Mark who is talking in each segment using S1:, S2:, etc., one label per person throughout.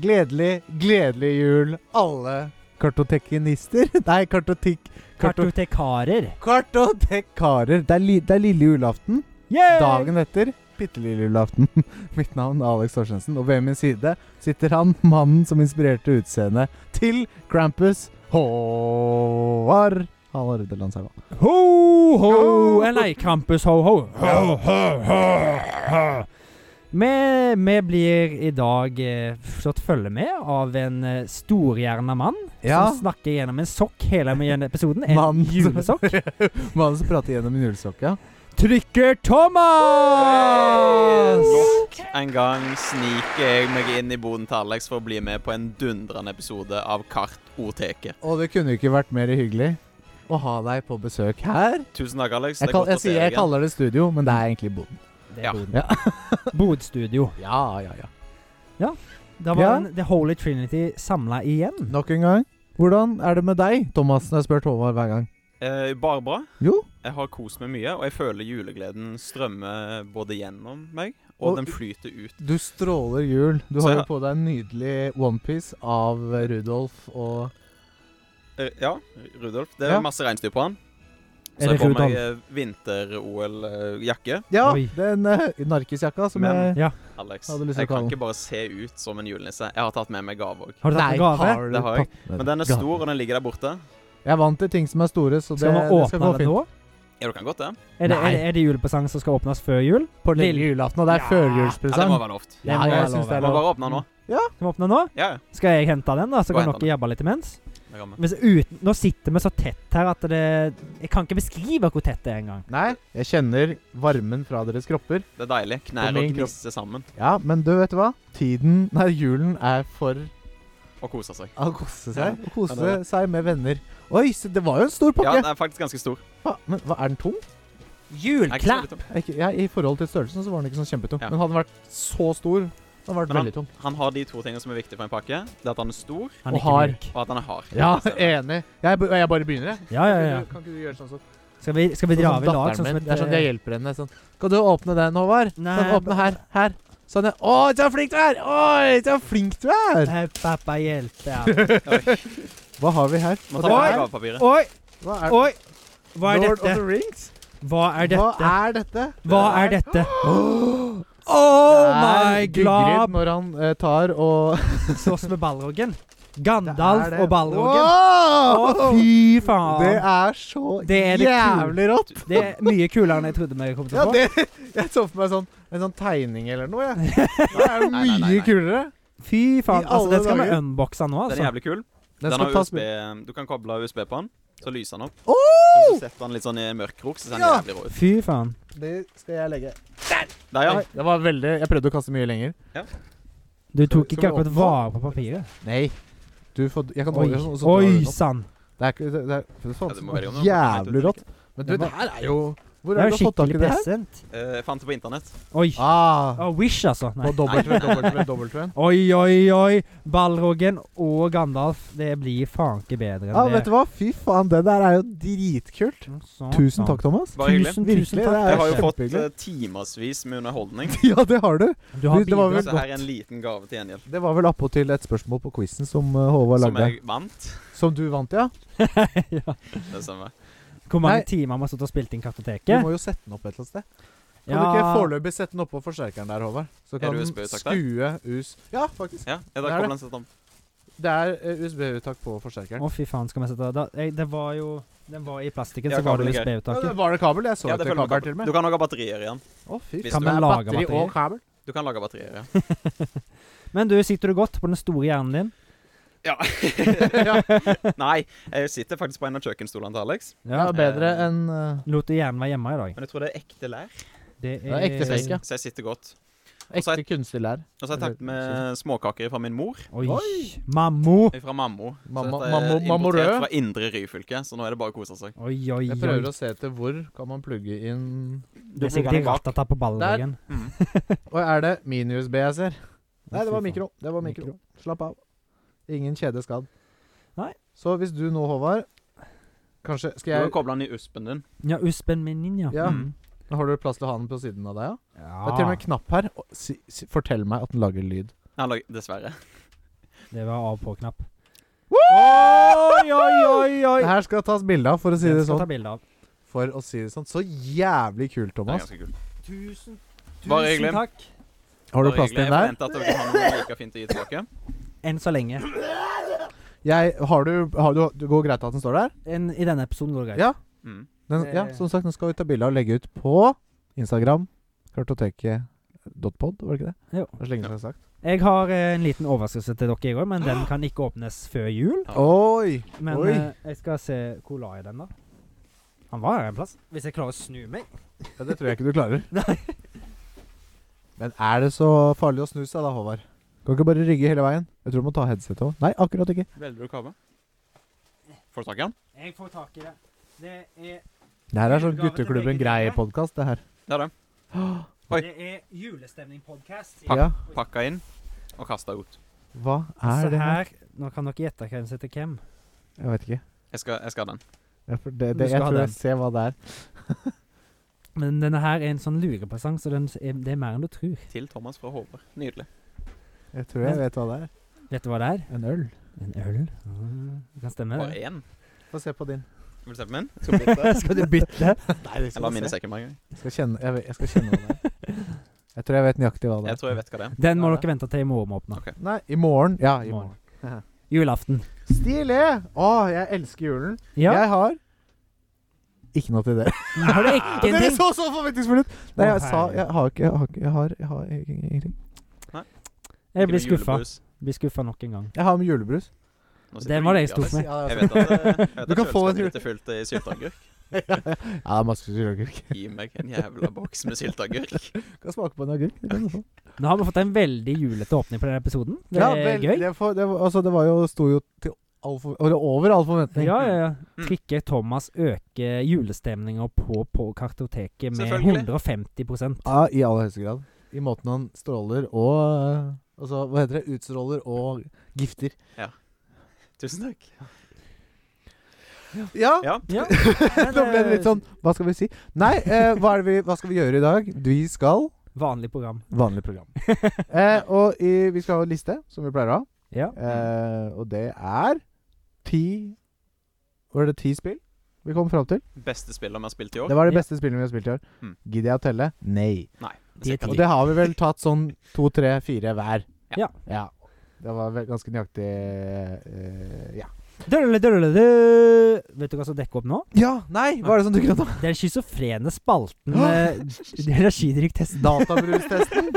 S1: Gledelig, gledelig jul, alle kartotekinister. Nei, kartotek... Karto
S2: Kartotekarer.
S1: kartotekarer. Det er, li, det er lille julaften.
S2: Yay!
S1: Dagen etter bitte lille julaften. Mitt navn er Alex Torstensen, og ved min side sitter han, mannen som inspirerte utseendet til Krampus, Håvard Halarde Landshaug.
S2: Ho, ho! Eller Krampus, ho, ho. Ho, ho, ho, ho. Vi, vi blir i dag eh, slått følge med av en eh, storhjerna mann
S1: Ja,
S2: som snakker gjennom en sokk hele gjennom episoden. En
S1: Mann.
S2: julesokk.
S1: mannen som prater gjennom en julesokke. Ja.
S2: Trykker Thomas!
S3: Nok en gang sniker jeg meg inn i boden til Alex for å bli med på en dundrende episode av Kartoteket.
S1: Og det kunne jo ikke vært mer hyggelig å ha deg på besøk her.
S3: Tusen takk, Alex.
S1: Jeg, kall, jeg, sier, jeg kaller det studio, men det er egentlig boden.
S2: Det er
S3: Ja.
S2: boden.
S1: Ja.
S2: Bodstudio.
S1: Ja, ja, ja.
S2: Da var
S1: Ja.
S2: en, The Holy Trinity samla igjen.
S1: Nok en gang. Hvordan er det med deg, Thomas? Når jeg spør Håvard hver gang.
S3: Eh, bare bra.
S1: Jo.
S3: Jeg har kost meg mye, og jeg føler julegleden strømmer både gjennom meg, og
S1: Og-
S3: den flyter ut.
S1: Du stråler jul. Du
S3: Så
S1: har
S3: jeg-
S1: jo på deg en nydelig onepiece av eh, Rudolf og
S3: Eh, ja, Rudolf. Det er
S1: Ja.
S3: masse reinsdyr på han. Så
S1: Erik
S3: jeg får
S1: Rudolf.
S3: meg eh, vinter-OL-jakke.
S1: Ja,
S2: Oi.
S1: den eh, narkisjakka som
S3: Men-
S1: jeg
S2: Ja.
S3: Alex,
S1: Hadde du lyst til å
S3: jeg
S1: kalle
S3: kan
S1: den?
S3: ikke bare se ut som en julenisse. Jeg har tatt med meg gave òg.
S2: Har du tatt en gave?
S1: har du
S3: Det har jeg.
S1: tatt med
S3: Men den er
S1: gave?
S3: stor, og den ligger der borte.
S1: Jeg er vant til ting som er store, så det,
S2: Skal man
S1: det skal gå
S2: åpne det
S1: fint.
S2: nå?
S3: Ja, du kan godt det.
S2: Er det, er,
S1: Nei.
S2: det- er det julepresang som skal åpnes før jul?
S1: På lille
S2: Lille-
S1: julaften, og det er
S2: Ja.
S3: Ja, det
S1: førjulspresang.
S3: må være lovt.
S2: Det må
S1: Ja, jeg
S2: være
S1: syns
S2: lov.
S1: det er
S3: Må
S1: lov.
S3: bare åpne den nå.
S2: Skal vi åpne nå?
S3: Ja, ja.
S2: Skal jeg hente den, da? Så
S3: Gå og
S2: kan
S3: hent
S2: dere jabbe litt imens.
S3: Det kan vi.
S2: Men så uten, nå sitter vi så tett her at det Jeg kan ikke beskrive hvor tett det er engang.
S1: Nei, jeg kjenner varmen fra deres kropper.
S3: Det er deilig.
S1: På
S3: Knær
S1: min
S3: og
S1: kropp.
S3: gnisse sammen
S1: Ja, men du vet du hva? Tiden, nei, julen er for
S3: og kose seg.
S1: å kose seg. Å kose
S3: Ja, det er
S1: seg med venner. Oi, se, det var jo en stor
S3: Ja,
S1: pakke!
S3: den er faktisk ganske stor.
S1: Hva, men hva, er den tung?
S3: Den er ikke så
S2: Julklapp!
S3: veldig tung.
S1: Er ikke- Ja, I forhold til størrelsen så var den ikke sånn kjempetung.
S3: Ja.
S1: Men hadde den vært så stor, så hadde den vært
S3: Men
S1: veldig tung.
S3: Han har de to tingene som er viktige for en pakke. Det er at han er stor,
S2: Han
S1: Og har.
S2: mjuk.
S3: og at han er hard. Altså,
S1: Ja, eh,
S3: Det stemmer.
S1: enig. Jeg, be- jeg bare begynner, jeg.
S2: Ja, ja,
S1: Kan
S2: ja.
S1: ikke du- Kan ikke du gjøre sånn som
S2: Skal vi, skal vi dra
S1: sånn som
S2: av i lag?
S1: datteren
S2: Sånn som
S1: min.
S2: et
S1: Det er sånn jeg
S2: eh,
S1: hjelper henne. Sånn. Kan du åpne den, Håvard?
S2: Nei,
S1: sånn, åpne her. Her. Sånn, ja. Oi, så flink du er! Oi, så flink du er!
S2: Hei, pappa hjelper ja.
S1: Hva har vi her?
S3: Må
S1: Og
S3: ta
S1: det er-
S3: med gavepapiret.
S2: Oi,
S1: Hva er,
S2: oi! Hva er
S1: Lord of
S2: dette?
S1: the Rings?
S2: Hva er dette?
S1: Hva er dette?
S2: Hva er dette? Oh my
S1: Gudrid
S2: glad!
S1: når han eh, tar og
S2: Slåss med ballroggen.
S1: Det er
S2: Gandalf
S1: det.
S2: og ballroggen.
S1: Wow!
S2: Å, fy faen.
S1: Det er så
S2: Det er det
S1: jævlig rått.
S2: Det er mye kulere enn jeg trodde vi kom til
S1: Ja,
S2: å få.
S1: det, jeg så for meg sånn, en sånn tegning eller noe. Jeg. Det er jo
S3: Nei, nei, nei,
S1: mye
S3: nei.
S1: kulere.
S2: Fy faen.
S1: I
S2: Altså,
S1: alle
S2: den skal vi
S1: dager.
S2: unboxe nå,
S3: Den er
S2: altså.
S3: jævlig kul.
S1: Den
S3: Den
S1: skal
S3: har
S1: tas
S3: USB Du kan koble USB på den, så lyser den opp.
S1: Åh!
S3: Så hvis du setter den litt sånn i en mørk krok, så ser den
S1: Ja.
S3: jævlig rå ut.
S2: Fy faen.
S1: Det skal jeg legge.
S3: Der, ja.
S1: Oi, Det var veldig Jeg prøvde å kaste mye lenger.
S2: Du tok
S1: Skal-
S2: ikke
S1: skal vi
S2: akkurat
S1: åpne?
S2: vare på papiret.
S1: Nei. Du får Jeg kan sånn-
S2: Oi,
S1: holde den, og så drar
S2: oi
S1: du den opp.
S2: sann.
S1: Det er ikke det er, det er faen,
S3: Ja, du må velge om den.
S1: Jævlig rått. Men du,
S2: Den var-
S1: det her er jo Hvor
S2: Det
S1: har
S2: er
S1: du
S2: jo
S1: fått tak
S2: skikkelig
S1: i det her?
S2: present.
S3: Eh, Jeg fant det på internett.
S2: Oi.
S1: Ah,
S2: Ah, wish, altså.
S1: på
S2: Nei.
S1: W-en.
S2: Oi, oi, oi. Ballroggen og Gandalf. Det blir faen ikke bedre
S1: Ja,
S2: enn
S1: vet du hva? Fy faen, det der er jo dritkult.
S2: Sånn,
S1: Tusen
S2: sånn.
S1: takk, Thomas.
S3: Bare hyggelig.
S2: Tusen,
S1: Virkelig,
S2: tusen
S1: det
S2: takk.
S1: er
S3: Jeg har jo fått
S1: kjempehyggelig.
S3: eh, timevis med underholdning,
S1: Ja, det har du.
S2: Du har
S1: det var vel-
S2: bidratt.
S3: så her er en liten gave til gjengjeld.
S1: Det var vel appåtil et spørsmål på quizen som eh, Håvard
S3: Som
S1: lagde.
S3: jeg vant.
S1: Som du vant, ja?
S2: ja.
S3: Det stemmer.
S2: Hvor mange
S1: Nei.
S2: timer har vi stått og spilt inn
S1: Du
S2: Kartoteket?
S1: må jo sette den opp et eller annet sted. Kan du ikke
S2: Ja.
S1: foreløpig sette den oppå forsterkeren der, Håvard? Så
S3: Er
S1: kan
S3: det
S1: den
S3: USB-uttak der?
S1: skue us Ja, faktisk.
S3: Ja,
S1: Det
S3: jeg
S1: er
S3: drar
S1: det.
S3: koblen sett om.
S1: Det er eh, USB-uttak på forsterkeren.
S2: Å, fy faen, skal vi sette da, jeg, Det var jo Den var i plastikken,
S3: Ja,
S2: så var det
S3: kabel er
S1: Ja, det
S2: USB-uttaket.
S1: eh, var det kabel? Jeg så
S3: Ja,
S1: at
S3: det
S1: det
S3: følger
S1: kabel til og
S3: med kabel.
S1: med.
S3: Du kan lage batterier igjen.
S1: Å, fy faen. Det
S3: Hvis du-
S2: Kan
S1: er
S2: man lage
S1: batteri og
S2: batterier?
S1: kabel.
S3: Du kan lage batterier, ja.
S2: Men du, sitter du godt på den store hjernen din?
S3: Ja. Nei, jeg sitter faktisk på en av kjøkkenstolene til Alex.
S1: Ja, bedre
S3: Eh,
S1: enn eh,
S2: Lot du hjernen være hjemme i dag?
S3: Men jeg tror det er ekte lær.
S2: Det
S1: er ekte
S3: Så
S1: fisk, ja.
S3: jeg, så jeg sitter godt. og så er-
S1: ekte kunstig lær.
S3: Og så har jeg
S1: Eller-
S3: tatt med småkaker fra min mor.
S2: Oi.
S1: Oi.
S2: Mammo.
S3: Fra Mammo. Så
S1: Mamma-
S3: dette er
S1: Mammo- Mammo
S3: importert
S1: Rød.
S3: fra Indre Ryfylke, så nå er det bare å kose seg.
S2: Oi, oi,
S1: Jeg
S2: oi.
S1: prøver å se etter hvor kan man plugge inn
S2: Det er sikkert
S3: den bak.
S2: ratata på ballroggen.
S3: Mm.
S1: Og er det mini-USB jeg ser? Nei, det var mikro. Det var mikro. Slapp av. Ingen kjede skadd.
S2: Nei.
S1: Så hvis du nå, Håvard Kanskje
S3: Du
S1: Skal
S3: har
S1: jeg
S3: jo kobla den i uspen din.
S2: Ja, uspen min, inn, ja.
S1: Ja.
S2: Mm.
S1: Har du plass til å ha den på siden av deg, ja? Det er til og
S2: ja.
S1: med en knapp her. Å, Si, si, fortell meg at den lager lyd.
S3: Eller, dessverre.
S2: Det var av-på-knapp.
S1: Oi,
S2: Oi, oi, oi, oi!
S1: Det her skal tas bilde av, for å si
S2: Den
S1: det
S2: skal
S1: sånn.
S2: ta bilde av.
S1: For å si det sånn. Så jævlig kult,
S3: Det er
S1: Thomas.
S3: ganske kult.
S2: Tusen,
S3: Bare hyggelig.
S2: tusen takk.
S1: Har du
S3: Bare
S1: plass til den der?
S3: hyggelig. Jeg forventer at dere har noe like fint å gi tilbake.
S2: Enn så lenge.
S1: Jeg, har du, har du, det går greit at den står der?
S2: En, I denne episoden går det greit.
S1: Ja.
S3: Mm.
S1: Den, ja,
S2: Det-
S1: som sagt, nå skal vi ta bilde av og legge ut på Instagram. Kartoteket.pod, var det ikke det?
S2: Jo.
S1: Det er så lenge siden jeg har sagt.
S2: Jeg har eh, en liten overraskelse til dere i går, men den kan ikke åpnes før jul.
S3: Ja.
S1: Oi!
S2: Men
S1: Oi.
S2: eh, jeg skal se Hvor la jeg den, da? Han var her en plass. Hvis jeg klarer å snu meg.
S1: Ja, det tror jeg ikke du klarer.
S2: Nei.
S1: Men er det så farlig å snu seg da, Håvard? Kan ikke bare rygge hele veien. Jeg tror du må ta headset òg. Nei, akkurat ikke.
S3: Velger du kave? Får du tak i den?
S2: Jeg får tak i det. Det er,
S1: Det her er sånn
S2: Julegave til
S1: gutteklubben
S2: begge dere.
S1: Grei-podkast, det her.
S3: Det er det. Oi.
S2: det er julestemning-podkast.
S3: Pakk.
S1: Ja,
S3: Pakka inn og kasta ut.
S1: hva er
S2: Så
S1: det her?
S2: her Nå kan dere gjette hvem som heter hvem.
S1: Jeg vet ikke.
S3: Jeg skal, jeg skal ha den.
S1: Ja, for det,
S2: Du
S1: det,
S2: skal
S1: jeg
S2: ha
S1: tror
S2: den.
S1: jeg ser hva det er.
S2: Men denne her er en sånn lurepresang, så den er, det er mer enn du tror.
S3: Til Thomas fra Håvard. Nydelig.
S1: Jeg tror jeg vet hva det er.
S2: Vet du hva det er?
S1: En øl.
S2: En øl? Mm, Det kan stemme,
S3: Bare
S2: det.
S3: én.
S1: Få se på din.
S3: Vil du se på min? Skal vi bytte?
S2: Skal du bytte?
S1: Nei, det
S3: Jeg la mine i sekken med en gang.
S1: Jeg skal kjenne, jeg, vet- jeg skal kjenne hva det er. Jeg tror jeg vet nøyaktig hva det er.
S3: Jeg tror jeg vet hva det er.
S2: Den må dere vente til i morgen må åpne.
S1: Nei, i morgen. Ja, i
S2: Morgen.
S1: morgen.
S2: Julaften.
S1: Stilig! Å, jeg elsker julen.
S2: Ja.
S1: Jeg har ikke noe til dere.
S2: Har du ikke en
S1: Dere
S2: ting?
S1: så så forventningsfulle ut! Nei,
S2: Å,
S1: jeg sa Jeg har ikke Jeg har, ikke- jeg har, jeg har ingenting.
S2: Jeg blir
S3: Ikke noe
S2: skuffa.
S3: julebrus.
S2: Blir skuffa nok en gang.
S1: Jeg har med julebrus.
S3: Nå sitter
S2: Den
S3: du
S2: var det
S3: i
S2: jeg sto
S3: Alex.
S2: med.
S1: Ja,
S3: Jeg
S1: det
S3: vet at, eh, jeg vet
S1: Du
S3: at
S1: kan få en
S3: kjøleskapet
S1: jul.
S3: ditt er fullt i sylteagurk.
S1: er masse sylteagurk.
S3: Gi meg en jævla boks med sylteagurk.
S1: Kan smake på en agurk. Det kan du få.
S2: Nå har vi fått en veldig julete åpning på denne episoden. Det
S1: Ja,
S2: er
S1: vel,
S2: gøy.
S1: Det, får- det, var- altså, det var jo Sto jo til all for, eller over all forventning.
S2: Ja, ja, ja.
S3: Mm.
S2: Trikke Thomas øker julestemninga på, på kartoteket med
S3: Selvfølgelig.
S2: 150
S1: Ja, I aller høyeste grad. I måten han stråler og Altså, hva heter det? Utstråler og gifter.
S3: Tusen takk.
S1: Ja,
S3: Ja.
S2: Ja.
S1: Nå ble
S2: eh,
S1: det litt sånn Hva skal vi si? Nei, eh, hva, er det vi, hva skal vi gjøre i dag? Vi skal
S2: Vanlig program.
S1: Vanlig program. Eh, og i, vi skal ha en liste, som vi pleier å ha.
S2: Ja.
S1: Eh, og det er ti Var det ti spill vi kom fram til?
S3: Beste spiller vi har spilt i år?
S1: Det var de
S2: Ja.
S1: beste spillene vi har spilt i år.
S3: Mm.
S1: Gidder jeg å telle? Nei.
S3: Nei.
S2: De er
S3: cirka
S1: Og
S2: ti.
S1: det har vi vel tatt sånn to, tre, fire hver.
S2: Ja.
S1: ja. Det var vel ganske nøyaktig eh, Ja.
S2: Dødele, dødele, dø. Vet du hva som dekker opp nå?
S1: Ja, nei! Hva
S2: sånn
S1: er det som dukker opp nå?
S2: Den schizofrene spalten med energidrikktest.
S1: Databrustesten.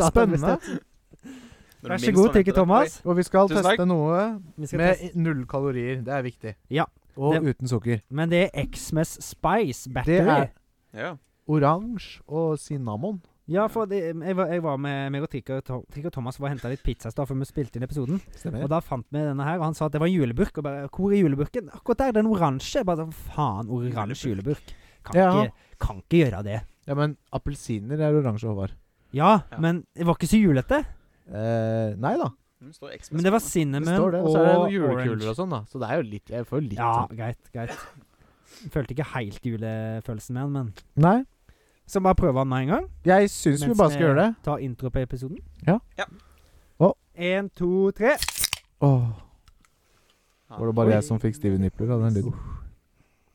S1: Spennende.
S3: ti. Når
S2: Vær så god,
S3: du minst forventer
S2: Trikke
S3: det.
S2: Thomas.
S1: Og vi skal
S3: Tusen
S1: teste
S3: takk.
S1: noe
S2: Vi skal
S1: med
S2: teste.
S1: null kalorier. Det er viktig.
S2: Ja.
S1: Og
S2: Det-
S1: uten sukker.
S2: Men det er Xmas Spice
S1: Det
S2: Battery.
S1: er-
S3: Oi. Ja.
S1: Oransje og cinnamon.
S2: Ja, for det, jeg, var, jeg var med meg og Trikke og, Tom- Trikke og Thomas var og henta litt pizza i stad, for vi spilte inn episoden. Og
S1: Stemmer.
S2: da fant vi denne her, og han sa at det var en juleburk. Og bare 'Hvor er juleburken?' Akkurat der, den oransje. Jeg Bare sånn, faen, oransje juleburk. Kan,
S1: Ja.
S2: ikke, kan ikke gjøre det.
S1: Ja, men appelsiner er oransje, Håvard.
S2: Ja,
S3: Ja.
S2: men det var ikke så julete.
S1: Eh, nei da.
S3: Mm, står X med
S2: Men det var
S3: spørsmål.
S1: Det
S2: cinnamon
S1: står det. Og
S2: og
S1: så er det noen
S2: orange.
S1: julekuler og sånn, da. Så det er jo litt Jeg får litt
S2: Ja,
S1: sånn.
S2: greit, greit. Følte ikke helt julefølelsen med den, men
S1: Nei.
S2: Så bare prøve den med en gang.
S1: Jeg syns vi
S2: mens
S1: bare skal gjøre det.
S2: Ta intro på episoden.
S1: Ja.
S3: Ja.
S1: Å.
S2: En, to, tre.
S1: Åh,
S3: Ja.
S1: var det bare
S3: Oi.
S1: jeg som fikk stive nipler av den lyden?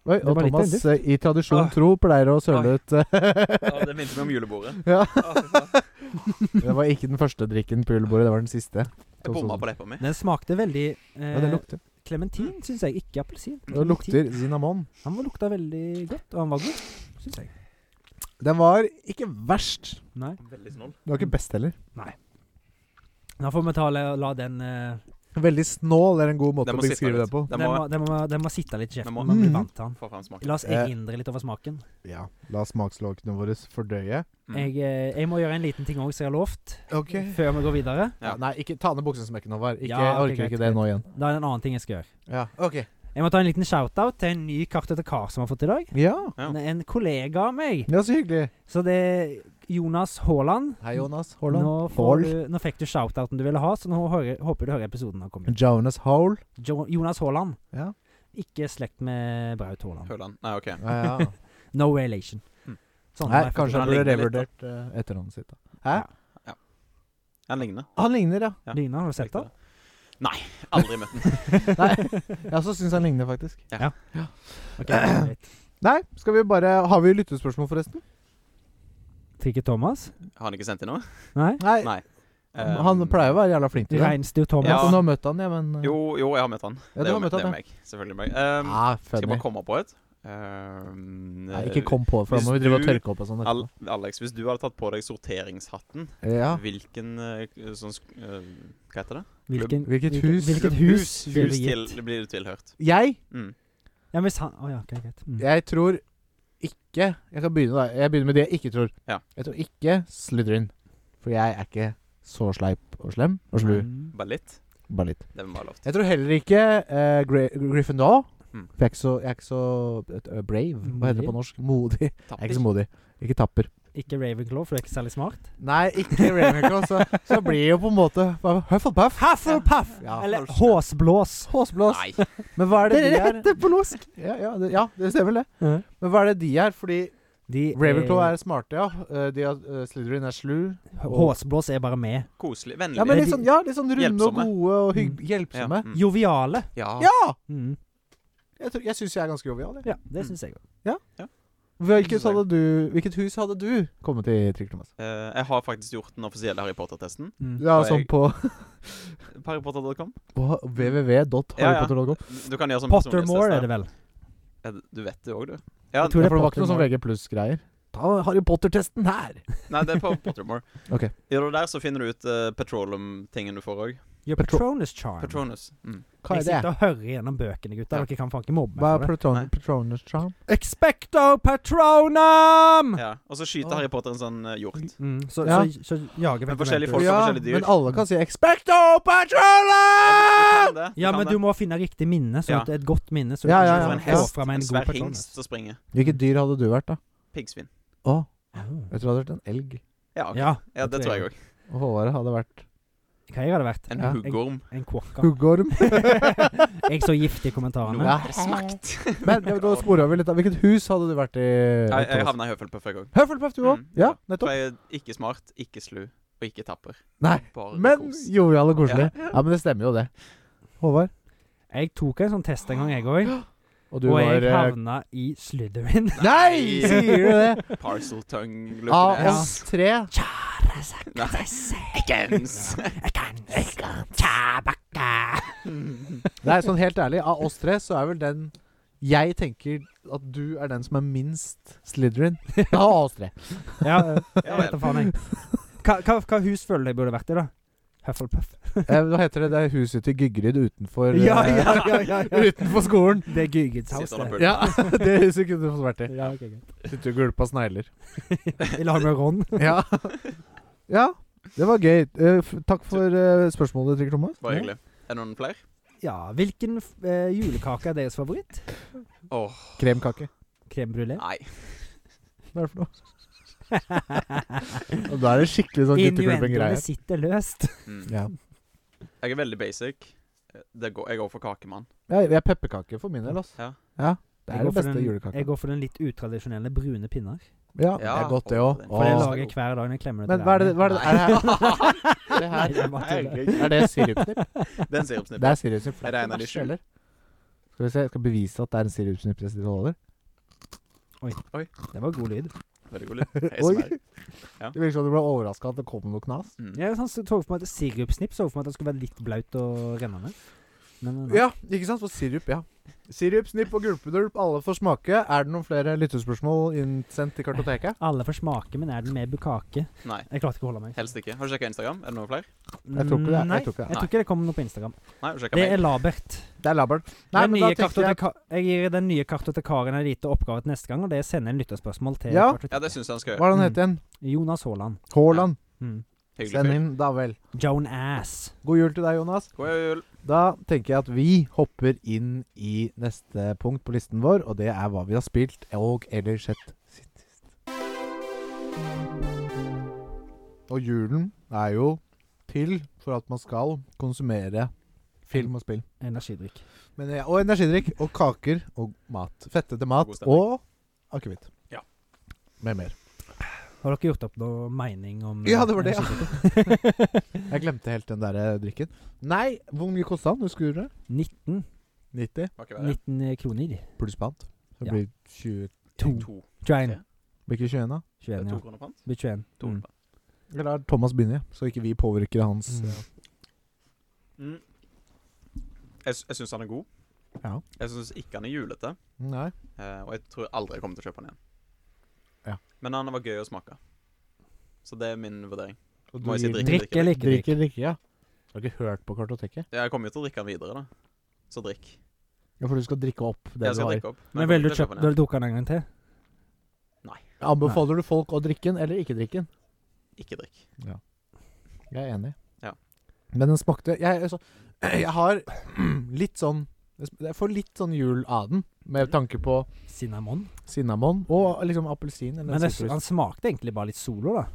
S1: Oi,
S2: Det
S1: og
S2: var litt
S1: Thomas,
S2: tøft.
S1: eh, i tradisjon
S3: Ah.
S1: tro, pleier å søle
S3: Oi.
S1: ut eh,
S3: Ja, det minte meg om julebordet.
S1: Ja.
S3: Å, fy faen.
S1: Det var ikke den første drikken på julebordet, det var den siste.
S3: Jeg bomma
S2: sånn.
S3: på leppa mi.
S2: Den smakte veldig
S1: Ja, det
S2: eh,
S1: lukter.
S2: Klementin, syns jeg. Ikke appelsin.
S1: Det lukter cinnamon.
S2: Han var- lukta veldig godt, og han var god, syns jeg.
S1: Den var ikke verst.
S2: Nei.
S3: Veldig snoll.
S1: Den var ikke best heller.
S2: Da får vi ta la, la den eh,
S1: Veldig snål er en god måte
S3: Den
S1: å
S3: må sitte
S1: beskrive
S3: litt.
S1: det på.
S3: Den
S2: den,
S3: må
S2: må, den, må, den må sitte litt i
S3: Den
S2: kjeften.
S3: må-
S2: Man blir
S1: Mhm.
S2: vant til den.
S3: få fram smaken.
S2: La oss
S1: Eh.
S2: erindre litt over smaken.
S1: Ja. La smaksløkene våre fordøye.
S3: Mm.
S2: Jeg, eh, jeg må gjøre en liten ting òg, som jeg har lovt,
S1: Ok.
S2: før vi går videre.
S1: Ja. Nei, ikke ta ned buksesmekken, Håvard. Ikke,
S2: Ja,
S1: jeg
S2: ok,
S1: orker
S2: greit,
S1: ikke det nå igjen.
S2: Da er det en annen ting jeg skal gjøre.
S1: Ja, ok.
S2: Jeg må ta en liten shout-out til en ny kartotekar som jeg har fått i dag.
S1: Ja,
S3: Ja.
S2: En- En kollega av meg.
S1: ja så hyggelig.
S2: Så det er Jonas Haaland.
S1: Hei, Jonas.
S2: Nå,
S1: Haaland.
S2: får du, nå fikk du shout-outen du ville ha, så nå hører, håper du hører episoden har kommet.
S1: Jonas Hole.
S2: Jo, Jonas Haaland.
S1: Ja.
S2: Ikke slekt med Braut Haaland.
S3: Høland. Nei, OK.
S1: Ja, ja.
S2: No relation.
S3: Mm.
S2: Sånn
S1: Nei,
S2: har jeg fått
S1: kanskje
S3: han
S1: han burde
S3: ligner litt, da.
S1: revurdert eh, etternavnet sitt. da. Hæ?
S3: Han ligner.
S1: Han ligner, ja.
S3: Ja.
S2: Lina, har du sett
S3: Likte
S2: den?
S3: det. Aldri møtt den.
S1: Nei, jeg også syns han ligner, faktisk.
S2: Ok, greit.
S1: Nei, skal vi bare Har vi lyttespørsmål, forresten?
S2: Fikk ikke Thomas?
S3: Har han ikke sendt inn noe?
S2: Nei?
S1: Nei.
S3: Nei. eh,
S1: Um, han pleier å være jævla flink til det.
S2: Reinsdyr Thomas.
S1: Ja.
S3: Ja.
S1: Nå har møtt han, ja, men uh,
S3: Jo, jo, jeg har møtt han.
S1: Ja, du
S3: det er
S1: har
S3: jo
S1: møtt
S3: meg- det er
S1: han,
S3: meg. Selvfølgelig. meg. Um,
S1: ah,
S3: skal jeg
S1: funny.
S3: bare komme på et? Um,
S1: Nei, ikke kom på det, for da
S3: Hvis
S1: må vi drive og
S3: du-
S1: tørke opp og sånn.
S3: Al Alex, hvis du hadde tatt på deg sorteringshatten,
S1: etterpå. Ja.
S3: hvilken eh, sånn sk- eh, Hva heter det?
S2: Hvilken,
S1: Hvilket
S2: hvilket
S1: hus-
S2: hus, hvilket hus, blir
S3: hus
S2: det
S3: til,
S2: gitt?
S3: blir du tilhørt?
S1: Jeg
S3: Mm.
S2: Ja, men hvis han Å ja, ok, greit. Mm.
S1: Jeg tror ikke Jeg kan begynne da Jeg begynner med det jeg ikke tror.
S3: Ja.
S1: Jeg tror ikke Slytherin. For jeg er ikke så sleip og slem og slu.
S2: Mm.
S3: Bare litt?
S1: Bare litt.
S3: Det må være lov.
S1: Jeg tror heller ikke eh, Gry Gryffindor.
S3: Mm.
S1: For jeg er ikke så, jeg er ikke så eh, brave. Hva heter det på norsk? Modig. Jeg
S3: Tapper.
S1: er ikke så modig. Ikke tapper.
S2: Ikke Ravenclaw, for du er ikke særlig smart.
S1: Nei, ikke Ravenclaw. Så, så blir jo på en måte hva- Hufflepuff.
S2: Hufflepuff!
S1: Ja.
S2: Eller håsblås.
S1: Håsblås.
S3: Nei.
S1: Men hva er det de er?
S2: på norsk!
S1: Ja, ja, det, ja, det stemmer det. Men hva er det de er? Fordi
S2: De
S1: Ravenclaw er smarte, ja. Eh, De er, eh, Slytherin er slu.
S2: Håsblås er bare med.
S3: Koselig. Vennlig.
S1: Ja, men
S2: de-
S1: litt sånn, ja, litt sånn runde og
S3: Hjelpsomme.
S1: gode og hygg,
S2: Mm.
S3: Ja,
S1: hjelpsomme.
S3: mm.
S2: Joviale.
S3: Ja.
S1: Ja!
S2: Mm.
S1: Jeg, tror- jeg syns jeg er ganske jovial. jeg.
S2: Ja, det syns jeg òg.
S1: Hvilket, hadde du, hvilket hus hadde du kommet i, Trygg Thomas?
S3: Eh, jeg har faktisk gjort den offisielle Harry Potter-testen.
S2: Mm.
S1: Ja,
S3: Og
S1: sånn
S3: jeg-
S1: på,
S3: På harrypotter.com.
S1: på www.harrypotter.com.
S3: Du kan gjøre sånn
S2: Pottermore er det vel.
S3: vel? Du vet det òg, du. Ja,
S1: Ja,
S2: Jeg tror det
S1: for det
S2: er
S1: var ikke noe sånn
S2: Pottermore.
S1: VG pluss-greier. Ta Harry Potter-testen her!
S3: Nei, det er på Pottermore.
S1: Ok.
S3: Gjør du der, så finner du ut eh, petroleum-tingen du får òg.
S2: Your
S1: Patro-
S2: Patronus charm.
S3: Patronus. Mm.
S1: Hva
S2: jeg
S1: er
S2: sitter
S1: det?
S2: og hører gjennom bøkene, gutter.
S3: Ja.
S2: Dere kan faen ikke mobbe
S1: Hva
S2: meg
S1: er
S2: for det.
S1: Patron
S3: Nei.
S1: Patronus Charm?
S2: Expecto Patronum!
S3: Ja. Og så
S1: Hm.
S3: skyter
S1: Åh. Hm.
S3: Harry Potter en sånn eh, hjort.
S2: Mm, så,
S1: Ja.
S2: så, så, jager vi
S3: Men
S2: etter
S3: forskjellige
S2: Ventus.
S3: folk- og
S1: Ja,
S3: forskjellige dyr.
S1: men alle kan si Expecto Patronum!
S2: Ja, men du må finne riktig minne, sånn
S3: Ja.
S2: at det er et godt minne.
S1: Ja,
S2: Så du
S1: ja,
S2: kan
S1: ja.
S3: En
S2: få
S3: hest,
S2: fra meg
S3: en
S2: en god
S3: svær
S2: Patronus.
S3: hingst som springer.
S1: Hvilket dyr hadde du vært, da?
S3: Piggsvin.
S1: Å,
S2: Oh.
S1: jeg tror det hadde vært en elg.
S3: Ja, ok.
S2: Ja,
S3: ja, det tror jeg òg.
S1: Og Håvard hadde vært
S2: Hva jeg hadde vært?
S3: En
S1: Ja.
S3: huggorm.
S2: En quokka.
S1: huggorm.
S2: Jeg så giftig i kommentarene.
S3: Noen
S1: Ja.
S3: har smakt.
S1: Men ja, da sporer vi litt av. Hvilket hus hadde du vært i?
S3: Jeg, jeg
S1: Thomas?
S3: havna i Høffelpuff, jeg òg.
S1: Hufflepuff, du òg.
S3: Mm.
S1: Ja,
S3: For
S1: nettopp.
S3: jeg er ikke smart, ikke slu og ikke tapper.
S1: Nei,
S3: Bare
S1: men
S3: kos.
S1: jovial og koselig. Ja, men det stemmer jo, det. Håvard.
S2: Jeg tok en sånn test en gang, jeg òg.
S1: Og du
S2: Og
S1: var
S2: jeg
S1: eh,
S2: havna i Slytherin.
S1: Nei, sier du det?
S3: Parcel tongue
S1: Av
S3: looking
S1: oss
S3: ass.
S1: tre.
S3: Ekens.
S1: Nei, sånn helt ærlig, av oss tre så er vel den jeg tenker at du er den som er minst Slytherin. Av oss tre.
S2: Ja, jeg
S3: Ja,
S2: vet da faen, jeg. Hva, hva, hva hus føler du jeg burde vært i, da? Hufflepuff.
S1: Eh, Hva heter det? Det er huset til Gygrid utenfor eh,
S2: Ja, ja, ja, ja, ja.
S1: Utenfor skolen.
S2: Det er Gygids house,
S3: Sitter han og
S2: det.
S3: puler.
S1: Ja, det huset kunne du fått vært i.
S2: Ja, ok, greit.
S1: Sitter og gulper snegler.
S2: I lag med Ron.
S1: Ja. ja. Det var gøy. Eh, f takk for eh, spørsmålet, Trygg Thomas.
S3: Bare hyggelig. Er det noen flere?
S2: Ja, hvilken f- eh, julekake er deres favoritt?
S3: Åh,
S1: Kremkake.
S2: Crème brulé?
S3: nei.
S1: Hva er det for noe? Og da er det skikkelig sånn
S2: Innuendoene
S1: gutteklubben-greie.
S2: sitter løst.
S3: Mm.
S1: Ja.
S3: Jeg er veldig basic. Det går, jeg går for kakemann.
S1: Jeg, jeg er pepperkake for min del, altså.
S3: Ja.
S1: Ja. Det
S2: Jeg
S1: er
S2: går
S1: det
S2: for
S1: beste
S2: den-
S1: julekaka.
S2: Jeg går for den litt utradisjonelle brune pinner.
S1: Ja,
S3: Ja,
S1: det er godt, det òg.
S3: og-
S2: For det
S3: Åh.
S2: lager jeg hver dag når jeg klemmer det
S1: Men hva er det hva er det, er det her? Det
S2: Nei,
S1: her
S2: det er bare tull.
S1: er det sirupsnipp?
S3: Det er en
S1: Det
S3: sirupsnipp.
S1: er sirupsnipp.
S3: Er det en av de
S1: verst,
S3: sju?
S1: eller? Skal vi se, jeg skal bevise at det er en sirupsnipp jeg sitter og holder.
S2: Det var god lyd.
S3: Veldig god lyd.
S1: Oi.
S3: ASMR.
S1: Det virker som du ble overraska at det kom noe knas.
S3: Mm.
S2: Jeg sånn, så for meg at Sirupsnips så for meg at det skulle være litt blaut og rennende. Men nei.
S1: Ja, ikke sant? For sirup, ja. Sirup, snipp og gulpedulp, alle får smake. Er det noen flere lyttespørsmål innsendt til kartoteket?
S2: alle får smake, men er den med bukake?
S3: Nei,
S2: Jeg klarte ikke å holde meg.
S3: helst ikke. Har du sjekka Instagram? Er det noen flere?
S1: Jeg tror ikke det er- jeg
S2: Nei,
S1: tror ikke det er.
S2: jeg tror ikke det kommer noe på Instagram.
S3: Nei, har du sjekket
S2: Det er
S3: mail?
S2: labert.
S1: Det er labert.
S2: Nei, men nye
S1: da tenker jeg
S2: kartoteka- jeg gir den nye kartotekaren en liten oppgave til neste gang, og det er å sende inn lytterspørsmål til
S1: Ja.
S2: kartoteket.
S3: Ja, det syns jeg han skal
S1: Hva
S3: gjøre.
S1: er det han heter igjen?
S2: Jonas Haaland.
S1: Haaland.
S2: Mm.
S3: Hyggelig
S1: Send
S3: fyr.
S1: inn, da vel.
S2: Joan Ass.
S1: God jul til deg, Jonas.
S3: God jul.
S1: Da tenker jeg at vi hopper inn i neste punkt på listen vår, og det er hva vi har spilt og eller sett siden sist. Og julen er jo til for at man skal konsumere film og spill.
S2: Energidrikk.
S1: Men, ja, og energidrikk og kaker og mat. Fettete mat
S3: God stemning.
S1: og akevitt.
S3: Ja.
S1: Med mer.
S2: Har dere gjort opp noe mening om
S1: Ja, det var det, ja.
S2: ja.
S1: Jeg glemte helt den der eh, drikken. Nei, hvor mye kosta den? Husker du det?
S2: 19,
S1: 90
S3: Var ikke verre.
S2: 19 eh, kroner.
S1: pluss pant. Det
S2: Ja.
S1: blir 20
S2: To.
S3: To.
S2: 21.
S1: Blir ikke 21, da?
S3: Det er
S2: 21
S3: to
S2: ja.
S3: kroner pant.
S2: Blir 21.
S3: To
S2: Mm.
S3: kroner pant.
S1: Jeg lar Thomas begynne, ja, så ikke vi påvirker hans
S2: Mm.
S1: eh,
S3: Mm. Jeg, s- jeg syns han er god.
S1: Ja.
S3: Jeg syns ikke han er julete.
S1: Nei.
S3: eh, og jeg tror aldri jeg kommer til å kjøpe han igjen.
S1: Ja.
S3: Men han var gøy å smake. Så det er min vurdering.
S1: Og
S3: Må jeg si
S1: gir den-
S3: drikke,
S2: Drikk eller ikke drikk?
S1: Drikker, drikker, ja. Du har ikke hørt på kartoteket?
S3: Ja, Jeg kommer jo til å drikke han videre, da. Så drikk.
S1: Ja, for du skal drikke opp det
S3: jeg
S1: du
S3: skal
S1: har.
S3: drikke opp.
S2: Men
S3: jeg
S2: ville
S3: kommer
S2: du
S3: til å
S2: kjøpt
S3: kjøpe han
S2: Ville du drukket den en gang til?
S1: Anbefaler du folk å drikke den, eller ikke drikke den?
S3: igjen. Ikke drikk.
S1: Jeg er enig.
S3: Ja.
S1: Men den smakte jeg, altså, jeg har litt sånn Jeg får litt sånn jul av den, med tanke på
S2: Cinnamon?
S1: sinnamon og liksom appelsin. Eller
S2: Men det,
S1: sitrus.
S2: han smakte egentlig bare litt Solo, da.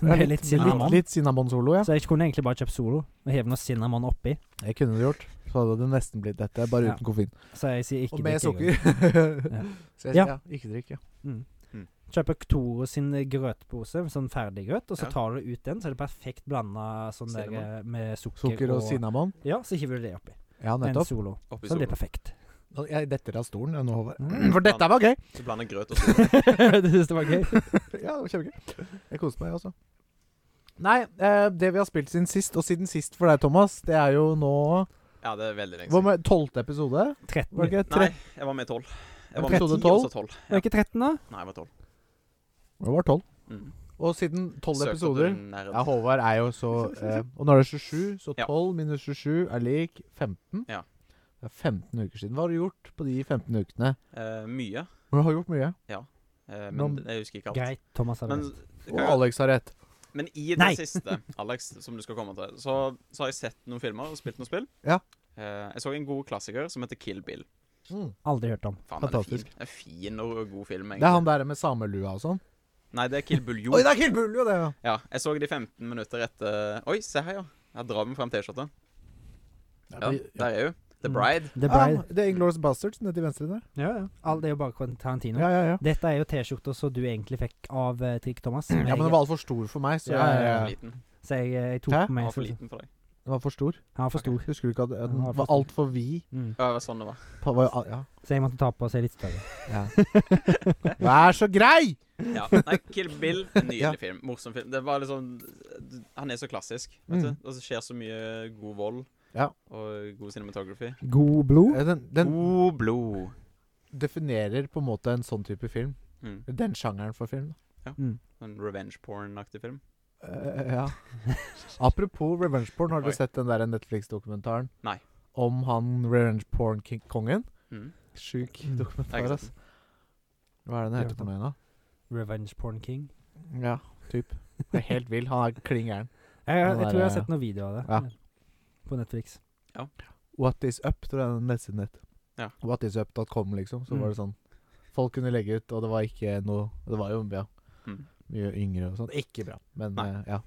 S1: Ja,
S2: Med litt cinnamon.
S1: sånn- Litt, litt cinnamon-solo, ja.
S2: Så jeg kunne egentlig bare kjøpt Solo og heve noe cinnamon oppi.
S1: Jeg kunne det gjort. Så hadde det nesten blitt dette, bare
S2: Ja.
S1: uten koffein.
S2: Så jeg sier ikke
S1: Og med
S2: drikk engang.
S1: sukker. Så jeg,
S2: Ja.
S1: ja. ikke drikk, ja.
S2: Mm.
S3: Mm.
S2: Kjøper Tore sin grøtpose, sånn ferdiggrøt, og så
S3: Ja.
S2: tar du ut den, så er det perfekt blanda sånn der
S3: Cinnamon.
S2: eh, med sukker,
S1: Sukker og cinnamon.
S2: Ja, så hiver du det oppi.
S1: Ja,
S2: En
S1: nettopp.
S2: Solo.
S3: Oppi
S2: Så
S1: Sånn
S2: det blir
S3: solen.
S2: perfekt.
S1: Nå- Jeg detter av stolen jeg nå, Håvard.
S2: Mm.
S1: For dette var gøy!
S3: Du blander grøt og sol.
S2: du syns det var gøy?
S1: Ja, det var kjempegøy. Jeg koste meg, jeg også. Nei, eh, det vi har spilt siden sist, og siden sist for deg, Thomas, det er jo nå
S3: Ja, det er veldig lenge
S1: Hvor
S3: siden.
S1: med tolvte episode?
S2: 13?
S1: Var det ikke tre?
S3: Nei, jeg var med i tolv. Jeg var med
S1: Episode
S3: i ti, og
S1: 12?
S3: så tolv.
S2: Var det ikke 13, da?
S3: Nei, jeg var tolv.
S1: Det var tolv.
S3: Mm.
S1: Og siden tolv
S3: Søkte
S1: episoder
S3: du nerd?
S1: Ja, Håvard er jo så eh, Og nå er det 27, så
S3: Ja.
S1: 12 minus 27 er lik 15.
S3: Ja.
S1: Det er 15 uker siden. Hva har du gjort på de 15 ukene?
S3: Eh, mye.
S1: Du har gjort mye.
S3: eh, men
S1: Nå-
S3: jeg husker ikke alt.
S2: Greit, Thomas har
S3: Men,
S2: rett.
S1: Og Alex har rett.
S3: men i det
S2: Nei.
S3: siste, Alex, som du skal komme til, så, så har jeg sett noen filmer og spilt noen spill.
S1: Ja.
S3: Eh, jeg så en god klassiker som heter Kill Bill.
S1: Mm.
S2: Aldri hørt om.
S3: Faen, den er fin.
S1: Fantastisk.
S3: Det er fin og og god film, egentlig.
S1: Det er han der med samelua og sånn.
S3: Nei, det er Kill Bill Jo.
S1: Oi, det er Kill Bull, jo, det! ja.
S3: Ja, jeg så det i 15 minutter etter Oi, se her, ja. Jeg drar med fram T-skjorta. Ja, der er hun. The
S2: Mm.
S3: Bride.
S1: Ja,
S2: The Bride.
S1: det er Inglourious Bastards nede til venstre der.
S2: Ja, ja. Alt det er jo bare Quentin Tarantino.
S1: Ja, ja, ja.
S2: Dette er jo T-skjorter som du egentlig fikk av uh, Trikk Thomas.
S1: Ja, Men den var altfor stor for meg, så
S2: Ja,
S1: jeg,
S2: ja, ja.
S3: For liten.
S2: Så jeg, eh, jeg tok
S1: Hæ?
S2: på
S3: Han
S2: meg
S3: var for
S2: så-
S3: liten for deg.
S1: den var for stor.
S2: Han var for stor.
S1: Husker du ikke at at den
S2: Den var for
S1: var
S2: stor.
S1: altfor vid?
S2: Mm.
S3: Ja, det var sånn det var.
S1: Pa- var jo- Ja.
S2: Så jeg måtte ta på og se litt større.
S1: Vær så grei!
S3: Ja. Nei, Kill Bill, en nydelig
S1: Ja.
S3: film. Morsom film. Det var liksom Han er så klassisk,
S1: Mm.
S3: vet du. Og så skjer så mye god vold.
S1: Ja.
S3: Og god cinematography.
S2: God blod.
S1: Eh, Den, den
S3: God blod.
S1: definerer på en måte en sånn type film.
S3: Mm.
S1: Den sjangeren for film.
S2: Mm.
S3: En revenge porn-aktig film.
S1: Eh, ja. Apropos revenge porn, har dere
S3: Oi.
S1: sett den der Netflix-dokumentaren?
S3: Nei.
S1: Om han revenge porn-kongen?
S3: Mm.
S1: Sjuk
S2: Mm.
S3: Jeg har
S1: dokumentar, altså.
S3: ikke
S1: ass. Hva er det den heter for noe igjen, da?
S2: Revenge Porn King.
S1: Ja, typ. Det er helt vill. Han er klin gæren.
S2: Jeg, jeg,
S1: Den der,
S2: tror jeg har
S1: eh,
S2: sett noen videoer av det.
S1: ja.
S2: På Netflix.
S1: What is up, tror jeg den nettsiden het.
S3: Ja.
S1: Whatisup.com, liksom. Så
S2: Mm.
S1: var det sånn Folk kunne legge ut, og det var ikke noe Det var jo ja,
S3: Mm.
S1: mye yngre og sånn. Ikke bra, men
S3: Nei.
S1: eh, ja.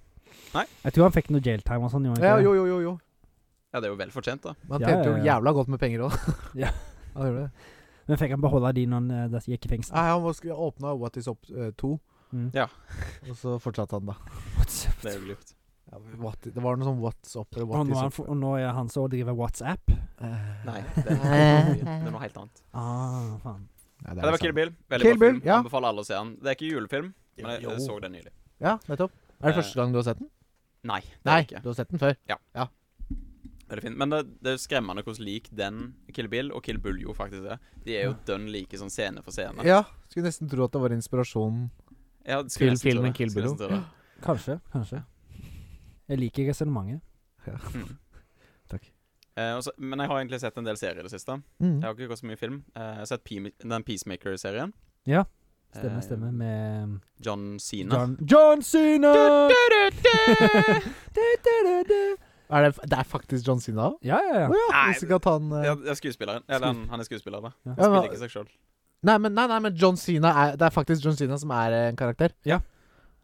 S2: Jeg tror han fikk noe jailtime og sånn. gjorde han
S1: ja.
S2: ikke
S1: Jo, jo, jo. jo.
S3: Ja, det er jo vel fortjent, da.
S1: Man
S2: Ja,
S1: tjente
S2: ja,
S1: jo
S2: ja.
S1: jævla godt med penger òg.
S2: Ja.
S1: Han gjorde det.
S2: det? Men fikk han beholde de når han eh, da gikk i fengsel?
S1: Nei, han var- åpna What is up 2,
S2: Mm.
S1: og så fortsatte han, da.
S2: What's up?
S3: Det er jo lurt.
S1: Ja, what, det var noe sånn What's up eller
S2: Og
S1: What
S2: nå, er
S1: is
S2: han,
S1: up.
S2: for- og nå er han så og driver WhatsApp?
S1: Eh,
S3: Nei, det er, det er noe helt annet.
S2: Ah, faen.
S1: Nei,
S3: Ja, det var Kill Bill. Veldig
S1: Kill
S3: bra film.
S1: Bill, ja.
S3: Anbefaler alle å se den. Det er ikke julefilm, men jeg, jeg
S1: Jo.
S3: så den nylig.
S1: Ja, nettopp. Er det
S3: Eh,
S1: første gang du har sett den?
S3: Nei, det
S1: Nei,
S3: er det ikke.
S1: du har sett den før.
S3: Veldig fint. Men det, det er skremmende hvordan lik den Kill Bill og Kill Bull jo faktisk er. De er jo dønn like sånn scene for scene.
S1: Ja, Skulle nesten tro at det var inspirasjonen.
S3: Ja, skulle
S1: Til
S3: nesten tro
S1: filmen
S3: det.
S1: Kill
S3: Skulle
S1: Bill.
S3: nesten tro det.
S2: Kanskje. Kanskje. Jeg liker resonnementet.
S1: Takk.
S3: Mm. Eh, og så- men jeg har egentlig sett en del serier i det siste.
S1: Mm.
S3: Jeg har ikke gått så mye film. Eh, jeg har sett Pe- den Peacemaker-serien.
S2: Ja.
S3: Eh,
S2: Stemmer, stemmer. Med mm,
S3: John Sina.
S2: John, John Cena!
S1: Er det, det er faktisk John Sina?
S2: Ja, ja, ja.
S1: Å ja,
S3: Nei,
S1: hvis ikke at han eh,
S3: Ja, det er skuespilleren. Eller han, han er skuespiller, da.
S2: Ja.
S3: Han spiller
S1: Ja,
S3: ikke seg sjøl.
S1: nei, men, nei, nei, men John Cena er, det er faktisk John Cena som er eh, en karakter.
S2: Ja.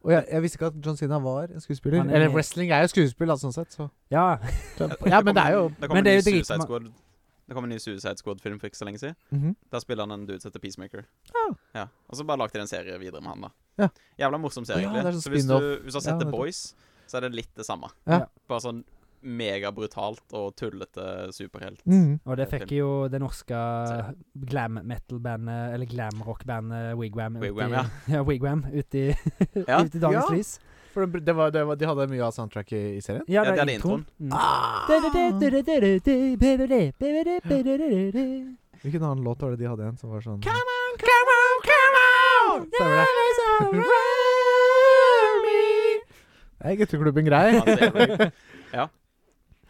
S1: Og jeg, jeg visste ikke at John Cena var en skuespiller.
S2: Han er
S1: Eller
S2: med.
S1: wrestling er jo skuespill, da, sånn sett. Så.
S2: ja.
S1: Ja, men det er jo
S3: Det
S2: men
S3: kom en
S2: det er
S3: ny
S2: jo dritma-
S3: Suicide Squad Det kom en ny Suicide Squad-film for ikke så lenge siden.
S1: Mhm.
S3: Der spiller han en dude som heter Peacemaker.
S1: Ah.
S3: Ja. Og så bare lagde de en serie videre med han, da.
S1: Ja.
S3: Jævla morsom serie,
S1: Ja,
S3: egentlig.
S1: det er sånn
S3: så hvis du,
S1: spin-off.
S3: hvis du har
S1: Ja,
S3: sett The
S1: nettopp.
S3: Boys, så er det litt det samme.
S1: Ja.
S3: Bare sånn megabrutalt og tullete superhelt.
S1: Mm.
S2: Og det fikk jo det norske glam metal-bandet, eller glam rock-bandet Wigwam ut i-
S3: Wigwam, ja.
S2: ja, Wigwam, ut i,
S3: Ja.
S2: ut i dagens
S1: Ja.
S2: lys.
S1: For det, det var, det var, de hadde mye av soundtracket i, i serien?
S2: Ja,
S3: Ja, det er det
S2: Mm.
S1: Ah!
S2: Come
S1: Hvilken annen låt var det de hadde igjen som var sånn
S2: on, come on, come on!
S1: Stemmer det.
S2: Love is around me.
S1: Det er gutteklubben
S3: Ja, det
S1: grei.
S3: er det.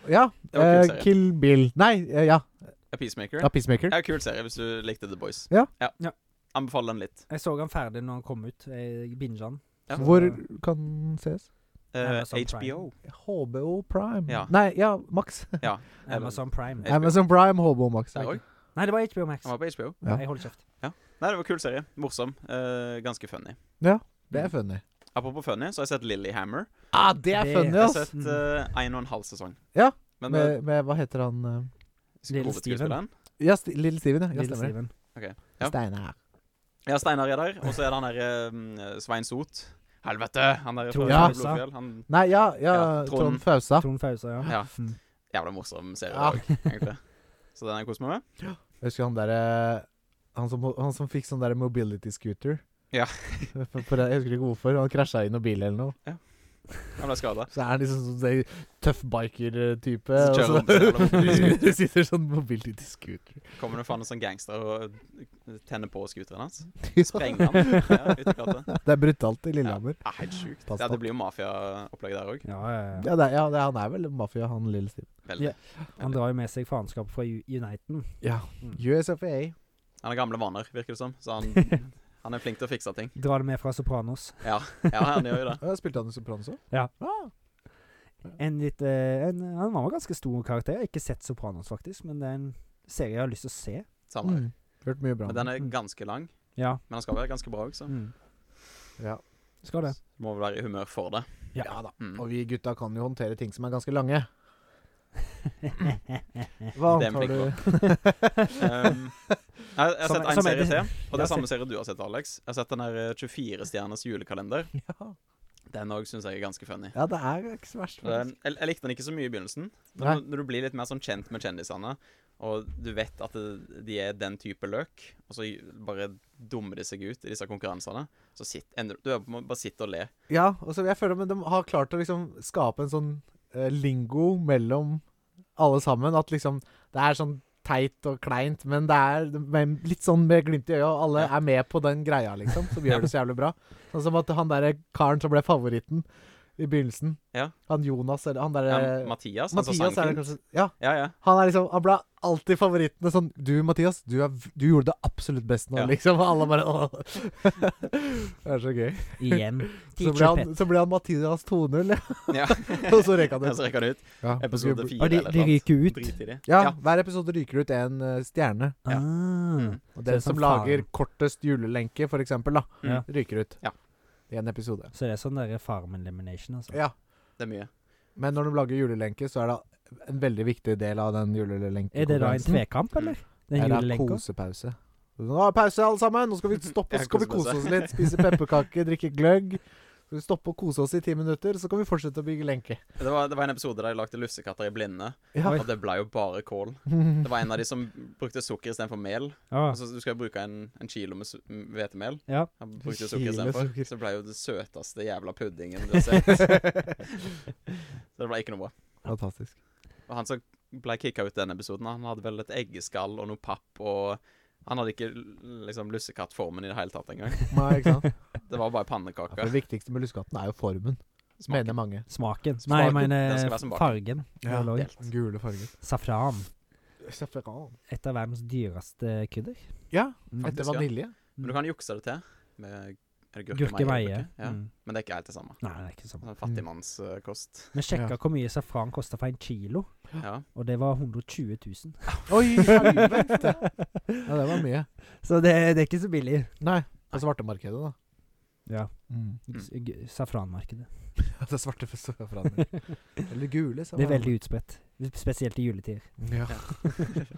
S1: ja.
S3: Det var en kul
S1: eh,
S3: serie.
S1: Kill Bill Nei, eh, ja.
S3: Ja, Peacemaker.
S1: ja. Peacemaker.
S3: Ja, kul serie hvis du likte The Boys.
S1: Ja.
S2: Ja.
S3: Anbefaler den litt.
S2: Jeg så han ferdig når han kom ut. Jeg binget han.
S3: Ja.
S1: Hvor kan ses?
S3: Eh,
S2: Amazon
S3: HBO.
S1: HBO Prime.
S3: Ja.
S1: Nei, ja, Max.
S3: Eller-
S2: Amazon Prime.
S3: HBO.
S1: Amazon Prime, HBO Max.
S3: Der òg.
S2: Nei, det var HBO Max.
S3: Han var på HBO.
S1: Ja.
S2: Jeg holder kjeft.
S3: Nei, det var kul serie. Morsom. Eh, ganske funny.
S1: Det er funny.
S3: Apropos funny, så har jeg sett Lillyhammer.
S1: Ah, det er
S2: Det-
S1: funny,
S3: Jeg har
S1: ass!
S3: sett eh, en og en halv sesong.
S1: Ja,
S3: Men eh,
S1: Med, med hva heter han eh,
S2: Lille
S3: hovedskuespilleren
S1: Ja, St Lille Steven, ja. ja.
S2: Little
S1: Stemmer.
S2: Steven.
S3: Ja.
S1: Steinar.
S3: Ja, Steinar er der. Og så er det han der eh, Svein Sot. Helvete! Han der fra
S2: Trond
S1: Ja.
S2: Fausa.
S3: Blodfjell. Han
S1: Nei, ja, ja,
S3: Ja, Trond.
S1: Trond Fausa.
S2: Trond Fausa, ja.
S3: Ja.
S2: Mm.
S3: Jævla morsom serie
S1: Ja.
S3: òg, egentlig. Så den har jeg kost meg med.
S1: Jeg husker han derre han som, han som fikk sånn derre mobility scooter.
S3: Ja.
S1: For, for, jeg husker ikke hvorfor. Han krasja i noen bil eller noe.
S3: Han ble skada.
S1: Så er han liksom sånn der tøff biker-type.
S3: Så
S1: og
S3: kjører han på sånn jævla mobility
S1: så sitter sånn mobility scooter.
S3: Kommer det faen en sånn gangster og eh, tenner på scooteren hans? Sprenger han ja, ut i gata?
S1: Det er brutalt i Lillehammer.
S3: Ja, helt sjukt.
S1: Pass
S3: Ja, det
S1: på.
S3: blir jo mafiaopplegg der òg.
S2: Ja, ja, ja.
S1: Ja, det er, ja det er, han er vel mafia, han lille Steven.
S3: Veldig.
S2: Ja. Han drar jo med seg faenskapet fra U- Uniten.
S1: Ja.
S2: Mm.
S1: USFA.
S3: Han har gamle vaner, virker det som. Så han, han er flink til å fikse ting.
S2: Drar det med fra Sopranos.
S3: Ja, han gjør jo det.
S1: Ja, Spilte han i Sopranos òg?
S2: Ja.
S1: Ah.
S2: En litt, eh, en, han var en ganske stor karakter. Jeg har ikke sett Sopranos, faktisk, men det er en serie jeg har lyst til å se.
S3: Samme.
S1: Mm. Hørt mye bra.
S3: Men den er ganske lang.
S2: Ja.
S3: Men han skal være ganske bra òg, så
S2: Mm.
S1: Ja.
S2: Skal det.
S3: må vel være i humør for det.
S2: Ja.
S1: ja da.
S3: Mm.
S1: Og vi gutta kan jo håndtere ting som er ganske lange. Hva
S3: Det er
S1: annet har
S3: Mm. vi
S1: du?
S3: Um, jeg, jeg
S2: Som-
S3: har sett en
S2: som er
S3: serie
S2: det-
S3: til, og det
S2: Ja,
S3: er samme serie du har sett, Alex. Jeg har sett den der eh, 24-stjerners julekalender.
S1: Ja.
S3: Den òg syns jeg er ganske funny.
S1: ja, det er ikke så verst.
S3: Den,
S1: faktisk.
S3: jeg, jeg likte den ikke så mye i begynnelsen, men
S1: Nei.
S3: når- når du blir litt mer sånn kjent med kjendisene, og du vet at det, de er den type løk, og så bare dummer de seg ut i disse konkurransene, så sitt, ender, du er- må bare sitte og le.
S1: Ja, og så jeg føler men de har klart å liksom skape en sånn eh, lingo mellom alle sammen. At liksom det er sånn teit og kleint, men det er men litt sånn med glimt i øyet, og alle er med på den greia, liksom, som gjør det så jævlig bra. Sånn som at han derre karen som ble favoritten i begynnelsen,
S3: Ja.
S1: han Jonas eller han derre
S3: Ja, Mathias, han som sang
S1: Eh, Mathias er det kanskje
S3: fint.
S1: Ja.
S3: Ja, ja.
S1: Han er liksom Han ble alltid favorittene sånn Du, Mathias, du, er, v- du gjorde det absolutt best nå,
S3: Ja.
S1: liksom. Og alle bare åh. Det er så gøy.
S2: Igjen.
S1: Så
S2: Teacher
S1: ble
S2: Pet.
S1: han, så ble han Mathias 2-0, ja.
S3: ja.
S1: og så røyk han
S3: Ja, så
S1: ut.
S3: rekker han ut.
S1: Ja.
S3: Episode fire
S2: Og de,
S3: eller
S2: de
S3: noe sånt.
S2: ryker ut.
S3: Drit i det.
S1: Ja, hver episode ryker ut en eh, stjerne.
S3: Ja.
S2: Ah.
S3: Mm.
S1: Og
S2: Så det
S1: den
S2: er
S1: som
S2: sånn
S1: lager
S2: faren.
S1: kortest julelenke, for eksempel, da,
S2: Ja.
S1: ryker ut.
S3: Ja.
S1: I en episode.
S2: Så det er sånn derre Farmen Elimination, altså.
S1: Ja.
S3: Det er mye.
S1: Men når de lager julelenke, så er det en veldig viktig del av den julelenken.
S2: Er det da en tvekamp, eller? Den
S1: Eller er det
S2: julelenka?
S1: kosepause. Nå er det pause, alle sammen! Nå skal vi stoppe
S3: Ja,
S1: oss, skal vi kose
S3: kosepause.
S1: oss litt, spise pepperkaker, drikke gløgg. Skal vi stoppe og kose oss i ti minutter, så kan vi fortsette å bygge lenke.
S3: Det var, det var en episode der de lagde lussekatter i blinde,
S1: Ja.
S3: og det ble jo bare kål. Det var en av de som brukte sukker istedenfor mel.
S2: Ah.
S3: Altså, du skal jo bruke en, en kilo med su- m- hvetemel.
S2: Ja.
S3: Han brukte
S1: En kilo
S3: sukker istedenfor.
S1: sukker.
S3: Så det ble jo det søteste jævla puddingen du har sett. Så det ble ikke noe bra.
S1: Fantastisk.
S3: Og han som ble kicka ut den episoden, han hadde vel et eggeskall og noe papp og Han hadde ikke l- liksom lussekattformen i det hele tatt engang.
S1: Nei, ikke sant?
S3: Det var bare
S1: Ja, for
S3: pannekaker.
S1: det viktigste med lussekatten er jo formen,
S3: Smaken.
S1: mener mange.
S2: Smaken.
S3: Smaken.
S2: Nei, jeg mener
S3: Den skal være som bak.
S2: fargen.
S1: Ja,
S2: Eller-
S3: delt.
S1: Den gule fargen.
S2: Safran.
S1: Safran.
S2: Et av verdens dyreste krydder.
S1: Ja,
S2: Mm.
S1: etter
S3: Faktisk, ja.
S1: vanilje.
S3: Men du kan jukse det til med er det
S2: Gurkemeie.
S3: gurkemeie. Ja.
S2: Mm.
S3: Men det er ikke helt det samme.
S2: Nei, det er ikke sånn.
S3: Sånn Fattigmannskost.
S2: Vi sjekka
S1: Ja.
S2: hvor mye safran kosta for en kilo,
S3: Ja.
S2: og det var 120 000.
S1: Oi, helvete! Ja, det var mye.
S2: Så det, det er ikke så billig.
S1: Nei, på svartemarkedet, da.
S2: Ja.
S1: Mm.
S2: G- g- Safranmarkedet.
S1: Ja, det er svarte for safraner. Eller gule.
S2: Det er veldig utspredt. Spesielt i juletider.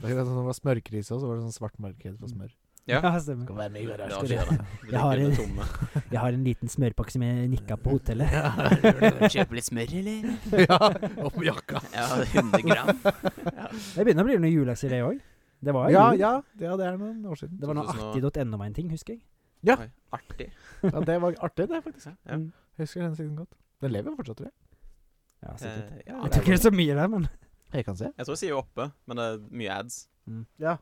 S1: Ja. det var sånn, det var smørkrise, og så var det sånn svart marked for smør.
S3: Ja.
S2: stemmer.
S1: Skal være med i
S3: Det
S1: garasjen.
S3: har ikke det. Vi
S2: Jeg har
S3: ligger med
S2: en-
S3: tomme.
S2: Jeg har en liten smørpakke som jeg nikka på hotellet.
S3: Kjøpe litt smør, eller?
S1: ja, opp med jakka.
S3: Ja, 100 gram.
S2: Det begynner å bli noen julaks i det òg. Det var
S1: Ja,
S2: jul.
S1: ja, ja, det er noen år siden.
S2: Det var noe
S3: 2000
S2: artig.no-en-ting, husker jeg.
S1: Ja.
S3: Oi, Artig.
S1: Ja, det var artig, det, faktisk.
S3: Ja.
S2: Mm.
S1: Jeg husker den siden godt. Den lever fortsatt, tror jeg.
S2: Ja,
S3: Eh,
S2: sikkert. Jeg
S3: ja, det
S2: tror
S3: er
S2: ikke det
S3: godt.
S2: er så mye der, men
S1: Jeg kan se.
S3: jeg tror jeg sier jo oppe, men det er mye ads.
S1: Ja.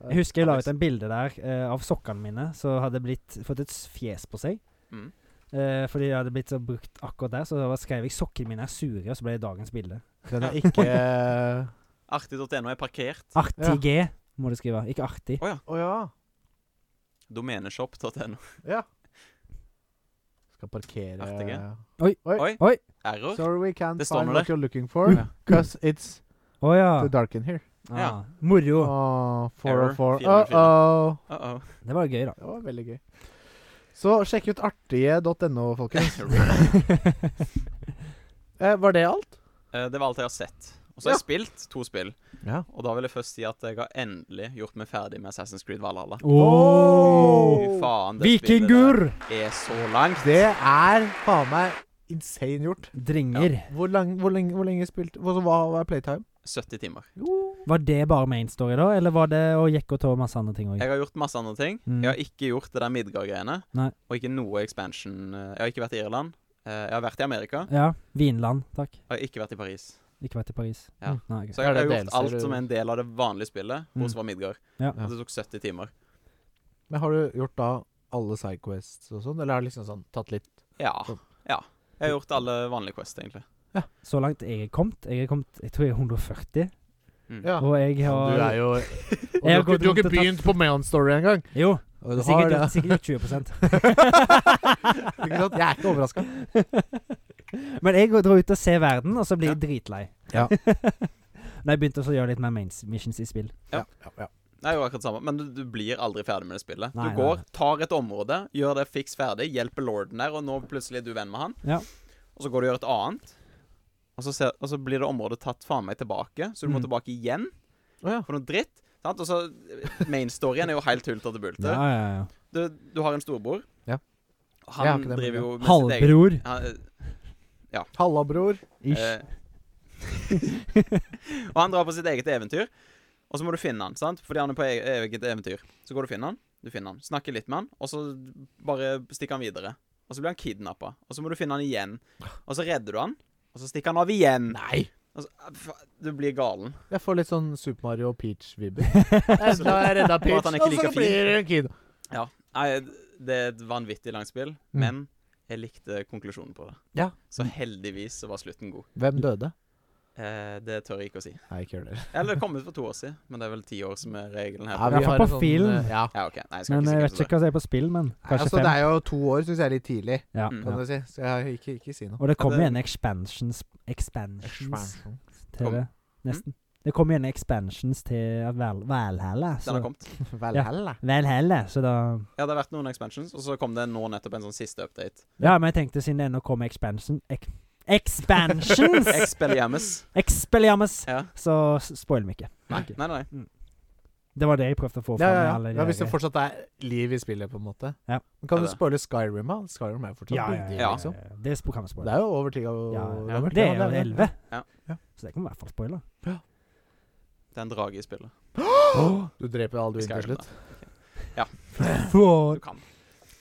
S2: Jeg husker jeg la ut en bilde der eh, av sokkene mine som hadde blitt, fått et s- fjes på seg.
S3: Mm.
S2: Eh, fordi det hadde blitt så brukt akkurat der, så da skrev jeg 'sokkene mine er sure', og så ble det dagens bilde.
S1: Den er ikke eh, Å
S3: Artig.no er parkert.
S2: Artig G må du skrive, ikke artig.
S1: ja.
S3: Domeneshop.no.
S1: Ja. Skal parkere
S3: Artige.
S1: Oi.
S3: Oi. Error.
S1: Sorry we can't
S3: Det står
S1: find
S3: noe
S1: what
S3: der.
S1: you're looking for,
S3: Ja.
S1: cause it's
S2: Å ja.
S1: too dark in here.
S2: Ah,
S3: Ja.
S1: Oh.
S2: moro.
S1: Åh, 404.
S3: Error, fire hundre og fire.
S1: Uh-oh.
S3: Uh -oh.
S2: Det var gøy, da.
S1: Det var veldig gøy. Så sjekk ut artige.no, folkens. Eh, var det alt?
S3: Eh, Det var alt jeg har sett. Og så har jeg spilt to spill.
S1: Ja.
S3: Og da vil jeg først si at jeg har endelig gjort meg ferdig med Assassin's Creed Valhalla.
S2: Oh!
S3: Fy faen, det spillet
S2: Vikingur!
S3: der er så langt.
S1: Det er faen meg insane gjort.
S2: Dringer.
S1: Hvor, lang, hvor, lenge, hvor lenge spilte Hva hva er playtime?
S3: 70 timer.
S2: Var det bare main story, da? Eller var det å jekke og ta masse andre ting òg?
S3: Jeg har gjort masse andre ting.
S2: Mm.
S3: Jeg har ikke gjort det der Midgard-greiene.
S2: Nei.
S3: Og ikke noe expansion. Eh, Jeg har ikke vært i Irland. Eh, Jeg har vært i Amerika.
S2: Ja. Vinland, takk.
S3: Og jeg har ikke vært i Paris.
S2: Ikke vært i Paris. Mm,
S3: Ja.
S2: Nei, ok.
S3: Så jeg
S1: Er
S3: har
S1: det
S3: gjort
S1: DLC,
S3: alt
S1: eller?
S3: som er en del av det vanlige spillet, bortsett fra Midgard.
S2: Ja.
S3: Og Det tok 70 timer.
S1: Men har du gjort da alle sidequests og sånn, eller har du liksom sånn tatt litt
S3: Ja. ja. Jeg har gjort alle vanlige Quest, egentlig.
S2: Så langt jeg er kommet Jeg er kommet, jeg tror jeg er 140.
S3: Mm.
S2: Og jeg har
S1: Du er jo og du,
S2: har
S1: har ikke,
S2: gått
S1: du har
S2: rundt
S1: ikke
S2: og tatt-
S1: begynt på Mayon Story engang.
S2: Jo,
S1: Og du har
S2: sikkert,
S1: det.
S2: sikkert 20
S1: Ikke sant? Jeg er ikke overraska.
S2: Men jeg går- drar ut og ser verden, og så blir jeg dritlei.
S1: Ja.
S2: Når jeg begynte også å gjøre litt mer mains missions i spill.
S3: Det er jo akkurat det samme, men du, du blir aldri ferdig med det spillet.
S2: Nei, nei,
S3: du går, tar et område, gjør det fiks ferdig, hjelper lorden der, og nå plutselig er du venn med han.
S2: Ja.
S3: Og så går du og gjør et annet, og så, ser, og så blir det området tatt faen meg tilbake, så du må
S2: Mm.
S3: tilbake igjen
S1: Å ja.
S3: for noe dritt. Sant? Og så Mainstoryen er jo helt hultete bulte.
S2: Ja, ja, ja.
S3: Du, du har en storbror.
S1: Ja.
S3: Og
S1: Jeg har
S3: Han
S1: ikke det, men
S3: driver
S1: ja.
S3: jo med sitt eget-
S2: Halvbror.
S3: Han, eh,
S1: Halla, bror.
S2: Ish.
S3: Eh, og han drar på sitt eget eventyr, og så må du finne han, sant? Fordi han er på e- eget eventyr. Så går du og finner han, du finner han, snakker litt med han, og så bare stikker han videre. Og så blir han kidnappa, og så må du finne han igjen. Og så redder du han, og så stikker han av igjen. Nei! Og så, fa- du blir galen.
S1: Jeg får litt sånn Super Mario og Peach-vibber. Da har jeg redda
S3: Bare at han ikke liker
S1: det kid.
S3: Nei, det er et vanvittig langt spill,
S2: Mm.
S3: men jeg likte konklusjonen på det.
S1: Ja.
S3: Så heldigvis så var slutten god.
S1: Hvem døde?
S3: Eh, det tør jeg ikke å si.
S1: Nei, ikke gjør det.
S3: Eller det kom ut for to år siden, men det er vel ti år som er regelen her.
S2: vi- har på film.
S1: sånn, eh, Ja.
S3: Ja, ok. Nei, jeg skal
S2: Men jeg
S3: ikke
S2: vet
S3: si hvem som
S2: ikke hva som er på spill, men kanskje
S1: altså, det
S2: fem.
S1: er jo to år, syns jeg er litt tidlig,
S2: Ja.
S3: Mm.
S1: kan
S2: Ja.
S1: du si. Så jeg ikke, ikke si noe.
S2: Og det kommer
S3: det-
S2: jo en expansions, expansions
S1: Expansion.
S2: til
S3: Kom.
S2: det. Nesten. Det kommer jo en expansions til Val Valhalla.
S3: Den har
S2: Så,
S3: kommet.
S1: Valhalla.
S2: Valhalla, så da
S3: Ja, det har vært noen expansions, og så kom det nå nettopp en sånn siste update.
S2: Ja, men jeg tenkte siden det ennå kommer expansion ek Expansions!
S3: Expelliamus.
S2: Expelliarmus!
S3: Ja.
S2: Så s- spoil meg ikke.
S3: Nei, nei, nei.
S2: Det var det jeg prøvde å få
S1: Ja, ja,
S2: fram. med
S1: ja.
S2: alle de
S1: ja, hvis det
S2: her-
S1: fortsatt er liv i spillet, på en måte.
S2: Ja.
S1: Men kan
S3: Ja,
S1: du
S3: det.
S1: spoile Skyrim? da? Skyrim er jo fortsatt
S2: ja, ja,
S1: billig,
S2: ja, ja,
S1: liksom.
S2: ja. Det sp- kan vi
S1: Det
S2: spoile.
S1: er jo over ti år
S2: Ja, ja.
S1: gammelt,
S2: Det er
S1: ja,
S2: jo 11,
S3: Ja.
S1: Ja.
S2: så det kan vi i hvert fall spoile.
S3: Det er en drage i spillet.
S1: Åh, Du dreper alle du vil til
S3: Skyrim,
S1: slutt.
S3: da. Du kan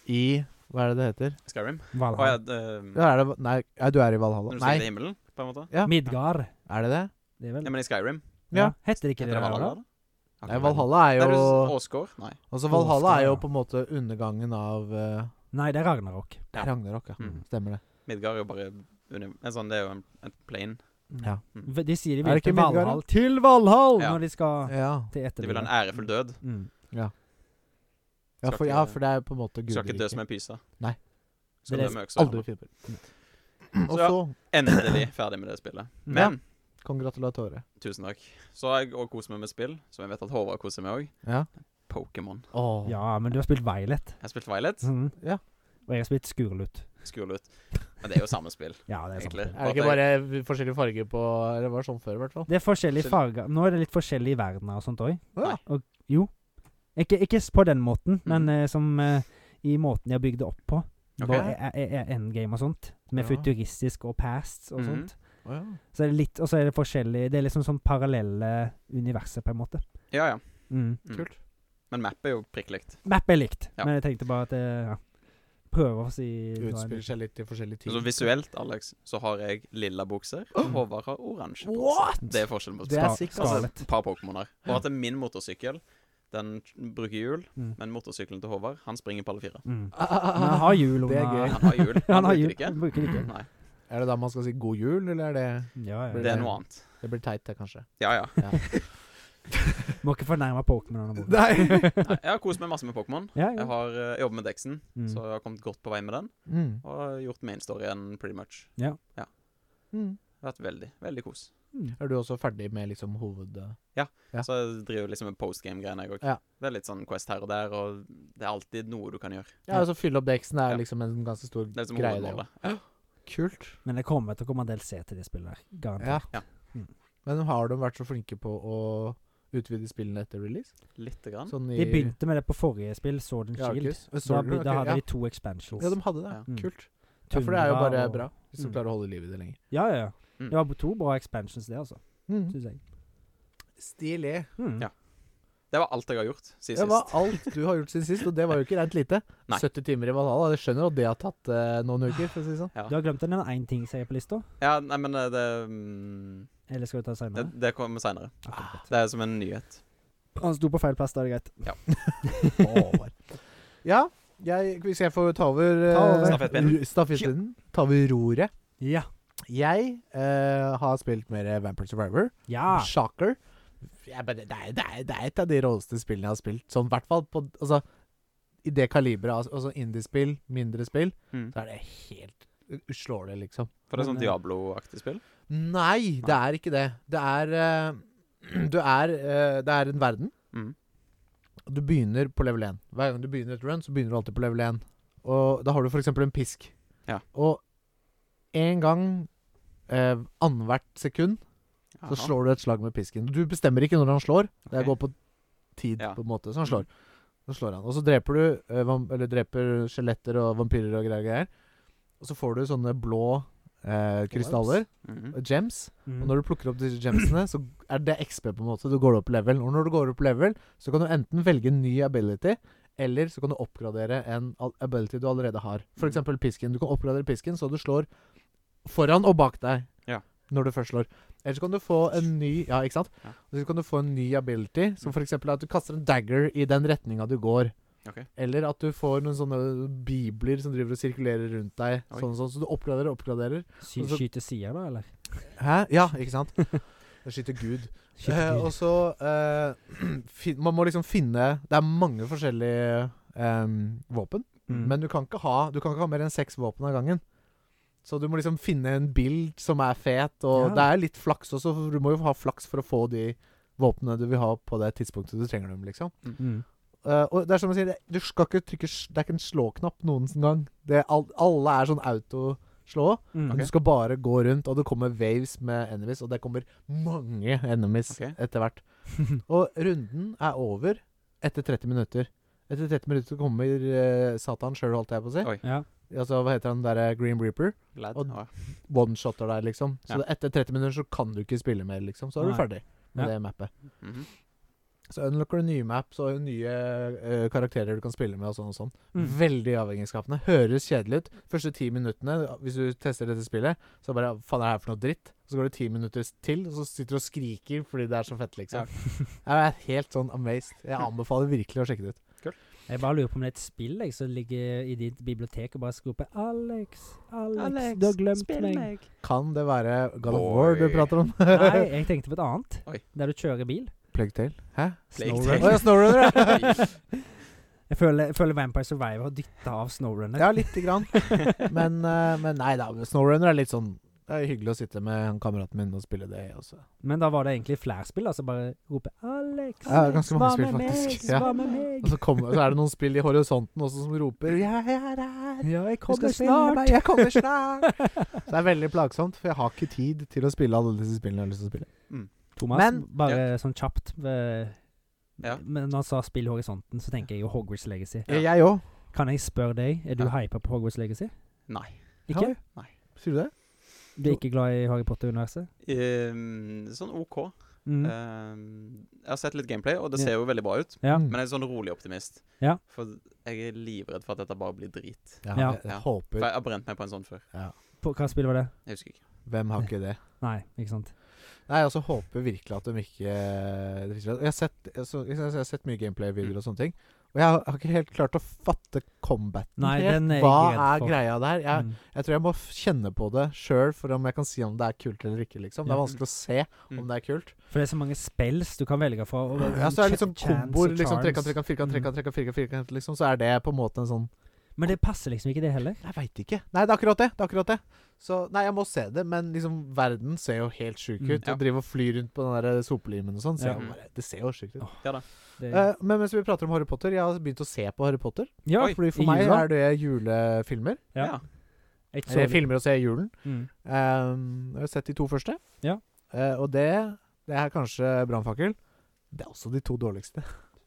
S1: I Hva er det det heter?
S3: Skyrim. Å ja,
S2: Valhalla.
S3: d- eh,
S1: Ja, er det, nei, ja, du er i Valhalla.
S3: Når du
S1: Nei,
S3: stiger til himmelen, på en måte.
S1: ja.
S2: Midgard.
S1: er det det?
S2: Det er vel
S3: Ja, men i Skyrim.
S1: Ja.
S2: ja. Heter det ikke det?
S3: Heter det Valhalla?
S2: Valhalla?
S3: da?
S1: Nei, Valhalla er
S3: Er
S1: jo
S3: det s- Åsgård? Nei.
S1: Altså, Valhalla er jo
S2: Åskar, ja.
S1: på en måte undergangen av eh,
S2: Nei, det er Ragnarok.
S1: Det er Ragnarok, ja.
S3: Mm.
S1: Stemmer det.
S3: Midgard er jo bare uni- en sånn, Det er jo en, en plane.
S1: Ja.
S2: V- De sier de
S1: Er
S2: vil
S1: det
S2: til
S1: ikke Midgard, da?
S2: Valhall. Til Valhall!
S3: Ja.
S2: Når de skal
S1: Ja.
S2: til
S3: De vil ha en
S2: etterlivet.
S3: ærefull død.
S2: Mm.
S1: Ja,
S3: Skal
S1: for,
S3: ikke-
S1: ja, for det er på en måte
S3: Du skal ikke dø som
S1: guderiket.
S3: en pyse.
S1: Nei.
S3: Du skal
S2: Det
S3: dø
S2: er
S3: med øksa.
S1: Aldri fjorter. Og
S3: ja.
S1: så
S3: Endelig ferdig med det spillet.
S2: Mm.
S3: Men
S1: Congratulatorer.
S3: tusen takk. Så har jeg òg kost meg med spill, som jeg vet at Håvard koser med òg.
S1: Ja.
S3: Pokémon.
S1: Åh.
S2: Ja, men du har spilt Violet.
S3: Jeg har spilt Violet.
S2: Mhm.
S1: Ja.
S2: Og jeg har spilt Skurlut.
S3: Skurl ut. Men det er jo samme spill.
S2: Ja, det er sant.
S3: Egentlig.
S1: Er det ikke bare forskjellige farger på Eller var det sånn før, i hvert fall?
S2: Det er forskjellige
S3: Forskjell-
S2: farger Nå er det litt forskjellige verdener og sånt òg.
S1: Ja.
S2: Og jo. Ikke, ikke s- på den måten, men
S3: Mhm.
S2: eh, som eh, i måten de har bygd det opp på.
S3: Ok.
S2: Bare er- er- er endgame og sånt. Med
S1: Ja.
S2: futuristisk og past og
S3: Mhm.
S2: sånt.
S1: Å ja.
S2: Så er det litt, og så er det forskjellig Det er liksom sånn parallelle universer, på en måte.
S3: Ja, ja.
S2: Mm.
S3: Mm.
S1: Kult.
S3: Men map er jo prikk likt.
S2: Map er likt,
S3: Ja.
S2: men jeg tenkte bare at det ja. Prøver å si
S1: Utspiller seg litt i forskjellige
S3: Så
S1: ting.
S3: visuelt, Alex, så har jeg lilla bukser, og Håvard har oransje bukser.
S1: What?!
S3: Det er forskjellen på
S1: Det er
S2: Ska-
S1: sikkert.
S3: altså,
S2: skalet.
S3: et par Pokémoner. Og at det er min motorsykkel. Den bruker hjul,
S2: Mm.
S3: men motorsykkelen til Håvard, han springer på alle fire.
S2: Mm.
S1: Men
S2: Men han har hjul
S1: Det er
S2: under-
S1: gøy.
S3: Han har hjul.
S2: Han har
S3: bruker
S2: hjul,
S3: det ikke.
S2: han bruker det ikke.
S3: Nei,
S1: Er det da man skal si 'god jul', eller er det
S2: Ja, ja.
S3: det er noe annet.
S1: Det blir teit, det, kanskje.
S3: Ja, ja.
S2: Må ikke fornærme Pokémon.
S1: Nei.
S3: Nei, Jeg har kost meg masse med Pokémon.
S2: Ja,
S3: Jeg
S2: jo.
S3: har eh, jobbet med Dexen,
S2: Mm.
S3: så jeg har kommet godt på vei med den.
S1: Mm.
S3: Og gjort main storyen pretty much.
S1: Mm.
S3: Vært veldig, veldig kos.
S2: Mm.
S1: Er du også ferdig med liksom hoved... Ja.
S3: Så jeg driver liksom med postgame-greiene, jeg òg.
S1: Ja.
S3: Det er litt sånn Quest her og der, og det er alltid noe du kan gjøre.
S1: Ja, altså fylle opp deksen er
S3: Ja.
S1: liksom en ganske stor
S3: Det er liksom
S1: greie. Det,
S3: hovedmålet.
S1: jo. Kult.
S2: Men det kommer til å komme en del C til det spillet her.
S1: Ja. Mm.
S2: Garantert.
S1: Men har de vært så flinke på å utvide spillene etter release?
S3: Lite grann.
S1: Sånn i
S2: De begynte med det på forrige spill, Sword and
S1: Ja,
S2: Shield.
S1: Arcus. Eh,
S2: Da,
S1: Sword
S2: by-
S1: and-
S2: da
S1: ok,
S2: hadde
S1: ja.
S2: de to expansions.
S1: Ja, de hadde det.
S3: Ja.
S2: Mm.
S1: Kult. Ja, for det er jo
S2: Tundra
S1: bare
S2: og-
S1: bra, hvis du
S2: Mm.
S1: klarer å holde liv i det lenger.
S2: Ja, ja, ja.
S3: Mm.
S2: Det var to bra expansions, det, altså.
S1: Mm.
S2: Syns jeg.
S1: Stilig.
S2: Mm.
S3: Ja. Det var alt jeg har gjort siden
S1: Det var
S3: sist.
S1: alt du har gjort siden sist, og det var jo ikke rent lite.
S3: Nei.
S1: 70 timer i Valhalla. Jeg skjønner at det har tatt eh, noen uker, for å si det sånn.
S2: Du har glemt den ene ting som er på lista?
S3: Ja, nei, men eh, det mm,
S2: Eller skal vi ta det
S3: Det,
S2: seinere?
S3: det kommer seinere. Det er som en nyhet.
S2: Han sto på feil plass, da er det greit.
S1: Håvard. ja, jeg, hvis jeg får ta over, eh,
S2: Ta over.
S3: Stafettpinnen.
S1: ru- stafettpinnen, ta over roret
S2: Ja.
S1: Jeg eh, har spilt mer Vampire Survivor.
S2: Ja.
S1: Shocker. Jeg, bare- det, er, det, er, det er et av de råeste spillene jeg har spilt. Sånn i hvert fall på Altså, i det kaliberet. Altså, altså indiespill, mindre spill,
S3: Mm.
S1: så er det helt Uslåelig, liksom.
S3: For det er sånn
S2: Men, eh,
S3: Diablo-aktig spill.
S1: Nei, det er ikke det. Det er eh, Du er eh, Det er en verden.
S3: Mm.
S1: Og Du begynner på level 1. Hver gang du begynner et run, så begynner du alltid på level 1. Og da har du f.eks. en pisk.
S3: Ja.
S1: Og en gang eh, annethvert sekund så
S3: Jaha.
S1: slår du et slag med pisken. Du bestemmer ikke når han slår. Det
S3: Ok.
S1: går på tid,
S3: Ja. Mm.
S1: på en måte. Så han slår. Så slår han. Og så dreper du eh, vam- Eller dreper skjeletter og vampyrer og greier. greier. Og så får du sånne blå eh, krystaller.
S3: Mhm.
S1: Gems.
S2: Mm.
S1: Og når du plukker opp disse gemsene, så er det XP på en måte. Du går opp level. Og når du går opp level, så kan du enten velge en ny ability, eller så kan du oppgradere en al- ability du allerede har.
S3: Mm.
S1: For eksempel pisken. Du kan oppgradere pisken så du slår foran og bak deg.
S3: Ja.
S1: Når du først slår. Eller så kan du få en ny Ja, ikke sant?
S3: Ja.
S1: Og så kan du få en ny ability, som for eksempel at du kaster en dagger i den retninga du går.
S3: Ok.
S1: Eller at du får noen sånne bibler som driver og sirkulerer rundt deg.
S3: Oi.
S1: Sånn, og sånn, så du oppgraderer og oppgraderer.
S2: Sy-
S1: altså-
S2: Skyter sider, da, eller?
S1: Hæ? Ja, ikke sant? Da skyter Gud.
S2: Skyter
S1: Eh, og
S2: dyr.
S1: så eh, fin, Man må liksom finne Det er mange forskjellige em, våpen.
S2: Mm.
S1: Men du kan ikke ha Du kan ikke ha mer enn seks våpen av gangen. Så du må liksom finne en bild som er fet, og
S2: Ja.
S1: det er litt flaks også. For du må jo ha flaks for å få de våpnene du vil ha på det tidspunktet du trenger dem. liksom
S2: mm.
S1: Eh, Og det er som jeg sier, det- du skal ikke trykke s- Det er ikke en slå-knapp noen gang. Det, er al, alle er sånn auto-slå.
S2: Mm.
S1: Men Du skal bare gå rundt, og det kommer waves med enemies, og det kommer mange enemies
S3: Ok.
S1: etter hvert. Og runden er over etter 30 minutter. Etter 30 minutter kommer eh, Satan sjøl, holdt jeg på å si.
S3: Oi.
S2: Ja.
S1: Altså, hva heter han derre Green Reaper?
S3: Lad.
S1: og-
S3: Ja.
S1: One-shotter deg, liksom. Så
S3: Ja.
S1: etter 30 minutter så kan du ikke spille mer, liksom. Så er du
S2: Nei.
S1: ferdig med
S2: Ja.
S1: det mappet.
S3: Mhm.
S1: Så unlocker du nye maps og nye eh, karakterer du kan spille med, og sånn og sånn.
S2: Mm.
S1: Veldig avhengighetsskapende. Høres kjedelig ut. Første ti minuttene, hvis du tester dette spillet, så bare Faen, er det her for noe dritt? Så går det ti minutter til, og så sitter du og skriker fordi det er så fett, liksom. Jeg er helt sånn amazed. Jeg anbefaler virkelig å sjekke det ut.
S2: Jeg bare lurer på om det er et spill jeg, som ligger i ditt bibliotek og bare skriver på Alex, Alex, du har glemt meg.
S1: Kan det være God of War du
S3: Boy.
S1: prater om?
S2: Nei, jeg tenkte på et annet.
S3: Oi.
S2: Der du kjører bil.
S1: Plague Tale? Hæ?
S3: Plague
S1: Å
S2: Snowrunner.
S3: Tale.
S1: ja, Snowrunner, ja.
S2: Jeg føler, jeg føler Vampire Survivor har dytta av Snowrunner.
S1: Ja, lite grann. Men, eh, men nei da, Snowrunner er litt sånn Det er hyggelig å sitte med han kameraten min og spille det også.
S2: Men da var det egentlig flere spill, altså bare rope 'Alex,
S1: Ja, det er ganske mange
S2: hva
S1: spill,
S2: med meg?
S1: faktisk. Ja.
S2: Hva med
S1: Og
S2: meg?'
S1: så, kommer, så er det noen spill i horisonten også som roper 'Jeg er her'.
S2: Ja, jeg
S1: Du
S2: kommer
S1: skal spille med meg,
S2: snart.
S1: jeg kommer snart! Så det er veldig plagsomt, for jeg har ikke tid til å spille alle disse spillene jeg har lyst til å spille.
S2: Thomas,
S1: Men-
S2: bare sånn kjapt eh,
S3: Ja.
S2: Men når han sa 'spill horisonten', så tenker jeg jo Hogwarts Legacy.
S3: Ja.
S1: Jeg òg.
S2: Kan jeg spørre deg, er du
S3: Ja.
S2: hypa på Hogwarts Legacy?
S3: Nei.
S2: Ikke?
S1: Sier du det?
S2: Du er ikke glad i Harry Potter-universet?
S3: Ehm, sånn OK.
S2: Mm.
S3: Ehm, jeg har sett litt gameplay, og det
S2: Ja.
S3: ser jo veldig bra ut.
S2: Ja.
S1: Mm.
S3: Men jeg er sånn rolig optimist.
S2: Ja.
S3: For jeg er livredd for at dette bare blir drit.
S1: Ja,
S2: Ja.
S1: Jeg, jeg
S3: Ja. For
S1: håper
S3: jeg har brent meg på en sånn før.
S2: På, hva spill var det?
S3: Jeg husker ikke.
S1: Hvem har ikke det?
S2: Nei, ikke sant?
S1: Nei, jeg også håper virkelig at de ikke eh, det finnes- Jeg har sett, jeg så, jeg har sett mye gameplay-videoer og sånne ting. Og jeg har, har ikke helt klart å fatte combaten.
S2: Nei,
S1: helt.
S2: den er jeg
S1: Hva
S2: ikke redd
S1: er
S2: for.
S1: greia der? Jeg,
S2: Mm.
S1: jeg tror jeg må f- kjenne på det sjøl for om jeg kan si om det er kult eller ikke. liksom Det er
S2: Ja.
S1: vanskelig å se om
S3: Mm.
S1: det er kult.
S2: For det er så mange spells du kan velge fra. og det
S1: Ja, så er det liksom
S2: sånn ch- chance
S1: komboer.
S2: og
S1: Liksom,
S2: charms.
S1: trekant, trekant, firkant, trekant, trekant, firkant, firkant. Liksom, så er det på en måte en sånn
S2: Men det passer liksom ikke, det heller.
S1: Jeg veit ikke. Nei, det er akkurat det. det, er akkurat det. Så nei, jeg må se det, men liksom verden ser jo helt sjuk
S2: Mm.
S1: ut.
S3: Ja.
S1: Å drive og fly rundt på den der sopelimen og sånn, ser
S2: Ja.
S1: jo bare- det ser jo sjukt ut.
S2: Det,
S1: Eh, men mens vi prater om Harry Potter, jeg har begynt å se på Harry Potter.
S2: ja,
S3: oi,
S1: Fordi
S2: i
S1: for meg
S2: jula.
S1: er det julefilmer.
S2: Ja.
S3: Ja.
S2: Jeg så
S1: Eller
S2: det.
S1: filmer å se i julen.
S2: Mm.
S1: Um, jeg har sett de to første.
S2: Ja.
S1: Eh, og det Det er kanskje brannfakkel. Det er også de to dårligste.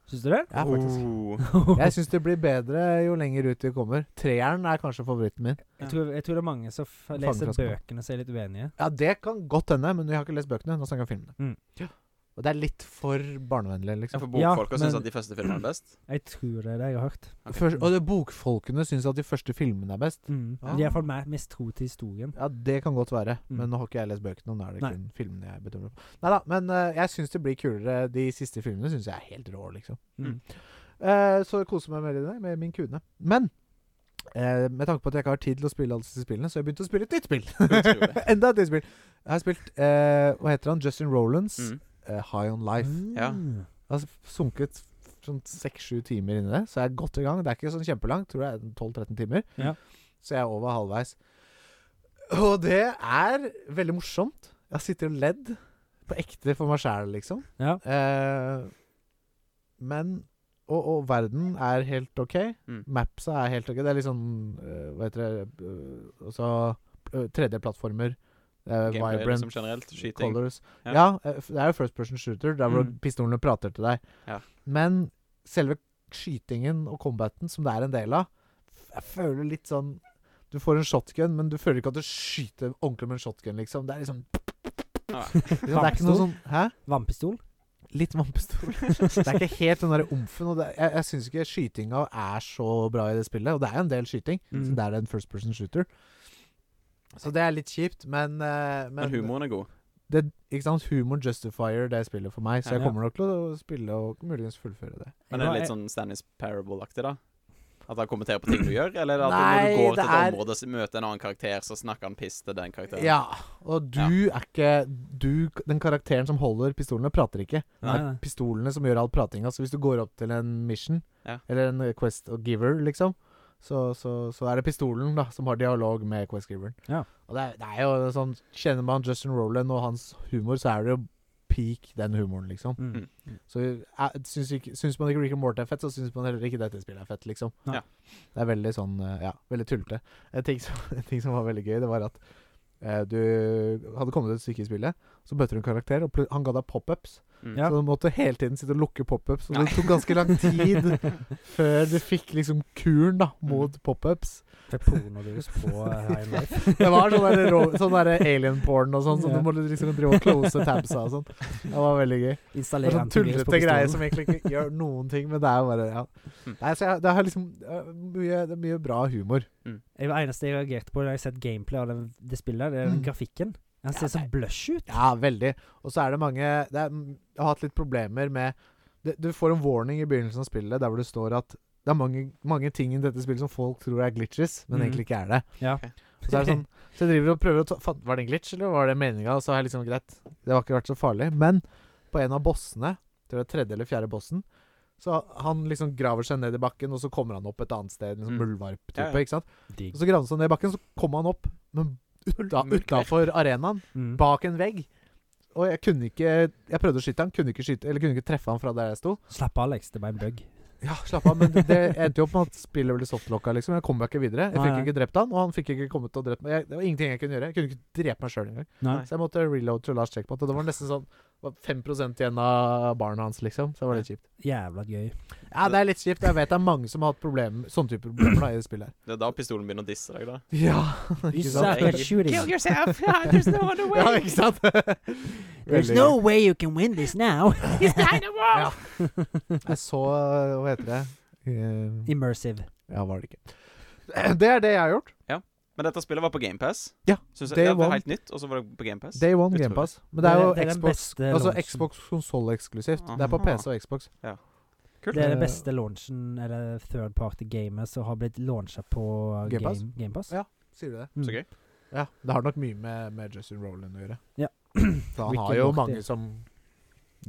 S2: Syns du det?
S1: Ja, faktisk.
S3: Oh.
S1: Jeg syns det blir bedre jo lenger ut vi kommer. Treeren er kanskje favoritten min.
S2: Jeg tror, jeg tror det er mange som f leser
S1: Fangeflaske.
S2: bøkene som er litt uenige.
S1: Ja, det kan godt hende, men jeg har ikke lest bøkene. Nå snakker jeg om filmene.
S2: Mm.
S1: Ja. Og det er litt for barnevennlig,
S3: Ja,
S1: liksom.
S3: for
S2: Ja,
S3: bokfolka
S2: men-
S3: syns at de første filmene er best.
S2: Jeg tror det er det jeg har hørt.
S3: ok.
S1: Først, og det, bokfolkene syns at de første filmene er best.
S2: Mm.
S1: Ah.
S2: De er iallfall mer mistro til historien.
S1: Ja, det kan godt være.
S2: Mm.
S1: Men nå har ikke jeg lest bøkene, og nå er det
S2: Nei.
S1: kun filmene jeg bedømmer på. Neida, men eh, jeg syns det blir kulere. De siste filmene syns jeg er helt rå, liksom.
S2: Mm.
S1: Eh, så jeg koser meg veldig med min kune. Men eh, med tanke på at jeg ikke har tid til å spille alle disse spillene, så har jeg begynt å spille et nytt spill.
S3: Utrolig.
S1: Enda et nytt spill. Jeg har spilt eh, Hva heter han? Justin Rolands.
S3: Mm.
S1: eh, High on Life.
S3: Ja.
S2: Mm.
S1: Jeg har sunket sånn seks-sju timer inni det, så jeg er godt i gang. Det er ikke sånn kjempelangt, tror jeg er 12-13 timer.
S2: Ja.
S1: Så jeg er over halvveis. Og det er veldig morsomt. Jeg sitter og ledd på ekte for meg sjæl, liksom.
S2: Ja.
S1: Eh, men og, og verden er helt OK.
S3: Mm.
S1: Mapsa er helt OK. Det er litt sånn eh, Hva heter det eh, Altså eh, 3D-plattformer. eh,
S3: Gameplay,
S1: vibrant
S3: liksom generelt. Skyting.
S1: colors.
S3: Ja.
S1: Ja, eh, f- det er jo first person shooter, der hvor
S2: Mm.
S1: pistolene prater til deg.
S3: Ja.
S1: Men selve skytingen og combaten som det er en del av, f- jeg føler litt sånn Du får en shotgun, men du føler ikke at du skyter ordentlig med en shotgun, liksom. Det er liksom, liksom
S3: Ja.
S1: Det er ikke noe sånn Hæ?
S2: Vannpistol?
S1: Litt vannpistol. det er ikke helt den derre omfen. Og det, jeg, jeg syns ikke skytinga er så bra i det spillet. Og det er jo en del skyting,
S2: Mm.
S1: så det er en first person shooter. Så det er litt kjipt, men eh,
S3: Men humoren er god.
S1: det, ikke sant, Humor justifier det spillet for meg, så jeg
S2: Ja.
S1: kommer nok til å spille og muligens fullføre det.
S3: Men er
S2: Ja,
S3: det
S2: jeg-
S3: litt sånn Stannis Parable-aktig, da? At han kommenterer på ting du gjør? Eller er det at
S1: Nei,
S3: når du går til
S1: det
S3: et
S1: er-
S3: område og møter en annen karakter, så snakker han piss til den karakteren?
S1: Ja, og du er ikke du, Den karakteren som holder pistolene, prater ikke. Det
S2: Nei,
S1: er
S2: nei.
S1: pistolene som gjør all pratinga. Så hvis du går opp til en mission,
S3: Ja.
S1: eller en Quest og Giver, liksom, så, så, så er det pistolen da som har dialog med Quest Giveren.
S2: Ja.
S1: Og det er, det er jo sånn Kjenner man Justin Roland og hans humor, så er det jo peak den humoren,
S3: sånn-
S1: liksom.
S2: Mm.
S1: Så eh, syns, ikke, syns man ikke Rick and Morty er fett, så syns man heller ikke dette spillet er fett, liksom.
S2: Nei.
S3: Ja.
S1: Det er veldig sånn eh, Ja, veldig tullete. En ting som, en ting som var veldig gøy, det var at eh, du hadde kommet et stykke i spillet, så møtte du en karakter, og plut- han ga deg pop-ups.
S3: Mm.
S2: Ja.
S1: Så du måtte hele tiden sitte og lukke pop-ups, og det tok ganske lang tid før du fikk liksom kuren da
S2: Mm.
S1: mot pop-ups.
S2: For pornodus på eh, High and Life.
S1: Det var sånn der ro- sånn der alien porn og sånn, så
S2: Ja.
S1: du måtte liksom drive og close tabsa og sånn. Det var veldig gøy. Det
S2: Installere
S1: er sånn
S2: antivirus på
S1: tullete greier som
S2: pistolen.
S1: egentlig ikke gjør noen ting, men det er jo bare ja.
S3: Mm.
S1: Nei, så jeg, det, er liksom, det er mye, det er mye bra humor.
S2: Det eneste jeg reagerte på da jeg har sett gameplay av den, det spillet, det er den
S1: Mm.
S2: grafikken. Den ser så blush ut.
S1: Ja, veldig. Og så er det mange det er, Jeg har hatt litt problemer med det, Du får en warning i begynnelsen av spillet der hvor det står at det er mange, mange ting i dette spillet som folk tror er glitches, men
S2: Mm.
S1: egentlig ikke er det.
S2: Ja.
S3: Ok.
S1: Og Så, er det sånn, så jeg driver og prøver å ta faen, Var det en glitch, eller var det meninga? Og så har jeg liksom greit. Det har ikke vært så farlig. Men på en av bossene, tror jeg tredje eller fjerde bossen, så han liksom graver seg ned i bakken, og så kommer han opp et annet sted. Liksom
S3: Mm.
S1: muldvarp-type,
S3: Ja, ja.
S1: ikke sant? Og
S2: Digg.
S1: så graver han seg ned i bakken, så kommer han opp, men uta,
S3: Mørkt.
S1: utafor arenaen,
S2: Mm.
S1: bak en vegg. Og jeg kunne ikke Jeg prøvde å skyte han, kunne ikke skyte Eller kunne ikke treffe han fra der jeg sto.
S2: Slapp av, Alex. Det var en bug.
S1: Ja, slapp av, men det, det endte jo opp med at spillet ble softlocka, liksom. Jeg kom meg ikke videre. Jeg
S2: Nei,
S1: fikk
S2: nei.
S1: ikke drept han, og han fikk ikke kommet og drept meg. Jeg, det var ingenting jeg kunne gjøre. Jeg kunne ikke drepe meg sjøl engang.
S2: Nei.
S1: Så jeg måtte reload til last checkpoint, og det var nesten sånn var 5 igjen av barna hans, liksom. Så det var litt kjipt.
S2: Jævla gøy.
S1: Ja, det er litt kjipt. Jeg vet det er mange som har hatt problem, sånne type problemer da, i det spillet her.
S3: Det er da pistolen begynner å disse deg, da.
S1: Ja,
S2: You
S1: ikke
S2: suck
S1: sant?
S2: at shooting.
S4: yourself. There's no other
S1: Ja, ikke sant?
S2: There's
S1: Veldig
S2: no way you can win this now.
S4: He's behind the wall.
S1: Jeg så Hva heter det? Eh,
S2: Immersive.
S1: Ja, var det ikke. Det er det jeg har gjort.
S3: Men dette spillet var på GamePass.
S1: Ja,
S3: det
S1: Day
S3: var
S1: One.
S3: helt nytt, og så var det på GamePass.
S1: Day One
S3: Utrolig.
S1: Gamepass. Men det er
S2: Det er
S1: jo
S2: den
S1: Xbox
S2: beste
S1: Altså
S2: launchen.
S1: Xbox konsoll eksklusivt. Det er på
S3: Aha.
S1: PC og Xbox.
S3: Kult.
S2: Det er den
S1: Eh,
S2: beste launchen, eller third party gamet, som har blitt launchet på
S1: Game Pass?
S2: Gamepass. Game, Game Pass.
S1: Ja. Sier du det?
S2: Mm.
S3: Så gøy.
S1: Ja. Det har nok mye med, med Justin Rowland å gjøre.
S2: Ja.
S1: For han
S2: Ricky
S1: har jo
S2: Morty.
S1: mange som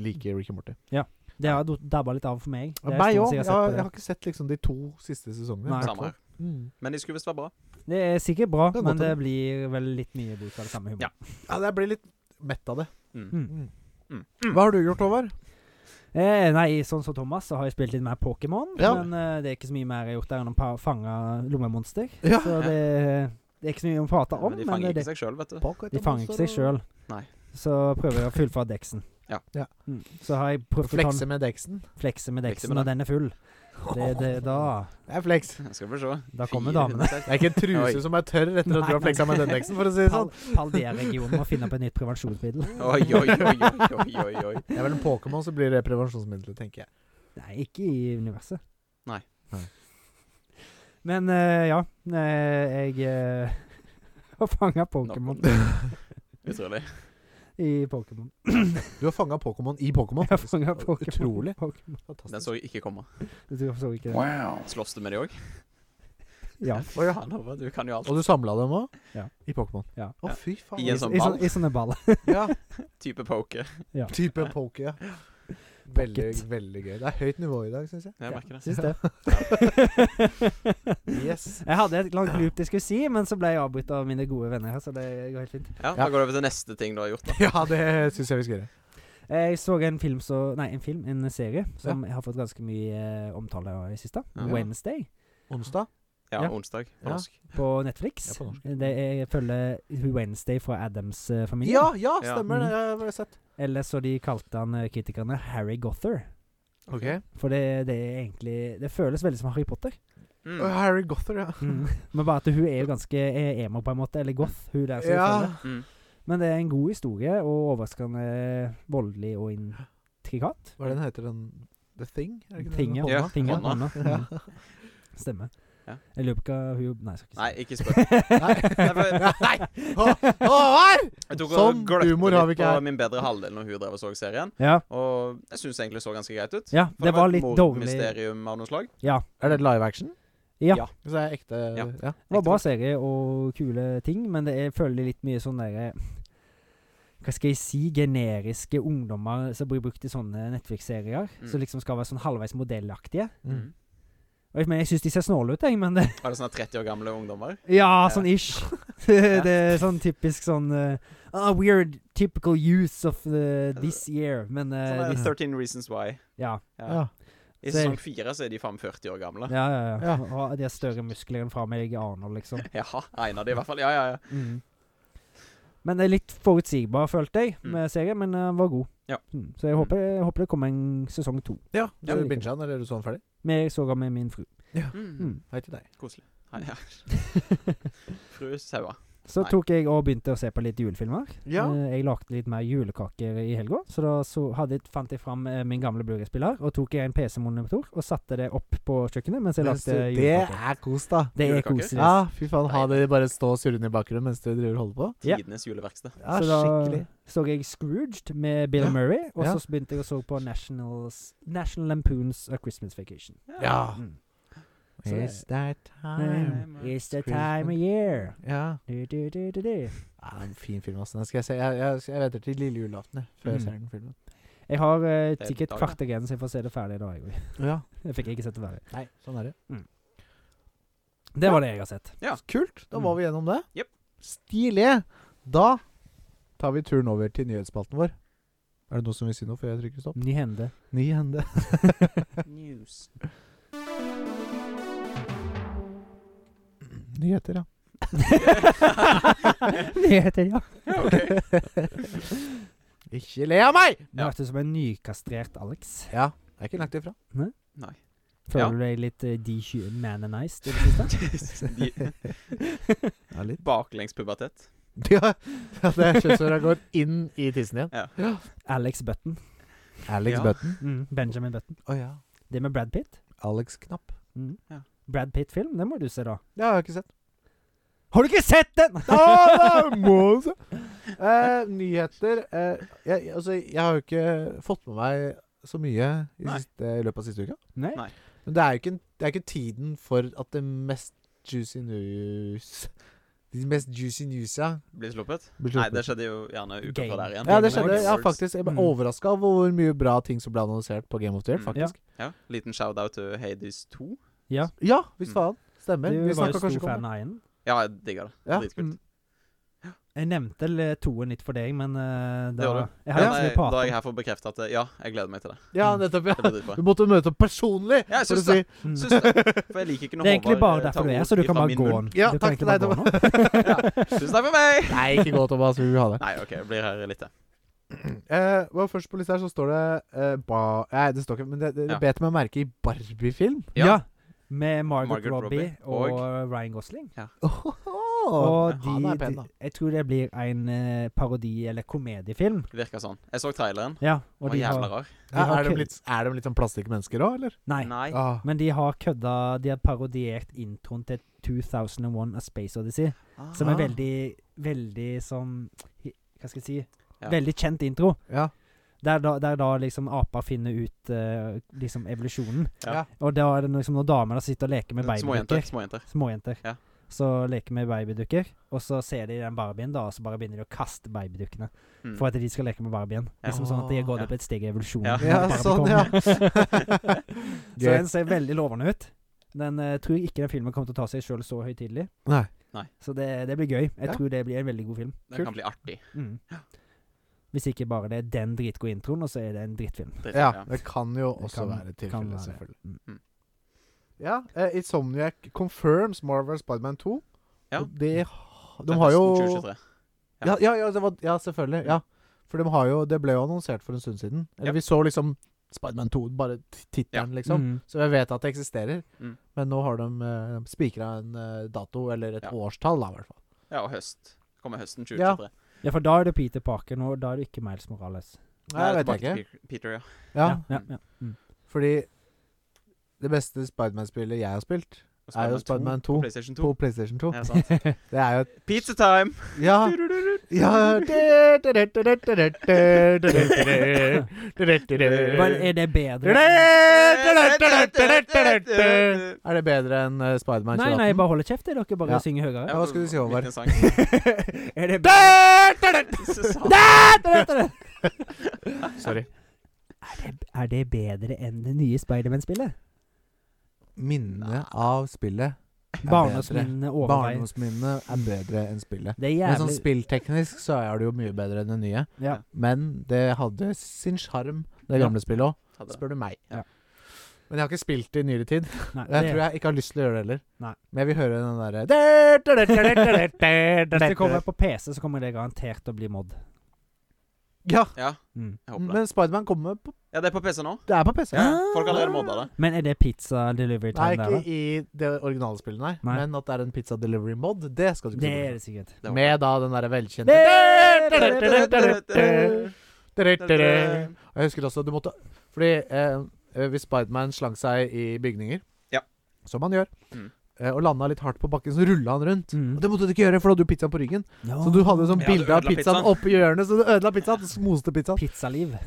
S1: liker Ricky Morty.
S2: Det har do- dabba litt av for meg. Det er
S1: Meg
S2: stort
S1: òg. Jeg,
S2: sett eh, jeg har sett
S1: har-
S2: på
S1: jeg
S2: det.
S1: har ikke sett liksom de to siste sesongene.
S2: Nei.
S3: Samme her.
S1: Mm.
S3: Men de skulle visst være bra.
S2: Det er sikkert bra,
S1: Det er godt
S2: men
S1: å-
S2: det blir vel litt mye bruk av det samme humoret.
S3: Ja.
S1: Ja, jeg blir litt mett av det.
S3: Mm.
S2: Mm.
S1: Mm.
S3: Mm.
S1: Hva har du gjort, Håvard?
S2: Eh, nei, sånn som Thomas, så har jeg spilt litt mer Pokémon.
S1: Ja.
S2: Men eh, det er ikke så mye mer jeg har gjort der enn å pa- fange lommemonster.
S1: Ja.
S2: Så det, det er ikke så mye å prate om.
S3: Men de
S2: men eh,
S3: fanger
S2: det,
S3: ikke seg sjøl, vet du.
S1: Pocket
S2: de fanger ikke seg sjøl.
S3: Nei.
S2: Så prøver jeg å fullføre deksen.
S3: Ja.
S1: Ja.
S2: Mm. Så har jeg prøvd å ta
S1: Flekse med deksen.
S2: en flekse med
S3: Flekse
S2: deksen,
S3: med
S2: og den er full. Det, det, da,
S1: Det er flex.
S3: Skal vi se.
S2: da kommer damene.
S3: 406.
S1: Det er ikke en
S3: Oi.
S1: truse som er tørr etter at
S2: Nei,
S1: du har
S2: nei.
S1: fleksa med den deksen, for å si det sånn.
S2: Pal Paldea-regionen må finne opp et nytt prevensjonsmiddel.
S3: Oi, oi, oi, oi, oi, oi, oi.
S1: Det er vel en Pokémon, så blir det prevensjonsmiddelet, tenker jeg.
S2: Nei, ikke i universet.
S3: Nei.
S1: Nei.
S2: Men eh, ja, eh, jeg eh, har fanga Pokémon
S3: Utrolig.
S2: i Pokémon.
S1: Du har fanga Pokémon i Pokémon.
S2: Jeg har
S1: Det
S2: fanga
S1: var
S2: Pokémon.
S1: Utrolig.
S2: Pokémon.
S1: Fantastisk.
S3: Den så jeg ikke komme.
S2: Du tror jeg så ikke det.
S4: Wow.
S3: Slåss du med de òg?
S2: Ja.
S1: Å, ja.
S3: Du kan jo alt.
S1: Og du samla dem òg?
S2: Ja.
S1: I Pokémon?
S2: Ja.
S1: Å, fy faen.
S3: I en sånn
S2: I,
S3: ball.
S2: sånn- I sånne baller.
S1: Ja,
S3: Type poker.
S1: type poke, ja. Veldig,
S2: Pocket.
S1: veldig gøy. Det er høyt nivå i dag, syns jeg.
S3: Jeg merker det.
S2: Syns det.
S1: Yes.
S2: jeg hadde et langt loop jeg skulle si, men så ble jeg avbrutt av mine gode venner her, så det går helt fint.
S3: Ja, Da går det over til neste ting du har gjort. da
S1: Ja, det syns jeg vi skal gjøre.
S2: Jeg så en film så Nei, en film, en serie, som har fått ganske mye eh, omtale av i det siste.
S3: Ja.
S2: Wednesday
S1: Onsdag?
S3: Ja,
S2: Ja.
S3: onsdag på
S1: Ja.
S3: norsk.
S2: på Netflix.
S1: Ja, på norsk.
S2: Det er, følger Wednesday fra Adams-familien.
S1: Ja, ja,
S3: Ja.
S1: stemmer det. Jeg har sett.
S2: Eller så de kalte han eh, kritikerne Harry Gother.
S1: Ok.
S2: For det, det er egentlig Det føles veldig som Harry Potter.
S3: Mm.
S1: Å, Harry Gother, ja.
S2: Men bare at hun er jo ganske eh, emo, på en måte. Eller goth. Hun der som
S1: Ja.
S2: følger.
S3: Mm.
S2: Men det er en god historie, og overraskende voldelig og intrikat.
S1: Hva er det den heter? Den The Thing? Er det ikke
S2: Ting,
S1: den?
S2: ja.
S3: Ja,
S2: Ting, ja.
S3: hånda.
S2: Hånda. Mm. Stemmer.
S3: Ja.
S2: Jeg lurer på hva hun Nei, jeg skal ikke si
S3: Nei,
S2: det.
S3: ikke spør.
S1: Nei! Å, Håvard!
S3: Jeg tok og
S1: Sånn
S3: gløtte
S1: humor har vi
S3: litt
S1: ikke
S3: på
S1: her.
S3: min bedre halvdel når hun drev og så serien.
S2: Ja,
S3: Og jeg syns egentlig det så ganske greit ut.
S2: ja
S3: For
S2: det var
S3: et
S2: litt dårlig. Det
S3: mordmysterium av noe slag.
S1: Er det live action?
S2: Ja.
S3: Ja.
S1: Så er jeg ekte
S3: Ja.
S1: ja.
S2: var bra serie og kule ting, men det er, jeg føler litt mye sånn derre Hva skal jeg si? Generiske ungdommer som blir brukt i sånne Netflix-serier.
S3: Mm.
S2: Som liksom skal være sånn halvveis modellaktige.
S1: Mm.
S3: Mm.
S2: Og jeg, men jeg syns de ser snåle ut, jeg, men det
S3: Er det sånne 30 år gamle ungdommer?
S2: Ja, sånn ish. det er sånn typisk sånn eh, ah, Weird typical use of the, this year, men eh,
S3: Sånn er
S2: de-
S3: 13 Reasons Why.
S2: ja,
S1: Ja.
S3: Ja. I
S2: Så-
S3: sesong fire så er de faen 40 år gamle.
S2: ja, ja, ja.
S1: Ja.
S2: Og De har større muskler enn fra meg i Arnold, liksom.
S3: Ja, en av de i hvert fall. Ja, ja, ja.
S1: Mm.
S2: Men det er litt forutsigbar, følte
S1: Mm.
S2: jeg, med serien, men den var god.
S3: Ja.
S2: Mm. Så jeg håper, jeg håper det kommer en sesong to.
S1: ja.
S2: Ja.
S1: Du binga den, eller er du så den ferdig?
S2: Men jeg så den med min fru.
S3: Mm.
S2: Mm.
S1: Hei til deg.
S3: Koselig. Hei, ja. Fru Saua.
S2: Så
S3: Nei.
S2: tok jeg og begynte å se på litt julefilmer.
S1: Ja.
S2: Eh, Jeg lagde litt mer julekaker i helga, så da så hadde, jeg- fant jeg fram eh, min gamle Blueray-spiller og tok jeg en PC-monitor og satte det opp på kjøkkenet mens jeg lagde
S1: Det
S2: julekaker.
S1: er kos, da.
S2: Det er
S3: Julekaker?
S2: koselig.
S1: Ja, fy faen. Ha det bare stå surrende i bakgrunnen mens du driver og holder på.
S2: Ja.
S3: Tidenes juleverksted.
S1: Ja,
S2: så da
S1: Ah, skikkelig.
S2: så jeg Scrooged med Bill
S1: Ja.
S2: Murray, og
S1: Ja.
S2: så begynte jeg å så på Nationals, National Lampoons A Christmas Vacation.
S1: Ja.
S2: Mm. Så det-
S1: Is that time?
S2: Mm. It's the
S1: Christmas.
S2: time of year.
S1: Ja.
S2: Du, du, du, du, du.
S1: ja en fin film, altså. Den skal jeg se. Jeg, jeg, jeg venter til lille julaften jeg, før jeg
S2: Mm.
S1: ser den filmen.
S2: Jeg har eh,
S3: er
S2: sikkert
S3: dag, da.
S2: kvarter igjen, så jeg får se det ferdig da. Jeg, også.
S1: Ja.
S2: jeg fikk ikke sett det ferdig.
S1: Nei, sånn er det.
S2: Det var det jeg har sett.
S1: Kult. Da var
S2: Mm.
S1: vi gjennom det.
S3: Jep.
S1: Stilig. Da tar vi turen over til nyhetsspalten vår. Er det noe som vil si noe før jeg trykker stopp?
S2: Ny hende.
S1: Ny hende.
S3: News.
S1: Nyheter, ja.
S2: Nyheter, ja.
S3: Ja, ok.
S1: Ikke le av meg!
S2: Du hørtes ut som en nykastrert Alex.
S1: Ja, jeg er ikke langt ifra.
S3: Nei. Ja.
S2: Føler du deg litt uh, de-mananized i det liksom siste?
S3: De-
S1: Ja, litt.
S3: Baklengs pubertet.
S1: Ja, det er kjønnshåra går inn i tissen igjen.
S2: Alex Button.
S1: Alex
S3: Ja.
S1: Button.
S2: Mm, Benjamin Button.
S1: Å ja.
S2: Det med Brad Pitt.
S1: Alex Knapp.
S2: Mm.
S3: Ja.
S2: Brad Pitt-film, det må du se, da.
S1: Det har jeg ikke sett.
S2: Har du ikke sett den?!
S1: Ah, det må du se. Eh, nyheter eh, jeg, altså, jeg har jo ikke fått med meg så mye i,
S3: Nei.
S1: siste, i løpet av siste uka.
S2: Nei.
S3: Nei.
S1: Men det er jo ikke, det er ikke tiden for at det mest juicy news De mest juicy newsa
S3: Blir sluppet.
S1: blir
S3: Nei,
S1: sluppet.
S3: det skjedde jo gjerne uka
S2: Game-
S3: før der igjen.
S1: ja, det
S2: Game of
S1: skjedde. Ja,
S3: Awards.
S1: faktisk. Jeg ble
S2: Mm.
S1: overraska over hvor mye bra ting som ble annonsert på Game of the Year.
S3: Mm.
S1: Faktisk.
S3: Ja, Liten shout-out til Hades 2.
S1: Ja, hvis
S3: Mm.
S1: faen.
S2: Du
S1: Stemmer. Vi
S2: var jo
S1: snakka
S2: stor
S1: kanskje ikke
S2: fan
S1: om det.
S2: av Einen.
S3: Ja, jeg digger det.
S1: Ja.
S2: mm,
S3: Dritkult.
S2: Jeg nevnte l- toen litt for deg, men eh, da
S3: gjorde
S2: Jeg
S3: Ja,
S2: har
S3: da
S2: ikke så mye
S3: er- da er jeg
S2: prater.
S3: her for å bekrefte at eh, ja, jeg gleder meg til det.
S1: Ja, nettopp.
S3: Det blir
S1: ja
S3: dritbra.
S1: Du måtte møte opp personlig!
S3: Ja, jeg
S1: for å
S3: syns det.
S2: Mm.
S3: Syns det. For jeg liker ikke når
S2: Det er egentlig bare
S3: eh,
S2: derfor
S3: tar
S2: du er,
S3: ord
S2: så du kan
S3: ifra
S2: bare
S3: min
S2: gå
S3: munn.
S2: nå.
S1: Ja,
S2: Du
S1: takk
S2: kan
S1: til deg,
S2: egentlig bare gå nå.
S3: Tusen takk for meg!
S1: Nei, ikke gå, Thomas. Vi vil ha det.
S3: Nei, OK, jeg blir her litt, jeg.
S1: Eh, hva først på lista her så står det eh, ba Nei, det står ikke Men det, det, det
S3: Ja.
S1: bet meg merke i Barbie-film.
S3: Ja.
S2: Ja. Med Margot,
S3: Margot
S2: Robbie,
S3: Robbie
S2: og, Ryan Gosling.
S1: Åhå.
S2: Og de,
S1: han er pen, da.
S2: de, jeg tror det blir en eh, parodi- eller komediefilm.
S3: Det virker sånn. Jeg så traileren.
S2: Ja, og
S3: Den var
S2: de
S3: jævla
S2: har,
S3: rar.
S2: de har
S1: er, de
S2: kødd-
S1: litt, er de litt sånn plastikkmennesker òg, eller?
S2: Nei.
S3: Nei.
S1: Ah.
S2: Men de har kødda De har parodiert introen til 2001 A Space Odyssey, som
S1: Ah.
S2: er veldig, veldig som Hva skal jeg si
S3: Ja.
S2: Veldig kjent intro.
S1: Ja.
S2: Der da, der da liksom aper finner ut eh, liksom evolusjonen.
S3: Ja.
S1: Ja.
S2: Og da er det liksom noen damer som sitter og leker med
S3: Småjenter.
S2: babydukker.
S3: Småjenter.
S2: Småjenter.
S3: Ja.
S2: Så leker med babydukker, og så ser de den Barbien, da, og så bare begynner de å kaste babydukkene.
S3: Mm.
S2: For at de skal leke med Barbien.
S3: Ja.
S2: Liksom sånn at de har gått
S3: Ja.
S2: opp et steg i evolusjonen.
S3: Ja.
S2: når
S1: Ja, sånn,
S2: Barbie kom.
S1: ja.
S2: Så den ser veldig lovende ut. Den eh, tror jeg ikke den filmen kommer til å ta seg sjøl så høytidelig.
S1: Nei.
S3: Nei.
S2: Så det, det blir gøy. Jeg
S1: Ja.
S2: tror det blir en veldig god film.
S3: Det kan bli artig.
S2: Mm. Hvis ikke bare det er den dritgode introen, og så er det en drittfilm.
S3: Dritt,
S1: Ja,
S3: ja.
S1: det kan jo
S2: Det
S1: også
S2: kan-
S1: være
S2: kan
S1: tilfellet,
S2: være.
S1: selvfølgelig.
S2: Mm.
S1: Ja, eh, Insomniac confirms Marvel Spiderman 2.
S3: Ja.
S1: Og De, ha- de
S3: Til
S1: har jo Mm.
S3: høsten 2023. ja.
S1: ja, ja, ja, det var, ja, selvfølgelig. Ja. For de har jo, det ble jo annonsert for en stund siden. Eller
S3: Ja.
S1: Vi så liksom Spiderman 2, bare t- tittelen, liksom.
S2: Mm.
S1: Så jeg vet at det eksisterer.
S3: Mm.
S1: Men nå har de uh, spikra en eh, dato, eller et
S3: Ja.
S1: årstall, da, i hvert fall.
S3: ja, og høst. Kommer høsten
S1: Ja.
S3: 2023.
S2: Ja, for da er det Peter Parker nå, og da er det ikke Miles Morales.
S1: Nei, jeg vet
S3: tilbake
S1: ikke.
S3: til Pe- Peter, ja.
S1: Ja,
S2: ja, ja. Mm.
S1: Fordi det beste Spiderman-spillet jeg har spilt,
S3: Og
S1: er jo Spiderman 2
S3: på PlayStation 2.
S1: på PlayStation 2.
S3: Ja, sant.
S1: Det er jo et
S3: Pizza time!
S1: Ja! ja.
S3: Mm.
S2: Men er det bedre?
S1: Er det bedre enn eh, Spiderman
S2: Nei,
S1: 2018?
S2: nei, bare holder kjeft. Dere bare
S1: Ja.
S2: synger høyere.
S1: Ja, hva skulle du si, Håvard?
S3: Liten sang.
S2: er det
S3: Så sa-
S1: Sorry.
S2: Er det bedre enn det nye Spiderman-spillet?
S1: Minnet av spillet er bedre.
S2: Barndomsminnene overveier.
S1: Barndomsminnet er bedre enn spillet.
S2: Det er
S1: Men sånn
S2: jævlig
S1: spillteknisk så er det jo mye bedre enn det nye.
S2: ja.
S1: Men det hadde sin sjarm, det gamle spillet òg,
S3: Ta det.
S1: spør du meg.
S2: Ja.
S1: Men jeg har ikke spilt det i nyere tid.
S2: Nei,
S1: Og jeg
S2: det-
S1: tror jeg ikke har lyst til å gjøre det heller.
S2: Nei.
S1: Men jeg vil høre den derre
S2: Hvis det kommer på PC, så kommer det garantert å bli mod.
S1: Ja,
S3: Ja,
S2: Mm.
S3: jeg håper det.
S1: men Spiderman kommer på
S3: Ja, det er på PC nå.
S1: Det er på PC.
S3: Ja,
S2: Ah.
S3: folk har allerede modda det.
S2: Men er det pizza delivery
S1: Nei,
S2: time
S1: ikke
S2: der, da?
S1: i det originale spillet, nei.
S2: Nei.
S1: Men at det er en pizza delivery mod, det skal du
S2: Det
S1: ikke
S2: er
S1: se
S2: det sikkert.
S3: Det
S1: bort
S3: håper
S1: Med da den derre velkjente
S3: jeg.
S1: Og Jeg husker også du måtte Fordi eh, eh, hvis Spiderman slang seg i bygninger,
S3: Ja.
S1: som han gjør,
S3: Mm.
S1: eh, og landa litt hardt på bakken, så rulla han rundt.
S2: Mm.
S1: Og Det måtte du ikke gjøre, for da hadde du pizzaen på ryggen.
S2: Ja.
S1: Så du hadde sånn
S3: Ja, du
S1: bilde av
S3: ødela
S1: pizzaen
S3: pizzaen.
S1: oppi hjørnet, så du ødela pizzaen. Smoste pizzaen.
S2: Pizzaliv.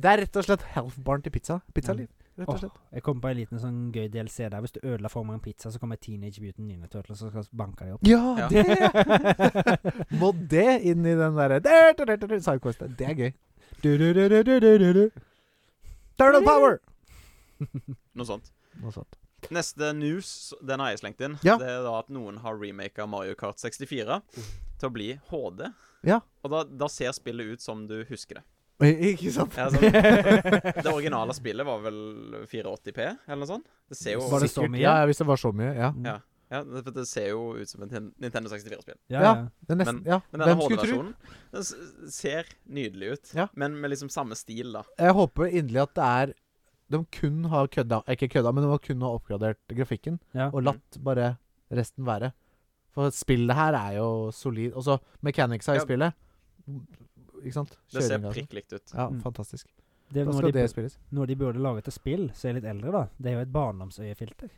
S1: Det er rett og slett health barn til pizza. Pizzaliv, rett og
S2: Åh,
S1: slett.
S2: jeg kom på en liten sånn gøy DLC der. Hvis du ødela for meg en pizza, så kommer Teenage Mutant Ninja Turtles og skal banke deg opp.
S1: Ja,
S3: Ja.
S1: det! Må det inn i den derre Sidequesten. Det er gøy. Turtle power!
S3: Noe sånt.
S1: Noe sånt.
S3: Neste news, den har jeg slengt inn.
S1: Ja. Mm.
S3: Det er da at noen har remaka Mario Kart 64 til å bli HD.
S1: Ja.
S3: Og da, da ser spillet ut som du husker det.
S1: I- Eh, Ikke sant?
S3: Ja, sånn. Det originale spillet var vel 480P, eller noe sånt? Det ser jo,
S2: Var det så
S1: Sikkert.
S2: mye?
S1: Ja, hvis det var så mye. Ja.
S2: Mm.
S3: Ja. ja, det, for det ser jo ut som et Nintendo 64-spill.
S2: Ja, ja.
S1: Det er nesten, ja.
S3: Men denne
S1: Hvem skulle tro?
S3: HD-versjonen Den s- ser nydelig ut,
S1: Ja.
S3: men med liksom samme stil, da.
S1: Jeg håper inderlig at det er De kun har kødda Ikke kødda, men de har kun har oppgradert grafikken.
S2: Ja.
S1: Og latt bare resten være. For spillet her er jo solid. Og så mechanicsa i
S3: Ja.
S1: spillet. Ikke sant?
S3: Det
S1: Kjøringa
S3: ser
S1: og sånn.
S3: prikk likt ut.
S1: Ja,
S2: Mm.
S1: fantastisk.
S2: Det er
S1: Da
S2: noe
S1: skal
S2: de,
S1: det spilles.
S2: noe de burde lage til spill, som er litt eldre, da. Det er jo et barndomsøyefilter.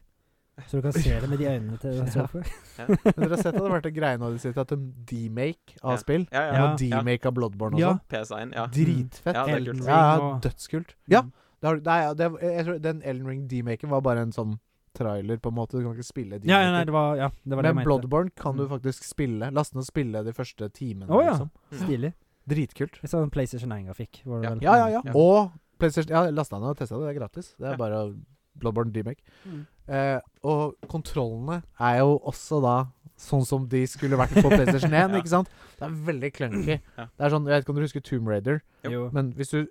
S2: Så du kan se det med de øynene til
S1: Ja.
S2: Sofie.
S1: Men dere har sett at det har vært en greie nå i det siste, at de demake av spill.
S3: Ja,
S1: De
S3: ja.
S1: har
S2: Ja.
S1: demake av Bloodborne og
S2: Ja.
S1: sånn.
S3: PS1. Ja.
S1: Dritfett.
S3: Ja, det er kult.
S2: Elden
S1: Ja,
S2: Ring og-
S1: dødskult.
S2: Mm.
S1: Ja, det har, nei, ja, det, jeg tror den Elden Ring demaken var bare en sånn trailer, på en måte. Du kan ikke spille
S2: Ja, ja, nei,
S1: demaker.
S2: det var, ja, det var det jeg
S1: Men
S2: mente.
S1: Bloodborne kan du
S2: Mm.
S1: faktisk spille. Laste ned og spille de første timene.
S2: Å, ja.
S1: liksom.
S2: Stilig.
S1: Dritkult.
S2: Litt sånn PlayStation 1-grafikk.
S3: Mm. Ja.
S1: Ja, ja, ja.
S3: Ja.
S1: Og PlayStation Ja, lasta ned og testa det. Det er gratis. Det er
S3: Ja.
S1: bare Bloodborne demake.
S2: Mm.
S1: Eh, og kontrollene er jo også da sånn som de skulle vært på PlayStation 1.
S3: Ja.
S1: ikke sant? Det er veldig clunky.
S3: Ja.
S1: Det er sånn, Jeg vet ikke om du husker Tomb Raider,
S2: Jo.
S1: men hvis du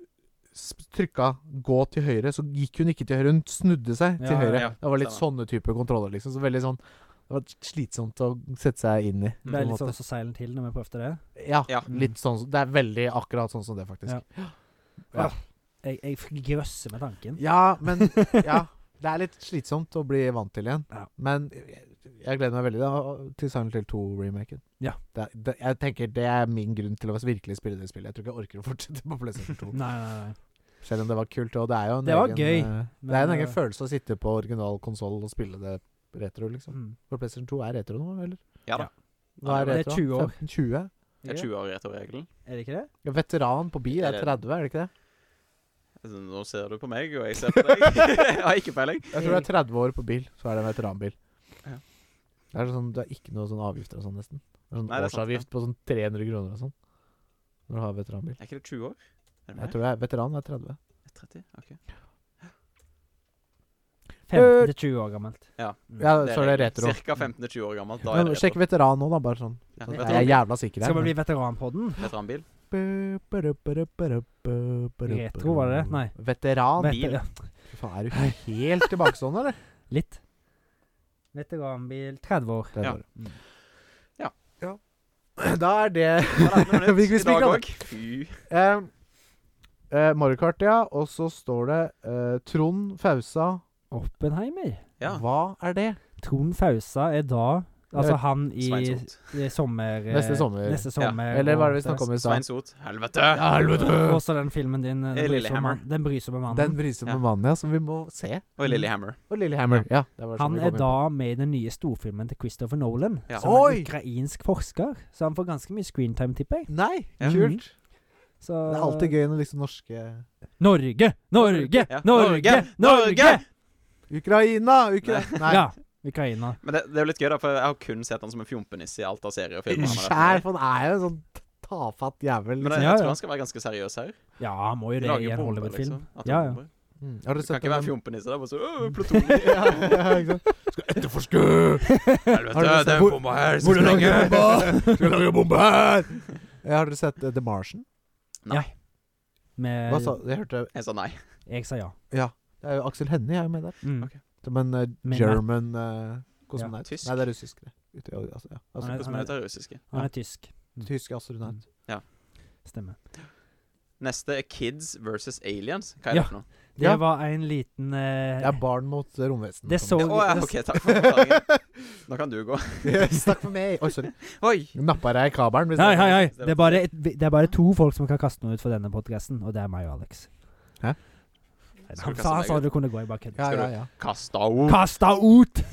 S1: s- trykka 'gå til høyre', så gikk hun ikke til høyre. Hun snudde seg til
S2: Ja, ja,
S1: høyre.
S3: ja.
S1: Det var litt sånne type kontroller, liksom. Så veldig sånn Det var slitsomt å sette seg inn i. på
S2: Det er
S1: en
S2: litt
S1: måte.
S2: sånn som Silent Hill når vi prøvde det.
S1: Ja,
S3: Ja.
S1: litt sånn Det er veldig akkurat sånn som det, faktisk.
S2: Ja. Jeg, jeg grøsser med tanken.
S1: Ja, men Ja. Det er litt slitsomt å bli vant til igjen.
S2: Ja.
S1: Men jeg, jeg gleder meg veldig da, til Silent Hill 2-remaken.
S2: Ja.
S1: Det, er- det, jeg tenker det er min grunn til å virkelig spille det spillet. Jeg tror ikke jeg orker å fortsette på PlayStation 2.
S2: Nei, nei, nei.
S1: Selv om det var kult. Og det er jo en
S2: Det var
S1: egen,
S2: gøy,
S1: eh, det
S2: men,
S1: er en egen
S2: eh,
S1: følelse å sitte på original konsoll og spille det retro, liksom.
S2: Mm.
S1: For PlayStation 2 er retro nå, eller?
S3: Ja da.
S1: Hva er
S2: Det er
S1: retro?
S2: 20 år.
S1: 15-20?
S3: Det er 20 år etter regelen.
S2: Er det ikke det?
S1: Ja, veteran på bil er
S3: Eller-
S1: 30, er det ikke det?
S3: Altså, Nå ser du på meg, og jeg ser på deg. jeg har ikke peiling.
S1: Jeg tror det er 30 år på bil, så er det en veteranbil.
S3: Ja.
S1: Det er sånn, du har ikke noe sånn avgifter og sånn, nesten. Det er sånn
S3: Nei, det er sant,
S1: årsavgift på sånn 300 kroner og sånn. Når du har veteranbil.
S3: Er ikke det 20 år? Er det
S1: Jeg
S3: Mm. mer?
S1: tror det er veteran er 30.
S3: 30? OK.
S2: 15-20 år gammelt.
S3: Ja.
S2: Mm.
S1: Ja, så
S3: er
S1: er det
S3: regelen.
S1: retro.
S3: Cirka 15-20 år gammelt. Da er
S1: Men
S3: det
S1: sjekk
S3: retro.
S1: veteran nå, da, bare sånn.
S3: Ja,
S1: Jeg er
S3: veteranbil.
S1: jævla sikker
S2: Skal
S1: her.
S2: vi
S1: men-
S2: bli veteranpodden?
S3: veteranbil.
S2: Retro, var det det? Nei.
S1: Veteran?
S2: Veter-
S3: bil.
S1: Fy faen, er du helt tilbakestående, eller?
S2: Litt. Veteranbil 30 år.
S1: Det er
S3: Ja.
S1: bare-
S2: Mm.
S3: Ja.
S1: Da er det
S3: Ja, da, men
S1: Vi- vi
S3: I dag
S1: spiker det.
S3: òg. Fy.
S1: Eh, eh, Mario Kart, ja. Og så står det eh, Trond Fausa.
S2: Oppenheimer.
S3: Ja.
S1: Hva er det?
S2: Trond Fausa er da
S1: Jeg
S2: Altså
S1: vet-
S2: han i,
S3: Sveinsot.
S2: i sommer... eh,
S1: Neste sommer.
S2: Neste sommer
S1: Eller hva er det vi
S2: og-
S1: snakka om i stad?
S3: Svein Sot. Helvete!
S2: Og så den filmen din eh, Den
S3: Eh,
S2: brysomme,
S3: Lillehammer.
S2: den brysomme mannen.
S1: Den briser med
S3: Ja.
S1: mannen, ja, som vi må se.
S3: Og Lillehammer.
S1: Og Lillehammer. Ja, det var sånn
S2: han
S1: vi
S2: er
S1: kom inn på.
S2: da med i den nye storfilmen til Christopher Nolan.
S3: Ja.
S2: Som
S1: Oi!
S2: en ukrainsk forsker. Så han får ganske mye screentime, tipper jeg.
S1: Nei,
S3: Ja.
S1: kult.
S2: Mhm. Så
S1: Det er alltid gøy når liksom norske
S2: Norge! Norge!
S3: Ja.
S2: Norge!
S3: Norge!
S2: Norge!
S1: Ukraina! Ukra Nei.
S2: Ja. Ukraina.
S3: Men det, det er jo litt gøy, da, for jeg har kun sett han som en fjompenisse i alt av serier og filmer. han har vært med i.
S1: Skjær, for han er jo en sånn t- tafatt jævel.
S3: altså. Men
S1: Liksom.
S2: Ja,
S3: jeg, jeg
S2: ja.
S3: tror han skal være ganske seriøs her.
S2: Ja, han må jo
S3: De
S2: det i
S3: lager
S2: en
S3: bomber,
S2: Hollywood-film.
S3: liksom. At
S2: Ja,
S3: ja,
S2: ja.
S3: ja.
S1: Mm. Har dere
S3: Du kan
S1: sett
S3: ikke være
S1: den?
S3: fjompenisse der. Bare så «Åh, Plutonium!
S1: Ja, ja, ikke sant? Skal etterforske! Har
S3: Helvete,
S1: dere sett
S3: det er
S1: hvor-
S3: en bombe her!
S1: Hvor
S3: så
S1: lager
S3: lenge!»
S1: jeg bomba? Skal lage bombe her? Ja, har dere sett eh, The Martian?
S3: Nei.
S2: Med
S1: Hva sa Jeg hørte
S3: Jeg sa nei.
S2: Jeg sa ja.
S1: Ja. Det er jo Aksel Hennie er jo med der.
S2: Mm.
S3: Ok.
S1: Som en eh,
S2: Med
S1: German eh, kosmonaut.
S3: Ja. Tysk.
S1: Nei, det er russisk. Det. Ut- ja, Altså, ja. altså,
S2: Han er- Mm.
S3: Hvordan er det russiske?
S2: Han er tysk.
S1: tysk astronaut.
S2: Stemmer.
S3: Neste er Kids versus Aliens. Hva er
S2: Ja.
S3: det for noe?
S2: Det
S1: Ja.
S2: var en liten eh,
S1: Det er barn mot eh, romvesen.
S2: Det så
S3: Å ja,
S2: det-
S3: OK, takk for forklaringen. Nå kan du gå.
S1: Snakk for meg! Oi, sorry.
S3: Oi!
S1: Nappa deg i kabelen. hvis
S2: Hei,
S1: det-
S2: hei, hei! Det er, bare, det er bare to folk som kan kaste noe ut for denne podkasten, og det er meg og Alex.
S1: Hæ?
S2: Nei,
S3: Skal
S2: Han
S3: du kaste
S2: sa, han
S3: meg
S2: sa
S3: ut?
S2: du kunne gå i bakken.
S1: Ja,
S3: Skal
S1: ja,
S3: du-
S1: ja.
S3: Kasta henne
S2: Kasta ut!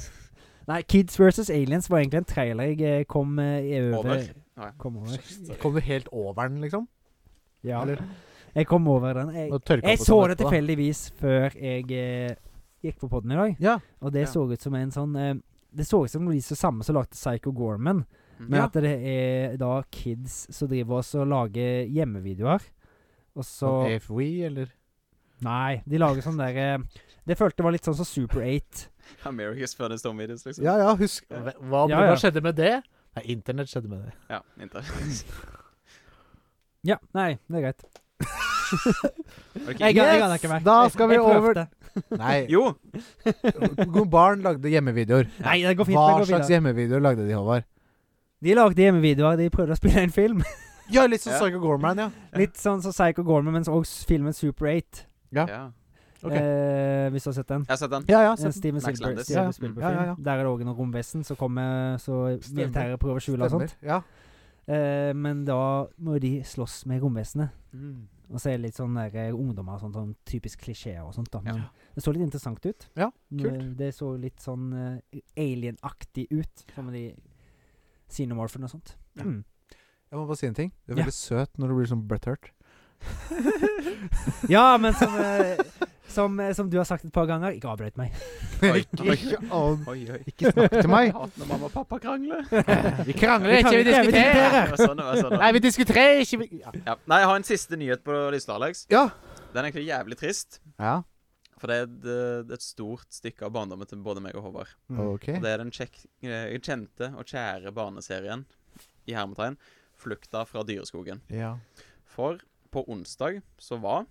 S2: Nei, Kids vs. Aliens var egentlig en trailer jeg eh, kom eh, i over.
S3: over. Å, ja.
S2: Kom over.
S1: Kom du helt over den, liksom?
S2: Ja,
S1: Eller?
S2: jeg kom over den. Jeg,
S1: Nå tørka
S2: jeg
S1: på
S2: så
S1: toalettet,
S2: det
S1: da.
S2: tilfeldigvis før jeg eh, gikk på poden i dag,
S1: Ja.
S2: og det
S3: Ja.
S2: så ut som en sånn eh, Det så ut som de så samme som lagde Psycho Gorman. Men
S1: Ja.
S2: at det er da kids som driver oss og lager hjemmevideoer. Og så
S1: Sånn AFWE, eller?
S2: Nei, de lager sånn der eh, Det følte var litt sånn som Super 8.
S3: America's Funniest Home Videos, liksom.
S1: Ja, ja, husk Hva, hva
S2: Ja, ja.
S1: skjedde med det? Nei, internett skjedde med det.
S3: Ja, inter.
S2: Ja, nei, det er greit.
S3: Var det ikke-
S2: Jeg
S1: Yes!
S2: gadd ikke mer.
S1: Da skal vi
S2: jeg, jeg
S1: over-
S2: prøvde.
S1: Nei,
S3: Jo!
S1: Gode barn lagde hjemmevideoer.
S2: Nei, det går fint.
S1: Hva
S2: det går
S1: slags
S2: videre.
S1: hjemmevideoer lagde de, Håvard?
S2: De lagde hjemmevideoer. De prøvde å spille en film.
S1: Ja, litt som
S3: Ja.
S1: Psycho Gorman, ja.
S2: Litt sånn som Psycho Gorman, men også filmen Super 8.
S1: Ja.
S3: ja.
S1: Ok.
S2: Eh, hvis du har sett den.
S3: Jeg har sett den.
S1: Ja, ja.
S2: Eh,
S1: Så,
S2: Steven
S3: Max
S2: Spielberg.
S3: Landis.
S1: Ja,
S2: Steven
S1: ja.
S2: Spielberg
S1: Ja, ja, ja.
S2: film. Der er det òg noe romvesen som kommer så
S1: Stemmer.
S2: militæret prøver å skjule og
S1: Stemmer.
S2: sånt.
S1: Ja.
S2: Eh, men da må de slåss med romvesenet.
S3: Mm.
S2: Og så er det litt sånn der, eh, ungdommer og sånt, sånn typisk klisjeer og sånt. da
S3: Ja.
S2: Men det så litt interessant ut.
S1: Ja, kult.
S2: Eh, Det så litt sånn eh, alien-aktig ut. Som med de xenomorphene og sånt.
S3: Ja.
S2: Mm.
S1: Jeg må bare si en ting. Du er
S2: Ja.
S1: veldig søt når du blir sånn Bret Hurt.
S2: Ja, men som, eh, som, eh, som du har sagt et par ganger Ikke avbryt meg.
S3: Oi, oi,
S1: Ikke, an-
S3: oi, oi.
S1: ikke snakk til meg!
S3: Hater når mamma og pappa krangler.
S1: Vi krangler
S2: ikke, vi diskuterer.
S3: Det var sånn, det var sånn.
S1: vi diskuterer ikke vi- Ja.
S3: Ja. Nei, jeg har en siste nyhet på lista, Alex.
S1: Ja.
S3: Den er egentlig jævlig trist.
S1: ja.
S3: For det er, et, eh, det er et stort stykke av barndommen til både meg og Håvard.
S2: Mm.
S1: Mm. Ok.
S3: Og det er den kjekk, eh, kjente og kjære barneserien i hermetegn 'Flukta fra dyreskogen'.
S1: Ja.
S3: For på onsdag så var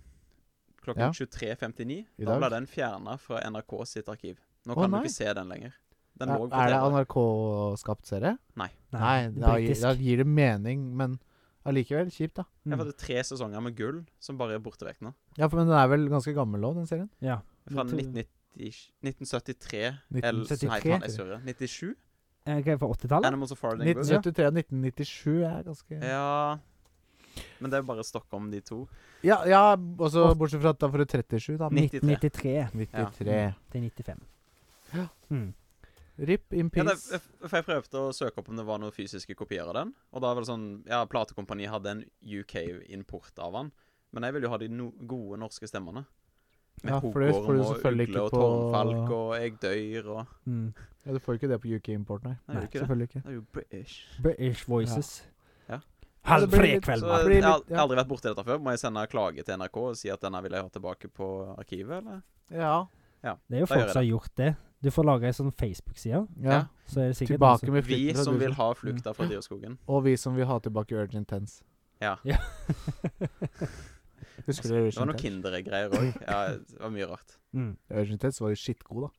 S3: klokken
S1: Ja.
S3: 23.59
S1: I
S3: Da
S1: dag?
S3: ble den fjerna fra NRK sitt arkiv.
S1: Å,
S3: Nå kan
S1: nei.
S3: du ikke se den lenger. Den
S1: Er
S3: lå på
S1: er det
S3: TV.
S1: NRK-skapt serie? Nei,
S2: det er
S1: da, gir-
S2: britisk.
S1: da gir det mening, men allikevel kjipt, da.
S3: Jeg har
S2: Mm.
S3: fått tre sesonger med gull som bare er borte vekk nå.
S1: Ja, for, Men den er vel ganske gammel òg, den serien?
S2: Ja.
S3: Fra
S2: Jeg tror-
S3: 1990, 1973 eller
S1: 1973?
S3: Nei, faen, jeg surrer. 97?
S2: Eh, hva er det for 80-tallet?
S3: Animals of Farlingwood.
S1: 1973 og 1997 er ganske
S3: Ja Men det er bare Stockholm, de to.
S1: Ja, ja også, bortsett fra at da får du 37, da.
S3: 93.
S2: 93
S1: 93.
S2: til 95.
S1: Ja.
S2: Mm.
S1: RIP in
S3: Ja, det,
S1: peace.
S3: for jeg prøvde å søke opp om det var noen fysiske kopier av den. Og da var det sånn Ja, platekompani hadde en UK-import av den, men jeg ville jo ha de no gode norske stemmene. Med
S1: Ja, for det får
S3: hoggorm
S1: du
S3: og
S1: selvfølgelig ikke
S3: ugle og
S1: på-
S3: tårnfalk og jeg dør og
S2: Mm.
S1: Ja, du får ikke det på UK Import, nei.
S3: Nei, det er jo ikke det.
S1: Selvfølgelig ikke.
S3: Det er jo British.
S2: British Voices.
S3: Ja.
S1: Ja, det
S2: Halv
S1: blir
S2: tre i
S1: litt-
S2: kveld,
S1: det
S3: Så
S2: mann.
S1: blir
S3: jeg har
S1: litt- ja.
S3: aldri vært borti dette før. Må jeg sende klage til NRK og si at denne vil jeg ha tilbake på arkivet, eller?
S1: Ja.
S2: Det er jo
S3: Da gjør
S2: folk
S3: jeg
S2: som har gjort det. Du får lage ei sånn Facebook-side.
S1: ja.
S3: Ja.
S2: Så er det sikkert noen
S1: Tilbake med
S3: Vi
S1: flukten fra
S3: som vil
S1: Dyreskogen.
S3: ha flukta fra dyreskogen.
S1: Og vi som vil ha tilbake Urgent Tense.
S3: Ja. Altså,
S2: Ja.
S1: Husker dere
S3: Det var
S1: Urgent
S3: noen
S1: Tense?
S3: Kinder-greier òg. Ja, det var mye rart.
S2: som mm.
S1: Urgent Tense var jo skittgod, da.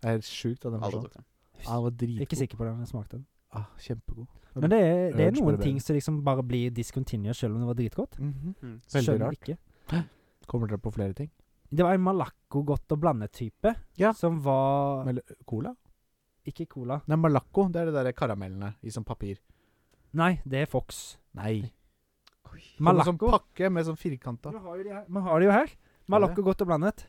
S1: Det er helt sjukt at den
S3: Alle
S1: forsvant.
S3: tok den.
S1: Ja, den var
S2: Jeg er ikke
S1: dritgod.
S2: sikker på hvordan den smakte.
S1: Ah, kjempegod.
S2: Men det er, det er
S1: Urge
S2: noen
S1: bare
S2: ting
S1: bedre.
S2: som liksom bare blir discontinued selv om det var dritgodt.
S1: Mhm.
S3: Mm.
S1: Veldig
S2: Skjønner
S1: rart.
S2: Ikke.
S1: Kommer dere på flere ting?
S2: Det var en Malaco-godt og blande-type
S1: Ja.
S2: som var
S1: Mel cola?
S2: Ikke cola.
S1: Nei, Malaco. Det er det der karamellene i sånn papir.
S2: Nei, det er Fox.
S1: Nei. Kommer
S2: Malaco.
S1: Sånn pakke med sånn firkanta.
S2: Vi har, jo de her. Vi har det jo her. Malaco godt og blandet.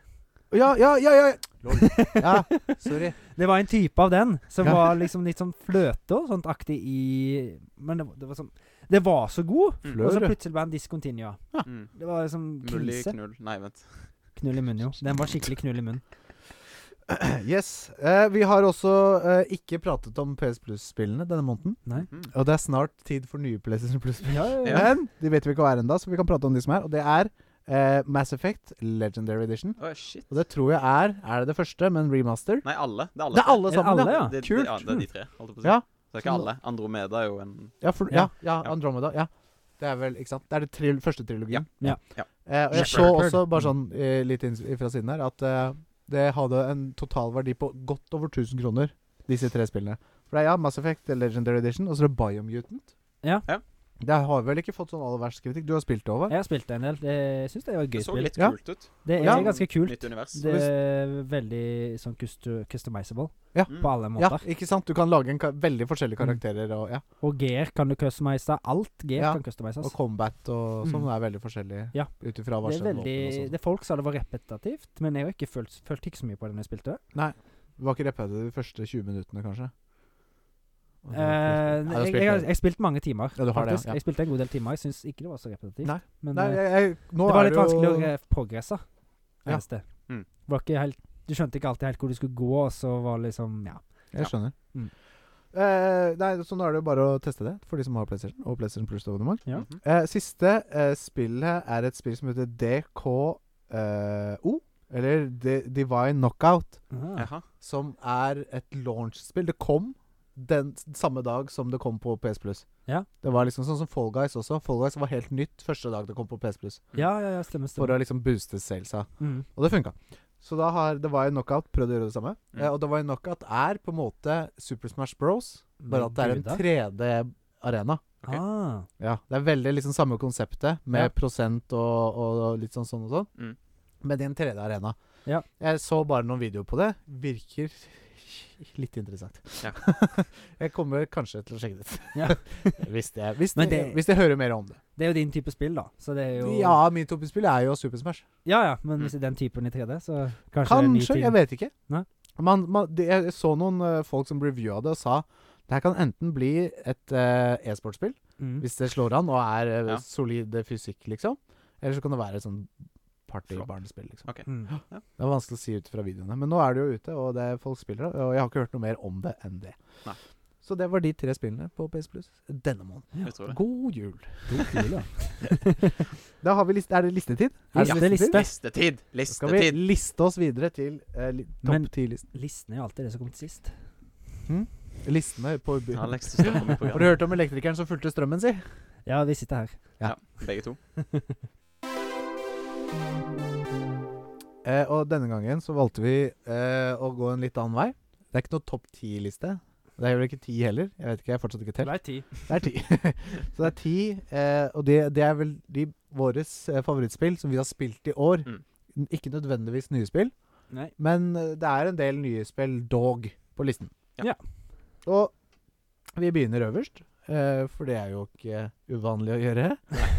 S1: Ja, ja, ja! ja. Lol. ja, sorry.
S2: Det var en type av den som
S1: Ja.
S2: var liksom litt sånn fløte og sånt aktig i Men det, var- det var sånn Det var så god,
S1: Flø-
S3: Mm.
S2: og så
S1: Hører.
S2: plutselig ble den discontinua.
S3: Mm.
S2: Det var liksom
S3: Mulig
S2: krise.
S3: knull Nei, vent.
S2: Knull i munnen, jo. Den var skikkelig knull i munnen.
S1: Yes. Eh, vi har også eh, ikke pratet om PS Plus-spillene denne måneden.
S2: Nei.
S3: Mm.
S1: Og det er snart tid for nye PlayStation Plus.
S2: Ja,
S3: ja.
S1: Men de vet vi ikke hva er ennå, så vi kan prate om de som er. Og det er eh, Mass Effect Legendary Edition.
S3: Å, shit.
S1: Og det tror jeg er Er det det første, men remaster?
S3: Nei, alle. Det er alle.
S1: Det er alle
S2: Er det
S1: sammen,
S2: alle,
S1: ja.
S2: ja?
S3: Det- det-
S1: Kult.
S3: Ja, det er de tre. Holdt jeg på å si.
S1: Ja.
S3: Det er ikke alle. Andromeda er jo en
S1: Ja, for, ja,
S2: Ja.
S1: ja,
S3: Ja.
S1: Andromeda. Ja. Det er vel, ikke sant? Det er den tril første trilogien.
S2: Ja. Mm.
S3: Ja.
S1: Eh, og jeg så
S2: Shepherd.
S1: også, bare sånn eh, litt inn fra siden her, at eh, det hadde en totalverdi på godt over 1000 kroner, disse tre spillene. For det er ja, Mass Effect Legendary Edition, og så er det Biomutant.
S2: Ja.
S3: Ja.
S1: Det har vel ikke fått sånn aller verst kritikk. Du har spilt det over.
S2: Jeg har spilt det en del. Det syns jeg var et gøy
S3: Det så
S2: spill.
S3: litt
S1: Ja.
S3: kult sånn ut.
S2: Det er
S1: Ja.
S2: ganske kult.
S3: Nytt univers.
S2: Det er veldig sånn custo- customizable
S1: Ja.
S3: Mm.
S2: på Mm. alle
S1: Ja,
S2: måter.
S1: ikke sant? Du kan lage en ka veldig forskjellige karakterer, og, ja,
S2: Og gear kan du customize. Alt gear
S1: Ja.
S2: kan customises.
S1: og combat og sånn
S2: Mm.
S1: er veldig forskjellig
S2: Ja.
S1: ut ifra hva
S2: Det
S1: slags
S2: er
S1: våpen
S2: veldig
S1: og sånn.
S2: Det er folk sa det var repetitivt, men jeg har ikke følt, følt ikke så mye på det når jeg spilte. det.
S1: Det var ikke repet de første 20 minuttene, kanskje?
S2: Eh,
S1: Ja, du har
S2: jeg,
S1: spilt
S2: jeg, har-
S1: det.
S2: jeg har spilt mange timer.
S1: Ja, du har det,
S2: faktisk.
S1: ja.
S2: Jeg spilte en god del timer. Jeg syns ikke det var så repetitivt.
S1: Nei.
S2: Men
S1: Nei,
S2: eh,
S1: jeg, jeg, nå
S2: det var
S1: er
S2: litt
S1: jo-
S2: vanskelig å eh, progresse.
S1: Ja.
S2: Eneste.
S3: Mm.
S2: Var ikke helt, du skjønte ikke alltid helt hvor du skulle gå, og så var liksom Ja.
S1: Jeg skjønner.
S2: Mm.
S1: Eh, nei, så nå er det jo bare å teste det for de som har PlayStation og PlayStation Plus abonnement.
S2: ja.
S3: Mhm.
S1: Eh, siste eh, spillet er et spill som heter DKO, eller D Divine Knockout,
S2: Ah.
S3: Jaha.
S1: som er et launchspill. Det kom den s- samme dag som det kom på PS Plus.
S2: Ja.
S1: Det var liksom sånn som Fall Guys også. Fall Guys var helt nytt første dag det kom på PS Plus,
S2: ja, ja, ja, stemmer.
S1: for å
S2: stemmer.
S1: liksom booste salesa.
S2: Mm.
S1: Og det funka. Så da har The Wire Knockout prøvd å gjøre det samme.
S3: Mm.
S1: Eh, og The Wire Knockout er på en måte Super Smash Bros, bare at det er en
S2: Guda.
S1: 3D-arena.
S3: Ok.
S2: Ah.
S1: Ja, Det er veldig liksom samme konseptet, med
S2: Ja.
S1: prosent og, og, og litt sånn sånn og sånn.
S3: Mm.
S1: Men i en 3D-arena.
S2: Ja.
S1: Jeg så bare noen videoer på det. Virker litt interessant.
S3: Ja.
S1: jeg kommer kanskje til å sjekke det ut.
S2: Ja.
S1: hvis, jeg, hvis,
S2: Men
S1: jeg-
S2: det-
S1: hvis jeg hører mer om det.
S2: Det er jo din type spill, da. Så det er jo
S1: Ja, min toppespill er jo Super Smash.
S2: ja, ja, men
S3: Mm.
S2: hvis det er den typen i 3D, så
S1: Kanskje,
S2: kanskje, det er
S1: jeg
S2: en ny ting.
S1: vet ikke.
S2: Nei.
S1: Man, man, det, jeg så noen eh, folk som reviewa det og sa det her kan enten bli et eh, e-sportspill,
S2: Mm.
S1: hvis det slår an og er eh,
S3: Ja.
S1: solid fysikk, liksom. Eller så kan det være et sånn partybarnespill, liksom.
S2: Mm.
S1: Det er vanskelig å si ut fra videoene. Men nå er det jo ute, og det er folk spiller, og jeg har ikke hørt noe mer om det enn det.
S3: Nei.
S1: Så det var de tre spillene på PS Plus denne måneden.
S3: Utrolig.
S1: God jul.
S2: God jul, ja.
S1: Da har vi list er det listetid. Er det
S2: Liste, liste.
S3: Listetid!
S1: Da skal vi
S3: Listetid!
S1: liste oss videre til eh, li
S2: Men-
S1: topp ti-listen.
S2: Listen er jo alltid det som kommer til sist.
S1: Listene på
S3: Alex, du står på mitt
S1: Har du
S3: program.
S1: hørt om elektrikeren som fulgte strømmen si?
S2: Ja, vi sitter her.
S3: Begge to.
S1: Eh, og denne gangen så valgte vi eh, å gå en litt annen vei. Det er ikke noe topp ti-liste. Det er vel ikke ti heller. Jeg vet ikke, jeg har fortsatt ikke telt.
S2: er ti.
S1: Det er ti. så det er ti, eh, og det, det er vel de våres eh, favorittspill som vi har spilt i år.
S3: Mm.
S1: N- Ikke nødvendigvis nye spill,
S2: Nei.
S1: men eh, det er en del nye spill dog på listen.
S3: Ja.
S1: Og vi begynner øverst, eh, for det er jo ikke uvanlig å gjøre.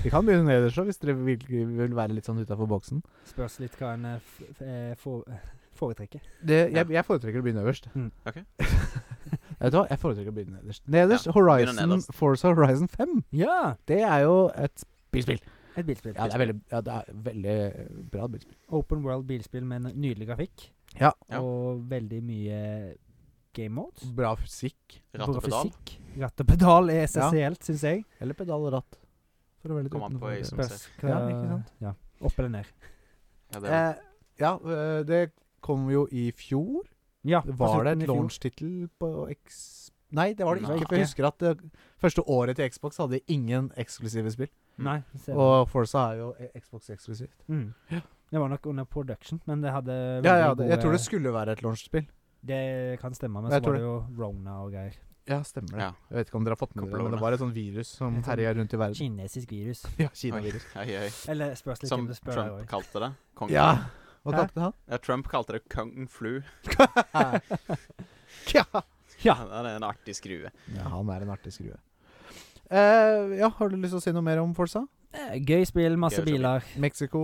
S1: Vi kan begynne nederst også, hvis dere virkelig vil være litt sånn utafor boksen.
S2: Spørs litt hva en eh, f f eh, for foretrekker.
S1: Det, jeg, jeg foretrekker å begynne øverst.
S2: Mm.
S3: Ok.
S1: Vet du hva, jeg foretrekker å begynne nederst. Nederst, Horizon,
S3: begynn nederst.
S1: Forza Horizon 5.
S2: Ja!
S1: Det er jo et bilspill.
S2: Et bilspill.
S1: Ja, det er veldig, ja, det er veldig eh, bra bilspill.
S2: Open world bilspill med en nydelig grafikk.
S1: Ja. Mm.
S3: Ja.
S2: Og veldig mye game modes.
S1: Bra fysikk.
S3: Ratt og
S2: Bra
S3: pedal.
S2: fysikk. Ratt og pedal er essensielt, syns jeg.
S1: Eller pedal og ratt. For å være litt
S3: Kom an på
S1: utenfor.
S3: øyet som
S2: Spørs hva
S1: Ja, ikke sant?
S2: Ja. Opp eller ned.
S3: Ja, det er
S1: Eh, ja, øh, det kom jo i fjor.
S2: Ja,
S1: Var det en launch-tittel på X... Nei, det var det
S3: Nei.
S1: ikke. For jeg husker at det første året til Xbox hadde de ingen eksklusive spill.
S2: Nei. ser du.
S1: Og Forza er jo e- Xbox-eksklusivt.
S2: Mm. Det var nok under production, men det hadde
S1: Ja,
S2: veldig
S1: ja, det, jeg tror
S2: gode-
S1: det skulle være et launchspill.
S2: Det kan stemme, men
S1: Jeg
S2: så
S1: tror
S2: var det jo Rona og greier.
S1: Ja, stemmer det.
S3: Ja.
S1: Jeg vet ikke om dere har fått med dere det, men det var et sånn virus som
S2: Jeg tror-
S1: herja rundt i verden.
S2: Kinesisk virus.
S1: Ja,
S3: Oi,
S1: Kina-virus.
S3: oi, oi.
S2: Eller spørs litt
S3: Som
S2: om du spør deg
S3: Trump kalte det. Kong
S1: Ja.
S3: flu.
S1: Hva
S2: Hæ?
S1: kalte han?
S3: Ja, Trump kalte det kung flu.
S1: ja.
S2: Ja.
S3: Ja, det er en artig skrue.
S1: ja, han er en artig skrue. Eh, ja, har du lyst til å si noe mer om Forsa?
S2: Eh, Gøy spill, masse
S3: Gøy å se på.
S2: biler.
S1: Mexico.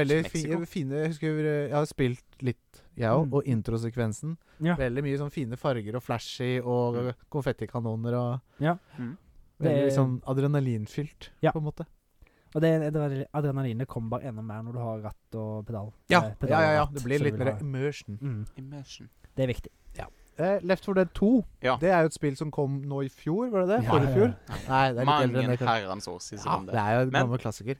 S1: Veldig fi,
S3: Mexico?
S1: fine Jeg husker eh, jeg har spilt litt, jeg òg,
S2: Mm.
S1: og introsekvensen.
S2: Ja.
S1: Veldig mye sånn fine farger og flashy og
S3: Mm.
S1: konfettikanoner og
S2: Ja.
S3: Mm.
S1: Veldig
S2: Det-
S1: sånn adrenalinfylt,
S2: Ja.
S1: på en måte.
S2: Og det adre- adrenalinet kommer bare enda mer når du har ratt og pedal.
S1: Ja,
S2: Eh, pedal
S1: ja, ja.
S2: og
S1: ja.
S2: ratt,
S1: Det blir
S2: så
S1: litt
S2: du vil
S1: mer
S2: ha-
S1: immersion.
S2: mm,
S3: Immersion.
S2: Det er viktig.
S1: Eh, Left 4 Dead 2
S3: Ja.
S1: Det er jo et spill som kom nå i fjor, var det det?
S2: Ja,
S1: Forrige
S2: ja,
S1: fjor? Nei, det er litt eldre enn
S3: Mange
S1: det. kanskje.
S3: herrens år siden
S1: Ja,
S3: om
S1: det
S3: det.
S1: er jo en
S3: Men-
S1: gammel klassiker.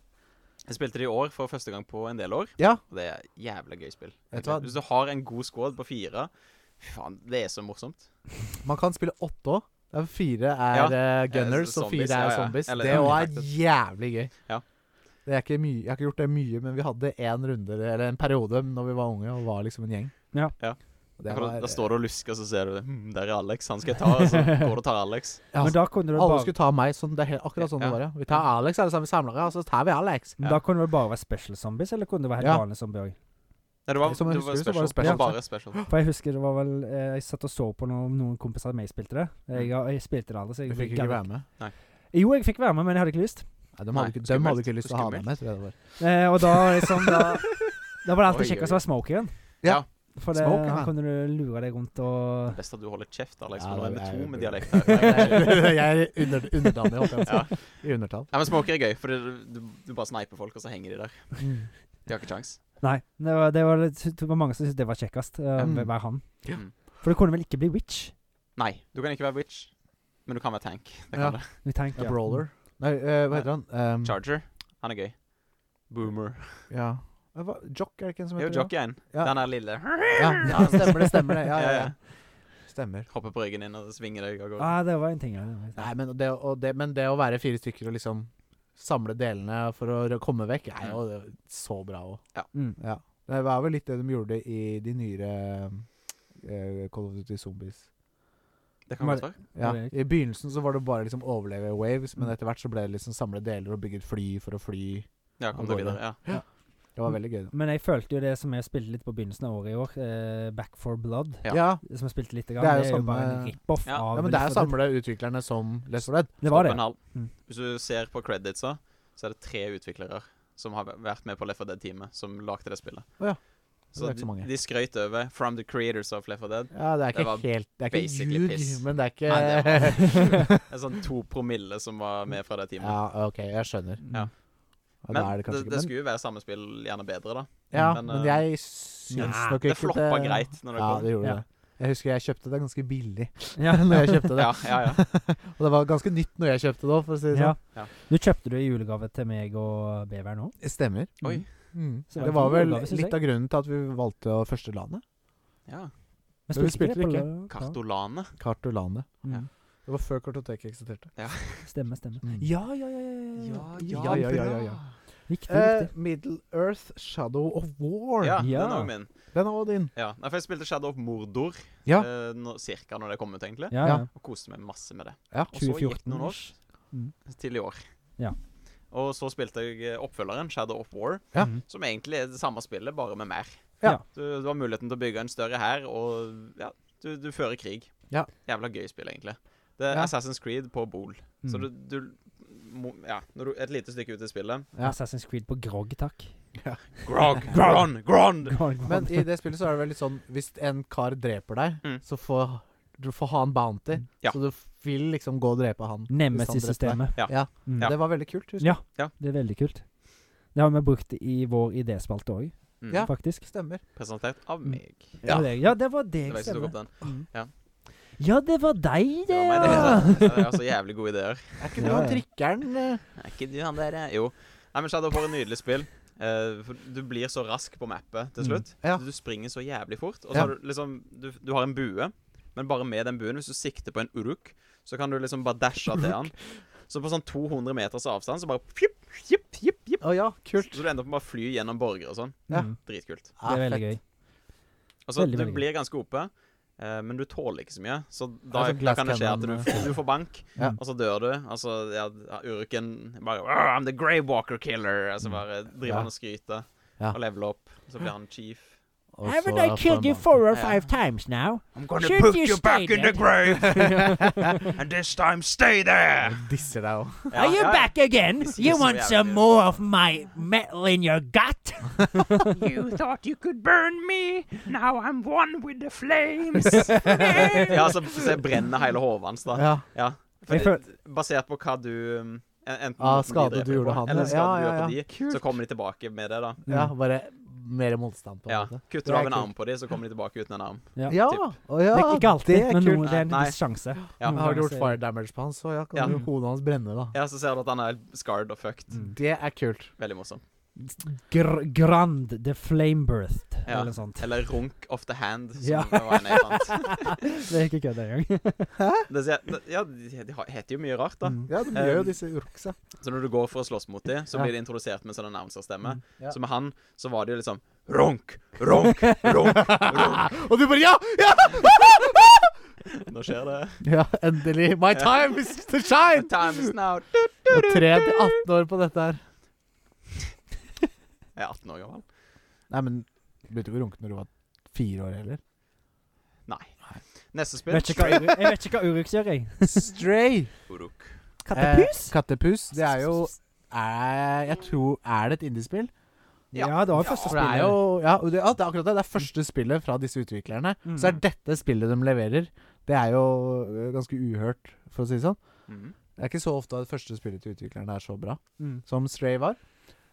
S3: Jeg spilte det i år for første gang på en del år.
S1: Ja.
S3: Og det er jævla gøy spill.
S1: Vet du hva?
S3: Hvis du har en god squad på fire Fy faen, det er så morsomt.
S1: Man kan spille åtte òg. Fire er
S3: Ja.
S1: eh, gunners,
S3: Eh,
S1: og fire
S3: zombies, ja,
S1: er
S3: ja.
S1: zombies.
S3: Eller-
S1: det
S3: ja,
S1: òg
S3: faktisk.
S1: er jævlig gøy.
S3: Ja.
S1: Det er ikke mye, jeg har ikke gjort det mye, men vi hadde én runde, eller en periode, når vi var unge og var liksom en gjeng.
S2: Ja.
S3: Ja.
S1: Og
S3: Da
S1: Det
S3: kan
S1: var,
S3: du- da står du og lusker, så ser du det. Hm, der er Alex. Han skal jeg ta. Og så går du og tar Alex.
S1: Ja,
S2: Men da kunne du
S1: alle
S2: bare,
S1: skulle ta meg. Sånn, det er helt, akkurat sånn
S3: Ja.
S1: det var, ja. Vi tar Alex, alle sammen samlere, og så tar vi Alex.
S2: men da kunne det bare være special zombies, eller kunne det være helt
S1: Ja.
S2: vanlige zombier òg?
S3: Nei, det var,
S1: Som jeg
S3: det var
S1: husker, så
S3: special.
S1: var det
S3: Det
S1: special.
S3: var bare special.
S2: For jeg husker det var vel eh, Jeg satt og så på noen, noen kompiser av meg spilte det. Jeg, jeg spilte det aldri, så jeg
S1: Vi Mm. fikk ikke være med.
S2: Jo, jeg fikk være med, men jeg hadde ikke lyst.
S1: Nei, de
S3: Nei,
S1: hadde ikke, de hadde
S3: skummelt.
S1: ikke lyst til å ha
S3: Skummelt.
S1: meg med, tror jeg det var.
S2: Eh, og da liksom Da, da var det alltid
S3: Oi,
S2: kjekkest å
S3: oi,
S2: være smokeren.
S1: Ja.
S2: For det,
S1: Smoker,
S2: han
S1: ja.
S2: kunne du lure deg rundt og
S3: Best at du holder kjeft, Alex.
S1: Ja,
S3: for nå er
S1: det
S3: vi
S1: er
S3: to
S1: jo
S3: med
S1: bra.
S3: dialekt her.
S1: jeg er under, underdanig, holdt jeg på å si. I undertall.
S3: Nei, men smoker er gøy, for du, du, du bare sniper folk, og så henger de der.
S1: Mm.
S3: De har ikke kjangs.
S2: Nei. Det var, det var, litt- det var mange som syntes det var kjekkest. Uh,
S1: Mm.
S2: Være han.
S3: Ja.
S2: For du kunne vel ikke bli witch?
S3: Nei, du kan ikke være witch, men du kan være tank. Det kan
S1: Ja.
S3: du.
S2: Vi tenker,
S1: Ja, Brawler. Nei, eh, hva heter han? Um,
S3: Charger. Han er gøy. Boomer.
S1: ja. Eh, Hva, jock, er det ikke en som
S3: Det er
S1: heter
S3: jo jockeyen.
S1: Ja.
S3: Den er lille.
S1: det? Ja. ja, stemmer det. Stemmer det. Ja, ja,
S3: Ja,
S1: ja. Stemmer.
S3: Hopper Eh, på ryggen din og svinger deg av gårde.
S2: Ah, det var en ting, ja. Det var en ting.
S1: Nei, men det, å- det, men det å være fire stykker og liksom samle delene for å rø- komme vekk, er jo det- så bra òg.
S2: Mm.
S1: Ja. Det var vel litt det de gjorde i de nyere eh, Call of Duty Zombies.
S3: Det kan
S2: Var
S3: godt være.
S1: Ja.
S2: Det er
S1: I begynnelsen så var det bare liksom overleve waves, men etter hvert så ble det liksom samle deler og bygge et fly for å fly.
S3: Ja, kom deg
S1: Alvorlig.
S3: videre. Ja.
S1: Det var veldig gøy. da.
S2: Men jeg følte jo det som jeg spilte litt på begynnelsen av året i år, eh, Back for Blood,
S3: Ja.
S1: Ja.
S2: som jeg spilte litt, grann,
S1: Det er jo
S2: det er jo bare
S1: samme-
S2: en rip-off
S3: Ja.
S2: av
S1: ja, men det er
S2: Left
S1: jo
S2: 4 Dead.
S1: samle utviklerne som Left 4 Dead.
S2: Det var
S3: Stopp en
S2: det.
S3: hal.
S2: Mm.
S3: Hvis du ser på creditsa, så er det tre utviklere som har vært med på Left 4 Dead-teamet, som lagde det spillet.
S1: Å ja.
S3: Så,
S1: Det er ikke så mange.
S3: de, de skrøt over 'From the creators of Left 4 Dead'.
S1: Ja, det er
S3: Det
S1: ikke
S3: var
S1: helt Det er ikke
S3: basically
S1: ljug,
S3: piss.
S1: men det er ikke
S3: Nei, det En sånn to promille som var med fra det teamet.
S1: Ja, OK, jeg skjønner.
S2: Mm.
S3: Ja.
S1: Ja, da
S3: Men
S1: er det
S3: det, det,
S1: kanskje ikke men,
S3: skulle jo være samme spill, gjerne bedre, da.
S1: Ja,
S3: men,
S1: men
S3: eh,
S1: jeg syns
S2: Nei,
S1: nok
S3: Det
S1: ikke
S3: floppa greit når det
S1: Ja,
S3: kom.
S1: det gjorde
S2: Ja.
S1: det. Jeg husker jeg kjøpte det ganske billig
S2: Ja.
S1: når jeg kjøpte det. Mm.
S3: Ja, ja, ja.
S1: Og det var ganske nytt når jeg kjøpte det òg, for å si det
S2: Ja.
S1: sånn.
S3: Ja.
S2: Du kjøpte det i julegave til meg og Beveren òg.
S1: Stemmer.
S3: Oi.
S1: Mm.
S2: Så det
S1: Det
S2: var
S1: var
S2: en
S1: vel
S2: julegave, synes
S1: litt
S2: jeg.
S1: av grunnen til at vi valgte å første landet.
S3: Ja.
S1: Men vi spilte ikke.
S3: Kartolane.
S1: Kartolanet.
S2: Ja.
S1: Det var før kartoteket eksisterte.
S2: Mm. Stemme, stemme.
S1: Mm.
S2: Ja, ja, ja, ja, ja.
S1: ja, ja, ja, ja, ja.
S2: Riktig,
S1: Eh,
S2: riktig.
S1: Middle Earth Shadow of War.
S3: Ja, den
S2: Ja.
S3: er også min.
S1: Den er også din.
S3: Ja. Nei, for jeg spilte Shadow of Mordor
S1: Ja.
S3: eh, nå- cirka når det kom ut, egentlig.
S1: ja.
S2: Ja, ja.
S3: Og koste meg masse med det.
S1: Ja.
S3: Og så gikk det
S2: 2014
S3: noen år.
S2: -ish. Mm.
S3: Til i år.
S2: Ja.
S3: Og så spilte jeg eh, oppfølgeren, Shadow of War,
S1: Ja.
S2: Mhm.
S3: som egentlig er det samme spillet, bare med mer.
S1: Ja.
S3: Du, du har muligheten til å bygge en større hær, og ja, du, du fører krig.
S1: Ja.
S3: Jævla gøy spill, egentlig. Det er
S1: Ja.
S3: Assassin's Creed på Bol. Så du,
S2: Mm.
S3: du må, Ja, når du et lite stykke ut i spillet
S1: Ja.
S2: Assassin's Creed på grog, takk.
S3: Grog, Gron, Gron!
S1: Men i det spillet så er det vel litt sånn Hvis en kar dreper deg,
S3: Mm.
S1: så får du får ha en bounty.
S3: Ja.
S1: Så du f- vil liksom gå og drepe han. hvis han dreper deg.
S2: Nemesis-systemet.
S3: Ja.
S1: Ja.
S2: Mm.
S1: Det var veldig kult. Husker.
S2: Ja.
S3: Ja.
S2: Det er veldig kult. Det har vi brukt i vår idéspalte òg,
S3: Mm.
S1: Ja.
S2: faktisk.
S1: Stemmer.
S3: Presentert av
S2: Mm.
S3: meg.
S1: Ja.
S2: Det var det- ja, det var
S3: Det
S2: deg,
S3: var jeg som tok
S2: stemmer.
S3: opp den.
S2: Mm.
S3: Ja.
S2: ja, det var deg, det,
S3: Det var meg, det. altså. Jeg har så jævlig gode ideer.
S1: Er ikke du
S2: Ja,
S1: han
S2: ja.
S1: trikkeren eh?
S3: Er ikke du han der, eh? Jo. Nei, men Shadow of War er et nydelig spill. Eh, for du blir så rask på mappet til
S2: Mm.
S3: slutt.
S1: Ja.
S3: Du springer så jævlig fort. Og så
S1: Ja.
S3: har du liksom du, du har en bue, men bare med den buen, hvis du sikter på en uruk, så kan du liksom bare dashe til han. Så på sånn 200 meters avstand, så bare fjupp, fjupp, fjupp, fjupp.
S1: Å ja, kult.
S3: Så du ender opp med å bare fly gjennom borger og sånn.
S1: Ja.
S2: Mm.
S3: Dritkult.
S1: Ja, Ah,
S2: Det er veldig
S1: fett.
S2: gøy.
S3: Altså,
S2: Veldig,
S3: du
S2: veldig gøy.
S3: blir ganske OP, eh, men du tåler ikke så mye. Så da,
S1: Det er sånn
S3: da kan det
S1: glass
S3: skje at du,
S1: cannon,
S3: du får bank,
S1: Ja.
S3: og så dør du. Altså, ja, uruken bare «Arr, I'm the Grey Walker Killer. Altså bare driver
S1: Mm. Ja.
S3: han og skryter
S1: Ja.
S3: og leveler opp. Så blir han chief.
S1: Og
S2: Haven't
S1: så
S2: I killed you
S1: får
S2: four or
S3: Ja.
S2: five times now?
S3: I'm
S2: gonna Should put you you back stay in the dead?
S3: grave, and this time stay there.
S1: man- Disser deg òg.
S3: Ja,
S2: Are you
S3: ja,
S2: back again?
S3: This
S2: You
S3: is
S2: want some
S3: reality.
S2: more of my metal in your gut?
S4: You thought you could burn me. Now I'm one with the flames.
S3: Ja, så, så jeg brenner hele hodet hans, da.
S1: Ja.
S3: Ja.
S2: Jeg
S3: Fordi, basert på hva du um, en- Enten
S1: Ah,
S3: de
S1: skade
S3: dreper
S1: du gjorde
S3: på,
S1: han,
S3: eller
S1: ja.
S3: skade du
S1: Ja,
S3: gjør
S1: ja,
S3: på
S1: ja.
S3: de, så kommer de tilbake med det, da.
S1: ja,
S2: Mm.
S1: bare mer motstand på en
S3: Ja.
S1: måte.
S3: Kutter
S1: Det
S3: du
S1: er
S3: av en
S1: kult.
S3: arm på de, så kommer de tilbake uten en arm.
S2: Ja.
S1: Ja, å ja,
S2: Det er ikke alltid, men
S1: kult.
S2: noen, det er en
S3: Nei.
S2: viss sjanse.
S3: Ja.
S2: Noen
S1: Har du
S2: ganger
S1: gjort
S2: så-
S1: fire damage på han, så ja, kan
S3: Ja.
S1: jo hodet hans brenne, da.
S3: Ja, så ser du at han er helt scarred og fucked.
S2: Mm.
S1: Det er kult.
S3: Veldig morsom.
S2: Gr grand the flame birthed,
S3: Ja.
S2: eller noe sånt.
S3: Eller Runk of the Hand, som
S2: Ja.
S3: det var en jeg fant.
S2: det er ikke kødd engang.
S3: Det sier- det- Ja, de de har- heter jo mye rart, da.
S2: Mm.
S1: Ja, de gjør jo disse urksa.
S3: Så når du går for å slåss mot dem, så
S1: Ja.
S3: blir de introdusert med en sånn announcerstemme.
S2: Mm.
S1: Ja.
S3: Så med han så var det jo liksom Runk, runk, runk.
S1: Og du bare ja! Ja!
S3: Nå skjer det.
S1: Ja, endelig. My time is to shine!
S3: The time is now.
S1: Og 3 til 18 år på dette her.
S3: Jeg er 18 år gammel.
S1: Nei, men begynte ikke å runke når du var fire år heller.
S3: Neste spill
S2: Vet ikke hva Uru- Jeg vet ikke hva Urux gjør, jeg.
S1: Stray.
S3: Uruk.
S2: Kattepus?
S1: Eh, kattepus. Det er jo er, Jeg tror Er det et indiespill?
S3: ja.
S2: Ja, det var jo
S1: For
S2: første
S1: det er
S2: spillet.
S1: jo ja, og det, ja, det er akkurat det. Det er første spillet fra disse utviklerne.
S2: Mm.
S1: Så er dette spillet de leverer. Det er jo øh, ganske uhørt, for å si det sånn.
S3: Mhm.
S1: Det er ikke så ofte at første spillet til utviklerne er så bra
S2: Mm.
S1: som Stray var.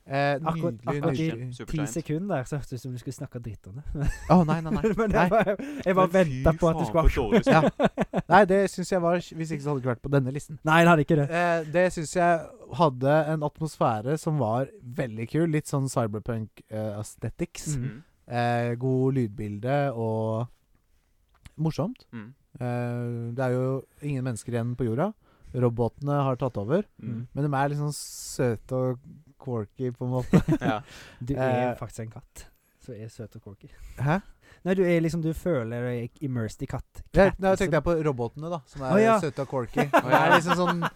S1: Eh,
S2: Akkurat-
S1: nydelig,
S2: akkurat i-
S1: nydelig.
S2: Ti
S3: Supergiant.
S2: sekunder der så hørtes det ut som du skulle snakke dritt om det.
S1: Å, nei, nei, nei.
S2: Men
S1: Nei.
S2: jeg bare, jeg bare
S3: Men fy
S2: venta på at det
S3: faen,
S2: skulle
S3: for dårlig
S1: Ja. Nei, det syns jeg var Hvis ikke så hadde det ikke vært på denne listen.
S2: Nei, det hadde ikke det.
S1: Eh, det syns jeg hadde en atmosfære som var veldig kul. Litt sånn cyberpunk eh, aesthetics.
S2: Mm.
S3: Mhm.
S1: Eh, god lydbilde og morsomt.
S3: Mhm.
S1: Eh, det er jo ingen mennesker igjen på jorda. Robotene har tatt over.
S3: Mhm.
S1: Men de er liksom søte og quirky, på en måte.
S3: Ja.
S2: Du er
S1: Eh.
S2: faktisk en katt. Så er søt og cocky.
S1: Hæ?
S2: Nei, du er liksom Du føler deg immersed i katt.
S1: Jeg,
S2: katt,
S1: nei, jeg
S2: liksom.
S1: tenkte jeg på robotene, da. Som er
S2: Å, ja.
S1: søte og corky. Og jeg er liksom sånn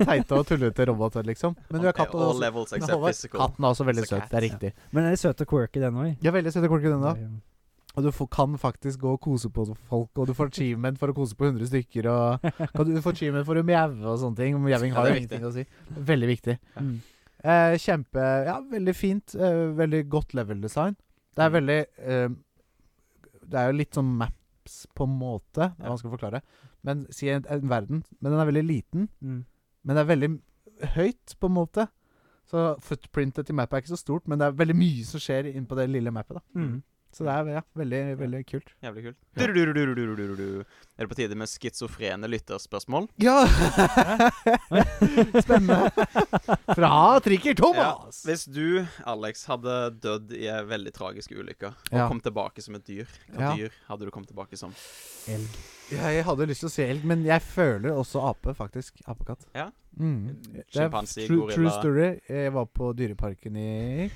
S1: teite og tullete roboter, liksom. Men du er katt, og
S3: All
S1: du er også,
S3: levels
S1: men
S3: except
S1: Håvard,
S3: physical.
S1: katten er også veldig
S3: It's a
S1: søt.
S3: cat.
S1: Det er riktig.
S2: Men er det søt og quirky, den òg?
S1: De er veldig søte og corky, den da.
S2: Ja.
S1: Og du får, kan faktisk gå og kose på folk, og du får achievement for å kose på 100 stykker, og kan du få achievement for å mjaue og sånne ting. Mjauing
S3: Ja,
S1: har jo
S3: det er
S1: ingenting å si. Veldig viktig.
S2: Mm.
S1: Eh, kjempe Ja, veldig fint. Eh, veldig godt level-design. Det er veldig eh, Det er jo litt sånn maps på en måte. Det er
S3: Ja.
S1: vanskelig å forklare. Men Si en, en verden. Men den er veldig liten.
S2: Mm.
S1: Men det er veldig høyt, på en måte. Så footprintet til mappet er ikke så stort, men det er veldig mye som skjer inn på det lille mappet. da
S2: Mm.
S1: Så det er ja, veldig, veldig kult.
S3: Jævlig kult. Durururururururu. Er det på tide med schizofrene lytterspørsmål?
S1: Ja! Spennende. Fra Trikker Thomas.
S3: Hvis du, Alex, hadde dødd i en veldig tragisk ulykke og
S1: Ja.
S3: kom tilbake som et dyr, hva
S1: Ja.
S3: dyr hadde du kommet tilbake som?
S2: Elg.
S1: Jeg hadde lyst til å si elg, men jeg føler også ape, faktisk. Apekatt.
S3: Ja.
S1: Mm. Det er
S3: Sjimpanse,
S1: true, true
S3: gorilla
S1: story. Jeg var på Dyreparken i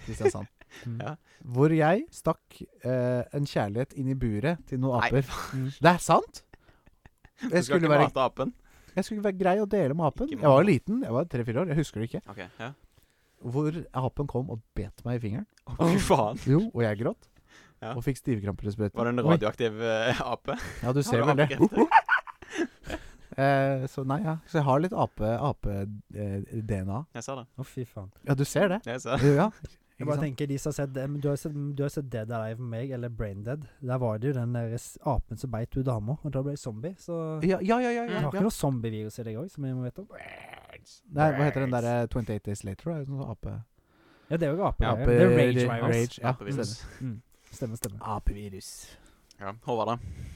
S1: Kristiansand.
S2: Mm.
S3: Ja.
S1: Hvor jeg stakk eh, en kjærlighet inn i buret til noen
S3: Nei,
S1: aper. Mm. Det er sant!
S3: Du
S1: Jeg
S3: skal
S1: skulle,
S3: ikke
S1: være,
S3: mate apen?
S1: jeg skulle være grei å dele med apen.
S3: Ikke
S1: Jeg var
S3: mate.
S1: liten, jeg var tre-fire år, jeg husker det ikke.
S3: OK. Ja.
S1: Hvor apen kom og bet meg i fingeren.
S3: Å, Fy faen.
S1: Jo, og jeg gråt.
S3: Ja.
S1: Og fikk stivkrampesprøyte.
S3: Var det en radioaktiv eh, ape?
S1: Ja, du ser
S3: Har
S1: vel
S3: du
S1: det. Eh, så nei, ja. Så jeg har litt ape-DNA.
S3: Jeg ser det.
S2: Å, fy faen.
S1: ja, du ser det.
S3: Jeg ser det.
S1: Jo, ja.
S2: Jeg
S1: Ikke
S2: bare
S1: sant?
S2: tenker de som har sett, men du, har sett Du har sett Dead Alive med meg, eller Brain Dead. Der var det jo den der s- apen som beit hun dama, og da ble jeg zombie. Så
S1: Ja, ja, ja. ja,
S2: du har
S1: ja,
S2: ikke
S1: ja.
S2: noe zombievirus i deg òg, som jeg må vite om.
S1: Nei, hva heter den derre 28 Days Later? Er det sånn ape...
S2: Ja, det er jo ape.
S3: Ja,
S2: det er rage virus.
S1: rage. Ja,
S3: Apevirus.
S1: stemmer.
S2: Stemmer, stemmer.
S1: Apevirus.
S3: Ja. Håvard, da?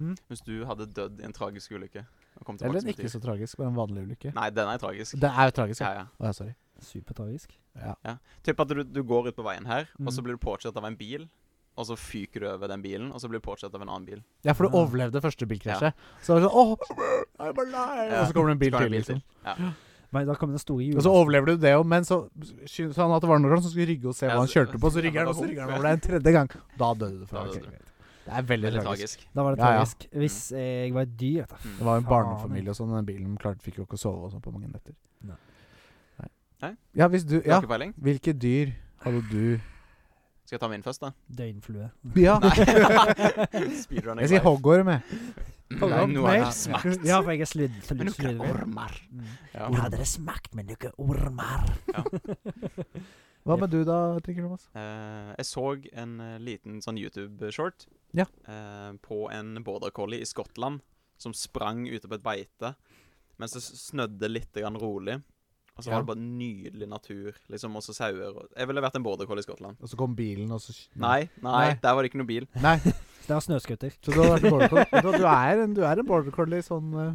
S2: Mm.
S3: Hvis du hadde dødd i en tragisk ulykke og kom
S1: Hm?
S3: tilbake
S1: Eller en
S3: som et
S1: ikke
S3: dyr
S1: så tragisk, men en vanlig ulykke.
S3: Nei, den er tragisk.
S1: Det er jo tragisk,
S3: Ja,
S1: ja.
S3: ja.
S1: Å ja, sorry.
S2: Supertragisk.
S1: Ja.
S3: Typ at du, du går ut på veien her, og så
S2: Mm.
S3: blir du påkjørt av en bil. Og så fyker du over den bilen, og så blir du påkjørt av en annen bil.
S1: ja, for du
S2: Ja.
S1: overlevde første bilkrasjet. Så var det sånn Åh, I'm alive!
S3: Ja.
S1: Og så kommer det en bil
S3: Så
S1: til.
S3: kommer det en
S1: Liksom.
S3: Ja.
S2: Men da kom den store
S1: Og så
S2: jula.
S1: overlever du det òg, men så syntes han at det var noe som skulle rygge og se
S3: Ja,
S1: hva han
S3: så-
S1: kjørte på, så rygger
S3: Ja, men
S1: han,
S3: da
S1: og så
S3: kom-
S1: rygger han over deg en tredje gang. Da døde du. fra
S3: Da
S1: det.
S3: døde
S1: Ok, greit. Det er veldig,
S3: Veldig
S1: tragisk.
S3: tragisk. Mm.
S2: Da var det
S1: Ja, ja.
S2: tragisk. Hvis jeg var et dyr vet du,
S1: Det var jo en
S2: faen.
S1: barnefamilie og sånn, den bilen klarte fikk jo ikke å sove og sånn på mange netter.
S2: Nei.
S1: Nei.
S3: Nei?
S1: Ja, hvis du
S3: Du har
S1: Ja,
S3: ikke peiling?
S1: hvilke dyr hadde du
S3: Skal jeg ta min først, da?
S2: Døgnflue.
S1: Ja!
S3: Nei. Speedrunning.
S1: Jeg sier
S3: live.
S1: hoggorm, jeg.
S3: Nei,
S2: Orm,
S3: nå er
S2: nei.
S3: det smakt.
S2: Ja, for jeg er sludd.
S3: Men
S2: sludd,
S3: noen
S2: sludd
S3: ormer.
S1: Mm.
S3: Ja.
S2: Jeg hadde det smakt med noen ormer.
S1: Hva med du da, Trikker Thomas?
S3: Eh, jeg så en eh, liten sånn YouTube-short
S1: Ja.
S3: eh, på en border collie i Skottland som sprang ute på et beite, men så s- snødde litt grann rolig. Og så
S1: Ja.
S3: var det bare nydelig natur, liksom, også sauer. og- Jeg ville vært en border collie i Skottland.
S1: Og så kom bilen, og så
S3: Nei, nei,
S1: Nei.
S3: der var det ikke noe bil.
S1: Nei.
S2: Det var snøscooter.
S1: Så du hadde vært en border collie. Du, du, er en, du er en border collie sånn eh,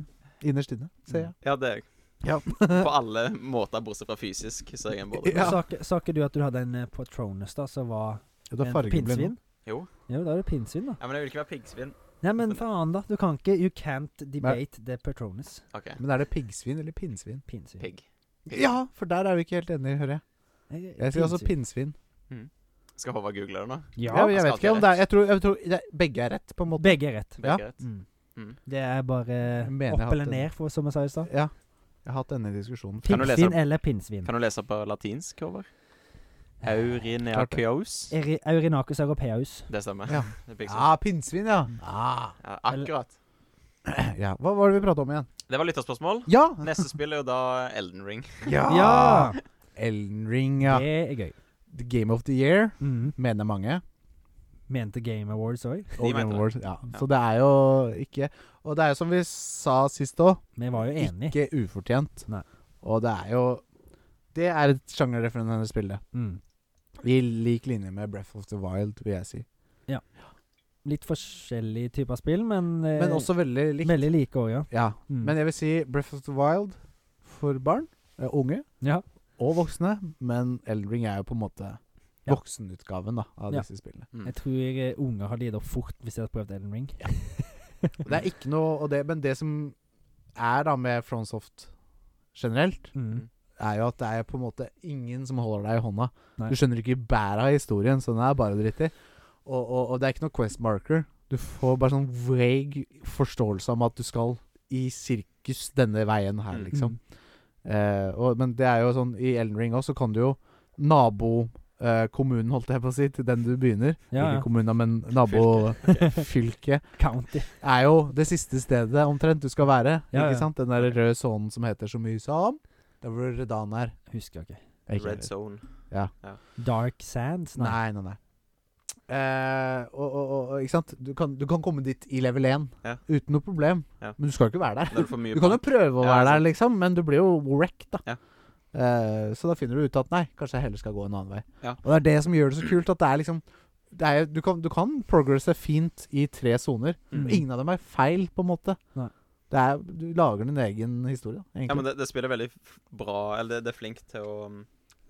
S1: innerst inne, ser jeg.
S3: Ja, det er jeg.
S1: Ja.
S3: på alle måter, bortsett fra fysisk, så er jeg en border collie.
S1: Ja.
S2: Sa ikke- Sa ikke du at du hadde en eh, på Tronus da, som var
S1: Ja, du er
S2: en
S1: fargeblind. nå.
S2: pinnsvin?
S3: Jo.
S2: Jo, da er det pinnsvin, da.
S3: Ja, men jeg vil ikke være piggsvin.
S2: Nei, men faen, da. Du kan ikke You can't debate the Patronus.
S3: OK.
S1: Men er det piggsvin eller pinnsvin?
S2: Pinnsvin.
S3: Pigg.
S1: Ja, for der er vi ikke helt enige, hører jeg.
S2: Jeg,
S1: Jeg sier altså pinnsvin.
S3: Skal Håvard google det nå?
S2: Ja,
S1: Ja, men jeg
S3: skal
S1: vet ikke om
S3: alltid
S1: det
S3: ha
S1: er Jeg tror, jeg tror det er, begge er rett, på en måte.
S2: begge er rett.
S1: Ja.
S3: Begge rett.
S2: Mm.
S3: Mm.
S2: Det er bare
S1: mener jeg
S2: opp
S1: har
S2: eller
S1: hatt en-
S2: ned, for, som jeg sa i stad.
S1: Ja. Jeg har hatt denne diskusjonen.
S3: Kan du lese
S2: Pinnsvin eller pinnsvin.
S3: Kan du lese på latinsk, Håvard? Aurineaceus.
S2: Eri- Eurynacus europeus.
S3: Det stemmer.
S1: Ja.
S3: Det er piggsvin.
S1: Ja, pinnsvin, ja. Ah.
S3: Ja, akkurat.
S1: ja. Hva var det vi prata om igjen?
S3: Det var lytterspørsmål.
S1: Ja!
S3: Neste spill er jo da Elden Ring.
S2: Ja!
S1: Elden Ring, ja.
S2: Det er gøy.
S1: The Game of the Year,
S2: Mm.
S1: mener mange.
S2: Mente Game Awards òg.
S1: Og
S3: mente
S1: Game
S3: det.
S1: Awards, ja.
S3: Ja.
S1: Så det er jo ikke Og det er jo som vi sa sist òg,
S2: Vi var jo enige.
S1: ikke ufortjent.
S2: Nei.
S1: Og det er jo Det er et sjangerrefererende spill, det.
S2: Mm.
S1: I lik linje med Breath of the Wild, vil jeg si.
S2: Litt forskjellige typer spill, men, eh,
S1: Men også veldig likt.
S2: veldig like òg, ja.
S1: Ja.
S2: Mm.
S1: Men jeg vil si Breath of the Wild for barn, eh, unge
S2: ja.
S1: og voksne. Men Elden Ring er jo på en måte
S2: Ja.
S1: voksenutgaven da, av
S2: Ja.
S1: disse spillene.
S2: Jeg tror eh, unger har gitt opp fort hvis de hadde prøvd Elden Ring.
S1: Det er ikke noe og det, Men det som er da med Fronsoft generelt,
S2: Mm.
S1: er jo at det er på en måte ingen som holder deg i hånda.
S2: Nei.
S1: Du skjønner ikke bæret av historien, så den er bare dritt i. Og, og, og det er ikke noe quest marker. Du får bare sånn vague forståelse om at du skal i sirkus denne veien her,
S3: Mm.
S1: liksom. Eh, og, men det er jo sånn i Elden Ring også, så kan du jo nabokommunen, holdt jeg på å si, til den du begynner
S2: Ja, ja.
S1: Ikke kommunen, men nabofylket.
S2: County.
S1: er jo det siste stedet omtrent du skal være.
S2: Ja, ja.
S1: Ikke sant? Den der røde sonen som heter så mye som Der hvor Redan er.
S2: Husker jeg ikke.
S1: Jeg ikke-
S3: Red Zone.
S2: Dark Sands? Nei.
S1: Nei, nei, nei. Eh, og, og, og, og, ikke sant? Du kan, du kan komme dit i level 1
S3: Ja.
S1: uten noe problem,
S3: Ja.
S1: men du skal jo ikke være der.
S3: Da er det for mye
S1: Du kan jo
S3: bank.
S1: prøve å
S3: Ja,
S1: være der,
S3: sant.
S1: liksom, men du blir jo wrecked, da.
S3: Ja.
S1: Eh, så da finner du ut at nei, kanskje jeg heller skal gå en annen vei.
S3: Ja.
S1: Og det er det som gjør det så kult, at det er liksom det er, du, kan, du kan progresse fint i tre soner.
S3: Mm.
S1: Ingen av dem er feil, på en måte.
S2: Nei.
S1: Det er, du lager din egen historie, da,
S3: Ja, men
S1: egentlig.
S3: det, det spiller veldig f- bra Eller det, det er flink til å um,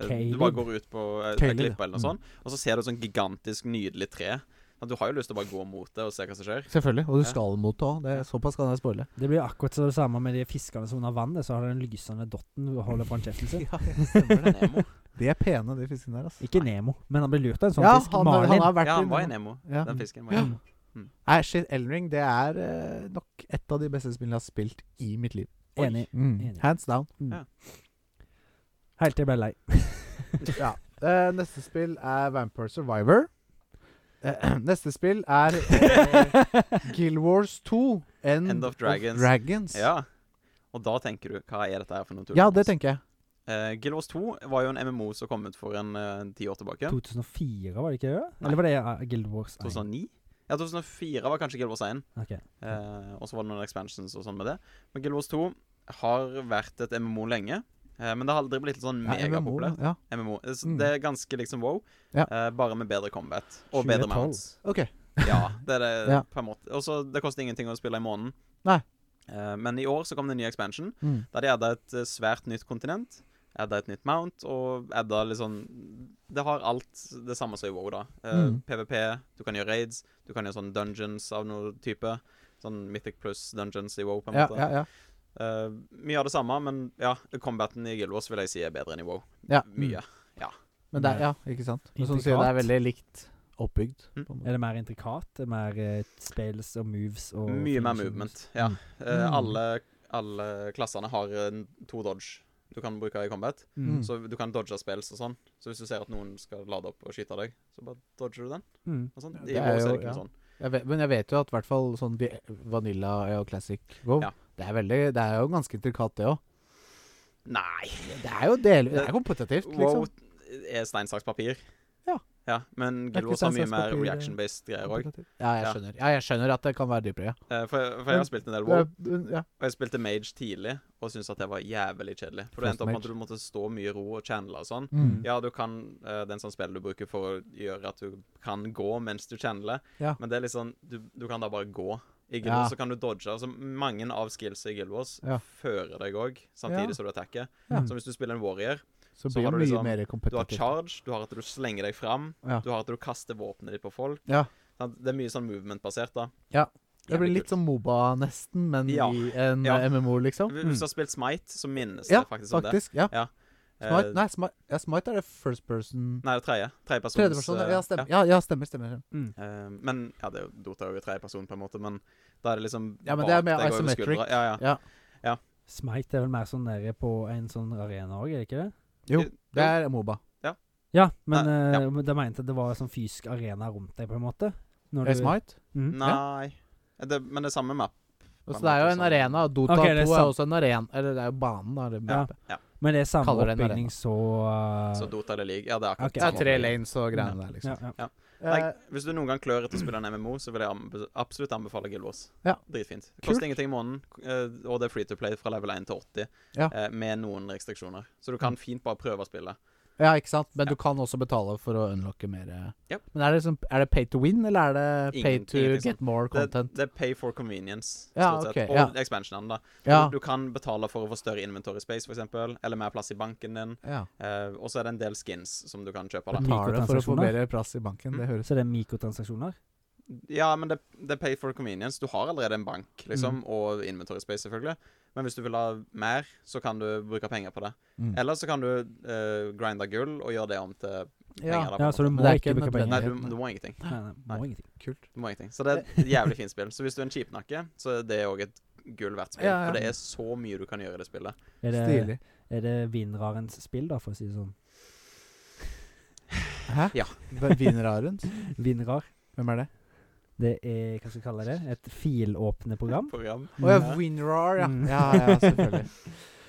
S3: eh, Du
S2: Caleb.
S3: bare går ut på eh,
S1: Caleb,
S3: et klippe eller noe
S1: ja.
S3: sånt, og så ser du et sånt gigantisk, nydelig tre. At du har jo lyst til å bare gå mot det og se hva som skjer.
S1: Selvfølgelig. Og
S3: Ja.
S1: du skal mot òg. det. er- Såpass kan jeg spoile.
S2: Det blir akkurat så det samme med de fiskene som er under vannet. Så har den lysende dotten og holder på en kjeften sin.
S3: Det er Nemo.
S1: De er pene, de fiskene der. Altså.
S2: Ikke Nemo, men han blir lurt av en sånn
S1: Ja,
S2: fisk.
S1: han, har-
S2: Marlin.
S1: han har vært
S3: Ja,
S1: i
S3: han var i
S1: Nemo.
S3: Nemo.
S1: Ja.
S3: Den fisken var i Nemo.
S1: Nei, shit, Elden Ring det er eh, nok et av de beste spillene jeg har spilt i mitt liv.
S3: Oi.
S2: Enig. Enig.
S1: Hands down.
S2: Helt til jeg ble lei.
S1: ja. Eh, neste spill er Vampire Survivor. Eh, neste spill er eh, Guild Wars 2. End,
S3: End of Dragons. Ja. Og da tenker du Hva er dette her for noe tull?
S1: Ja, det tenker jeg.
S3: Uh, Guild Wars 2 var jo en MMO som kom ut for en eh, ti år tilbake.
S2: 2004, var det ikke det? Eller var det eh, Guild Wars 1?
S1: sånn.
S3: 2009? Ja, 2004 var kanskje Guild Wars 1.
S2: Ok.
S3: Eh, og så var det noen expansions og sånn med det. Men Guild Wars 2 har vært et MMO lenge. eh, men det har aldri blitt sånn
S1: Ja, MMO,
S3: megapopulært.
S1: Ja.
S3: MMO. Eh, Så
S1: Mm.
S3: Det er ganske liksom wow,
S1: Ja.
S3: eh, bare med bedre combat. Og bedre
S2: 2012.
S3: mounts.
S1: OK.
S3: Ja, det er det
S1: Ja.
S3: på en måte. Og så det koster ingenting å spille i måneden.
S1: Nei.
S3: Eh, men i år så kom det en ny expansion,
S1: Mm.
S3: der de adda et eh, svært nytt kontinent. Adda et nytt mount, og adda litt sånn Det har alt det samme som i WoW, da. Eh,
S1: Mm.
S3: PVP, du kan gjøre raids, du kan gjøre sånn dungeons av noe type. Sånn Mythic pluss dungeons i WoW, på en
S1: Ja,
S3: måte.
S1: ja, ja.
S3: Eh, mye av det samme, men ja, combaten i Guild Wars vil jeg si er bedre enn i WoW.
S1: ja. Mm.
S3: Mye.
S1: Men det er, ja, ikke sant. Men som du
S2: Intrikat.
S1: sier, det er veldig likt oppbygd.
S3: Mm.
S1: på en måte.
S2: Er det mer intrikat? Er det mer eh, spells og moves og
S3: Mye mer
S2: finishes?
S3: movement. Ja.
S2: Mm.
S3: Eh,
S1: Mm.
S3: alle, alle klassene har en, to dodge du kan bruke i combat.
S2: Mm.
S3: Så du kan dodge spills og sånn. Så hvis du ser at noen skal lade opp og skyte deg, så bare dodger du den.
S2: Mm.
S3: Og sånn. I
S1: det er
S3: WoW så er
S1: jo-
S3: det ikke
S1: ja.
S3: noe sånn.
S1: Jeg vet, men jeg vet jo at i hvert fall sånn de- Vanilla og Classic Go
S3: Ja.
S1: det, er veldig, det er jo ganske intrikat, det òg.
S3: Nei.
S1: Det er jo del, det er kompetitivt, liksom.
S3: WoW er stein, saks, papir.
S1: Ja.
S3: ja. Men
S1: Det er ikke
S3: Guild Wars har
S1: stein,
S3: mye
S1: saks,
S3: mer
S1: papir, eh,
S3: reaction-based greier òg.
S1: Ja, jeg
S3: Ja.
S1: skjønner. Ja, jeg skjønner at det kan være dypere.
S3: For, for
S1: Men-
S3: jeg har spilt en del
S1: Ja.
S3: WoW,
S1: Det er- ja.
S3: og jeg spilte Mage tidlig og syntes at det var jævlig kjedelig. For det
S1: Frost
S3: endte opp med
S1: Mage.
S3: at du måtte stå mye i ro og channele og sånn.
S1: Mm.
S3: Ja, du kan eh, den sånn spill du bruker for å gjøre at du kan gå mens du channeler.
S1: Ja.
S3: Men det er litt sånn du, du kan da bare gå. I Guild
S1: Ja.
S3: Wars så kan du dodge. Altså Mange av skillsa i Guild Wars
S1: Ja.
S3: fører deg òg, samtidig
S1: Ja.
S3: som du attacker.
S1: Ja.
S3: Så hvis du spiller en warrior,
S1: Så
S3: Så
S1: blir
S3: har
S1: det
S3: du
S1: mye
S3: liksom-
S1: mer
S3: du har
S1: kompetitivt.
S3: charge, du har at du slenger deg fram,
S1: Ja.
S3: du har at du kaster våpenet ditt på folk.
S1: Ja.
S3: Sant? Det er mye sånn movement-basert, da.
S1: Ja. Det blir
S3: Jævlig
S1: litt
S3: kult.
S1: som Moba, nesten, men
S3: Ja.
S1: i en
S3: Ja.
S1: eh, MMO, liksom.
S3: Hvis du har spilt Smite, så minnes
S1: Ja,
S3: det faktisk om
S1: faktisk. Ja.
S3: det. Ja.
S1: Smite,
S3: Eh,
S1: nei, Smite, ja, Smite er det first person
S3: nei, det er tredje. Tredjepersons
S1: Tredjeperson.
S3: eh,
S1: Ja, stemmer. Ja, ja, stemmer, stemmer.
S3: Eh, men ja, det er jo Dota er jo i tredjeperson, på en måte, men da er det liksom
S1: Ja, men det er
S3: bak
S1: mer
S3: deg og over
S1: isometric.
S3: skuldra. Ja, ja.
S1: Ja.
S2: Smite er vel mer sånn nede på en sånn arena òg, er det ikke det?
S1: Jo,
S3: Jo.
S1: det er Moba.
S2: Ja, men
S3: Nei,
S2: eh,
S3: ja.
S2: men de mente det var en sånn fysisk arena rundt deg, på en måte. Når
S1: Er det
S2: du-
S1: Smite?
S2: Mm.
S3: Nei det, Men det er samme map.
S1: Og så det er jo en
S3: Sånn.
S1: arena. og Dota
S2: Ok, det er
S1: 2 er
S2: sant.
S1: også en arena. Eller det er jo banen, da. Det,
S2: Ja.
S1: mappet.
S2: Men det er samme
S1: Kaller det en
S2: oppbygning, så eh,
S3: Så Dota eller League. Ja, det er akkurat
S2: Ok.
S1: det
S3: det
S1: er tre lanes og
S2: ja.
S1: greiene der, liksom.
S2: Ja, ja.
S3: Nei,
S1: Eh,
S3: hvis du noen gang klør etter å spille en MMO, så vil jeg anbe absolutt anbefale Guild Wars.
S1: Ja.
S3: Dritfint. Det
S1: Kult.
S3: koster ingenting i måneden, eh, og det er free to play fra level 1 til 80,
S1: Ja. Mm.
S3: eh, med noen restriksjoner. Så du kan fint bare prøve å spille.
S1: ja, ikke sant. Men
S3: Ja.
S1: du kan også betale for å unlocke mer. eh.
S3: Yep.
S1: Men er det, sånn, er det pay to win, eller er det pay
S3: Ingen-
S1: to
S3: ingenting
S1: get more
S3: Det,
S1: content?
S3: det er pay for convenience,
S1: Ja,
S3: stort
S1: ok,
S3: sett. Og
S1: ja.
S3: expansionene, da.
S1: ja.
S3: Du, du kan betale for å få større inventory space, for eksempel eller mer plass i banken din.
S1: ja.
S3: eh, og så er det en del skins som du kan kjøpe. da.
S1: Betaler for å få
S2: Mikrotransaksjoner.
S1: mer plass i banken.
S3: Mm.
S1: Det høres
S2: Så det er mikrotransaksjoner?
S3: Ja, men det, det er pay for convenience. Du har allerede en bank, liksom,
S1: Mm.
S3: og inventory space, selvfølgelig. Men hvis du vil ha mer, så kan du bruke penger på det.
S1: Mm.
S3: Eller så kan du eh, grinde gull og gjøre det om til
S2: Ja,
S3: penger, da, på en
S2: ja, så
S1: måte.
S2: du må
S1: Men det er
S2: ikke
S1: ikke
S2: bruke
S1: nødvendig.
S2: penger.
S3: Nei, du,
S1: Nei.
S3: du må ingenting.
S2: Nei, nei, må
S3: Nei.
S2: ingenting. Kult.
S3: Du må ingenting. Så det er et jævlig fint spill. Så hvis du er en kjipnakke, så er det òg et gull verdt spill.
S1: Ja, ja.
S3: For det er så mye du kan gjøre i det spillet.
S2: Er det,
S1: Stilig.
S2: er det vinrarens spill, da, for å si det sånn?
S1: Hæ?
S3: Ja.
S1: V- Wienerarens?
S2: Vinrar.
S1: Hvem er det?
S2: Det er Hva skal vi kalle det? Et filåpne program.
S3: Program.
S1: Å ja, Winrar, ja.
S2: Mm.
S1: ja. Ja, selvfølgelig.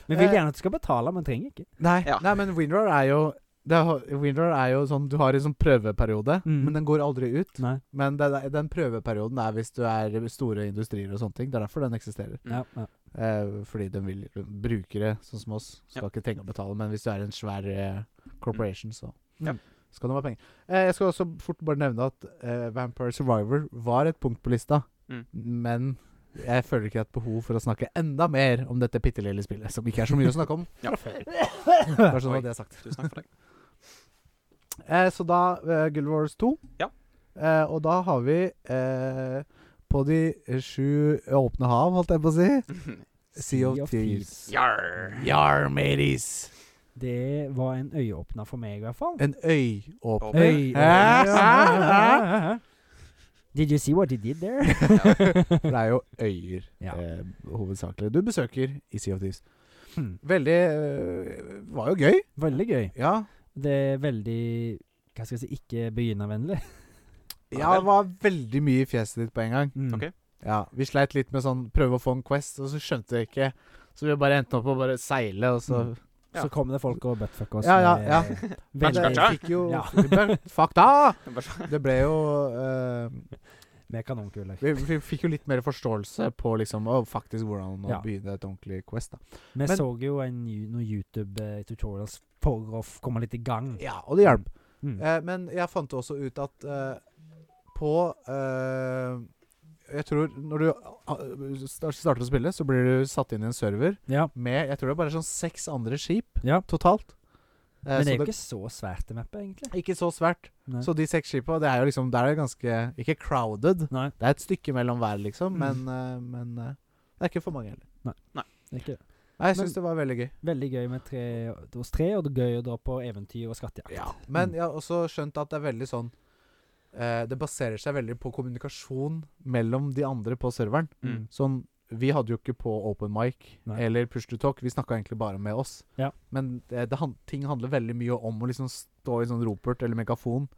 S2: Vi
S1: Eh.
S2: vil gjerne at du skal betale, men trenger ikke.
S1: Nei,
S3: Ja.
S1: nei men Winrar er jo det er, Winrar er jo sånn Du har en sånn prøveperiode,
S2: Mm.
S1: men den går aldri ut.
S2: Nei.
S1: Men det, det- den prøveperioden er hvis du er i store industrier og sånne ting. Det er derfor den eksisterer.
S2: Ja, ja.
S1: Eh, fordi den vil brukere, sånn som oss, skal
S3: Ja.
S1: ikke trenge å betale. Men hvis du er en svær eh, corporation, så
S2: Ja.
S1: skal det være penger. Eh, jeg skal også fort bare nevne at eh, Vampire Survivor var et punkt på lista.
S3: Mm.
S1: Men jeg føler ikke et behov for å snakke enda mer om dette bitte lille spillet, som ikke er så mye å snakke om.
S3: Ja.
S1: Bare sånn
S3: Oi.
S1: at det er sagt.
S3: Tusen takk for det.
S1: Eh, så da eh, Guild Wars 2.
S3: Ja.
S1: Eh, og da har vi eh, på de sju åpne hav, holdt jeg på å si Sea of Thieves.
S3: Jarr.
S1: Yar, mateys!
S2: Det var en øyeåpner for meg, i hvert fall.
S1: En øyåpner.
S3: Åpner.
S2: Øy-
S1: Hæ?
S2: Hæ? Did you see what he did there?
S1: For det er jo øyer
S2: Ja.
S1: eh, hovedsakelig. Du besøker i Sea of Thieves.
S2: Hmm.
S1: Veldig eh, Var jo gøy.
S2: Veldig gøy.
S1: Ja.
S2: Det er veldig Hva skal jeg si ikke begynnervennlig.
S1: Ja, det var veldig mye i fjeset ditt på en gang.
S2: Mm.
S3: Ok.
S1: Ja, Vi sleit litt med sånn prøve å få en Quest, og så skjønte jeg ikke. Så vi bare endte opp med å bare seile, og så
S2: Mm. Så kommer det folk og buttfucker oss.
S1: Ja, ja,
S2: med-
S1: ja. Men
S2: Veldig,
S1: det fikk jo
S2: Ja.
S1: Fuck da!
S3: Bare- sånn.
S1: Det ble jo eh,
S2: med kanonkuler.
S1: vi, vi fikk jo litt mer forståelse på liksom å, faktisk hvordan å
S2: Ja.
S1: begynne et ordentlig Quest. da
S2: Vi
S1: Men-
S2: så jo en, ju- noen YouTube-tutorials for å f- komme litt i gang.
S1: Ja, og det hjalp.
S2: Mm.
S1: Eh, men jeg fant også ut at eh, på eh, Jeg tror når du eh, star- starter å spille, så blir du satt inn i en server
S2: Ja.
S1: med jeg tror det er bare sånn seks andre skip
S2: ja.
S1: totalt. Eh,
S2: Men det
S1: så
S2: er jo ikke så svært det mappet, egentlig.
S1: ikke så svært.
S2: Nei.
S1: Så de seks skipa, det er jo liksom Der er det ganske Ikke crowded.
S2: Nei,
S1: Det er et stykke mellom hver, liksom,
S2: Mm.
S1: men, eh, men eh, det er ikke for mange heller.
S2: det er ikke det.
S1: Nei, Jeg
S2: Men-
S1: syns det var veldig gøy.
S2: Veldig gøy med tre, hos tre, og det er gøy å dra på eventyr og skattejakt.
S1: Men
S2: Mm.
S1: jeg har også skjønt at det er veldig sånn eh, Det baserer seg veldig på kommunikasjon mellom de andre på serveren.
S3: Mm.
S1: Sånn, vi hadde jo ikke på open mic
S2: Nei.
S1: eller push to talk. Vi snakka egentlig bare med oss.
S2: Ja.
S1: Men det, det, han- ting handler veldig mye om å liksom stå i sånn ropert eller megafon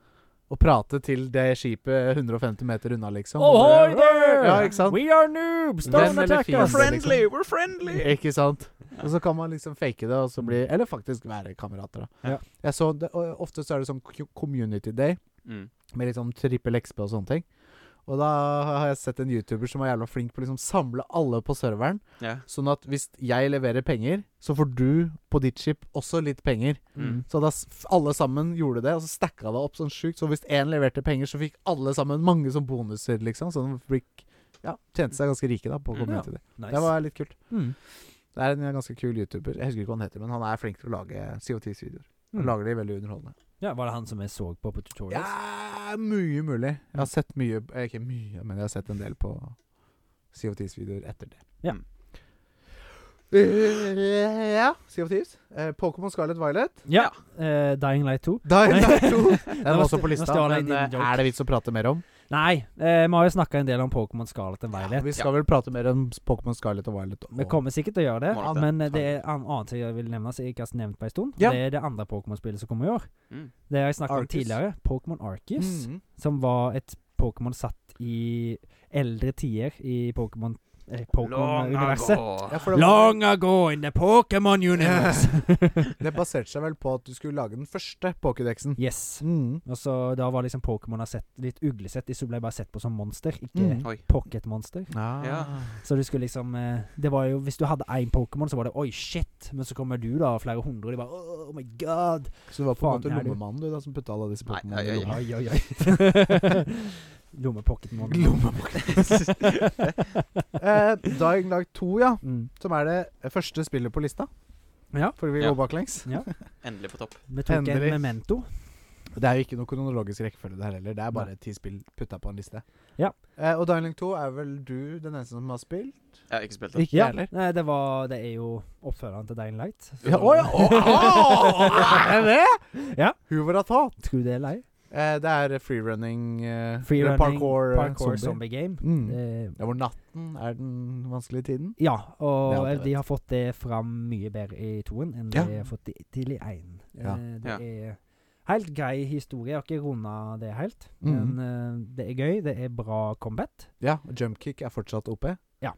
S1: og prate til det skipet 150 meter unna, liksom.
S2: Ahoy
S1: Og bare,
S2: there!
S1: Ja, ikke sant?
S2: Oh, We are noobs!
S1: Venn
S2: Don't
S1: eller
S2: attack
S1: fiende,
S2: us!
S1: liksom.
S3: Friendly, we're friendly!
S1: Ikke sant? Og så kan man liksom fake det, og så bli Eller faktisk være kamerater, da.
S2: Ja.
S1: Jeg så det, og ofte så er det sånn co- community day
S3: Mm.
S1: med litt sånn trippel XP og sånne ting. Og da har jeg sett en YouTuber som er jævla flink på å liksom samle alle på serveren.
S3: Ja.
S1: Sånn at hvis jeg leverer penger, så får du på ditt skip også litt penger.
S3: Mm.
S1: Så da s- f- alle sammen gjorde det, og så stacka det opp sånn sjukt. Så hvis én leverte penger, så fikk alle sammen mange som bonuser, liksom. Så de fikk, ja, tjente seg ganske rike da på å komme
S2: Mm, Ja.
S1: til det.
S2: Nice.
S1: Det var litt kult.
S2: Mm.
S1: Det er en eh, ganske kul YouTuber. Jeg husker ikke hva han heter, men han er flink til å lage CO10-videoer. Han
S2: Mm.
S1: Lager de veldig underholdende.
S2: Ja, Var det han som jeg så på på tutorials?
S1: Ja, mye mulig. Jeg har sett mye eh, Ikke mye, men jeg har sett en del på CO10s-videoer etter det.
S2: Ja.
S1: Eh, ja, CO10s. Eh, Pokémon Scarlet Violet.
S2: Ja. eh, Dying Light 2.
S1: Dying Light 2. Den
S2: Nå
S1: var også
S2: st-
S1: på
S2: nå
S1: lista,
S2: stjal jeg
S1: men
S2: din
S1: eh,
S2: joke.
S1: er det vits å prate mer om?
S2: Nei, eh, vi har jo snakka en del om Pokémon Scarlet enn Violet.
S1: vi skal vel prate mer om Pokémon Scarlet og Violet.
S2: Vi kommer sikkert til å gjøre det,
S3: Må nok det.
S2: men eh, det er an- annet jeg vil nevne som jeg ikke har nevnt på en stund.
S1: Ja.
S2: Det er det andre Pokémon-spillet som kommer i år.
S3: Mm.
S2: Det har jeg snakket om
S1: Arceus.
S2: tidligere. Pokémon Arceus,
S1: Mm.
S2: som var et Pokémon satt i eldre tider i Pokémon eh, Pokémon-universet.
S1: Ja,
S3: ago.
S1: for det, var-
S2: Long ago in the Pokémon universe.
S1: det baserte seg vel på at du skulle lage den første Pokédexen.
S2: yes.
S1: Mm.
S2: Og så da var liksom Pokémon har sett litt uglesett. De som ble bare sett på som monster, ikke
S1: Mm. Ah.
S3: Oi.
S2: pocketmonster.
S3: Ja.
S2: Så du skulle liksom eh, Det var jo Hvis du hadde én Pokémon, så var det oi, shit. Men så kommer du, da, og flere hundre, og de bare oh, my god.
S1: Så du var på en
S2: Faen,
S1: måte
S2: er du-
S1: lommemannen du da som putta alle disse
S3: Nei,
S1: Pokémonene
S3: oi,
S1: i
S3: oi,
S1: lomma?
S2: Oi, oi, oi. Lommepocketmonster.
S1: Eh, Dying Light 2, ja.
S2: Mm.
S1: Som er det første spillet på lista.
S2: Ja.
S1: Fordi vi
S3: Ja.
S1: går baklengs.
S2: ja.
S3: Endelig på topp.
S2: Vi tok
S1: Endelig.
S2: en memento.
S1: Det er jo ikke noe kronologisk rekkefølge det her heller. Det er bare ti spill putta på en liste.
S2: Ja.
S1: Eh, og Dying Link 2 er vel du den eneste som har spilt?
S3: Jeg har ikke spilt det.
S1: Ikke jeg heller.
S2: Nei, det, var, det er jo oppfølgeren til Dying Light.
S1: Ja, å ja! Å, å, er det det?
S2: Ja.
S1: Who would have thought?
S2: Tror du det er lei?
S1: Eh, det er freerunning eh,
S2: Freerunning,
S1: Parkour, eh,
S2: parkour
S1: zombie.
S2: zombie game.
S1: Mm.
S2: Eh,
S1: Ja, hvor natten er den vanskelige tiden?
S2: ja,
S1: Det er
S2: og
S1: alt jeg
S2: de
S1: vet.
S2: har fått det fram mye bedre i toen enn
S1: Ja.
S2: de har fått i- til i én.
S1: Ja.
S2: Eh, det
S3: Ja.
S2: er helt grei historie. Jeg har ikke runda det helt,
S1: Mhm.
S2: men eh, det er gøy. Det er bra combat.
S1: Ja, og jumpkick er fortsatt OP.
S2: Ja.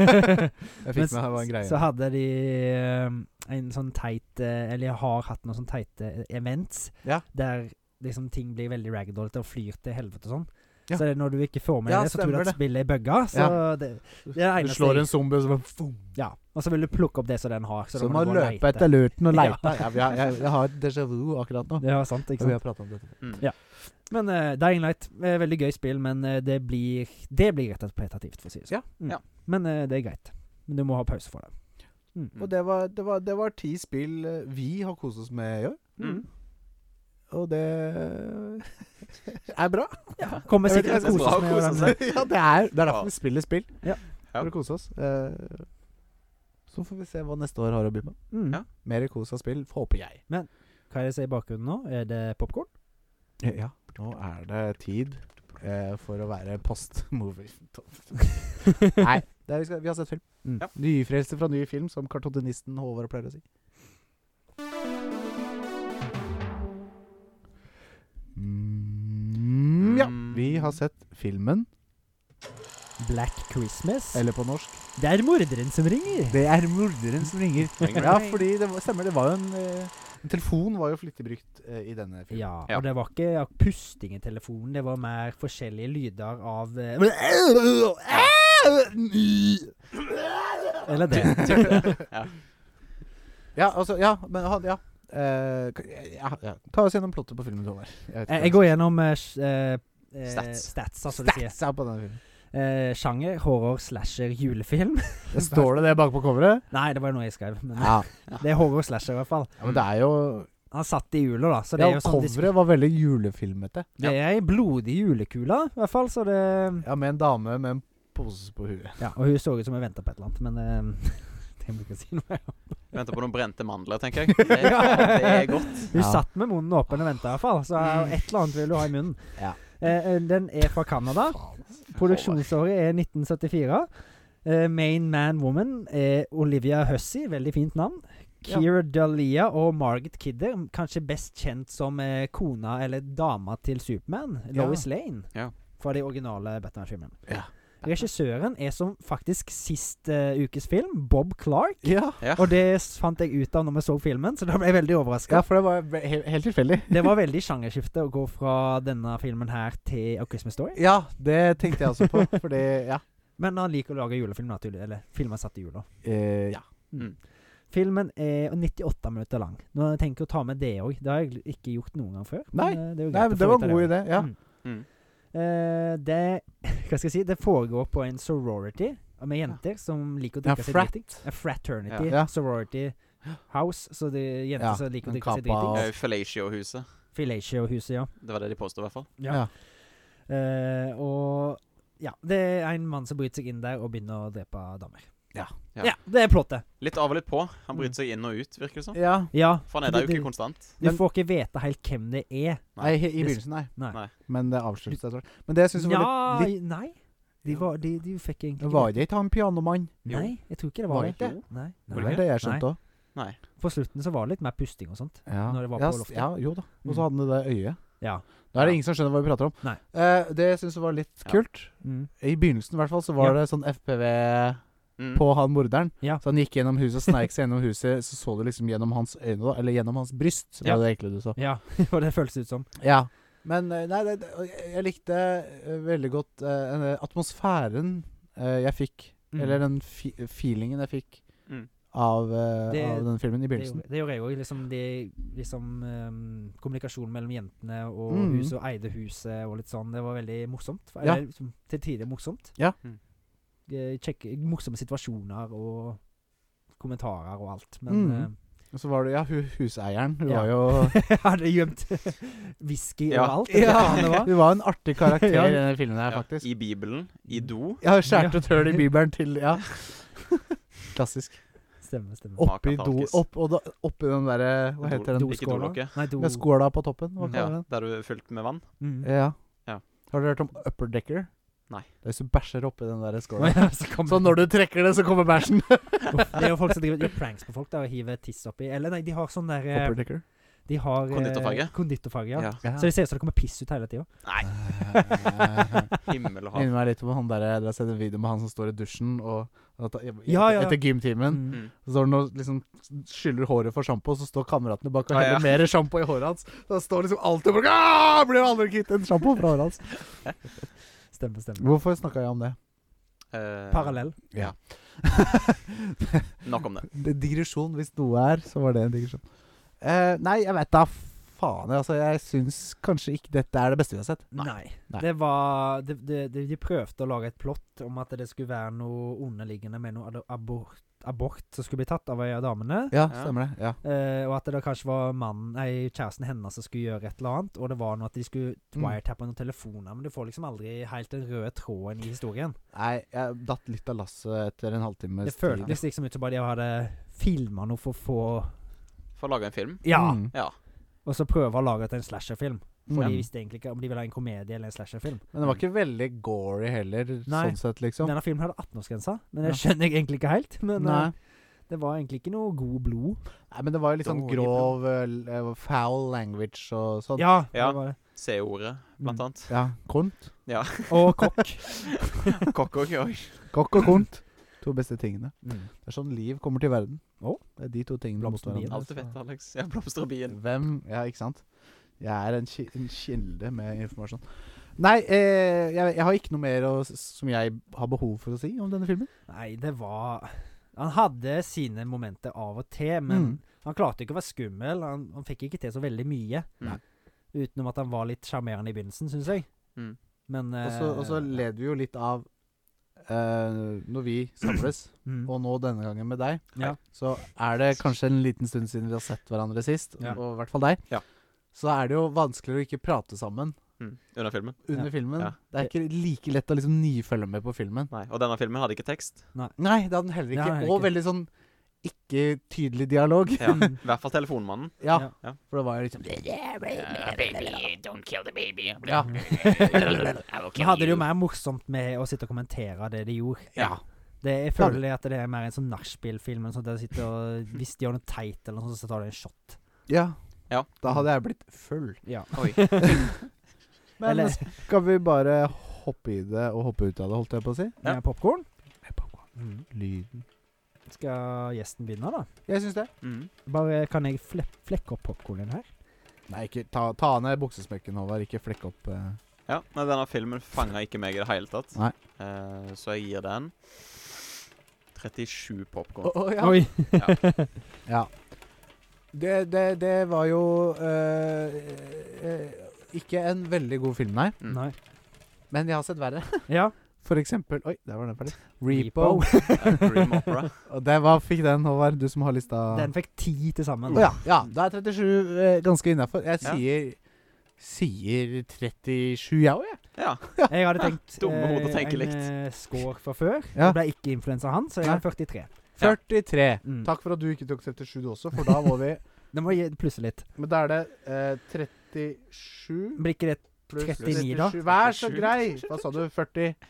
S1: Jeg fikk med
S2: Men
S1: meg hva en greie.
S2: Så hadde de eh, en sånn teit eh, Eller har hatt noen sånn teite eh, events
S1: Ja.
S2: der liksom ting blir veldig ragdollete og flyr til helvete og sånn.
S1: Ja.
S2: Så det er når du ikke får med
S1: Ja,
S2: det, så tror du
S1: stemmer
S2: at
S1: det.
S2: spillet er bugga. Så det, det er
S1: du
S2: det eneste
S1: slår
S2: jeg-
S1: en zombie, og så bare boom.
S2: Ja. Og så vil du plukke opp det som den har.
S1: Så,
S2: da
S1: må du
S2: du gå og
S1: løpe
S2: leite.
S1: etter lurten og
S2: Ja.
S1: leite. Ja. vi har, jeg, jeg har et déjà vu akkurat nå.
S2: Ja, sant,
S1: Og
S2: ikke
S1: vi har
S2: sant?
S1: pratet om dette.
S3: Mm.
S2: Ja. Men eh, Dying Light, eh, veldig gøy spill, men eh, det blir Det blir rett og slett petativt, for å si det
S1: Ja.
S2: sånn. Mm.
S3: Ja.
S2: Men eh, det er greit. Men du må ha pause for det.
S3: Mm.
S1: Og det var, det, var, det var ti spill eh, vi har kost oss med i år,
S3: Mm.
S1: og det er bra.
S2: Kommer
S1: Jeg vet
S2: sikkert
S1: ikke,
S2: til å
S3: det
S2: kose
S3: er bra å
S2: oss med
S3: kose
S2: hverandre.
S3: seg.
S1: ja, det er, det er derfor
S3: Ja.
S1: vi spiller spill.
S2: Ja.
S1: For å kose oss. Eh, Så får vi se hva neste år har å by på.
S2: Mm.
S3: Ja.
S1: Mer kos av spill, håper jeg.
S2: Hva er det som er i bakgrunnen nå? Er det popkorn?
S1: Ja, nå er det tid eh, for å være post-movie. Nei, det er, vi, skal, vi har sett film.
S2: Mm.
S3: Ja.
S1: Nyfrelste fra ny film, som kartonisten Håvard pleier å si. Mm, ja, vi har sett filmen,
S2: Black Christmas?
S1: eller på norsk
S2: Det er morderen som ringer!
S1: Det er morderen som ringer.
S3: Ringer.
S1: Ja, fordi det var, stemmer, det var jo en eh, en telefon var jo flittig brukt eh, i denne filmen.
S2: Ja,
S3: Ja.
S2: og det var ikke ja, pusting i telefonen, det var mer forskjellige lyder av eh, Eller det.
S1: Ja, altså, ja, men han, ja. Eh, kan- ja, ja. Ta oss gjennom plottet på filmen, Håvard. vet ikke
S2: Eh,
S1: hva
S2: Jeg går gjennom eh, s- eh, eh,
S3: Stats.
S2: stats, altså du sier.
S1: Stats er på denne filmen.
S2: Eh, sjanger, horror, slasher, julefilm.
S1: Det står det det bakpå coveret?
S2: Nei, det var noe jeg skrev. Men
S1: Ja.
S2: det er horror, slasher i hvert fall.
S1: ja, men det er jo
S2: Han satt i jula, da. Så det
S1: Ja,
S2: er jo sånn de sp-
S1: coveret var veldig julefilmete.
S2: Det er ei blodig julekule, i hvert fall. Så det
S1: Ja, med en dame med en pose på huet.
S2: Ja, og hun så ut som hun venta på et eller annet, men eh, det må jeg ikke si noe om.
S3: Jeg Venter på noen brente mandler, tenker jeg. Det, det er godt.
S2: Hun
S1: Ja.
S2: satt med munnen åpen og venta iallfall, så eh, et eller annet vil hun ha i munnen.
S1: Ja. altså.
S2: Eh, eh, den er fra Canada. Produksjonsåret er 1974. Eh, main man woman er Olivia Hussey, veldig fint navn.
S1: Ja.
S2: Keira Dalia og Margaret Kidder, kanskje best kjent som eh, kona eller dama til Superman,
S1: Ja.
S2: Lois Lane,
S3: Ja.
S2: fra de originale Batman-filmene.
S1: Ja.
S2: Regissøren er som faktisk sist eh, ukes film, Bob Clark.
S1: Ja.
S3: Ja.
S2: Og det s- fant jeg ut av når vi så filmen, så da ble jeg veldig overraska.
S1: ja, for det var ve- he helt tilfeldig.
S2: Det var veldig sjangerskifte å gå fra denne filmen her til A Christmas Story.
S1: Ja, det tenkte jeg også på, fordi Ja.
S2: Men han liker å lage julefilm, naturlig. Eller filmer satt i jula.
S1: Eh, ja.
S3: Mm.
S2: Filmen er 98 minutter lang. Nå tenker jeg å ta med det òg. Det har jeg ikke gjort noen gang før.
S1: Nei.
S2: eh, det, er jo
S1: Nei,
S2: greit å
S1: men
S2: få
S1: det var
S2: ut av
S1: en god idé. Ja.
S2: Mm.
S3: Mm.
S2: Eh, det Hva skal jeg si? Det foregår på en sorority med jenter som liker å
S1: Ja,
S2: drikke seg
S1: frat.
S2: dritings. En fraternity.
S1: Ja. Ja.
S2: Sorority house. Så det er jenter
S1: Ja,
S2: som liker
S1: en
S2: å drikke seg
S1: kappa
S2: dritings.
S1: og-
S3: Eh, Fellatio-huset.
S2: Filatio-huset, ja.
S3: Det var det de påstod, i hvert fall.
S2: Ja. Eh, og ja, det er en mann som bryter seg inn der og begynner å drepe damer.
S1: Ja.
S3: Ja.
S2: det er plottet.
S3: Litt av og litt på. Han bryter seg inn og ut, virker det som.
S1: ja.
S2: Ja.
S3: For han er der jo
S2: Det-
S3: ikke konstant.
S2: Du
S1: Men-
S2: får ikke vite helt hvem det er.
S1: Nei, he- i begynnelsen, nei.
S2: Nei.
S3: Nei.
S1: Men det avsluttes etter hvert. Men det jeg syns var
S2: Nja,
S1: litt,
S2: nei. De, var, de, de fikk egentlig
S1: litt
S2: ikke
S1: Var det ikke han pianomannen?
S2: det. Nei, jeg tror ikke det
S1: Var
S2: var,
S1: det ikke?
S2: det. Nei.
S1: Det var det jeg skjønte òg.
S2: Nei. På slutten så var det litt mer pusting og sånt.
S1: Ja.
S2: Når det var
S1: ja,
S2: på
S1: s-
S2: loftet.
S1: Ja, jo da. Og
S2: Mm.
S1: så hadde han det der øyet.
S2: Ja.
S1: Da er det
S3: Ja.
S1: ingen som skjønner hva vi prater om.
S2: Nei.
S1: Eh, det jeg syns var litt
S3: Ja.
S1: kult
S2: Mm.
S1: I begynnelsen i hvert fall så var
S2: Ja.
S1: det sånn FPV
S3: Mm.
S1: på han morderen.
S2: Ja.
S1: Så han gikk gjennom huset, sneik seg gjennom huset, så så du liksom gjennom hans øyne, da. Eller gjennom hans bryst, som
S2: Ja.
S1: var det egentlig du så.
S2: ja. Det var det det føltes ut som.
S1: Ja. Men eh, nei, det, det- og jeg- jeg likte eh, veldig godt eh, eh, atmosfæren eh, jeg fikk,
S2: Mm.
S1: eller den fi feelingen jeg fikk
S3: Mm.
S1: av, eh,
S2: Det-
S1: av den filmen i
S2: Det
S1: begynnelsen.
S2: gjorde, det gjorde jeg òg. Liksom, de- liksom um, kommunikasjonen mellom jentene og
S1: Mhm.
S2: huset og eide huset og litt sånn. Det var veldig morsomt.
S1: Ja.
S2: Eller, liksom, til tider morsomt.
S1: Ja.
S3: Mm.
S2: Eh, Kjekke, morsomme situasjoner og kommentarer og alt. Men
S1: Mhm.
S2: eh,
S1: Og så var det ja, hu huseieren. Hun
S2: Ja.
S1: var jo
S2: Hadde gjemt whisky
S3: Ja.
S2: overalt. eller hva faen det
S1: ja,
S2: var.
S1: Hun var en artig karakter
S2: Ja.
S1: i denne filmen her,
S3: Ja,
S1: faktisk.
S3: I Bibelen. I do.
S1: Ja, hun skjærte ut høl i bibelen til Ja. Klassisk.
S2: Stemmer, stemmer.
S1: Oppi do
S3: Makatalkis.
S1: opp, og da, oppi den derre Hva heter den?
S3: Do- ikke dolokket.
S2: Nei, do...
S1: Ja, skåla på toppen? Hva
S3: Ja,
S1: kaller den?
S3: der du er fylt med vann.
S2: Mm.
S1: Ja.
S3: Ja.
S1: Har dere hørt om upper decker?
S3: Nei.
S1: Det er hvis du bæsjer oppi den der
S2: Å
S1: skåla.
S2: ja, så kommer-
S1: Så når du trekker det, så kommer bæsjen.
S2: Uff, Det er jo folk som driver gjør pranks på folk da, og hiver tiss oppi. Eller nei, de har sånn der eh,
S1: Upper decker.
S2: De har eh,
S3: Konditorfarge?
S2: konditorfarge, ja.
S3: Ja.
S2: Så det ser ut som det kommer piss ut hele tida.
S3: Nei, himmel og hav.
S1: Minner meg litt om han der Dere har sett en video med han som står i dusjen og at, etter,
S2: Ja, ja, ja.
S1: etter gymtimen.
S2: Mm.
S3: Mm.
S1: Så står han og liksom skyller håret for sjampo, så står kameratene bak og
S3: Ah,
S1: heller
S3: ja.
S1: mer sjampo i håret hans. Da står liksom alltid bak «Ah, Blir aldri kvitt en sjampo fra håret hans.
S2: Stemmer, stemmer.
S1: Hvorfor snakka jeg om det?
S3: Eh,
S2: Parallell.
S3: Nok om det.
S1: det er digresjon. Hvis noe er, så var det en digresjon. Eh, nei, jeg vet da faen. Altså, jeg syns kanskje ikke dette er det beste vi har sett.
S2: Nei.
S1: Nei.
S2: Det var det, det, det, De prøvde å lage et plott om at det skulle være noe underliggende med noe ad- abort, abort som skulle bli tatt av ei av damene.
S1: Ja,
S3: Ja.
S1: stemmer det. Ja.
S2: Eh, og at det da kanskje var mannen, nei, kjæresten hennes som skulle gjøre et eller annet. Og det var noe at de skulle
S1: Mm.
S2: wiretappe noen telefoner, men du får liksom aldri helt den røde tråden i historien.
S1: Nei, jeg datt litt av lasset etter en halvtime.
S2: Det føltes liksom ut som bare de hadde filma noe for å få
S3: For å lage en film.
S2: Ja!
S1: Mm.
S3: Ja.
S2: Og så prøve å lage til en slasherfilm. For
S1: Mm.
S2: de visste egentlig ikke om de ville ha en komedie eller en slasherfilm.
S1: Men det var ikke veldig gory heller,
S2: Nei.
S1: sånn sett, liksom.
S2: Denne filmen hadde 18-årsgrensa, men det
S1: Ja.
S2: skjønner jeg egentlig ikke helt. Men
S1: Nei.
S2: eh, det var egentlig ikke noe god blod.
S1: Nei, men det var jo litt sånn
S3: Dårlig
S1: grov eh, l- eh, foul language og sånn.
S2: Ja,
S3: Ja.
S2: det var det.
S3: C-ordet, blant annet.
S1: Ja. Kont.
S2: Og kokk.
S3: Kokk og kjøy.
S1: Kokk og kont. To beste tingene.
S2: Mm.
S1: Det er sånn liv kommer til verden.
S2: Å.
S1: Det er de to tingene mot
S2: Blomsterbien.
S1: hverandre,
S3: Alt er
S1: så-
S3: fett, Alex. Jeg blomstrer bien.
S1: Hvem Ja, ikke sant? Jeg er en, ki en kilde med informasjon. Nei, eh, jeg, jeg har ikke noe mer å, s- som jeg har behov for å si om denne filmen.
S2: Nei, det var Han hadde sine momenter av og til, men
S1: Mm.
S2: han klarte ikke å være skummel. Han, han fikk ikke til så veldig mye.
S3: Nei.
S2: Utenom at han var litt sjarmerende i begynnelsen, syns jeg.
S3: Mm.
S2: Men eh,
S1: Og så- Og så led vi jo litt av eh, Når vi samles,
S2: mm.
S1: og nå denne gangen med deg,
S2: Ja.
S1: så er det kanskje en liten stund siden vi har sett hverandre sist,
S2: Ja.
S1: og i hvert fall deg,
S3: Ja.
S1: så er det jo vanskeligere å ikke prate sammen
S3: Mm. Under filmen.
S1: under
S2: Ja.
S1: filmen.
S3: Ja.
S1: Det er ikke like lett å liksom nyfølge med på filmen.
S3: Nei. Og denne filmen hadde ikke tekst.
S1: Nei, det hadde den heller
S2: Det
S1: ikke.
S2: har den heller
S1: Og
S2: ikke.
S1: veldig sånn ikke tydelig dialog.
S3: Ja.
S2: Mm.
S3: I hvert fall Telefonmannen.
S1: Ja,
S3: Ja.
S1: for det var jo liksom
S4: Baby, don't kill the baby.
S1: Ja.
S4: I will
S2: Men
S4: kill
S2: hadde det
S4: you.
S2: jo mer morsomt med å sitte og kommentere det de gjorde.
S1: Ja.
S2: Det, jeg føler det at det er mer en sånn nachspiel-film. enn sånn at jeg sitter og- Hvis de gjør noe teit, eller noe sånt, så tar de en shot.
S1: ja.
S3: Ja.
S1: Da hadde jeg blitt full.
S2: Ja.
S3: Oi.
S1: Men
S2: Eller-
S1: skal vi bare hoppe i det og hoppe ut av det, holdt jeg på å si?
S3: Ja.
S2: Med popkorn.
S1: Mm. Lyden.
S2: Skal gjesten begynne, da?
S1: Jeg syns det.
S3: Mm.
S2: Bare kan jeg fle flekke opp popkornen her?
S1: Nei, ikke ta, ta ned buksesmekken, Håvard. Ikke flekk opp eh.
S3: Ja, nei, denne filmen fanga ikke meg i det hele tatt.
S1: Nei.
S3: Eh, så jeg gir den 37
S1: Å,
S3: popkorn.
S1: å, ja.
S2: Oi!
S1: ja. Det, det, det var jo eh, eh, ikke en veldig god film, nei.
S3: Mm.
S2: Nei.
S1: Men jeg har sett verre.
S2: Ja.
S1: For eksempel Oi, der var den ferdig. Repo.
S2: Repo.
S3: Eh, Dream Opera.
S1: Og det, hva fikk den, Håvard? Du som har lista.
S2: Den fikk ti til sammen.
S1: Å ja, ja, da er 37 eh, ganske innafor. Jeg
S3: Ja.
S1: sier Sier 37, jeg òg, jeg.
S3: Ja.
S2: Jeg hadde tenkt
S3: dumme hodet tenker
S2: en
S3: likt.
S2: eh, score fra før.
S1: Ja.
S2: Det ble ikke influensa han, så jeg
S1: Nei.
S2: har 43.
S1: 43.
S2: Mm.
S1: Takk for at du ikke tok 37 du også, for da må vi
S2: Det må jeg plusse litt.
S1: Men da er det eh, 37
S2: Blir ikke det
S1: pluss
S2: 39 da?
S1: 37. Vær så
S3: 37.
S1: grei! Hva sa du? 40,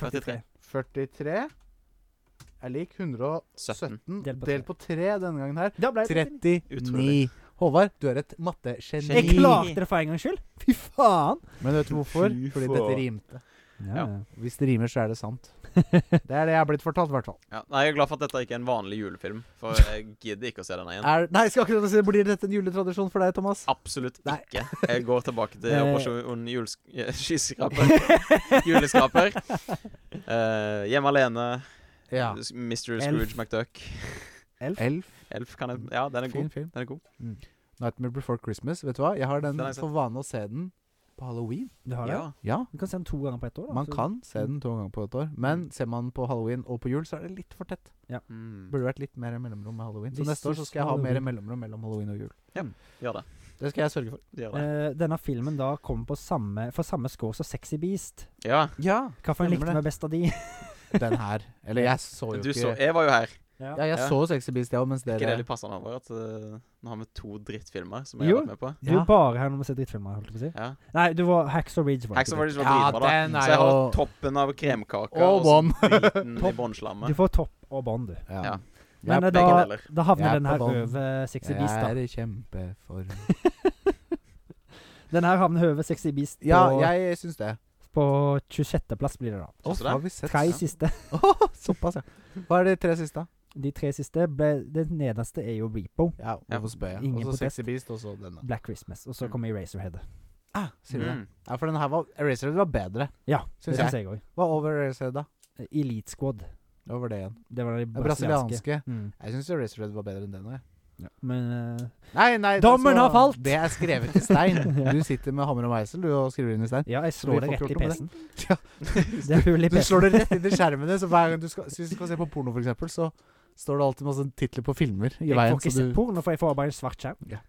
S2: 43?
S3: 43.
S1: 43 er lik 117
S3: 17.
S1: delt på, 3 denne gangen her.
S2: Da ble det
S1: 39.
S3: Utrolig.
S1: Håvard, du er et
S2: Jeg
S1: mattegeni.
S3: Geni.
S2: klarte det for en gangs skyld! Fy faen!
S1: Men vet du hvorfor?
S3: Fy
S1: Fordi
S3: faen.
S1: dette rimte.
S3: Ja.
S1: Hvis det rimer, så er det sant. Det er det jeg er blitt fortalt, i hvert fall.
S3: Ja. Nei, jeg er glad for at dette ikke er en vanlig julefilm, for jeg gidder ikke å se denne igjen.
S1: Er, nei, jeg skal akkurat si det. Blir dette en juletradisjon for deg, Thomas?
S3: Absolutt
S1: Nei.
S3: ikke. Jeg går tilbake til
S2: Eh.
S3: Operasjon julesk skyskraper. Juleskraper. Eh, hjemme alene.
S1: Ja.
S3: S- Mr.
S2: Elf.
S3: Scrooge McDuck.
S2: Elf.
S1: Elf.
S3: Elf kan jeg Ja, den er
S1: Fin
S3: god.
S1: film.
S3: Den er god.
S1: Nightmare Before Christmas. Vet du hva? Jeg har den
S3: Den har jeg sett.
S1: for vane å se den på halloween.
S2: Du har det?
S3: Ja.
S1: Ja,
S2: Du kan se den to ganger på ett år. da.
S1: man
S2: så-
S1: kan se den to ganger på et år. Men ser man på halloween og på jul, så er det litt for tett.
S3: Mm.
S1: Burde vært litt mer mellomrom med halloween. Så
S2: Hvis
S1: neste år
S2: du
S1: så skal jeg ha
S2: skal
S1: mer
S2: halloween.
S1: mellomrom mellom halloween og jul.
S3: Gjør det.
S1: Det skal jeg sørge for.
S3: Det Gjør det.
S2: Eh, denne filmen da kom på samme, for samme score som Sexy Beast.
S1: Eh,
S3: Ja.
S1: Ja,
S2: Hvilken
S1: Stemmer
S2: likte vi
S1: det.
S2: best av de?
S1: Den her. Eller jeg så jo
S3: Du
S1: ikke
S3: så Jeg var jo her.
S1: Ja, jeg
S3: Ja.
S1: så Sexy Beast, jeg òg, mens
S3: Er ikke det
S1: dere
S3: litt passende over at eh, nå har vi to drittfilmer som jeg har
S2: Jo.
S3: vært med på?
S2: Du er bare her når vi ser drittfilmer. holdt jeg på å si.
S3: Ja.
S2: Nei, du var Hacks og Ridge. Var
S3: Hacks
S2: ikke
S3: of
S2: det.
S3: Origins var
S1: Ja,
S3: dritbra, da.
S1: den
S3: Så
S1: er
S3: jeg har
S1: jo
S3: toppen av kremkaker
S1: Og
S3: så
S1: bånd.
S3: driten i
S2: Topp.
S3: båndslammet.
S2: Du får topp og bånd, du.
S1: Ja.
S3: Ja.
S2: Men eh,
S1: Jeg-
S3: begge
S2: da,
S3: deler.
S2: da havner
S1: Jeg er
S2: den
S1: på
S2: her
S1: bånd.
S2: over Sexy
S1: jeg
S2: Beast,
S1: er
S2: da.
S1: i kjempeform.
S2: Den her havner over Sexy Beast på,
S1: Ja, jeg syns det.
S2: på 26.-plass, blir det da.
S1: Å,
S3: Syns du det?
S1: har vi sett
S2: Tre
S1: Ja.
S2: siste.
S1: Åh, Såpass, ja. Hva er de tre siste?
S2: De tre siste ble Den nederste er jo Repo,
S1: Ja, hvorfor spør jeg?
S2: Ingen
S1: Og så
S2: protest.
S1: Sexy Beast, og så denne.
S2: Black Christmas, og så
S3: Mm.
S2: kommer Eraserhead.
S1: Ah, sier du det?
S3: Mm.
S1: Ja, for den her var Eraserhead var bedre,
S2: Ja,
S1: syns
S2: det syns
S1: jeg.
S2: jeg òg.
S1: Hva over Eraserhead, da?
S2: Elite Squad.
S1: Hva var det igjen?
S2: Det var de
S1: Det
S2: brasilianske.
S1: brasilianske.
S2: Mm.
S1: Jeg syns Eraserhead var bedre enn den òg.
S2: Ja. Men eh,
S1: Nei, nei, det
S2: Dommen
S1: skal-
S2: har falt!
S1: Det er skrevet i stein.
S2: Ja.
S1: Du sitter med hammer og meisel du, og skriver inn i stein.
S2: Ja, jeg
S1: vi
S2: slår det
S1: får
S2: rett i
S1: ikke gjort
S2: PC-en.
S1: noe Ja.
S2: Det er hull i
S1: Du
S2: PC-en.
S1: slår det rett inn i skjermene, så hver gang du skal, hvis du skal se på porno, for eksempel, så står det alltid masse titler på filmer i
S2: Jeg
S1: veien.
S2: får ikke
S1: så
S2: sett
S1: du-
S2: porno, for jeg får bare en svart skjerm.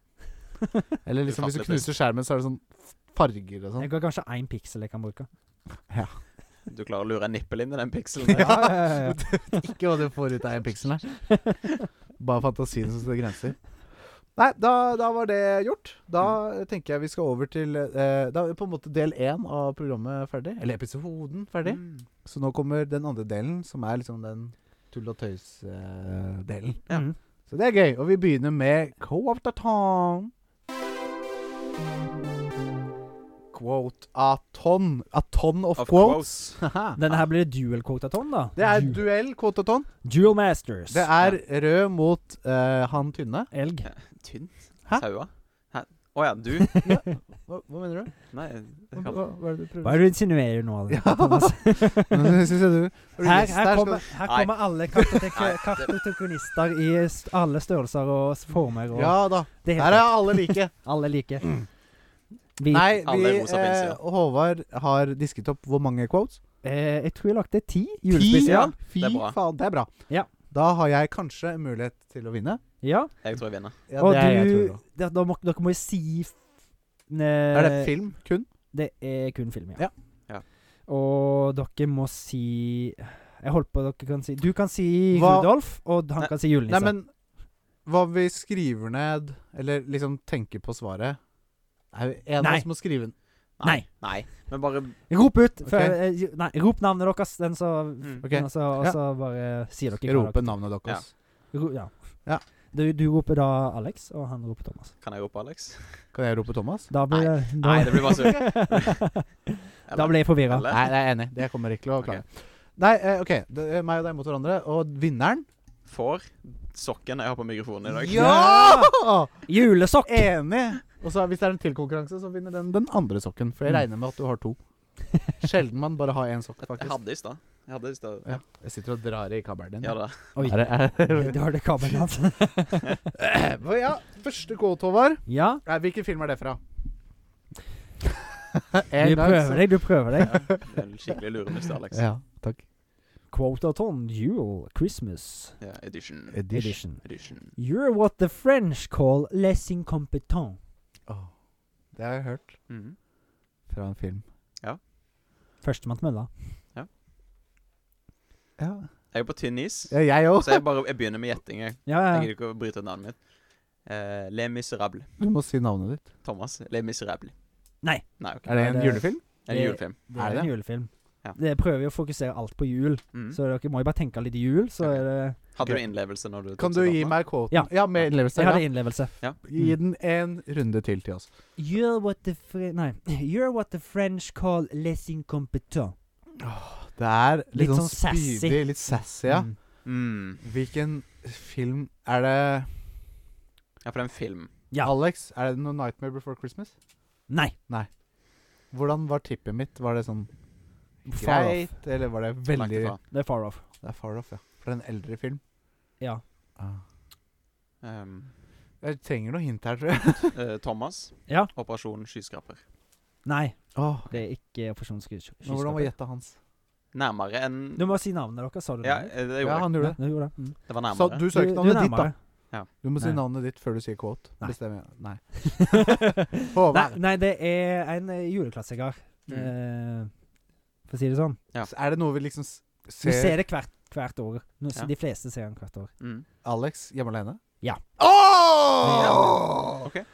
S1: Eller liksom, hvis du
S3: Ufattelig
S1: knuser skjermen, så er det sånn farger og sånn.
S2: Jeg har kanskje én piksel jeg kan bruke.
S3: Du klarer å lure en nippel inn i den pikselen.
S2: Ja,
S3: der.
S2: ja, ja, ja.
S1: Ikke hva du får ut av en piksel her. Bare fantasien som setter grenser. Nei, da, da var det gjort. Da eh, tenker jeg vi skal over til eh, Da er på en måte del én av programmet ferdig. Eller episoden ferdig.
S3: Mm.
S1: Så nå kommer den andre delen, som er liksom den tull og tøys-delen.
S3: Ja.
S2: Mm.
S1: Så det er gøy. Og vi begynner med Quote Aton. Quote Aton. Aton of,
S3: Of
S1: quotes.
S3: quotes.
S1: Haha.
S2: Denne her blir det dual quotaton, da.
S1: Det er
S2: Du-
S1: duell, quote Aton.
S2: Dual Masters.
S1: Det er rød mot eh, han tynne.
S2: Elg.
S3: Tynn?
S1: Hæ?
S3: Saua? Hæ? Å ja, du?
S1: Hva, hva mener du?
S3: Nei
S1: Hva,
S3: jeg kan-
S1: hva, hva er det du
S2: Hva
S1: prøver
S2: er det du insinuerer nå?
S1: Ja.
S2: Thomas?
S1: Syns jeg du er du
S2: Her,
S1: lyst
S2: her,
S1: der, skal
S2: kommer,
S1: du-
S2: her
S3: Nei.
S2: kommer alle kartotek- kartotekonister i s- alle størrelser og s- former. Og
S1: Ja da.
S2: det
S1: Her
S2: heter
S1: er alle like. Mm.
S2: alle like. Vi,
S1: Nei, vi,
S3: Alle er rosa
S1: eh,
S3: pinnsida.
S1: Håvard har disket opp hvor mange quotes.
S2: eh, jeg tror jeg lagde ti
S1: ja.
S2: julespesial.
S1: Fy
S3: Det er bra.
S1: faen, det er bra.
S2: Ja.
S1: Da har jeg kanskje en mulighet til å vinne.
S2: Ja.
S3: Jeg tror jeg vinner.
S1: Ja,
S2: og
S1: det er, jeg tror
S2: du
S1: også.
S2: da, da må, Dere må jo si f- ne,
S1: er
S2: eh,
S1: det film kun?
S2: Det er kun film,
S1: Ja.
S2: ja.
S3: Ja.
S2: Og dere må si Jeg holdt på dere kan si Du kan si
S1: Hva-
S2: Rudolf, og han
S3: Nei.
S2: kan si julenisse.
S1: Nei, men hva om vi skriver ned, eller liksom tenker på svaret Er det en av
S2: Nei.
S1: oss må skrive den?
S2: Nei.
S3: Nei. Men bare
S2: Rop ut! før-
S1: Ok.
S2: eh, ju- nei, rop navnet deres, den så
S3: mm.
S1: Ok.
S2: Og så, og
S1: Ja.
S2: så bare sier dere hva
S1: Rope navnet deres.
S2: dere ro, Ja.
S1: Ja.
S2: Du, du roper da Alex, og han roper Thomas.
S3: Kan jeg rope Alex?
S1: Kan jeg rope Thomas?
S2: Da blir det da,
S3: Nei, det blir bare surr.
S2: Da blir jeg forvirra.
S3: Eller?
S1: Nei, det er jeg enig. i. Det kommer jeg ikke til å klare. Nei, eh, OK. Det er meg og deg mot hverandre. Og vinneren
S3: Får sokken jeg har på mikrofonen i dag.
S1: Ja!
S2: Julesokk!
S1: Enig! Og så hvis det er en til konkurranse, så vinner den den andre sokken. For jeg
S2: Mm.
S1: regner med at du har to. Sjelden man bare har én sokk,
S3: Jeg
S1: faktisk.
S3: hadde i stad. Jeg hadde i stad.
S1: Ja. Jeg sitter og drar i kabelen din.
S3: Ja da.
S2: Oi,
S1: Er det, er,
S2: du hørte kabelen hans.
S1: Men ja, første quote, Håvard.
S2: Ja,
S1: Nei, Hvilken film er det fra?
S2: du
S1: en
S2: prøver deg, du prøver deg.
S3: Det er en Skikkelig luremus til Alex.
S1: Ja, takk.
S2: Quotaton Jule Christmas
S3: Ja, edition.
S2: Edition.
S3: Edition.
S2: You're what the French call les incompetents.
S1: Åh, det har jeg hørt
S3: Mhm.
S1: fra en film.
S2: Førstemann til mølla.
S1: Ja,
S3: Jeg er på tynn is,
S1: ja jeg òg.
S3: så jeg bare jeg begynner med gjetting. Jeg
S2: Ja, ja,
S3: Jeg
S2: ja.
S3: gidder ikke å bryte ut navnet mitt. Eh, Le Miserable.
S1: Du må si navnet ditt.
S3: Thomas. Le Miserable.
S2: Nei.
S3: Nei, ok.
S1: Er det en
S2: det-
S1: julefilm?
S3: En
S2: det-
S3: julefilm.
S2: Det
S1: Er
S2: er
S1: det Mm.
S2: en julefilm.
S3: Ja.
S2: Det prøver jo å fokusere alt på jul,
S3: Mhm.
S2: så dere må jo bare tenke litt jul, så
S3: Ok.
S2: er det
S3: Hadde du innlevelse når du tok
S1: Kan du gi
S3: sigaretten?
S1: meg quoten?
S2: Ja.
S1: med innlevelse.
S2: Jeg
S1: Ja.
S2: hadde innlevelse.
S1: Gi den en runde til til oss.
S2: You're what the Fre Nei. You're what the French call les incompetents.
S1: Det er litt,
S2: Litt
S1: sånn
S2: sånn sassy.
S1: spydig, litt sassy, ja.
S2: Mm.
S3: Mm.
S1: Hvilken film er det
S3: Ja, for det er en film.
S2: Ja.
S1: Alex, er det noe 'Nightmare Before Christmas'?
S2: Nei.
S1: Hvordan var tippet mitt? Var det sånn
S2: Far off.
S1: greit, eller var det
S3: Langt
S1: veldig
S3: ifra.
S2: Det er far off.
S1: Det er far off, ja. For en eldre film.
S2: Ja.
S3: Um,
S2: Ah.
S1: Jeg trenger noe hint her, tror jeg.
S3: Ehm, eh, Thomas.
S2: Ja.
S3: Operasjon skyskraper.
S2: Nei,
S1: Åh,
S2: det er ikke forsonskysskapet.
S1: men hvordan var gjettet hans?
S3: Nærmere enn
S2: Du må si navnet deres, sa du
S3: Ja, eh,
S2: det?
S3: det
S1: Ja,
S3: gjorde jeg.
S1: han gjorde det.
S2: Ja, du gjorde det. Mm.
S3: Det var
S1: Så
S3: nærmere.
S1: du sa ikke navnet
S2: er
S1: ditt, da.
S2: nærmere.
S1: Du må si
S2: Nei.
S1: navnet ditt før du sier quote.
S2: Nei.
S1: Bestemmer jeg. Nei.
S2: nei,
S1: Håvard,
S2: nei, det er en eh, juleklassiker,
S3: Mm.
S1: Mm.
S2: eh, for å si det sånn.
S3: Ja.
S1: er det noe vi liksom s-
S2: Du ser
S1: ser
S2: det hvert, hvert år. Nå,
S3: Ja.
S2: De fleste ser den hvert år.
S3: Mm.
S1: Alex hjemme alene?
S2: Ja.
S1: Åh!
S3: OK.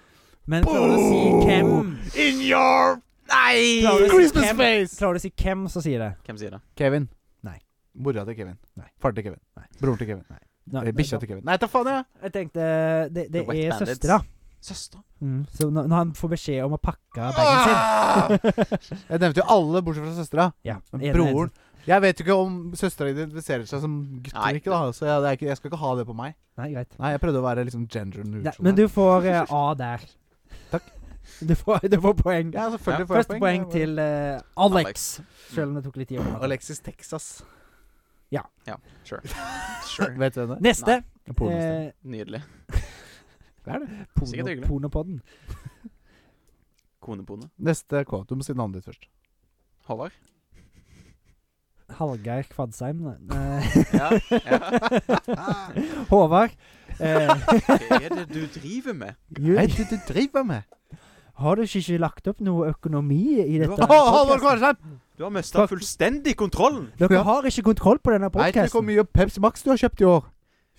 S2: Men klarer du å si hvem,
S1: In your
S3: Nei!
S2: Klarer du å si
S1: Christmas
S2: hvem-
S1: face!
S2: klarer du å si hvem så sier det.
S3: Hvem sier det?
S1: Kevin.
S2: Nei.
S1: Mora til Kevin.
S2: Nei.
S1: Faren til Kevin.
S2: Nei.
S1: Broren til Kevin.
S2: Nå-
S1: Eh, Bikkja til Kevin. Nei, ta faen, ja!
S2: Jeg tenkte eh, Det, det
S3: The Wet
S2: er
S3: Bandits.
S2: søstera.
S3: Søster.
S2: Mm. Så når, når han får beskjed om å pakke bagen sin
S1: Ah! Jeg nevnte jo alle bortsett fra søstera.
S2: ja,
S1: Men
S2: ene-
S1: Broren Jeg vet jo ikke om søstera identifiserer seg som gutt
S3: Nei.
S1: eller ikke, da. Så jeg, det er ikke, jeg skal ikke ha det på meg.
S2: Nei, greit.
S1: Nei, jeg prøvde å være liksom gender
S3: Mm,
S2: Nei,
S1: neutral.
S2: men du får eh, A der.
S1: Takk.
S2: Du får, du får poeng.
S1: Ja, selvfølgelig får jeg
S2: Første
S1: poeng.
S2: poeng
S1: Jeg bare-
S2: til eh, Alex. Selv om det tok litt tid. å komme til.
S1: Alexis Texas.
S3: Sure. Sure.
S1: Vet du hvem det
S2: Neste.
S1: er? Pornostjerne.
S2: eh,
S3: Nydelig.
S1: Hva er det?
S3: Sikkert
S2: porno,
S3: hyggelig.
S2: Eh, pornopodden.
S3: Konepone.
S1: Neste quote. Du må si navnet ditt først.
S3: Håvard.
S2: Hallgeir Kvadsheim. Nei.
S3: Ja, ja.
S2: Håvard. Eh,
S3: Hva er det du driver med?
S2: Jul,
S1: Hei, du, du driver med
S2: har du ikke lagt opp noe økonomi i dette?
S1: Å, Halvor Kvarsheim!
S3: Du har mista
S2: Fuck.
S3: fullstendig kontrollen!
S2: Dere har ikke kontroll på denne
S1: Veit du hvor
S2: podkasten.
S1: mye Pepsi Max du har kjøpt i år?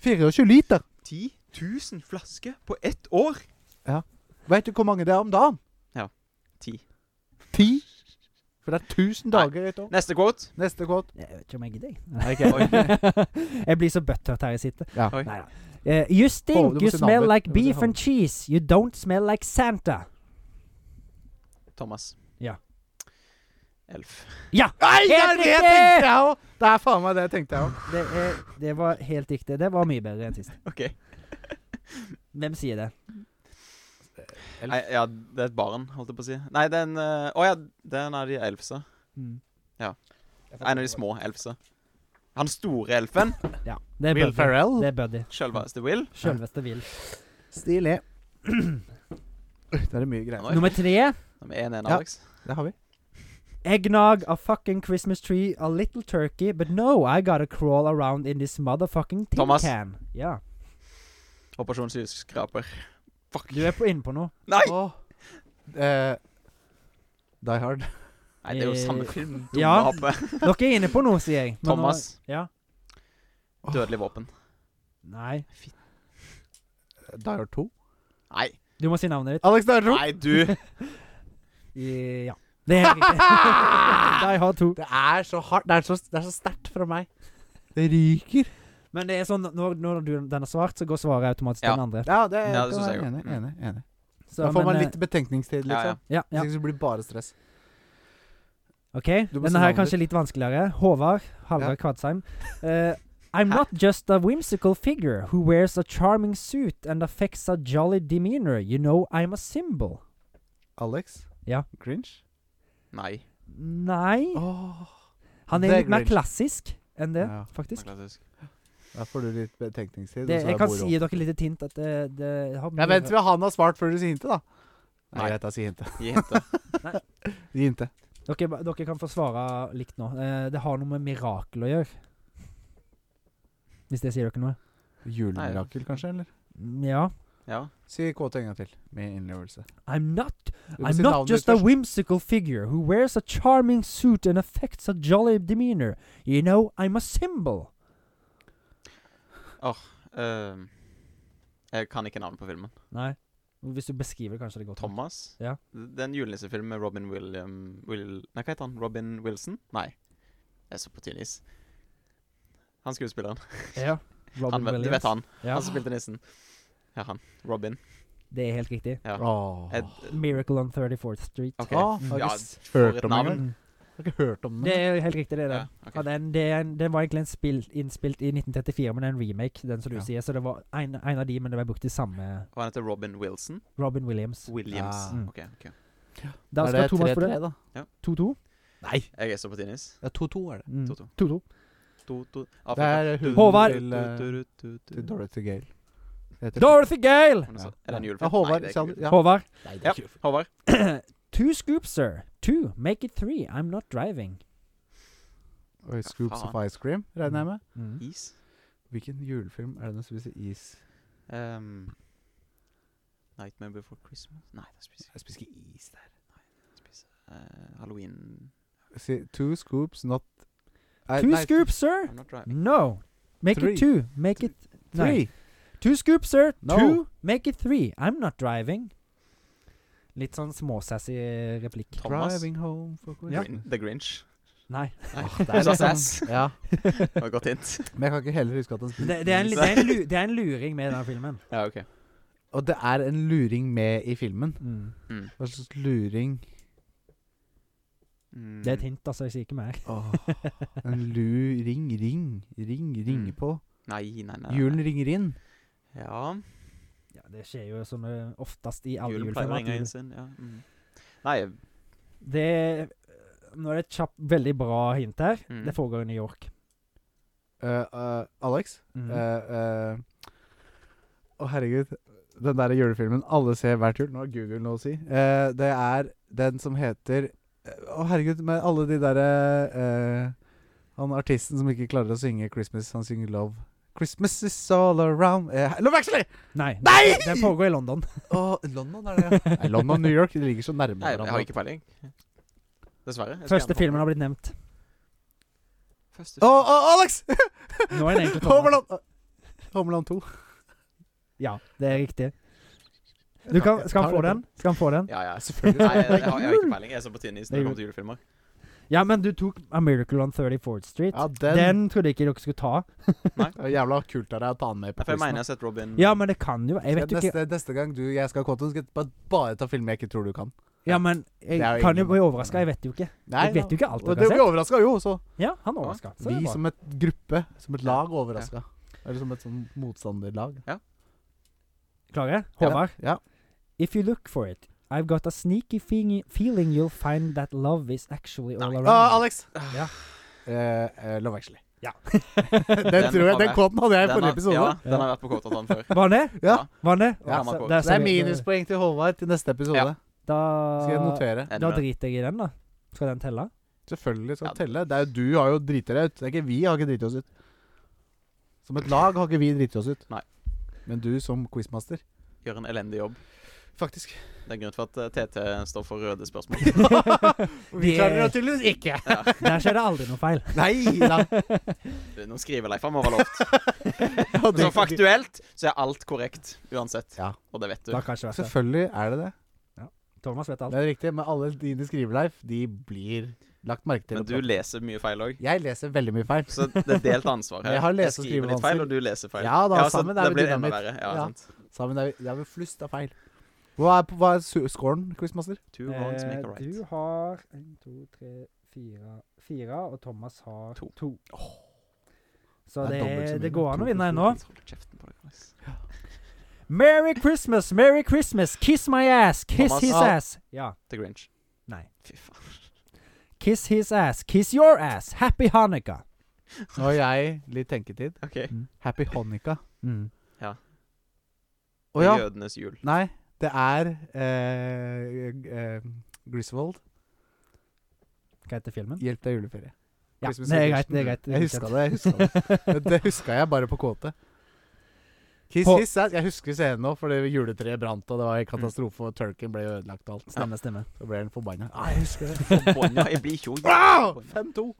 S1: 24 liter.
S3: 10 000 flasker på ett år!
S1: Veit du hvor mange det er om dagen?
S3: Ti.
S1: Ti? For det er 1000
S3: Nei.
S1: dager i et år.
S3: Neste quote.
S1: Neste quote.
S2: Jeg vet ikke om jeg gidder. jeg.
S3: Oi.
S2: jeg blir så butthurt her jeg sitter.
S1: Ja.
S3: Oi.
S2: Neida. Eh, you
S1: Hov, du
S2: stink,
S1: må
S2: you
S1: si
S2: smell
S1: navnet.
S2: like
S1: Du må si
S2: beef and
S1: navnet.
S2: cheese. You don't smell like Santa.
S3: Thomas.
S2: Ja.
S3: Elf.
S2: Ja!
S1: Nei, det er
S2: Helt
S1: det jeg
S2: riktig!
S1: tenkte, jeg òg! Det er faen meg det jeg tenkte, jeg òg.
S2: Det, er, det var helt riktig. Det var mye bedre enn sist.
S3: OK.
S2: Hvem sier det?
S1: Elf.
S3: Nei, ja, det er et barn, holdt jeg på å si. Nei, det er en eh, Å ja, det er en av de elfsa.
S2: Mm.
S3: En av de små elfsa. Han store elfen.
S2: Ja, det er
S1: Will
S2: Buddy.
S1: Ferrell.
S2: Det er Buddy.
S3: Sjølveste Will.
S2: Selveste Will.
S1: Stilig. Det er mye greier.
S3: Oi.
S2: Nummer tre.
S3: Nummer én er en
S1: Ja.
S3: Alex.
S1: Det har vi.
S2: Eggnog, a fucking Christmas tree, a little turkey, but no, I gotta crawl around in this motherfucking tin
S3: Thomas.
S2: can. Ja.
S3: Operasjonshusskraper. Fuck.
S2: Du er på, inne på noe.
S3: Nei!
S1: Åh. Eh, Die Hard.
S3: Nei, det er jo samme
S2: Eh,
S3: film. Dumme
S2: ja.
S3: ape.
S2: Dere er inne på noe, sier jeg. Men nå-
S3: Thomas.
S2: Ja.
S3: Dødelig våpen.
S2: Nei.
S1: Die Hard 2.
S3: Nei.
S2: Du må si navnet ditt.
S1: Alex Die Hard 2.
S3: Nei, du.
S2: I- Ja. Det er riktig. De har to.
S1: Det er så hardt. Det er så, det er så sterkt fra meg. Det ryker.
S2: Men det er sånn når, når du, den er svart, så går svaret automatisk til
S3: Ja.
S2: den andre.
S1: Ja, det,
S3: Ja, det
S1: kan
S3: synes jeg
S1: være
S3: jo.
S1: enig, enig, enig.
S2: Så,
S1: Mm. Da får
S2: men,
S1: man
S2: eh,
S1: litt betenkningstid,
S3: Ja, ja.
S1: liksom.
S2: Ja, ja.
S1: Hvis ikke så blir det bare stress.
S2: OK.
S1: Du må si
S2: Denne her er
S1: navnet
S2: kanskje litt vanskeligere. Håvard Hallgeir Kvadsheim. Eh, I'm not just a whimsical figure who wears a charming suit and affects a jolly demeanor. You know I'm a symbol.
S1: Alex?
S2: Ja.
S1: Grinch?
S3: Nei.
S2: Nei
S1: Åh.
S2: Han
S1: Det
S2: er
S1: er
S2: litt mer
S1: Grinch.
S2: klassisk enn det,
S1: Ja.
S3: det er
S2: faktisk.
S3: klassisk.
S1: Da får du litt betenkningstid.
S2: Det,
S1: og så
S2: jeg
S1: er
S2: kan
S1: moro.
S2: si dere litt hint at det, det har
S1: Ja, Vent til han har svart før du sier hintet, da. Nei,
S3: Nei.
S1: greit, da. Si hintet.
S3: Gi hintet.
S1: Gi hintet.
S2: Dere, ba- dere kan få svare likt nå. Eh, det har noe med mirakel å gjøre. Hvis det sier dere noe?
S1: Julemirakel, kanskje? eller?
S2: Mm, Ja.
S3: Ja.
S1: Si kåte en gang til, med innlevelse.
S2: I'm not,
S1: Du må
S2: I'm
S1: si
S2: not
S1: navnet
S2: just
S1: ditt
S2: a
S1: først.
S2: whimsical figure who wears a charming suit and affects a jolly demeanor. You know, I'm a symbol.
S3: Ehm, jeg kan ikke navnet på filmen.
S2: Nei. Hvis du beskriver det, kanskje det går
S3: Thomas.
S2: Ja.
S3: Det er en julenissefilm med Robin William Will, Nei, hva heter han? Robin Wilson? Nei. Jeg er så på tynn is. Han skuespilleren.
S2: Ja. Robin
S3: Han, vet- du
S2: Williams.
S3: vet han.
S2: Ja.
S3: Han som spilte nissen. Ja, han. Robin.
S2: Det er helt riktig.
S3: Ja.
S1: Åh.
S3: Ed,
S2: Miracle on 34th Street.
S3: OK.
S1: Åh, har
S3: Ja,
S1: ikke s-
S3: for
S1: hørt
S3: et
S1: om den
S3: navn.
S1: engang. Har ikke hørt om
S2: Det
S1: den.
S2: er helt riktig, det er det.
S3: Ja, ok.
S2: Ja, den, det er en, den var egentlig en spill, innspilt i 1934, men det er en remake, den som du
S1: Ja.
S2: sier. Så det var en, en av de, men det ble brukt i samme
S3: Og han heter Robin Wilson.
S2: Robin Williams.
S3: Williams.
S1: Ah.
S2: Mm.
S3: OK. ok.
S2: Da
S1: Er
S2: skal
S1: det
S2: Thomas få
S1: 3-3
S2: det.
S1: da?
S2: 2-2.
S1: Nei,
S3: Jeg er så på tynn is. Ah,
S1: det er 2-2 er det.
S2: Mm.
S3: 2-2.
S2: 2-2.
S3: To, to,
S1: Det
S3: Afrika.
S1: er hunden
S2: Håvard.
S1: til, eh,
S3: Du, du, du, du,
S1: til
S3: du.
S1: Dorothy Gale. Det heter-
S2: Dorothy Gale!
S3: Er det en
S1: Ja.
S3: julefilm?
S1: Ja, Håvard,
S3: Nei, det er
S1: sa
S3: ikke
S1: du-
S3: julefilm.
S1: ja.
S2: Håvard.
S1: Nei, det
S3: Ja,
S1: er ikke julefilm.
S3: Håvard.
S2: Two scoops, sir. Two. Make it three. I'm not driving.
S1: Oi, Scoops of
S3: Faen.
S1: Ice Cream, regner jeg med.
S2: Mm.
S3: Is?
S1: Hvilken julefilm er det som spiser is?
S3: Um, Nightmare Before Christmas? Nei, det spiser
S1: Jeg spiser ikke is der.
S3: jeg spiser. eh, Halloween
S1: Si, two scoops, not Nei,
S2: Two
S1: nei,
S2: scoops, sir.
S3: I'm not driving.
S2: No. Make
S1: Three.
S2: it two. Make it
S1: Three.
S2: Nei. Two scoops, sir.
S1: No.
S2: Two. Make it three. I'm not driving. Litt sånn småsassy replikk.
S3: Thomas?
S1: Driving home for
S2: Ja.
S1: Christmas.
S3: Grin The Grinch.
S2: Nei.
S3: Nei,
S1: det er
S3: du sa
S1: liksom-
S3: Sass.
S1: Ja.
S3: Det var et godt hint.
S1: Men jeg kan ikke heller huske at han spiser
S2: Det, det, er en,
S1: is.
S2: det, er en lu, det er en luring med den filmen.
S3: Ja, OK.
S1: Og det er en luring med i filmen.
S2: Mm.
S3: Mm.
S1: Hva slags luring
S3: Mm.
S2: Det er et hint, altså. Jeg sier ikke mer.
S1: Åh, En luring, ring, ring, ringer
S3: Mm.
S1: på.
S3: Nei, nei, nei.
S1: Julen ringer inn.
S3: Ja.
S2: Ja, det skjer jo som eh, oftest i alle
S3: Julen pleier å
S2: julefilmer. at
S3: ringe
S2: jul-
S3: inn sin. Ja. Mm. Nei,
S2: Det Nå er det et kjapt, veldig bra hint her.
S3: Mm.
S2: Det foregår i New York.
S1: Eh, eh, Alex?
S2: Mm.
S1: Eh, eh, Å, herregud. Den der julefilmen alle ser hvert jul. Nå har Google noe å si. Eh, det er den som heter eh, Å, herregud, med alle de derre Han artisten som ikke klarer å synge 'Christmas', han synger 'Love'. 'Christmas is all around' eh, Love Actually!
S2: Nei! den-
S1: Nei!
S2: Den foregår i London.
S1: Å, London er det, ja. Nei, London og New York de ligger så nærme
S3: nei, jeg har
S1: hverandre.
S3: ikke peiling. Dessverre. Jeg skal
S2: Første
S3: gjerne
S2: filmen har
S3: komme.
S2: blitt nevnt.
S3: Første
S1: Å,
S3: film.
S1: å, Alex!
S2: Nå er den egentlig kommet.
S1: Homeland Homeland 2.
S2: Ja, det er riktig. Du kan, skal han få den? Skal han få den?
S3: Ja, ja.
S1: Selvfølgelig.
S3: Nei, jeg, jeg, har, jeg har ikke peiling. Jeg er så på tynn is
S2: Det er
S3: når det
S2: jul.
S3: kommer til julefilmer.
S2: Ja, men du tok A Miracle on 34th Street.
S1: Ja, den, Mm.
S2: den. trodde jeg ikke dere skulle ta.
S1: Det var Jævla kult av deg å ta den med
S3: Nei,
S1: på
S3: for
S1: quizen,
S3: jeg mener jeg har sett Robin
S2: Ja, men det kan jo Jeg vet jo
S1: neste,
S2: ikke.
S1: neste gang du jeg skal ha kontoen, skal jeg bare, bare ta film jeg ikke tror du kan.
S2: Ja, men jeg
S1: Det er jo
S2: kan jo
S1: ingen-
S2: bli overraska. Jeg vet jo ikke.
S1: Nei,
S2: Jeg vet jo ikke alt
S1: og
S2: dere
S1: det
S2: har
S1: blir
S2: sett.
S1: overraska, jo. Så
S2: Ja, han overraska. Så det
S1: vi
S2: er bra.
S1: som et gruppe, som et lag, overraska.
S3: Ja.
S1: Eller som et sånn motstanderlag.
S2: Klare? Håvard?
S1: Ja.
S2: If you look for it, I've got a sneaky feeling, feeling you'll find that love is actually all
S3: Nei.
S2: around.
S1: Ah, Alex!
S2: Ja.
S1: Eh, eh, Love Actually.
S2: Ja.
S1: den,
S3: Den
S1: tror jeg,
S3: har
S1: den
S3: vært-
S1: kåten hadde jeg i
S3: Den
S1: forrige
S3: har-
S1: episode.
S3: Ja, den har vært på Kåtatan før.
S2: Var han det?
S1: Ja.
S2: Var han det?
S1: Ja.
S2: så-
S3: Det
S2: der
S1: Så det
S2: ser
S1: er
S2: vi-
S1: minuspoeng til Håvard til neste episode.
S3: Ja.
S2: Da,
S1: Skal jeg notere?
S3: Ender
S2: da
S3: med det.
S2: driter jeg i den, da. Skal den telle?
S1: Selvfølgelig skal
S3: Ja.
S1: det telle. Det er jo Du har jo driti deg ut. Det er ikke Vi har ikke driti oss ut. Som et lag har ikke vi driti oss ut.
S3: Nei.
S1: Men du som quizmaster.
S3: eh, Gjør en elendig jobb.
S1: Faktisk.
S3: Det er grunn til at eh, TT står for røde spørsmål.
S1: Vi klarer det tydeligvis ikke.
S2: Der skjer det aldri noe feil.
S1: Nei da.
S3: Du, Nå skriver Leif, han må være lovt. Så faktuelt så er alt korrekt uansett.
S1: Ja.
S3: Og det vet du.
S2: Da kan ikke være det.
S1: Selvfølgelig er det det.
S2: Thomas vet alt.
S1: Det er riktig. Men alle dine skriveleif, de blir lagt merke til.
S3: Men du leser mye feil òg.
S1: Jeg leser veldig mye feil.
S3: Så det er delt ansvar her.
S1: Jeg har lese- og
S3: skriver litt
S1: skrivevansker.
S3: feil, og du leser feil.
S1: Ja da,
S3: så
S1: sammen er
S3: det
S1: vi
S3: blir enda
S1: dynamitt.
S3: verre. Ja,
S1: Ja.
S3: sant.
S1: Sammen er vi, det er vel flust av feil. Hva er, hva er su- scoren, quizmaster?
S3: Two wrongs
S2: Eh,
S3: make a right.
S2: Du har en, to, tre, fire Fire, og Thomas har
S3: To.
S2: Så
S1: Det er
S2: det,
S1: dobbelt så
S2: det,
S1: mye.
S2: går an
S1: To
S2: å vinne
S1: pluss
S2: ennå.
S3: Jeg holder kjeften på deg, Alex.
S2: Merry Christmas, merry Christmas, kiss my ass, kiss
S3: Thomas.
S2: his
S1: Ja.
S2: ass. Ja,
S3: The Grinch.
S2: nei.
S3: Fy faen.
S2: Kiss his ass, kiss your ass, happy Hanukkah.
S1: Nå har jeg litt tenketid.
S3: OK.
S1: Happy Honica.
S2: Mm.
S1: Å ja.
S3: Jødenes jul.
S1: Nei, det er eh, eh, Griswold.
S2: Hva heter filmen?
S1: Hjelp deg i juleferie.
S2: Ja,
S1: Christmas
S2: det er greit,
S1: Vacation.
S2: det er greit.
S1: Jeg huska det. jeg husker det Det huska jeg bare på kåte. Kiss,
S2: På-
S1: kiss, ass. jeg husker scenen nå, fordi juletreet brant, og det var en katastrofe, og turken ble ødelagt og alt.
S2: Stemme, stemme.
S1: Så ble den forbanna. Ah, jeg husker det.
S3: Forbanna. Jeg blir ikke
S1: Ah!
S3: forbanna.
S1: 5-2.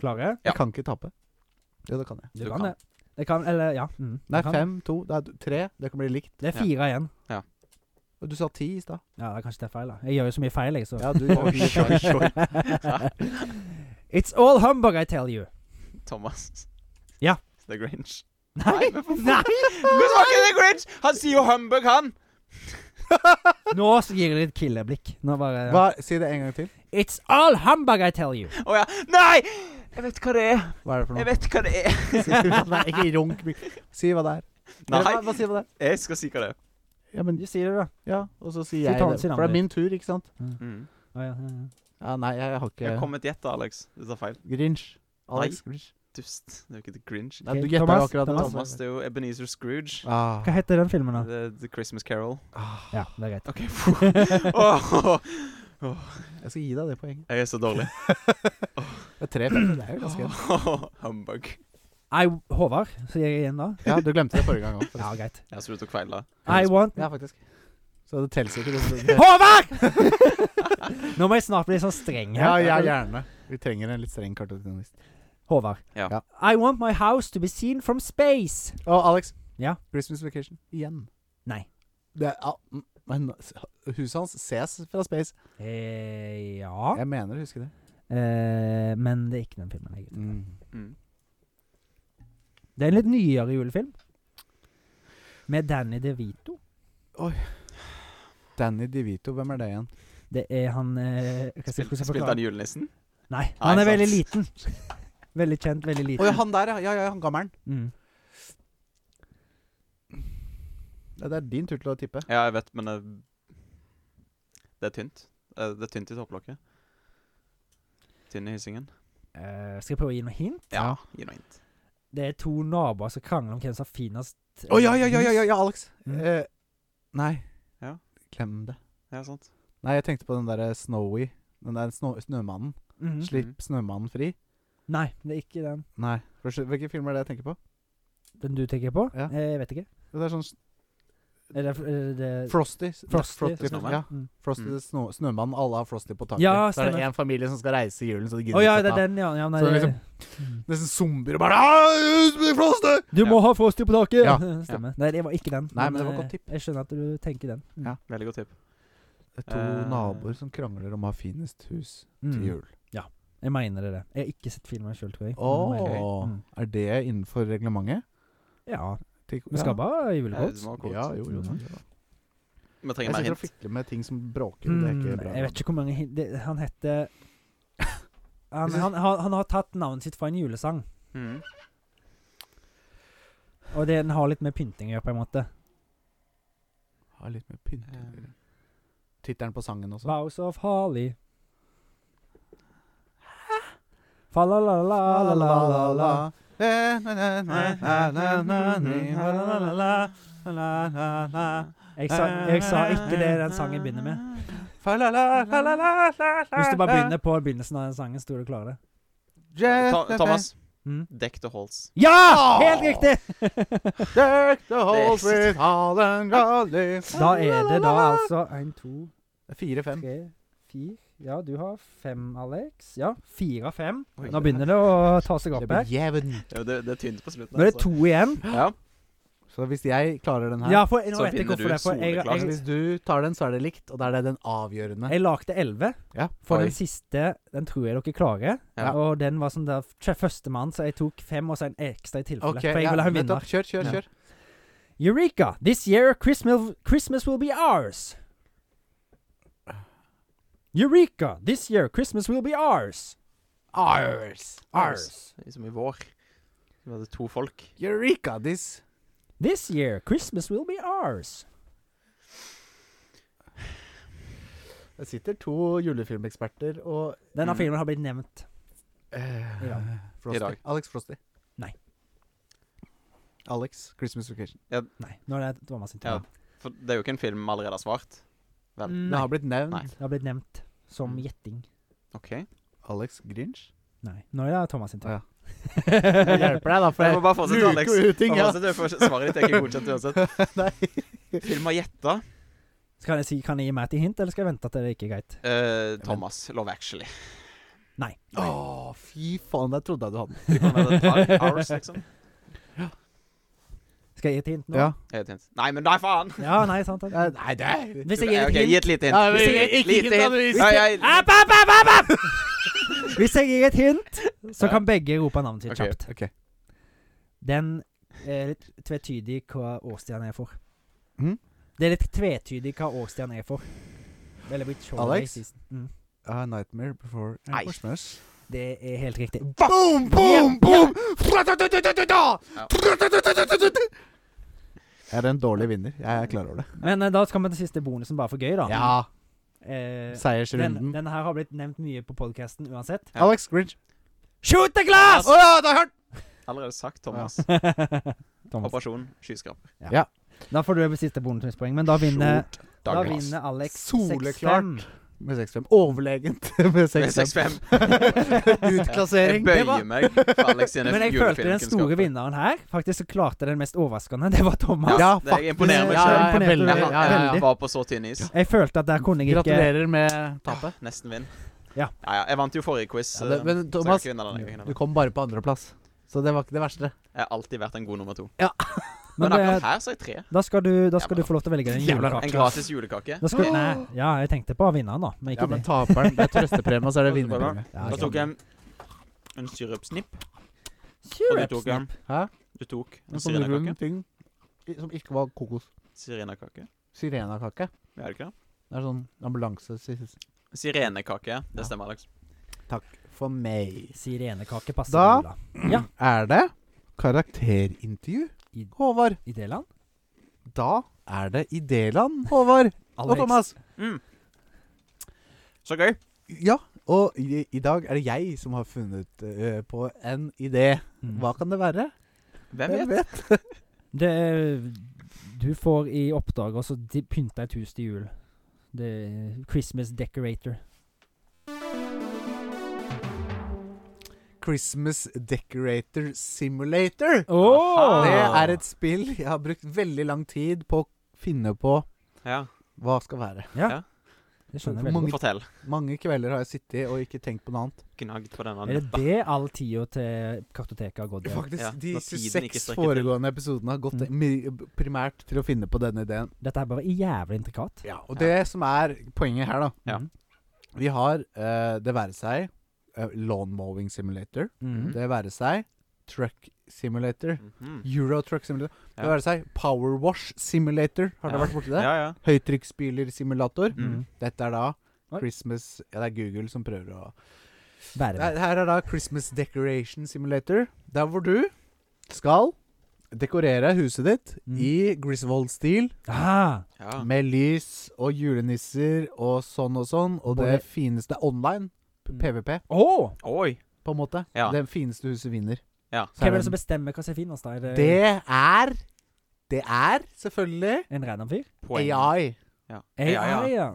S2: Klare?
S3: Ja.
S1: Jeg kan ikke tape. Jo, det kan jeg.
S2: Du,
S3: Du
S2: kan,
S3: kan.
S2: det. Det kan, eller ja. Mm, du
S1: Nei,
S2: kan.
S1: 5-2. Det er 3. Det kan bli likt.
S2: Det er fire igjen.
S1: Og Du sa 10 i stad.
S2: Ja, det er kanskje det er feil, da. Jeg gjør jo så mye feil, jeg, så.
S1: Ja, du
S3: Oi, oi, oi.
S2: It's all humbug, I tell you.
S3: Thomas.
S2: Ja.
S3: The Grinch.
S2: Nei,
S3: men for faen.
S2: nei!
S3: Hvordan var ikke The Grinch? Han sier jo humbug, han.
S2: Nå så gir det litt killeblikk. Nå bare
S1: Hva, si det en gang til.
S2: It's all humbug, I tell you.
S3: Å ja. Nei! Jeg vet hva det er.
S1: Hva er det for
S3: Jeg
S1: noe?
S3: vet hva det er.
S1: Nei, ikke runk. Si hva det er.
S3: Nei.
S1: Hva, hva sier hva det er?
S3: Jeg skal si hva det er.
S1: Ja, men,
S2: Du sier det, da.
S1: ja, og så sier
S2: Si
S1: jeg
S2: ta-
S1: det.
S2: si navnet
S1: For det
S2: ditt.
S1: er min tur, ikke sant?
S3: Mm.
S2: Å, ja, ja, ja.
S1: Ja, nei, jeg har
S3: Jeg
S1: ikke
S3: kom med et gjett, da, Alex. Du tar feil.
S1: Grinch. Alex Grinch.
S3: dust. Det er jo ikke The Grinch.
S1: Nei,
S2: Ok,
S1: du gjetter
S2: Thomas,
S1: akkurat
S2: Thomas.
S3: Thomas, det er jo Ebenezer Scrooge.
S1: Ah.
S2: Hva heter den filmen, da?
S3: The, the Christmas Carol.
S1: Ah.
S2: Ja, det er greit.
S3: OK. Åh,
S1: Jeg skal gi deg det poenget. Ah.
S3: jeg er så dårlig.
S1: Det er tre feil, det er jo ganske
S3: Åh, Humbug.
S2: I, Håvard, sier jeg igjen da.
S1: Ja, du glemte det forrige gang òg.
S2: Ja, greit.
S3: Jeg tror du tok feil da.
S2: I want
S1: Ja, faktisk. Så det teller ikke. det- det-
S2: Håvard! Nå må jeg snart bli sånn streng
S1: Ja,
S2: her.
S1: ja, gjerne. Vi trenger en litt streng kartoteknist.
S2: Håvard.
S3: Ja.
S1: Ja.
S2: I want my house to be seen from space.
S1: Og Alex.
S2: Ja.
S1: Christmas Vacation. Igjen.
S2: Nei.
S1: Det er, ah, mm, men s- huset hans ses fra space.
S2: Eh, ja.
S1: Jeg mener å huske det.
S2: Eh, men det er ikke den filmen. Jeg. vet.
S1: Mm.
S3: Mm.
S2: Det er en litt nyere julefilm. Med Danny DeVito.
S1: Danny DeVito, hvem er det igjen?
S2: Det er han eh, hva skal jeg- hvordan
S3: Spil,
S2: skal jeg
S3: spilte
S2: forklare?
S3: han julenissen?
S2: Nei, han
S3: Nei,
S2: er veldig
S3: sant.
S2: liten. Veldig kjent, veldig liten.
S1: Å ja, han der, ja. Ja, ja, han gammelen.
S2: Mm.
S1: Ja, det er din tur til å tippe.
S3: Ja, jeg vet, men det, det er tynt. Eh, Det er tynt i topplokket. Tynn i hyssingen.
S2: Eh, skal jeg prøve å gi noe hint?
S3: Ja, gi noe hint.
S2: Det er to naboer som krangler om hvem som har finest eh,
S1: Å ja, ja, ja, ja, ja,
S2: hus.
S1: ja Alex.
S2: Mm.
S1: Eh, nei.
S3: Ja.
S1: Glem det.
S3: Ja, sant.
S1: Nei, jeg tenkte på den derre Snowy. Den der snø snømannen.
S2: Mhm.
S1: Slipp snømannen fri.
S2: Nei, det er ikke den.
S1: Nei. For se- Hvilken film er det jeg tenker på?
S2: Den du tenker på?
S1: Ja.
S2: Eh, jeg vet ikke.
S1: Jo, Det er sånn s-
S2: Er det, er det
S1: Eh, Frosty. Mhm.
S2: Frosty.
S3: Snowman.
S1: Ja,
S2: Mm.
S1: Frosty
S3: Mm.
S1: the Snow, Snømannen. Alle har Frosty på taket.
S2: Ja,
S1: så er det
S2: stemmer.
S1: en familie som skal reise i julen, så de
S2: Å
S1: gidder
S2: ja,
S1: ikke
S2: det
S1: å
S2: er
S1: ta
S2: den, ja. ja nei,
S1: Så liksom- det er
S2: det-
S1: Nesten zombier og bare «Ah, Frosty!
S2: Du må ha Frosty på taket!
S1: Ja.
S2: Stemmer. Nei, det var ikke den.
S1: Nei, men det var
S2: eh,
S1: godt tipp.
S2: Jeg skjønner at du tenker den.
S3: Veldig godt tipp.
S1: Det er To
S3: Eh.
S1: naboer som krangler om å ha finest hus til
S2: Mm.
S1: jul.
S2: Jeg mener det. er det. Jeg har ikke sett filmen sjøl, tror jeg.
S1: Åh,
S2: Men jeg mener det. Mm.
S1: Er det innenfor reglementet?
S2: Ja.
S1: Til-
S2: Vi skal bare ha
S3: Eh,
S2: julegodt.
S3: det var kort.
S1: Ja, jo, jo.
S2: Mm.
S3: Vi
S1: Jeg
S3: trenger mer
S1: sitter og
S3: hint.
S1: fikler med ting som bråker. Det er ikke
S2: Mm,
S1: bra.
S2: jeg vet ikke hvor mange hin- det, Han heter han,
S1: Jeg synes-
S2: han, han, han har tatt navnet sitt fra en julesang.
S3: Mhm.
S2: Og det, den har litt med pynting å gjøre, på en måte.
S1: Har litt med pynt å gjøre. Tittelen på sangen også.
S2: Vows of Harley. Fa-la-la-la-la-la-la-la. Jeg, sa- jeg sa ikke det den sangen begynner med. Hvis du bare begynner på begynnelsen av den sangen, så tror du du klarer det.
S3: Ta, Thomas.
S2: Mm.
S3: Deck the halls.
S2: Ja! Helt riktig!
S1: Deck the halls
S3: Det er-
S1: with Harlan Garley.
S2: Da er det da altså én, to,
S1: Fire-fem.
S2: tre, fire Ja, du har fem, Alex. Ja, fire av fem.
S3: Oi.
S2: Nå begynner det å ta seg opp her.
S1: jevn.
S3: Ja, det, det er tynt på slutten.
S2: Nå er det to igjen.
S3: altså. Ja.
S1: Så hvis jeg klarer den her
S2: Ja, for nå
S3: Så
S2: vet jeg
S3: vinner
S2: hvorfor det.
S3: du
S2: er, For jeg,
S3: soleklart.
S1: altså
S2: jeg,
S1: Hvis du tar den, så er det likt, og da er det den avgjørende.
S2: jeg lagde elleve.
S1: Ja.
S2: For
S3: Oi.
S2: den siste, den tror jeg dere klarer.
S3: Ja.
S2: Og den var sånn der tre- førstemann, så jeg tok fem og så en ekstra i tilfelle.
S1: Ok,
S2: for jeg
S1: ja,
S2: ville ha en
S1: nettopp.
S2: vinner.
S1: Kjør, kjør,
S2: Ja.
S1: kjør.
S2: Eureka! This year Christmas, Christmas will be ours. Eureka! This year Christmas will be ours.
S1: Ours.
S2: Ours.
S3: Det er Som i vår. Vi hadde to folk.
S1: Eureka, this.
S2: This year Christmas will be ours.
S1: Det sitter to julefilmeksperter og
S2: Denne
S3: Mm.
S2: filmen har blitt nevnt.
S1: eh,
S2: I dag.
S1: Frosty.
S3: I dag.
S1: Alex Frosty.
S2: Nei.
S1: Alex, Christmas Vacation.
S2: Nei, nå er det Thomas sin tur.
S3: Ja. For det er jo ikke en film vi allerede har svart. Vel.
S2: Mm,
S1: Det
S2: Nei,
S1: har blitt nevnt.
S3: Nei.
S2: det har blitt nevnt som
S3: Mm.
S2: gjetting.
S3: OK.
S1: Alex Grinch.
S2: Nei, nå er det Thomas sin tur.
S1: Å, Jeg hjelper deg, da, for
S3: Jeg må bare fortsette,
S1: luker
S3: Alex.
S1: jo ut ting,
S3: Bare
S1: ja.
S3: fortsett, for Svaret ditt er ikke godkjent uansett. Film har gjetta.
S2: Skal jeg si, kan jeg gi meg et hint, eller skal jeg vente til det ikke er greit?
S3: Eh, Thomas, Love Actually.
S2: Nei.
S1: Å, fy faen, der trodde jeg du hadde den.
S3: Det kan være et par hours, liksom.
S2: Skal jeg gi et hint nå?
S1: Ja.
S3: Er det et hint? Nei, men nei, faen!
S2: Ja, nei, sant. sant.
S1: Eh, Nei, det er
S2: Hvis jeg
S3: Eh,
S2: gir et
S3: ok,
S2: hint
S3: Gi et lite hint.
S1: Nei, men
S3: Gi et
S1: ikke- ikke
S3: lite
S1: hint,
S3: hint.
S1: Annelise.
S3: Nei, jeg-
S2: App, app, app, app, app! Hvis jeg gir et hint, så kan begge rope navnet sitt
S3: Ok.
S2: kjapt.
S1: Ok.
S2: Den er litt tvetydig hva årstiden er for.
S1: Mhm.
S2: Det er litt tvetydig hva årstiden er for. Eller blitt short
S1: Alex?
S2: day season. Mm.
S1: A Nightmare Before
S3: Nei.
S1: Christmas.
S2: Det er helt riktig.
S1: Boom, boom, boom! Er det en dårlig vinner? Jeg er klar over det.
S2: Men eh, da skal vi til siste bonusen, bare for gøy, da.
S1: Ja,
S2: Eh, den,
S1: seiersrunden.
S2: denne her har blitt nevnt mye på podkasten uansett.
S3: Ja.
S1: Alex Grinch.
S2: Shoot the glass!
S1: Å ja, det har jeg hørt!
S3: Allerede sagt, Thomas.
S2: Thomas.
S3: Operasjon skyskraper.
S2: Da får du det siste bonuspoeng, men da vinner, da
S3: Douglas.
S2: vinner Alex
S1: Soleklart.
S2: 6-5.
S1: Med 6-5. Overlegent med
S3: Med
S1: 6-5.
S3: 6-5. Jeg
S1: Utklassering.
S2: det var-
S3: bøyer meg for Alex sine
S2: Men jeg følte den store
S3: julefilmkunnskaper.
S2: vinneren her faktisk så klarte den mest overraskende. Det var Thomas.
S1: Ja,
S3: det- jeg imponerer meg
S1: Ja, ja,
S3: selv.
S1: ja,
S2: Imponerte
S1: veldig,
S3: Jeg,
S1: ja, ja,
S3: han- jeg
S1: ja.
S3: var på så tynn is.
S2: Jeg følte at der kunne jeg ikke
S1: Gratulerer med tapet.
S3: Nesten vinn.
S2: Ja.
S3: ja, Jeg vant jo forrige quiz.
S1: Ja, det-
S3: eh,
S1: men
S3: så jeg
S1: Thomas,
S3: kan ikke vinne denne gangen.
S1: Du kom bare på andreplass. Så det var ikke det verste.
S3: Jeg har alltid vært en god nummer to.
S2: Men
S3: Men akkurat
S2: det,
S3: her så er jeg tre.
S2: da skal, du, da skal
S3: Ja, men
S2: du få lov til å velge den
S1: Jævla rart.
S3: En
S2: julekaka.
S3: gratis julekake.
S2: Da skal, nei, ja, jeg tenkte på vinneren, da, men
S1: Ja,
S2: ikke
S1: men
S2: det.
S1: taperen Det er trøstepremie, og så er det vinnerpremie.
S2: Ja,
S3: Da
S2: ok.
S3: tok jeg en, en sirupsnipp, og du tok en
S2: Sirupsnipp.
S1: Hæ?
S3: Du tok en
S1: Men så gjorde du
S3: sirenakake.
S1: en ting i- som ikke var kokos.
S3: Sirenakake.
S1: Sirenakake.
S3: Er det ikke det?
S1: Det er sånn ambulanse sist.
S3: Sirenekake.
S1: Ja.
S3: Det stemmer, Alex.
S1: Takk for meg.
S2: Sirenekake passer
S1: Da-
S2: da. jula.
S1: Er det karakterintervju,
S2: I-
S1: Håvard?
S2: I det land?
S1: Da er det Idéland, Håvard og
S2: Alex.
S1: Thomas.
S3: Mm. Så gøy.
S1: Ja, og i, i dag er det jeg som har funnet eh, på en idé.
S2: Mm.
S1: Hva kan det være?
S3: Hvem vet?
S2: Det er, du får i oppdrag også de- pynte et hus til jul. Det er Christmas decorator.
S1: Christmas Decorator Simulator.
S2: Ah.
S3: Åh!
S1: Det er et spill jeg har brukt veldig lang tid på å finne på
S3: Ja,
S1: hva skal være.
S2: Det skjønner jeg veldig
S1: Mange-
S2: godt.
S3: fortell.
S1: Mange kvelder har jeg sittet og ikke tenkt på noe annet.
S3: Gnagd på denne.
S2: Er det det all tida til kartoteket har gått i?
S1: Faktisk,
S3: Ja,
S1: De
S3: når tiden ikke
S1: 26
S3: strekker til.
S1: foregående episodene har gått
S2: Mm.
S1: mi- primært til å finne på denne ideen.
S2: Dette er bare jævlig intrikat.
S1: Ja, og det som er poenget her, da
S3: Ja.
S2: Mhm.
S1: Vi har eh, det være seg eh, lawn mowing simulator,
S3: Mm.
S2: Mhm.
S1: det være seg truck simulator,
S3: Mhm.
S1: euro truck simulator, det
S3: Ja.
S1: være seg power wash simulator. Har dere
S3: Ja.
S1: vært borti det?
S3: Ja, ja.
S1: Høytrykksspylersimulator.
S3: Mm.
S1: Dette er da
S2: Oi.
S1: Christmas Ja, det er Google som prøver å
S2: Verre.
S1: Nei, Her er da Christmas Decoration Simulator. Der hvor du skal dekorere huset ditt
S2: Mm.
S1: i Griswold-stil.
S2: Ah,
S3: ja.
S1: Med lys og julenisser og sånn og sånn. Og
S2: Både-
S1: det fineste det er online. p-
S2: Mm.
S1: PVP,
S2: oh,
S3: Oi.
S1: på en måte.
S3: Ja.
S1: Det fineste huset vinner.
S3: Ja.
S1: Så
S2: hvem er
S1: er
S2: det som
S1: det,
S2: bestemmer hva som er finest? da? Er det,
S1: det er Det er selvfølgelig
S2: en random fyr?
S3: Poeng.
S1: AI.
S3: Ja.
S2: AI,
S3: Ja, ja.
S2: ja.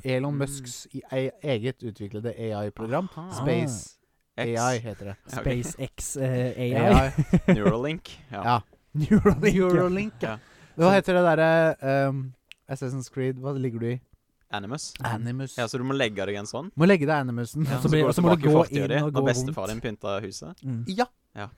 S1: Mm. Elon
S3: Mm.
S1: Musks i- e- eget utviklede AI-program.
S3: Aha.
S1: Space
S3: X.
S1: AI heter det.
S3: Ja, ok.
S2: SpaceX eh, AI.
S1: AI.
S3: Neuralink. Ja.
S1: Ja.
S2: Neuralink, ja.
S1: Neuralink, ja.
S3: Ja.
S1: Hva heter det derre um, Assassin's Creed? Hva ligger du i?
S3: Animus.
S1: Animus.
S3: Ja, så du må legge deg i en sånn?
S1: Må legge deg Animusen.
S2: Ja.
S1: Ja.
S2: Så blir- og så må du gå inn og gå
S3: Når bestefar
S2: rundt.
S3: din pynta huset?
S2: Mm.
S3: Ja.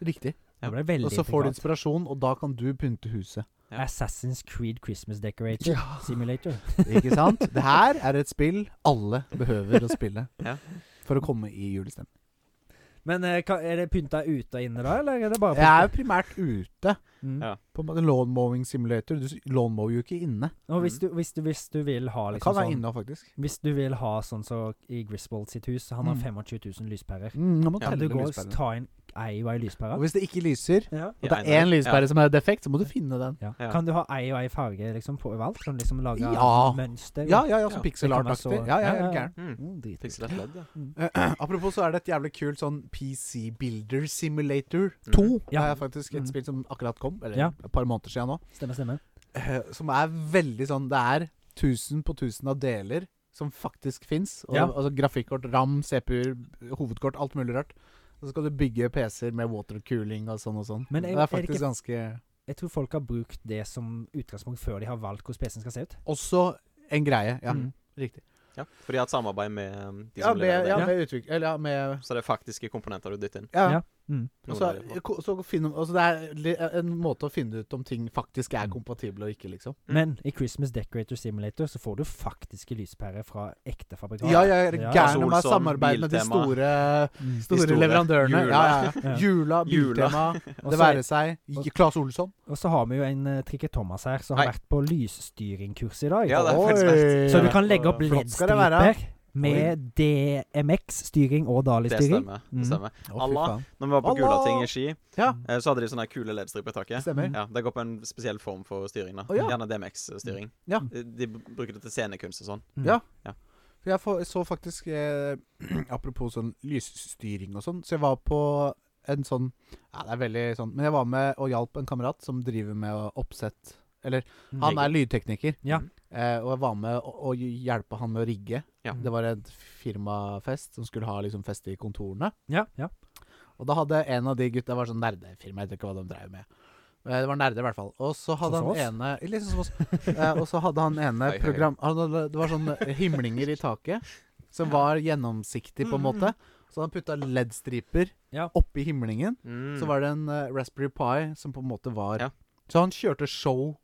S1: Riktig.
S2: Det ble veldig
S1: Og så får du
S2: intrikat.
S1: inspirasjon, og da kan du pynte huset.
S3: Ja.
S2: Assassin's Creed Christmas Decorator Simulator.
S1: Ikke sant? Det her er et spill alle behøver å spille
S3: Ja.
S1: for å komme i julestemning.
S2: Men eh, hva- er det pynta ute og inne da, eller er det bare
S1: Jeg er jo primært ute.
S2: Mm.
S3: Ja.
S1: På en måte lawn mowing simulator. Du s- lawn mower jo ikke inne.
S2: Og hvis du, hvis, du, hvis du vil ha
S1: Det
S2: liksom
S1: kan være
S2: sånn
S1: inne òg, faktisk.
S2: Hvis du vil ha sånn som i Griswold sitt hus, han har
S1: Mm.
S2: 25 000 lyspærer.
S1: Mm, nå må
S3: Ja,
S2: Kan du
S1: telle
S2: gå og
S1: lyspærene.
S2: ta inn ei og ei
S1: Og
S2: lyspære?
S1: hvis det ikke lyser,
S2: Ja.
S1: og
S3: I
S1: det er
S3: eiendom.
S1: én lyspære som er defekt, så må du finne den.
S2: Ja.
S3: Ja.
S2: Kan du ha ei og ei farge liksom, på overalt? Kan du liksom lage
S1: Ja.
S2: mønster?
S1: Ja, ja, ja,
S3: Ja,
S1: som
S3: det
S1: pixel
S2: kan være så-
S1: art-aktig. Ja, ja,
S2: ja,
S1: ja,
S2: ja.
S1: gæren.
S3: Ja. Mm.
S2: Mm, drit.
S3: Fikser et ledd, ja.
S1: Eh, Apropos så er det et jævlig kult sånn PC Builder Simulator 2.
S2: Ja.
S1: Det er faktisk et
S2: Mm.
S1: spill som akkurat kom, eller
S2: Ja.
S1: et par måneder siden nå.
S2: Stemmer, stemmer.
S1: eh, Som er veldig sånn Det er tusen på tusen av deler som faktisk fins. Og,
S2: Ja.
S1: Altså grafikkort, RAM, CPU, hovedkort, alt mulig rart. Og så skal du bygge PC-er med watercooling og sånn og sånn.
S2: Men er-
S1: det
S2: er
S1: er
S2: det
S1: faktisk
S2: ikke-
S1: ganske
S2: Jeg tror folk har brukt det som utgangspunkt før de har valgt hvordan PC-en skal se ut.
S1: Også en greie. Ja,
S2: Mm.
S1: riktig.
S3: ja. For de har et samarbeid med um, de
S1: Ja,
S3: som
S1: med,
S3: leverer det.
S1: ja, med utvikling Eller ja, med
S3: Så det er faktiske komponenter du dytter inn.
S1: Ja.
S2: Ja. Mm.
S1: Og
S3: Noen
S1: så,
S3: av de-
S1: ko- så finner, altså det er li- en måte å finne ut om ting faktisk er kompatible og ikke, liksom.
S3: Mm.
S2: Men i Christmas Decorator Simulator så får du faktiske lyspærer fra ekte fabrikanter.
S1: Ja, ja,
S2: Ja. altså,
S1: gæren om å
S3: Solson,
S1: samarbeide med de
S3: Biltema.
S1: store,
S2: Mm.
S1: store,
S3: store.
S1: leverandørene.
S3: Jula.
S1: Ja, ja, ja.
S2: Ja.
S1: Jula,
S3: Jula.
S1: Biltema,
S2: Og
S1: det
S2: så-
S1: være seg J- Claes Olsson.
S2: Og så har vi jo en uh, Trikke Thomas her, som har
S3: Hei.
S2: vært på lysstyringkurs i dag.
S3: Ja, det er
S1: Oi.
S3: faktisk verst.
S2: så du kan legge opp
S1: Flott skal det
S2: LED-striper med DMX-styring og
S3: Det
S2: Dali-styring.
S3: stemmer.
S2: Mm.
S3: Det stemmer.
S1: Å, fy
S3: Allah.
S1: faen.
S3: Når vi var på
S1: Allah!
S3: Gulating i Ski,
S1: Ja.
S3: eh, så hadde de sånne her kule LED-striper i
S1: Det
S3: taket.
S1: stemmer.
S3: Ja, Det går på en spesiell form for styring. da
S1: Å, ja.
S3: Gjerne DMX-styring.
S1: Ja.
S2: Mm.
S3: De, de bruker det til scenekunst og sånn.
S1: Ja. For jeg fa- så faktisk eh, Apropos sånn lysstyring og sånn, så jeg var på en sånn Ja, det er veldig sånn Men jeg var med og hjalp en kamerat som driver med oppsett Eller han er lydtekniker.
S2: Ja.
S1: Eh, og jeg var med å, å hjelpe han med å rigge.
S3: Ja.
S1: Det var en firmafest som skulle ha liksom fest i kontorene.
S2: Ja, ja.
S1: Og da hadde en av de gutta det var sånn nerdefirma, jeg vet ikke hva de drev med. Eh, Det var nerder, i hvert fall. Og så hadde
S2: Sånn som
S1: han ene Liksom som oss. Eh, og så hadde han ene
S3: Hei, hei.
S1: program han hadde, Det var sånne himlinger i taket som var gjennomsiktig, på en måte. Så han putta LED-striper
S2: Ja.
S1: oppi himlingen.
S3: Mm.
S1: Så var det en eh, Raspberry Pi som på en måte var
S3: Ja.
S1: Så han kjørte show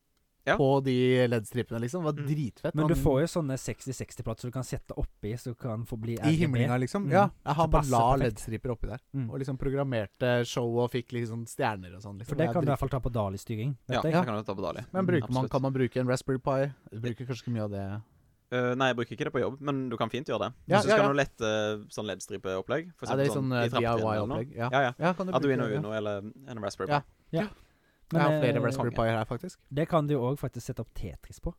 S3: Ja.
S1: på de LED-stripene, liksom. Det var
S3: Mm.
S1: dritfett.
S2: Men du
S1: Han-
S2: får jo sånne 60-60-plater du kan sette oppi, så du kan få bli
S1: I
S2: RGB.
S1: himlinga, liksom?
S2: Mm.
S1: Ja. Han
S2: Så
S1: bare
S2: passer
S1: la
S2: perfekt.
S1: LED-striper oppi der.
S2: Mm.
S1: Og liksom programmerte show og fikk liksom stjerner og sånn. Liksom.
S2: For det
S1: er
S2: kan du
S1: dritfett.
S2: i hvert fall ta på Dali-styring. vet
S3: Ja, det
S2: jeg.
S3: kan du ta på Dali.
S1: Men bruker man,
S3: Absolutt.
S1: kan man bruke en Raspberry Pi? Du bruker kanskje ikke mye av det
S3: Eh, nei, jeg bruker ikke det på jobb, men du kan fint gjøre det.
S1: Ja,
S3: Ja, så
S1: ja,
S3: skal
S1: ja.
S3: du lette sånn LED-stripeopplegg. for
S1: Ja, det er litt
S3: eksempel
S1: sånn
S3: i
S1: eh,
S3: trappetrinnene eller noe.
S1: DIY-opplegg. Ja.
S3: Ja, ja.
S1: ja, kan du
S3: Arduino
S1: bruke-
S3: Uno eller en Raspberry Pi.
S1: Ja.
S2: Men,
S1: Jeg har flere sånn.
S2: eh,
S1: Raspberry Pier her, faktisk.
S2: Det kan du òg faktisk sette opp Tetris på.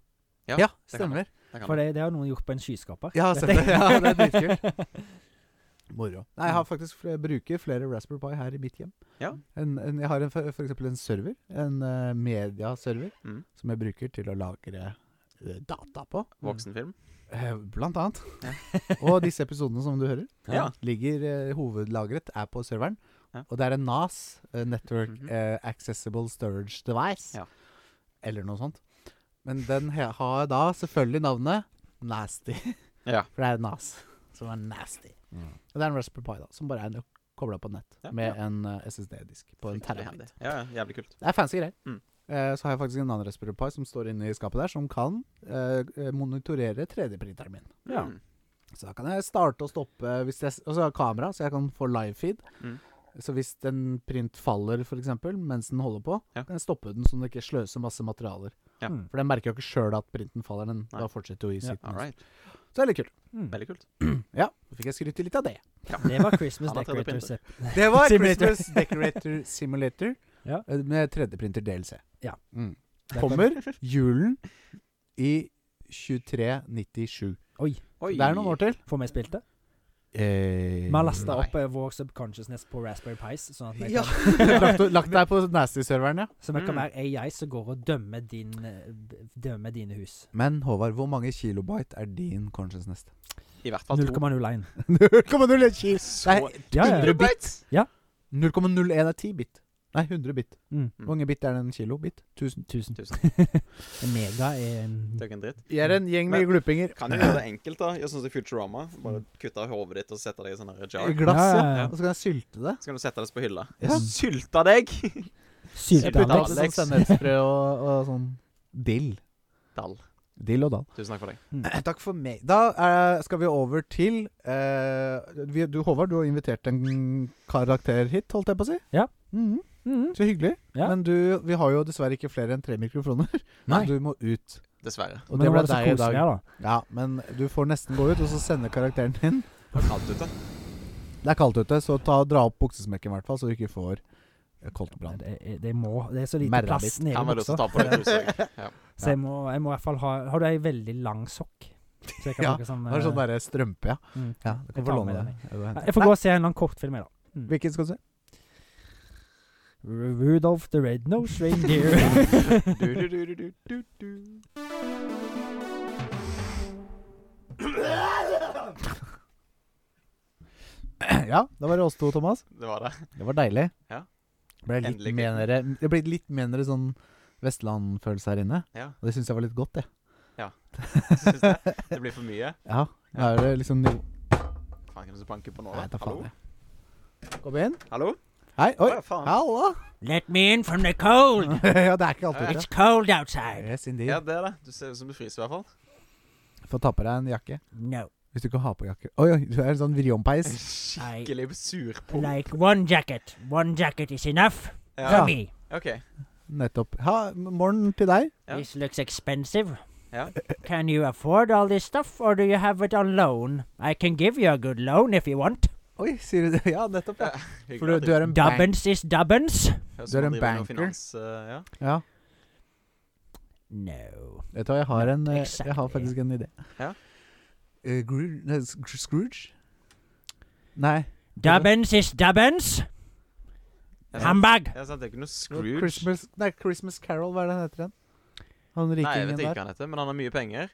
S3: Ja,
S1: Ja,
S3: det kan
S1: stemmer.
S3: Det kan
S2: For
S3: du.
S2: det, det har noen gjort på en skyskaper.
S1: Ja,
S2: Vet
S1: stemmer.
S2: jeg.
S1: Ja, det er dritkult. Moro. Nei, jeg har
S2: Mm.
S1: faktisk flere, bruker flere Raspberry Pi her i mitt hjem.
S3: Ja.
S1: En, en, jeg har en, for for eksempel en server, en eh, mediaserver,
S3: Mm.
S1: som jeg bruker til å lagre eh, data på.
S3: Voksenfilm.
S1: Eh, Blant annet. og disse episodene som du hører,
S3: Ja.
S1: ligger eh, hovedlagret, er på serveren.
S3: Ja.
S1: Og det er en NAS, eh, Network
S3: Mhm.
S1: eh, Accessible Storage Device,
S3: Ja.
S1: eller noe sånt. Men den he har da selvfølgelig navnet Nasty.
S3: Ja. Mm.
S1: For det er NAS som er nasty. Og det er en Raspberry Pi da, som bare er kobla på nett
S3: Ja,
S1: med
S3: ja.
S1: en eh, SSD-disk på en
S3: Fryktelig
S1: terabyte.
S3: handy. Ja, ja, jævlig kult.
S1: Det er fancy greier.
S3: Mm.
S1: Eh, så har jeg faktisk en annen Raspberry Pi som står inne i skapet der, som kan eh, monitorere 3D-printeren min.
S2: Ja.
S3: Mm.
S1: Så da kan jeg starte og stoppe hvis jeg, Og så har jeg kamera, så jeg kan få livefeed.
S3: Mm.
S1: Så hvis en print faller, f.eks., mens den holder på,
S3: Ja.
S1: kan jeg stoppe den, så den ikke sløser masse materialer.
S3: Ja.
S2: Mm.
S1: For den merker jo ikke sjøl at printen faller. Den
S3: Nei.
S1: da fortsetter jo i
S2: Ja,
S1: sitt
S3: All
S1: mønster.
S3: right.
S1: Så det er litt kult.
S2: Mm.
S3: Veldig kult.
S1: Ja, så fikk jeg skryte litt av det.
S2: Det var Christmas
S3: Han har 3D
S2: Decorator.
S3: printer.
S2: Sep.
S1: Det var
S2: Simulator.
S1: Christmas Decorator Simulator
S2: Ja.
S1: eh, med 3D-printer DLC.
S2: Ja.
S1: Mm.
S2: Der kom-
S1: Kommer julen i 2397.
S2: Oi,
S3: Oi.
S1: Det er noen år til.
S2: får vi spilt det?
S1: Eh,
S2: Vi har lasta
S1: nei.
S2: opp eh, vår subconsciousness på Raspberry Pis, sånn at vi
S1: Ja.
S2: kan,
S1: lagt, lagt deg på Nasty-serveren, ja.
S2: så vi kan
S3: Mm.
S2: være AI som går og dømmer, din, eh, d- dømmer dine hus.
S1: Men Håvard, hvor mange kilobyte er din consciousness?
S3: I hvert fall to.
S2: 0,01.
S1: 0,01 kilo.
S3: Så
S1: Nei,
S2: Ja, ja.
S1: 100 bit.
S2: Ja.
S1: 0,01 er 10 bit. Nei, 100 bit.
S2: Mm.
S1: Hvor mange bit er det en kilo? Bit? 1000.
S2: Tusen.
S3: Tusen.
S2: Mega er en
S3: Det er ikke en dritt.
S1: Vi er en gjeng med
S3: Men-
S1: glupinger.
S3: Kan jo gjøre det enkelt, da. Gjør sånn som Futurama. Bare kutte av hodet ditt og sette deg i sånn her
S1: I
S3: jar.
S1: glass, ja.
S2: Ja, ja, ja.
S1: Og så kan jeg sylte det.
S3: Så kan du sette det på hylla.
S1: Ja.
S3: Sylta deg!
S1: Putte
S2: sylteanlegg.
S1: det sånn sennepsfrø og, og sånn dill.
S3: Dall.
S1: Dill og dall.
S3: Tusen takk for deg.
S1: Eh, Takk for meg. Da eh, skal vi over til eh, vi, Du Håvard, du har invitert en karakter hit, holdt jeg på å si.
S2: Ja.
S1: Mhm.
S2: Mhm.
S1: Så hyggelig.
S2: Ja.
S1: Men du, vi har jo dessverre ikke flere enn tre mikrofoner.
S2: Nei.
S1: Du må ut.
S3: Dessverre.
S1: Og
S2: Men
S1: det
S2: nå
S1: ble
S2: var det så
S1: deg i dag.
S2: koselig her, da.
S1: Ja, men du får nesten gå ut, og så sende karakteren din.
S3: Det var kaldt ute.
S1: Det er kaldt ute, så ta, dra opp buksesmekken i hvert fall, så du ikke får eh, koldtbrann.
S2: Det, det, det, må, det er så lite
S1: Merra
S2: plass nede
S3: Han
S2: i
S3: var lyst
S2: buksa.
S3: til å ta på deg trusa. Ja.
S2: Så jeg må, jeg må i hvert fall ha Har du ei veldig lang sokk? Så jeg kan
S1: Ja,
S2: bruke som
S1: Det er sånn
S2: eh,
S1: derre strømpe, ja.
S2: mm.
S1: ja du
S2: Jeg
S1: kan
S2: tar
S1: få
S2: med
S1: låne
S2: den,
S1: det. Ja, du henter.
S2: Jeg får gå og se en eller annen kortfilm, jeg, da. Mm.
S1: Hvilken skal du se?
S2: Ru- Rudolph the Red-Nosed Reindeer.
S1: Ja, da var det oss to, Thomas.
S3: Det var det.
S1: Det var deilig.
S3: Ja.
S1: Ble litt
S3: Endelig
S1: menere, det ble litt menere sånn Vestland-følelse her inne.
S3: Ja.
S1: Og det syns jeg var litt godt, det.
S3: Jeg synes det. Det blir for mye.
S1: Ja. Nå er det liksom ny...
S3: Faen, hvem som banker på nå,
S1: Nei,
S3: da?
S1: ta faen.
S3: Hallo?
S1: jeg. Kom inn.
S3: Hallo?
S1: Hei. Oi.
S3: Å, ja, faen.
S1: Halla.
S2: Let me in from the cold.
S1: ja, det er ikke alltid
S2: It's cold outside.
S1: Yes,
S3: Ja,
S1: indeed.
S3: det er det. Du ser ut som du fryser, i hvert fall.
S1: Få ta på deg en jakke.
S2: No.
S1: Hvis du ikke har på jakke Oi, oi, du er en sånn vrionpeis.
S3: Skikkelig surpomp.
S2: Like one jacket. One jacket is enough
S3: Ja.
S2: for me.
S3: OK.
S1: Nettopp. Ja, morgen til deg.
S3: Ja.
S2: This looks expensive.
S3: Ja.
S2: Can you afford all this stuff, or do you have it on loan? I can give you a good loan if you want.
S1: Oi, sier du det? Ja, nettopp. Ja.
S3: Hyggelig
S1: For du,
S3: at
S1: du er en bank.
S2: Dubbins is dubbins.
S1: du er
S3: Høres ut som
S1: en
S3: driver med noe
S1: banker.
S3: Finans, eh, ja.
S1: Ja.
S2: No.
S1: Vet du hva, jeg har, en, eh, jeg har
S2: Exactly.
S1: faktisk en idé.
S3: Ja.
S1: eh, Gru- nei, S- Gr- Scrooge? Nei.
S2: Dabbens is dabbens.
S3: Ja, sant.
S2: Hamburg.
S3: Ja, sant, det er ikke noe Scrooge.
S1: Christmas, nei, Christmas Carol, hva er det den heter igjen? Han
S3: Nei, jeg
S1: rikingen
S3: vet ikke
S1: der.
S3: hva han heter, men han har mye penger.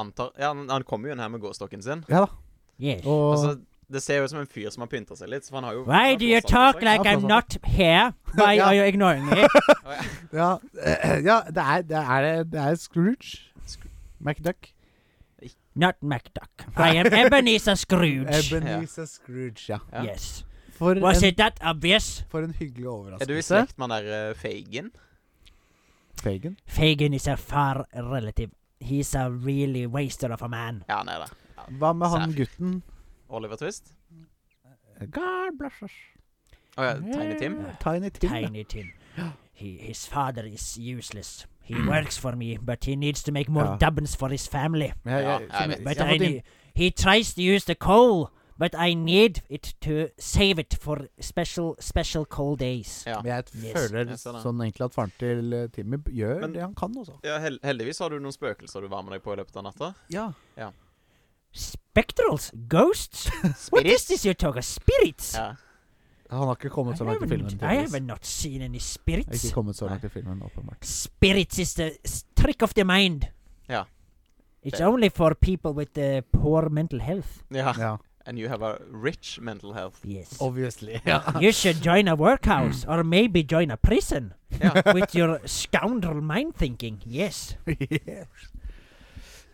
S3: Antar, ja, han, han kommer jo inn her med gåstokken sin.
S1: Ja da.
S2: Yes.
S1: Og
S3: Altså, det ser jo ut som en fyr som har pynta seg litt. Så han har jo han
S2: Why
S3: har
S2: do you
S3: fortsatt på
S2: talk
S3: seg.
S2: like I'm not here? Why are you ignoring me?
S1: ja, ja, det er, det er, det er Scrooge.
S3: Scroo-
S1: MacDuck.
S2: Not MacDuck. I am Ebenezer Scrooge.
S1: Ebenezer Scrooge, ja.
S3: Ja.
S2: Yes.
S1: For
S2: Was
S1: en,
S2: it that obvious?
S1: for en hyggelig
S3: Er du i
S1: overraskelse.
S3: slekt med han der uh, Feigen?
S1: Fagin.
S2: Fagin is a far relative. He's a really waster of a man.
S3: Ja, han er det.
S1: Hva med han
S3: Sær.
S1: gutten?
S3: Oliver Twist?
S1: God bless us.
S3: Å ja, Tiny Tim?
S1: Tiny Tim. ja.
S2: Tiny Tim. He, his father is useless. He works for me, but he needs to make more
S1: Ja.
S2: dubbins for his family.
S1: Men jeg- jeg-
S3: Ja, jeg
S1: som-
S3: vet.
S1: jeg
S2: But
S1: har
S2: I
S1: fått inn-
S2: need, he tries to use the coal, but I need it to save it for special, special cold days.
S3: Ja.
S1: Men jeg
S2: Yes.
S1: føler
S3: Jeg ser det.
S1: sånn egentlig at faren til eh, Timmy b- gjør
S3: Men-
S1: det han kan, også.
S3: Ja, hel heldigvis har du noen spøkelser du var med deg på i løpet av natta.
S1: Ja.
S2: Spectrals? Ghosts? what is Uh, this you talk of? Spirits?
S3: Ja.
S1: Han har ikke kommet
S2: I,
S1: så langt i filmen.
S2: haven't, I
S1: tydeligvis.
S2: have not seen any
S1: Har Ikke
S2: spirits.
S1: kommet så langt i filmen, åpenbart.
S2: Spirits is the s- trick of the mind.
S3: Ja.
S2: It's
S3: Det-
S2: only for people with uh, poor mental health.
S3: ja.
S1: Ja.
S3: And you have a rich mental health.
S2: Yes.
S1: Obviously. Ja.
S2: You should join a workhouse or maybe join a prison
S3: Ja.
S2: with your scoundrel mind thinking. Yes.
S1: Yes.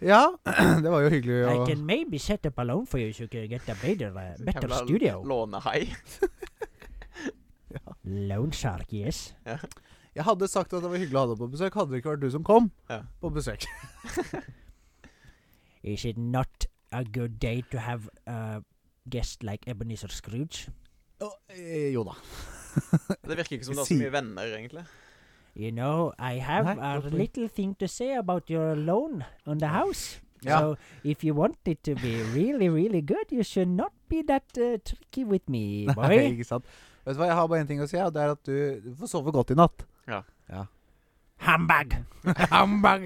S1: ja, det var jo hyggelig
S2: I
S1: å
S2: can maybe set up a loan for you so you can get a better, uh, better
S3: Jævla
S2: studio.
S3: Lånehai.
S2: Loan shark, yes.
S1: Jeg hadde sagt at det var hyggelig å ha deg på besøk, hadde det ikke vært du som kom
S3: Ja.
S1: på besøk.
S2: Is it not a good day to have a guest like Ebenezer Scrooge?
S1: Å, eh, jo da.
S3: Det virker ikke som du har så
S1: Si-
S3: mye venner, egentlig.
S2: You know, I have
S1: Right,
S2: a
S1: okay.
S2: little thing to say about your loan on the house.
S1: Yeah.
S2: So, if you want it to be really, really good, you should not be that uh, tricky with me,
S1: Nei,
S2: boy.
S1: ikke sant. Vet du hva, jeg har bare én ting å si, og det er at du du får sove godt i natt.
S2: Humbug!
S1: Humbug!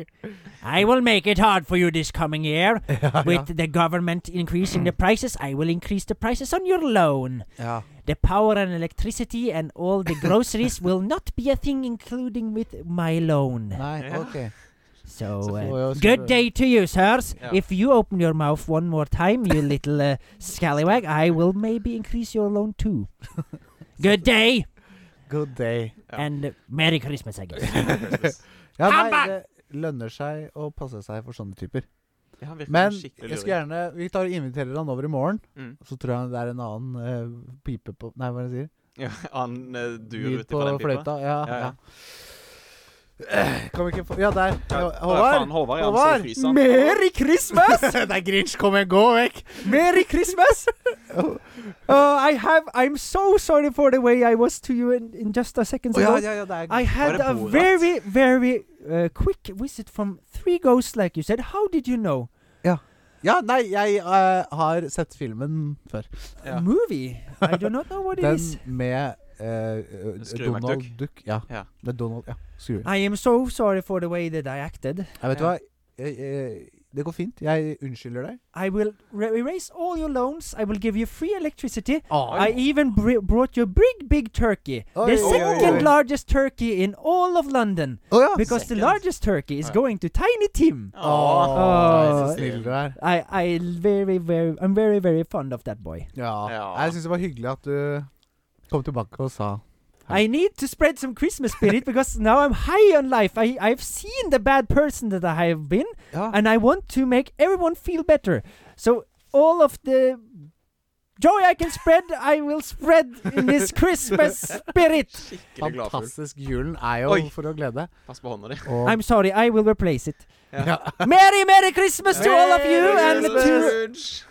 S2: I will make it hard for you this coming year.
S1: Ja, ja.
S2: With the government increasing the prices, I will increase the prices on your loan.
S1: ja.
S2: The power and electricity and all the groceries will not be a thing, including with my loan.
S1: Nei,
S3: Ja.
S1: OK.
S2: So,
S1: Så
S2: uh,
S1: får jeg også-
S2: Good day to you, sirs.
S3: Yeah.
S2: If you open your mouth one more time, you little uh, scallywag, I will maybe increase your loan too. Good day
S1: Good day.
S3: Yeah.
S2: and uh, Merry Christmas, I guess.
S1: Ja, nei,
S2: Humbug!
S1: det lønner seg å passe seg for sånne typer.
S3: Ja, han virker
S1: Men
S3: skikkelig
S1: jeg skal
S3: luring.
S1: gjerne Vi tar og inviterer han over i morgen.
S3: Mm.
S1: Så tror jeg det er en annen eh, pipe på Nei, hva er det jeg sier?
S3: Ja, han eh, dur
S1: Lyd
S3: ut ifra den pipa.
S1: fløyta. Ja,
S3: Ja,
S1: ja.
S3: ja.
S1: Eh, Kan vi ikke få Ja, der.
S3: Ja,
S1: Ja,
S3: å,
S1: Håvard.
S3: faen, Håvard, ja, han
S1: Håvard,
S3: står i fryseren.
S2: Merry Christmas!
S1: det er Grinch. Kom igjen, gå vekk.
S2: Merry Christmas! Oh, I have. I'm so sorry for the way I was to you in, in just a second
S1: Å, ja, ja, ja, det er
S2: I had
S3: det
S2: a
S3: Borat?
S2: very, very uh, quick visit from three ghosts, like you said. How did you know?
S1: Ja, nei, jeg eh, har sett filmen før.
S3: Ja.
S2: Movie? I do not know what it
S1: Den
S2: is.
S1: med eh, eh,
S3: Skru
S1: Donald
S3: McDuck.
S1: Duck. Ja.
S3: Ja.
S1: Det er Donald Ja, skru.
S2: I am so sorry for the way that I acted.
S1: Jeg vet du
S3: Ja.
S1: hva? Jeg, jeg, det går ffint. Jeg unnskylder deg.
S2: I will re- erase all your loans. I will give you free electricity.
S1: Oh,
S2: I even br- brought you a big, big turkey.
S1: Oi,
S2: the
S1: oi, oi,
S2: second
S1: oi.
S2: largest turkey in all of London.
S1: ja.
S2: Because
S3: Second?
S2: the largest turkey is
S3: Oh.
S2: going to Tiny Tim.
S3: Å,
S1: Åh,
S2: Åh.
S1: så snill du er.
S2: I, I very, very, I'm very, very fond of that boy.
S1: Ja.
S3: Ja.
S1: Jeg syns det var hyggelig at du kom tilbake og sa
S2: I need to spread some Christmas spirit because now I'm high on life. I, I've seen the bad person that I have been,
S1: Ja.
S2: and I want to make everyone feel better. So all of the joy I can spread, I will spread in this Christmas spirit.
S3: Skikkelig gladfull.
S1: Fantastisk. Julen er jo
S3: Oi.
S1: for å glede.
S3: Pass på hånda di.
S1: Og
S2: I'm sorry, I will replace it.
S3: Ja.
S2: Merry, Merry Christmas to all of you, and to
S3: Scrooge.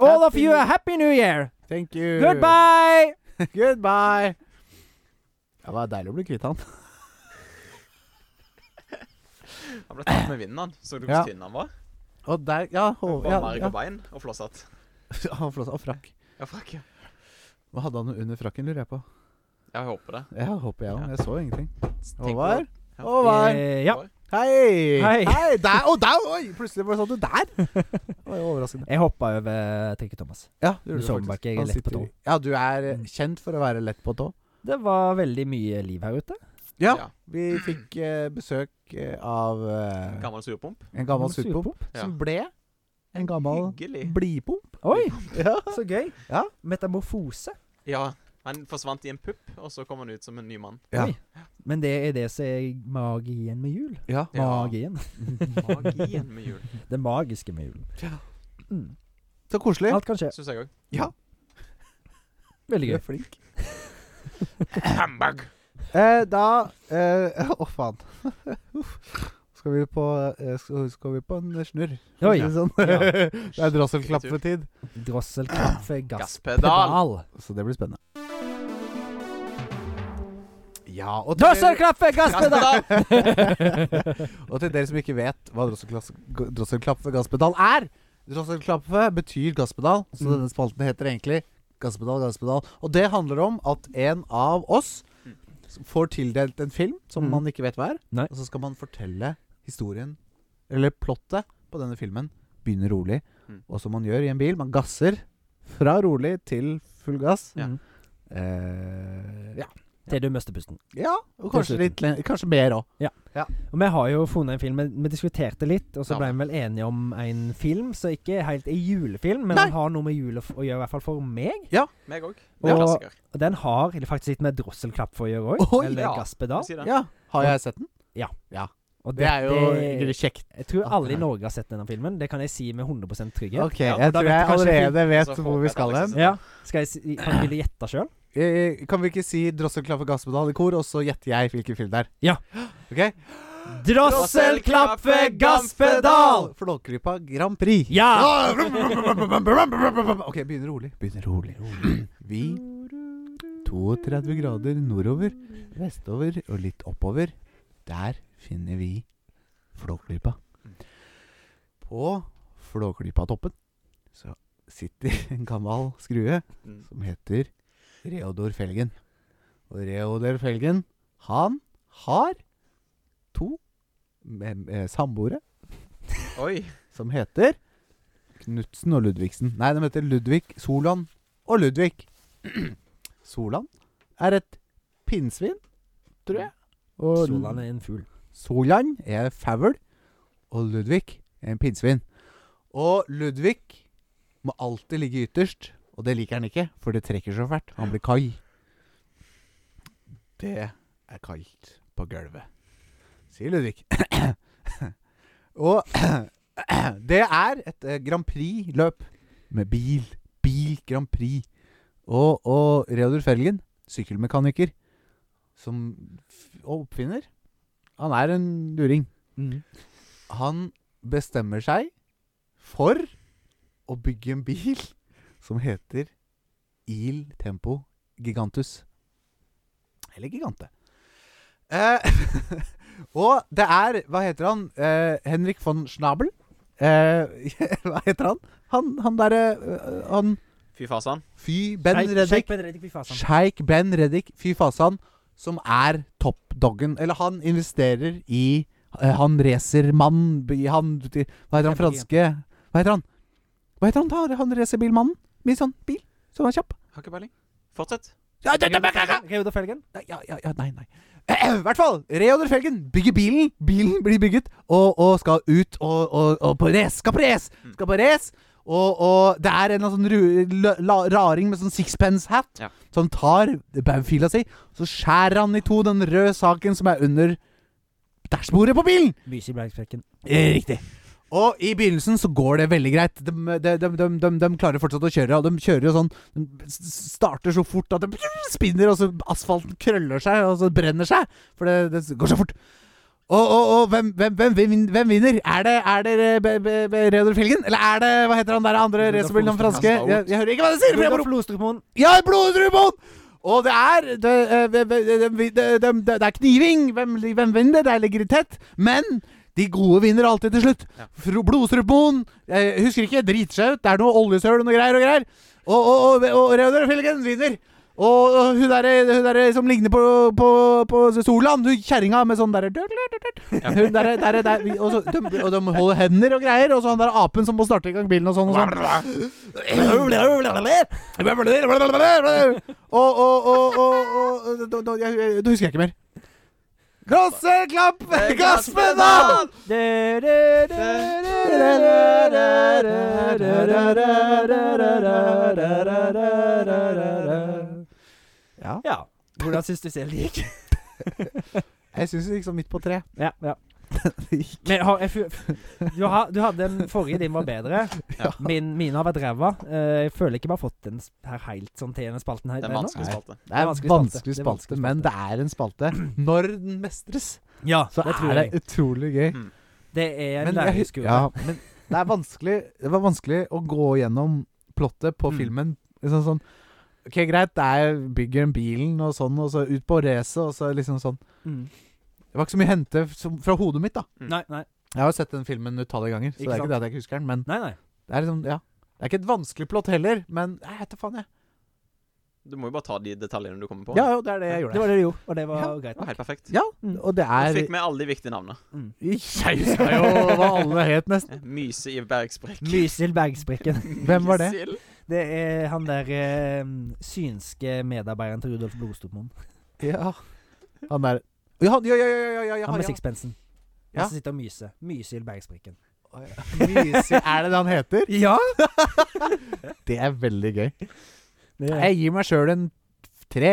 S2: all of
S1: Happy
S2: you
S1: New-
S2: a happy New Year.
S1: thank you.
S2: Goodbye.
S1: Goodbye. Ja, det var deilig å bli kvitt han.
S3: Han ble tatt med vinden, han. Så du hvor
S1: Ja.
S3: tynn han var?
S1: Og der Ja, hå,
S3: Både
S1: ja,
S3: merg
S1: ja.
S3: og bein og flosshatt.
S1: Han flås av frakk.
S3: Ja, fuck. ja.
S1: Hva hadde han under frakken, lurer jeg på?
S3: Jeg håper det.
S1: Jeg håper jeg òg.
S3: Ja.
S1: Jeg så ingenting.
S3: Tenk på
S1: Håvard?
S3: Ja.
S1: Håvard?
S2: Eh, ja.
S1: Hei!
S2: Hei.
S1: Der! Og der! Oi, plutselig bare satt du der! Det var jo overraskende.
S2: Jeg hoppa over Trikke Thomas.
S1: Ja, det
S2: Du
S1: gjorde
S2: så meg
S1: faktisk.
S2: ikke, jeg er
S1: Han
S2: lett på
S1: sitter i-
S2: tå.
S1: Ja, du er eh,
S2: Mm.
S1: kjent for å være lett på tå.
S2: Det var veldig mye liv her ute.
S1: Ja. Vi fikk eh, besøk eh, av eh,
S3: Gammel surpomp.
S1: en gammel surpomp
S3: Ja.
S1: som ble en gammel
S3: Hyggelig.
S1: blidpomp.
S2: Oi,
S1: Ja.
S2: så gøy.
S1: Ja.
S2: Metamorfose.
S3: Ja. Han forsvant i en pupp, og så kom han ut som en ny mann.
S1: Ja.
S2: Oi. Men det er det som er magien med jul.
S1: ja.
S3: Ja.
S2: Magien.
S3: Magien med jul.
S2: Det magiske med julen. Mm.
S1: Så koselig.
S2: Alt kan skje.
S3: Syns jeg òg.
S2: Veldig
S1: Du
S2: gøy.
S1: er flink.
S4: Humbug.
S1: Eh, da eh, Å, faen. Uff. skal, vi på, eh, skal, skal vi på en snurr? for å
S2: Oi.
S1: si det Sånn.
S2: Ja.
S1: det er drosselklappetid.
S2: Drosselkaffe, gass.
S3: Gasspedal.
S1: Så det blir spennende. Ja, og til, dere,
S2: Drosselkaffe, gasspedal!
S1: og til dere som ikke vet hva drosselklass- g- drosselklappe gasspedal er Drosselklappe betyr gasspedal, så
S2: Mm.
S1: denne spalten heter egentlig Gasspedal, gasspedal. Og det handler om at en av oss s- får tildelt en film som
S2: Mm.
S1: man ikke vet hva er,
S2: Nei.
S1: og så skal man fortelle historien, eller plottet, på denne filmen. Begynne rolig,
S3: Mm.
S1: og som man gjør i en bil. Man gasser fra rolig til full gass.
S3: Ja.
S2: Mm.
S1: Eh, ja.
S2: Til du mister pusten.
S1: ja. Og kanskje,
S2: Til slutten.
S1: litt, len- kanskje mer òg.
S2: Og Vi har jo funnet en film, vi- vi diskuterte litt, og så
S3: Ja.
S2: ble vi vel enige om en film som ikke helt er julefilm, men
S1: Nei.
S2: den har noe med jul å f- å gjøre, i hvert fall for meg.
S3: Meg òg.
S2: Og-
S3: Det er klassiker.
S2: Og den har faktisk litt med drosselklapp for å gjøre
S1: Oi,
S2: òg, eller
S3: ja.
S2: gasspedal.
S3: Si det.
S1: Ja. Har jeg sett den?
S2: Og
S1: Det er jo
S2: det-
S1: kjekt.
S2: Jeg tror
S1: at
S2: alle
S1: den
S2: i
S1: er-
S2: Norge har sett denne filmen, det kan jeg si med 100 trygghet.
S1: Ok,
S3: Ja,
S1: jeg
S2: da
S1: tror
S2: vet
S1: jeg
S2: du kanskje
S1: allerede
S3: Så
S1: vet
S3: får
S1: hvor vi
S3: Petter
S1: skal
S3: Alexis
S1: hen.
S3: det.
S2: Ja, skal jeg si, Kan vil du gjette sjøl?
S1: Eh, Kan vi ikke si 'Drosselklaff og gasspedal' i kor, og så gjetter jeg hvilken film det er?
S2: Ja.
S1: Ok?
S2: Drosselklaffe, gasspedal!
S1: For Flåklypa Grand Prix.
S2: Ja!
S1: Ah, brum, brum, brum, brum, brum, brum, brum, brum. Ok, begynner rolig. Begynner rolig. Vi 32 grader nordover, vestover og litt oppover. Der finner vi Flåklypa. På Flåklypa-toppen så sitter en gammel skrue
S3: Mm.
S1: som heter Reodor Felgen. Og Reodor Felgen, han har to mem- eh, samboere
S3: Oi.
S1: som heter Knutsen og Ludvigsen. Nei, de heter Ludvig, Solan og Ludvig. Solan er et pinnsvin, tror jeg. Og
S2: Solan er en fugl.
S1: Solan er faul, og Ludvig er en pinnsvin. Og Ludvig må alltid ligge ytterst, og det liker han ikke, for det trekker så fælt. Han blir kai. Det er kaldt på gulvet, sier Ludvig. og det er et eh, Grand Prix-løp med bil. Bil Grand Prix. Og, og Reodor Felgen, sykkelmekaniker, som f- oppfinner han er en luring. Han bestemmer seg for å bygge en bil som heter Il Tempo Gigantus. Eller Gigante. Eh, og det er Hva heter han? Eh, Henrik von Schnabel? Eh, hva heter han? Han, han derre eh, Han
S3: Fy fasan.
S1: Fy Ben
S2: Nei,
S1: Reddik.
S2: Sheikh Ben Reddik blir fasen.
S1: Sånn. Sheikh Ben Reddik, fy fasan, som er toppdoggen. Eller han investerer i eh, Han racermann by- Han Hva heter han franske Hva heter han? Hva heter han da? Han racerbilmannen? Med sånn bil som er kjapp?
S3: Har ikke peiling. Fortsett.
S1: Ja, det- det- det-
S2: Reodor Felgen.
S1: Nei, ja, ja, ja, nei, nei. I hvert fall! Reodor Felgen bygger bilen. Bilen blir bygget og, og skal ut og, og, og på race. Skal på race!
S3: Mm.
S1: Skal på race! Og, og det er en eller annen sånn ru, la, la, raring med sånn sixpence-hat
S3: Ja.
S1: som tar baufila si, så skjærer han i to den røde saken som er under dashbordet på bilen!
S2: Myse i Bleiksprekken.
S1: Eh, Riktig. Og i begynnelsen så går det veldig greit. De, de, de, de, de, de klarer fortsatt å kjøre, og de kjører jo sånn De s- starter så fort at det spinner, og så asfalten krøller seg, og så brenner seg. For det, det går så fort. Og, og, og hvem, hvem, hvem, vin- hvem vinner? Er det, er det eh, Be- Be- Be- Reodor Felgen? Eller er det Hva heter han der andre
S2: Rudolf
S1: racerbilen, han
S2: Olsen,
S1: franske?
S3: han skal
S1: Jeg,
S3: ut.
S1: jeg hører ikke hva de sier! for jeg må
S2: Rudolf Lostermoen.
S1: ja, bloddrubon! Og det er det, eh, ve- ve- de- de- de- de- Det er kniving. Hvem, li- hvem vinner? Der ligger det tett. Men de gode vinner alltid til slutt.
S3: Ja.
S1: Fro- Blodstrupmoen Jeg husker ikke. Driter seg ut. Det er noe oljesøl og noe greier og greier. Og, og, og, og Reodor Felgen vinner. Og, og hun derre der som ligner på, på, på Solan, hun kjerringa med sånn derre Hun derre derre der, og, så, de, og de holder hender og greier, og så han der apen som må starte i gang bilen og sånn og sånn. Og, og, og, og, og da- da- jeg- jeg- Da husker jeg ikke mer. Krosseklapp,
S3: Eh,
S1: gasspedal! Ja.
S2: Ja. Hvordan syns du selv det gikk?
S1: Jeg syns liksom midt på tre.
S2: Ja, ja. Men har, jeg, fu- du, har, du hadde en forrige din var bedre.
S3: Ja.
S2: Min, mine har vært ræva. Eh, jeg føler ikke vi har fått den s- her helt sånn til denne spalten her.
S3: Det er
S2: ennå.
S3: vanskelig spalte.
S1: Det er
S2: er vanskelig
S1: vanskelig,
S2: spalte. Det er
S1: spalte,
S2: vanskelig spalte.
S1: men det er en spalte. Når den mestres,
S2: Ja,
S1: så
S2: det tror
S1: er
S2: jeg.
S1: det utrolig gøy.
S3: Hmm.
S2: Det er en
S1: Men jeg-
S2: læringskurve.
S1: ja, men det er vanskelig Det var vanskelig å gå gjennom plottet på
S2: Mm.
S1: filmen. Liksom sånn OK, greit, det er bygger en bilen og sånn, og så ut på racet, og så liksom sånn.
S2: Mm.
S1: Det var ikke så mye å hente som, fra hodet mitt, da.
S2: Nei, nei.
S1: Jeg har jo sett den filmen utallige ganger, så
S2: Ikke
S1: det er
S2: sant?
S1: ikke det at jeg ikke husker den, men
S2: nei, nei.
S1: det er liksom Ja. Det er ikke et vanskelig plott heller, men jeg vet da faen, jeg.
S3: Du må jo bare ta de detaljene du kommer på.
S1: Ja, jo, det er det jeg gjorde.
S2: Det var det du gjorde, og det var
S1: Ja.
S3: Det
S2: greit.
S3: var helt perfekt.
S1: Ja,
S2: Mm.
S1: og det
S3: Du
S1: er
S3: fikk med alle de viktige navnene.
S1: Jeg husker jo hva alle het, nesten.
S3: Myse i bergsprekk.
S2: Mysil Bergsprekken.
S1: Hvem var det?
S3: Mysil.
S2: Det er han der eh, synske medarbeideren til Rudolf Blodstopmoen.
S1: Ja. Han der Ja, ja, ja, ja, ja, ja, ja,
S2: Han med
S1: ja.
S2: sixpensen.
S1: Ja.
S2: Han som sitter og myser. Mysil Bergsprekken.
S1: Å, ja. Mysi, er det det han heter?
S2: Ja!
S1: Det er veldig gøy.
S2: Det er,
S1: Jeg gir meg sjøl en tre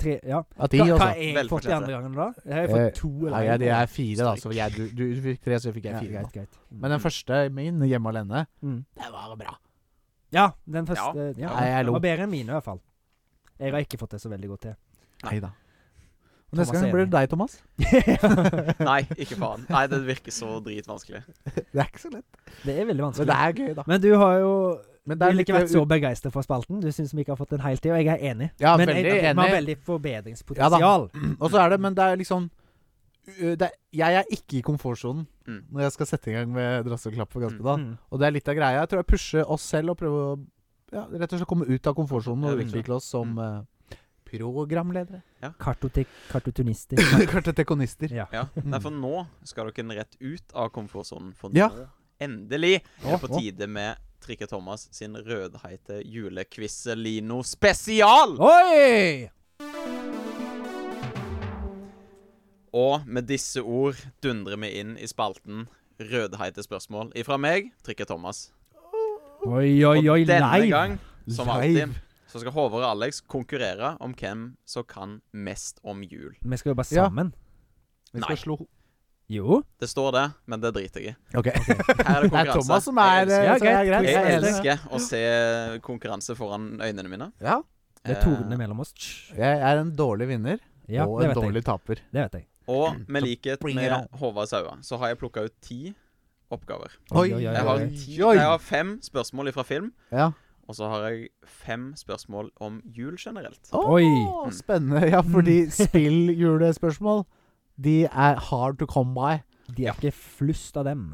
S2: tre, ja.
S1: av ti,
S2: Hva,
S1: altså. Eh,
S2: hva har jeg fått de
S3: Velfortjent,
S2: andre gangene da? Jeg har fått to
S1: Nei,
S2: eller
S1: jeg,
S2: en.
S1: jeg er fire, da. Så jeg, du, du fikk tre, så fikk
S2: Ja,
S1: jeg fire.
S2: greit, greit.
S1: da. Men den første min, 'Hjemme alene',
S2: Mm.
S1: det var bra.
S2: Ja, den første ja.
S1: Nei, jeg
S2: Den
S1: lo.
S2: var bedre enn mine, i hvert fall. Jeg har ikke fått det så veldig godt til.
S1: Nei da. Og
S2: Thomas
S1: neste gang
S2: er
S1: blir
S2: enig.
S1: det deg, Thomas.
S3: Nei, ikke faen. Nei, det virker så dritvanskelig.
S1: Det er ikke så lett.
S2: Det er veldig
S1: Men
S2: vanskelig.
S1: det er gøy, da.
S2: Men du har jo
S1: Men
S2: du
S1: det er
S2: har
S1: litt
S2: ikke vært så begeistra for spalten. Du syns vi ikke har fått en hel til, og jeg er enig.
S1: Ja,
S2: Men
S1: veldig
S2: jeg, vi har
S1: enig.
S2: veldig forbedringspotensial.
S1: Og så er det, men det er liksom ø, det er, Jeg er ikke i komfortsonen
S3: Mm.
S1: når jeg skal sette i gang med drasse og klapp for Gaspedal.
S2: Mm.
S1: Og det er litt av greia. Jeg tror jeg pusher oss selv og prøver å ja, rett og slett komme ut av komfortsonen og
S3: Ja, Mm. riktig.
S1: utvikle oss som eh, programledere.
S2: Kartotek, kartotonister.
S1: Kartotekonister.
S2: Ja.
S3: Ja. Nei, for nå skal dere rett ut av komfortsonen. For
S1: Ja.
S3: nå, endelig, er det på
S1: Å, å.
S3: tide med Trikke Thomas sin rødheite julequiz-lino spesial!
S2: Oi!
S3: Og med disse ord dundrer vi inn i spalten Rødheite spørsmål ifra meg, Trikke Thomas.
S2: Oi, oi,
S3: Og
S2: oi,
S3: denne
S2: live!
S3: gang, som
S1: Live.
S3: alltid, så skal Håvard og Alex konkurrere om hvem som kan mest om jul.
S2: Vi skal jobbe
S1: Ja.
S2: sammen.
S1: Vi
S3: Nei.
S1: skal slå ho-
S2: Jo.
S3: Det står det, men det driter jeg i.
S1: Ok.
S3: Her er det
S1: Det er
S3: konkurranse.
S1: Thomas som er eh,
S3: Jeg elsker,
S2: Ja,
S1: så det er
S2: greit.
S1: greit.
S3: jeg
S1: Jeg er enig.
S3: elsker å se konkurranse foran øynene mine.
S1: Ja.
S2: Det er
S3: Eh,
S2: tordene mellom oss. Tsj.
S1: Jeg er en dårlig vinner
S2: Ja,
S1: og
S2: det
S1: en
S2: vet jeg.
S1: dårlig taper.
S2: Det vet jeg.
S3: Eh, Og med likhet
S1: bring it
S3: med
S1: on.
S3: Håvard Saua, så har jeg plukka ut ti oppgaver.
S2: Oi, oi, oi,
S3: Jeg har,
S2: Eh, oi.
S3: ti, jeg har fem spørsmål fra film,
S1: Ja.
S3: og så har jeg fem spørsmål om jul generelt.
S1: Åh,
S2: Oi. Mm.
S1: Spennende. Ja, fordi spilljulespørsmål, de er hard to come by.
S2: De er ikke flust av dem.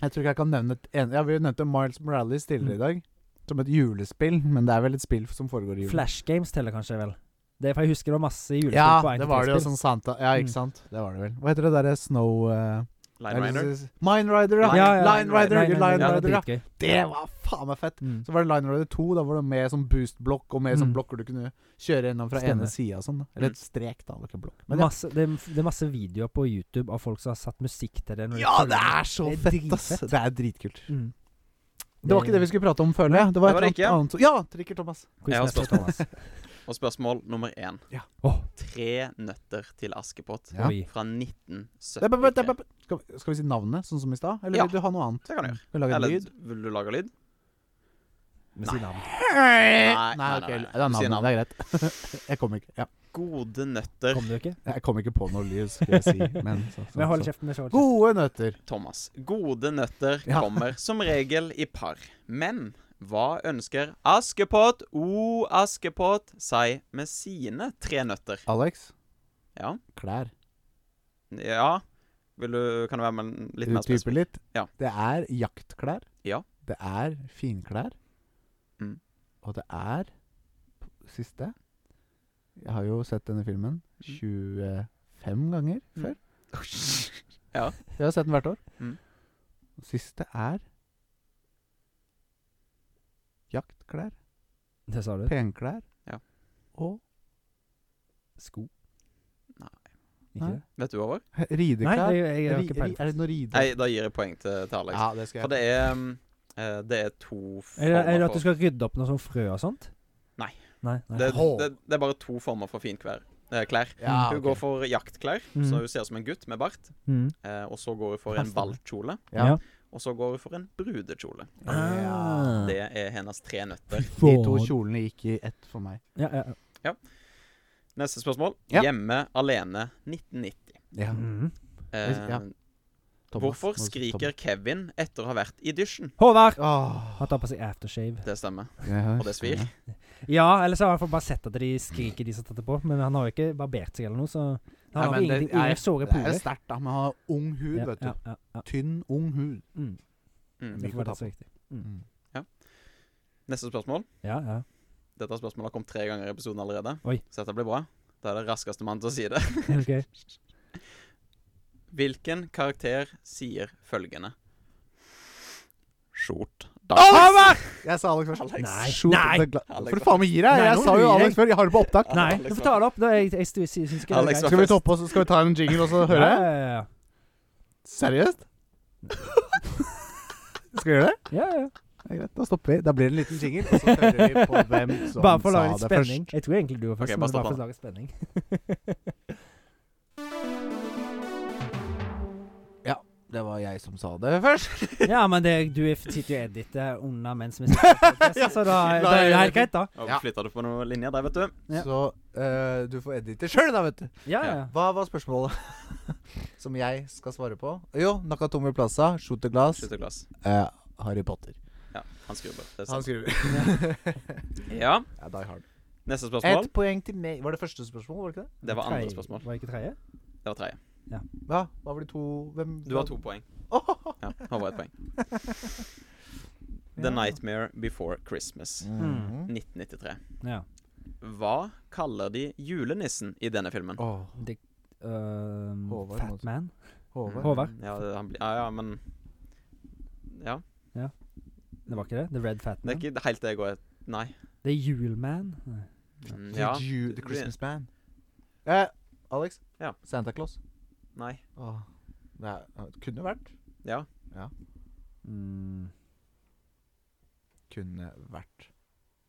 S1: Jeg tror ikke jeg kan nevne et en... Ja, vi nevnte Miles Morales
S2: Mm.
S1: tidligere i dag. Som et julespill, men det er vel et spill som foregår i julen.
S2: Flash Games teller kanskje vel. Det er for jeg husker det var masse julespill
S1: Ja,
S2: på en
S1: det var det jo
S2: spill.
S1: sånn Santa Ja, ikke
S2: Mm.
S1: sant? Det var det vel. Hva heter det derre Snow eh,
S3: Line Riner.
S1: Mine Rider, ja.
S3: Line-
S2: Ja, ja,
S1: Line Rider,
S2: Line
S1: Line
S2: ja.
S1: Rider,
S2: Det
S1: ja.
S2: var dritgøy.
S1: Det var faen meg fett!
S2: Mm.
S1: Så var det Line Rider 2. Da var det med sånn boostblokk, og med
S2: Mm.
S1: sånn blokker du kunne kjøre gjennom fra
S2: Stemmer.
S1: ene sida og sånn. da.
S3: Mm.
S1: Eller et strek, da. Det var ikke en blokk. Men ja,
S2: Masse, det, er, det er masse videoer på YouTube av folk som har satt musikk til det. når de
S1: ja,
S2: følger
S1: det
S2: med.
S1: er så
S2: Det er
S1: fett, ass!
S2: dritfett.
S1: Det er dritkult.
S2: Mm.
S1: Det var ikke det vi skulle prate om, føler jeg. Det
S3: Det
S1: var
S3: var
S1: et
S3: det
S1: eller annet annet Ja, Trikker Thomas.
S3: Jeg har
S2: Quizmaster
S3: spørsmål.
S2: Thomas.
S3: Og spørsmål nummer én.
S1: Ja.
S2: Åh.
S3: Tre nøtter til Askepott
S1: Ja.
S2: Oi.
S3: fra
S1: Det er bare- det er
S3: 1973.
S1: bare- Skal vi- skal vi si navnet, sånn som i stad? Eller
S3: Ja.
S1: vil du ha noe annet?
S3: Det kan du gjøre.
S1: Vil du lage en
S3: Eller
S1: lyd?
S3: vil du lage lyd?
S2: Med sitt navn.
S3: Nei,
S1: Nei,
S3: nei,
S1: ok,
S3: nei.
S1: det er
S3: Du
S1: navnet.
S3: sier navn.
S1: Det er greit. Jeg kommer ikke. Ja.
S3: Gode nøtter,
S2: Kom du ikke?
S1: Jeg kom ikke på noe lyd, skulle jeg si. Men så, så,
S2: Men hold
S1: så.
S2: kjeften. Hold kjeften.
S1: Gode nøtter.
S3: Thomas. Gode nøtter
S1: Ja.
S3: kommer som regel i par. Men hva ønsker Askepott, o Askepott, seg med sine tre nøtter?
S1: Alex.
S3: Ja.
S1: Klær.
S3: ja. Vil du, kan du være med litt mer
S1: Utdype
S3: spesifikk?
S1: litt.
S3: Ja.
S1: Det er jaktklær.
S3: Ja.
S1: Det er finklær.
S3: Mm.
S1: Og det er Siste Jeg har jo sett denne filmen 25 ganger
S3: Mm.
S1: før.
S3: Ja.
S1: Jeg har sett den hvert år.
S3: Mm.
S1: Og Siste er jaktklær,
S2: Det sa du.
S1: penklær
S3: Ja.
S1: og
S2: Sko.
S3: Nei.
S2: Ikke det?
S3: Vet du, Håvard?
S1: he-
S2: Nei,
S1: rideklær.
S2: jeg, jeg har
S1: Ri-
S2: ikke
S1: ri-
S2: peiling.
S1: er det noe ride?
S3: Nei, da gir jeg poeng til, til Alex.
S1: ja, det skal
S3: For
S1: jeg.
S3: det er mm, eh, Det er to
S2: Er det, er det
S3: former
S2: at du
S3: for
S2: skal rydde opp noe sånn frø og sånt?
S3: Nei.
S2: Nei, nei.
S3: det,
S1: Hå.
S3: det, det er bare to former for finkvær. eh, Klær.
S1: Ja, Ah,
S3: Hun
S1: ok.
S3: går for jaktklær,
S2: Mhm.
S3: så hun ser ut som en gutt med bart.
S2: Mm.
S3: Eh, og så går hun for en
S2: Passer.
S3: ballkjole.
S1: ja.
S2: Ja.
S3: Og så går hun for en brudekjole.
S1: Ja.
S2: Ah.
S3: Det er hennes tre nøtter.
S1: De to kjolene gikk i ett for meg.
S2: Ja, ja. ja.
S3: Neste spørsmål.
S1: Ja.
S3: Hjemme alene 1990.
S1: Ja,
S2: Mm.
S3: Eh,
S1: Ja, Thomas,
S3: hvorfor
S1: nå-
S3: skriker Kevin etter å ha vært i dusjen?
S2: Håvard!
S1: Thomas.
S2: Han tar på seg aftershave.
S3: Det stemmer.
S1: Åh, ja,
S3: Og det svir.
S1: stemmer.
S2: Ja, ellers har jeg i hvert fall bare sett at de skriker, de som tar det på. Men han har jo ikke barbert seg eller noe, så han
S1: Nei,
S2: har
S1: men
S2: jo
S1: det
S2: ingenting, ingen
S1: er-
S2: såre
S1: Det er
S2: porer.
S1: sterkt, da. Man har ung hud,
S2: Ja,
S1: vet du.
S2: ja, ja, ja.
S1: Tynn, ung hud.
S2: Mm.
S3: Mm.
S1: Mye
S2: Derfor var
S1: å ta
S2: det så viktig.
S1: Mm.
S3: Neste spørsmål.
S2: Ja, ja.
S3: Dette spørsmålet har kommet tre ganger i episoden allerede.
S2: Oi.
S3: Så dette blir bra. Da er det raskeste mann til å si det.
S2: Ok.
S3: Hvilken karakter sier følgende? Skjort.
S1: Alex! Jeg sa Alex først.
S2: Nei.
S1: Skjort
S2: Nei.
S1: det er gla-
S3: Alex
S1: For faen meg gir jeg?
S2: Nei,
S1: Jeg
S2: nå
S1: sa
S2: lurer
S1: jo
S2: jeg.
S1: Alex før. Jeg har det på opptak.
S2: Nei,
S3: Alex
S2: du får
S3: var-
S2: ta det opp. Da, jeg jeg, stu- syns ikke det er
S3: Alex
S2: greit.
S3: var-
S1: Skal vi, toppe oss, skal vi ta en jingle og så høre?
S2: Ja, ja, ja,
S1: Seriøst? Skal vi gjøre det?
S2: ja. ja, ja.
S1: Det er greit, Da stopper vi. Da blir det en liten jingle, og så hører vi på hvem som
S2: Bare for å
S1: sa
S2: lage litt
S1: det
S2: spenning.
S1: først.
S2: Jeg tror egentlig du var først,
S3: Ok,
S2: men
S3: bare
S2: bare for
S3: stopp
S2: å lage spenning.
S1: Det var jeg som sa det først.
S2: Ja, men det, du er- sitter jo og editer unna mens vi snakker, podcast, så da, da er det helt greit, da.
S3: Og
S1: Ja.
S3: Flytta du på noen linjer der, vet du?
S2: Ja.
S1: Så eh, du får edite sjøl, da, vet du.
S2: Ja, ja.
S1: Hva var spørsmålet som jeg skal svare på? Jo, Nakatomi Plaza, Shoot the Glass,
S3: Slutt å glass.
S1: eh, Harry Potter.
S3: Ja, han skrubber. Det er
S1: Han
S3: sant.
S1: skriver.
S3: Ja.
S1: ja, Die Hard.
S3: Neste spørsmål.
S1: Ett poeng til meg. Var det første spørsmål? var det ikke det?
S3: Det var andre
S2: Tredje-
S3: spørsmål.
S2: Var det ikke tredje?
S3: Det var tredje.
S1: Ja, da var det to Hvem?
S3: Du har to poeng. Ja, Håvard ett poeng. The Nightmare Before Christmas.
S2: Mm.
S1: Mhm.
S3: 1993.
S2: Ja.
S3: Hva kaller de julenissen i denne filmen?
S1: Åh,
S2: Ehm,
S1: Håvard, må
S2: Fat
S1: du-
S2: Man.
S1: Håvard.
S2: Håvard.
S3: Ja, det- han blir Ja, ja, men Ja.
S2: Det var ikke det? The Red Fat
S3: Det er
S2: Man?
S3: ikke helt det jeg går Nei.
S2: The Juleman? Nei.
S3: Mm,
S1: The,
S3: Ja.
S1: Jew, the Christmas Man. Eh, Alex?
S3: Ja.
S1: Santa Claus?
S3: Nei.
S1: Åh. Det er, det kunne vært.
S3: Ja.
S2: Mm.
S1: Kunne vært.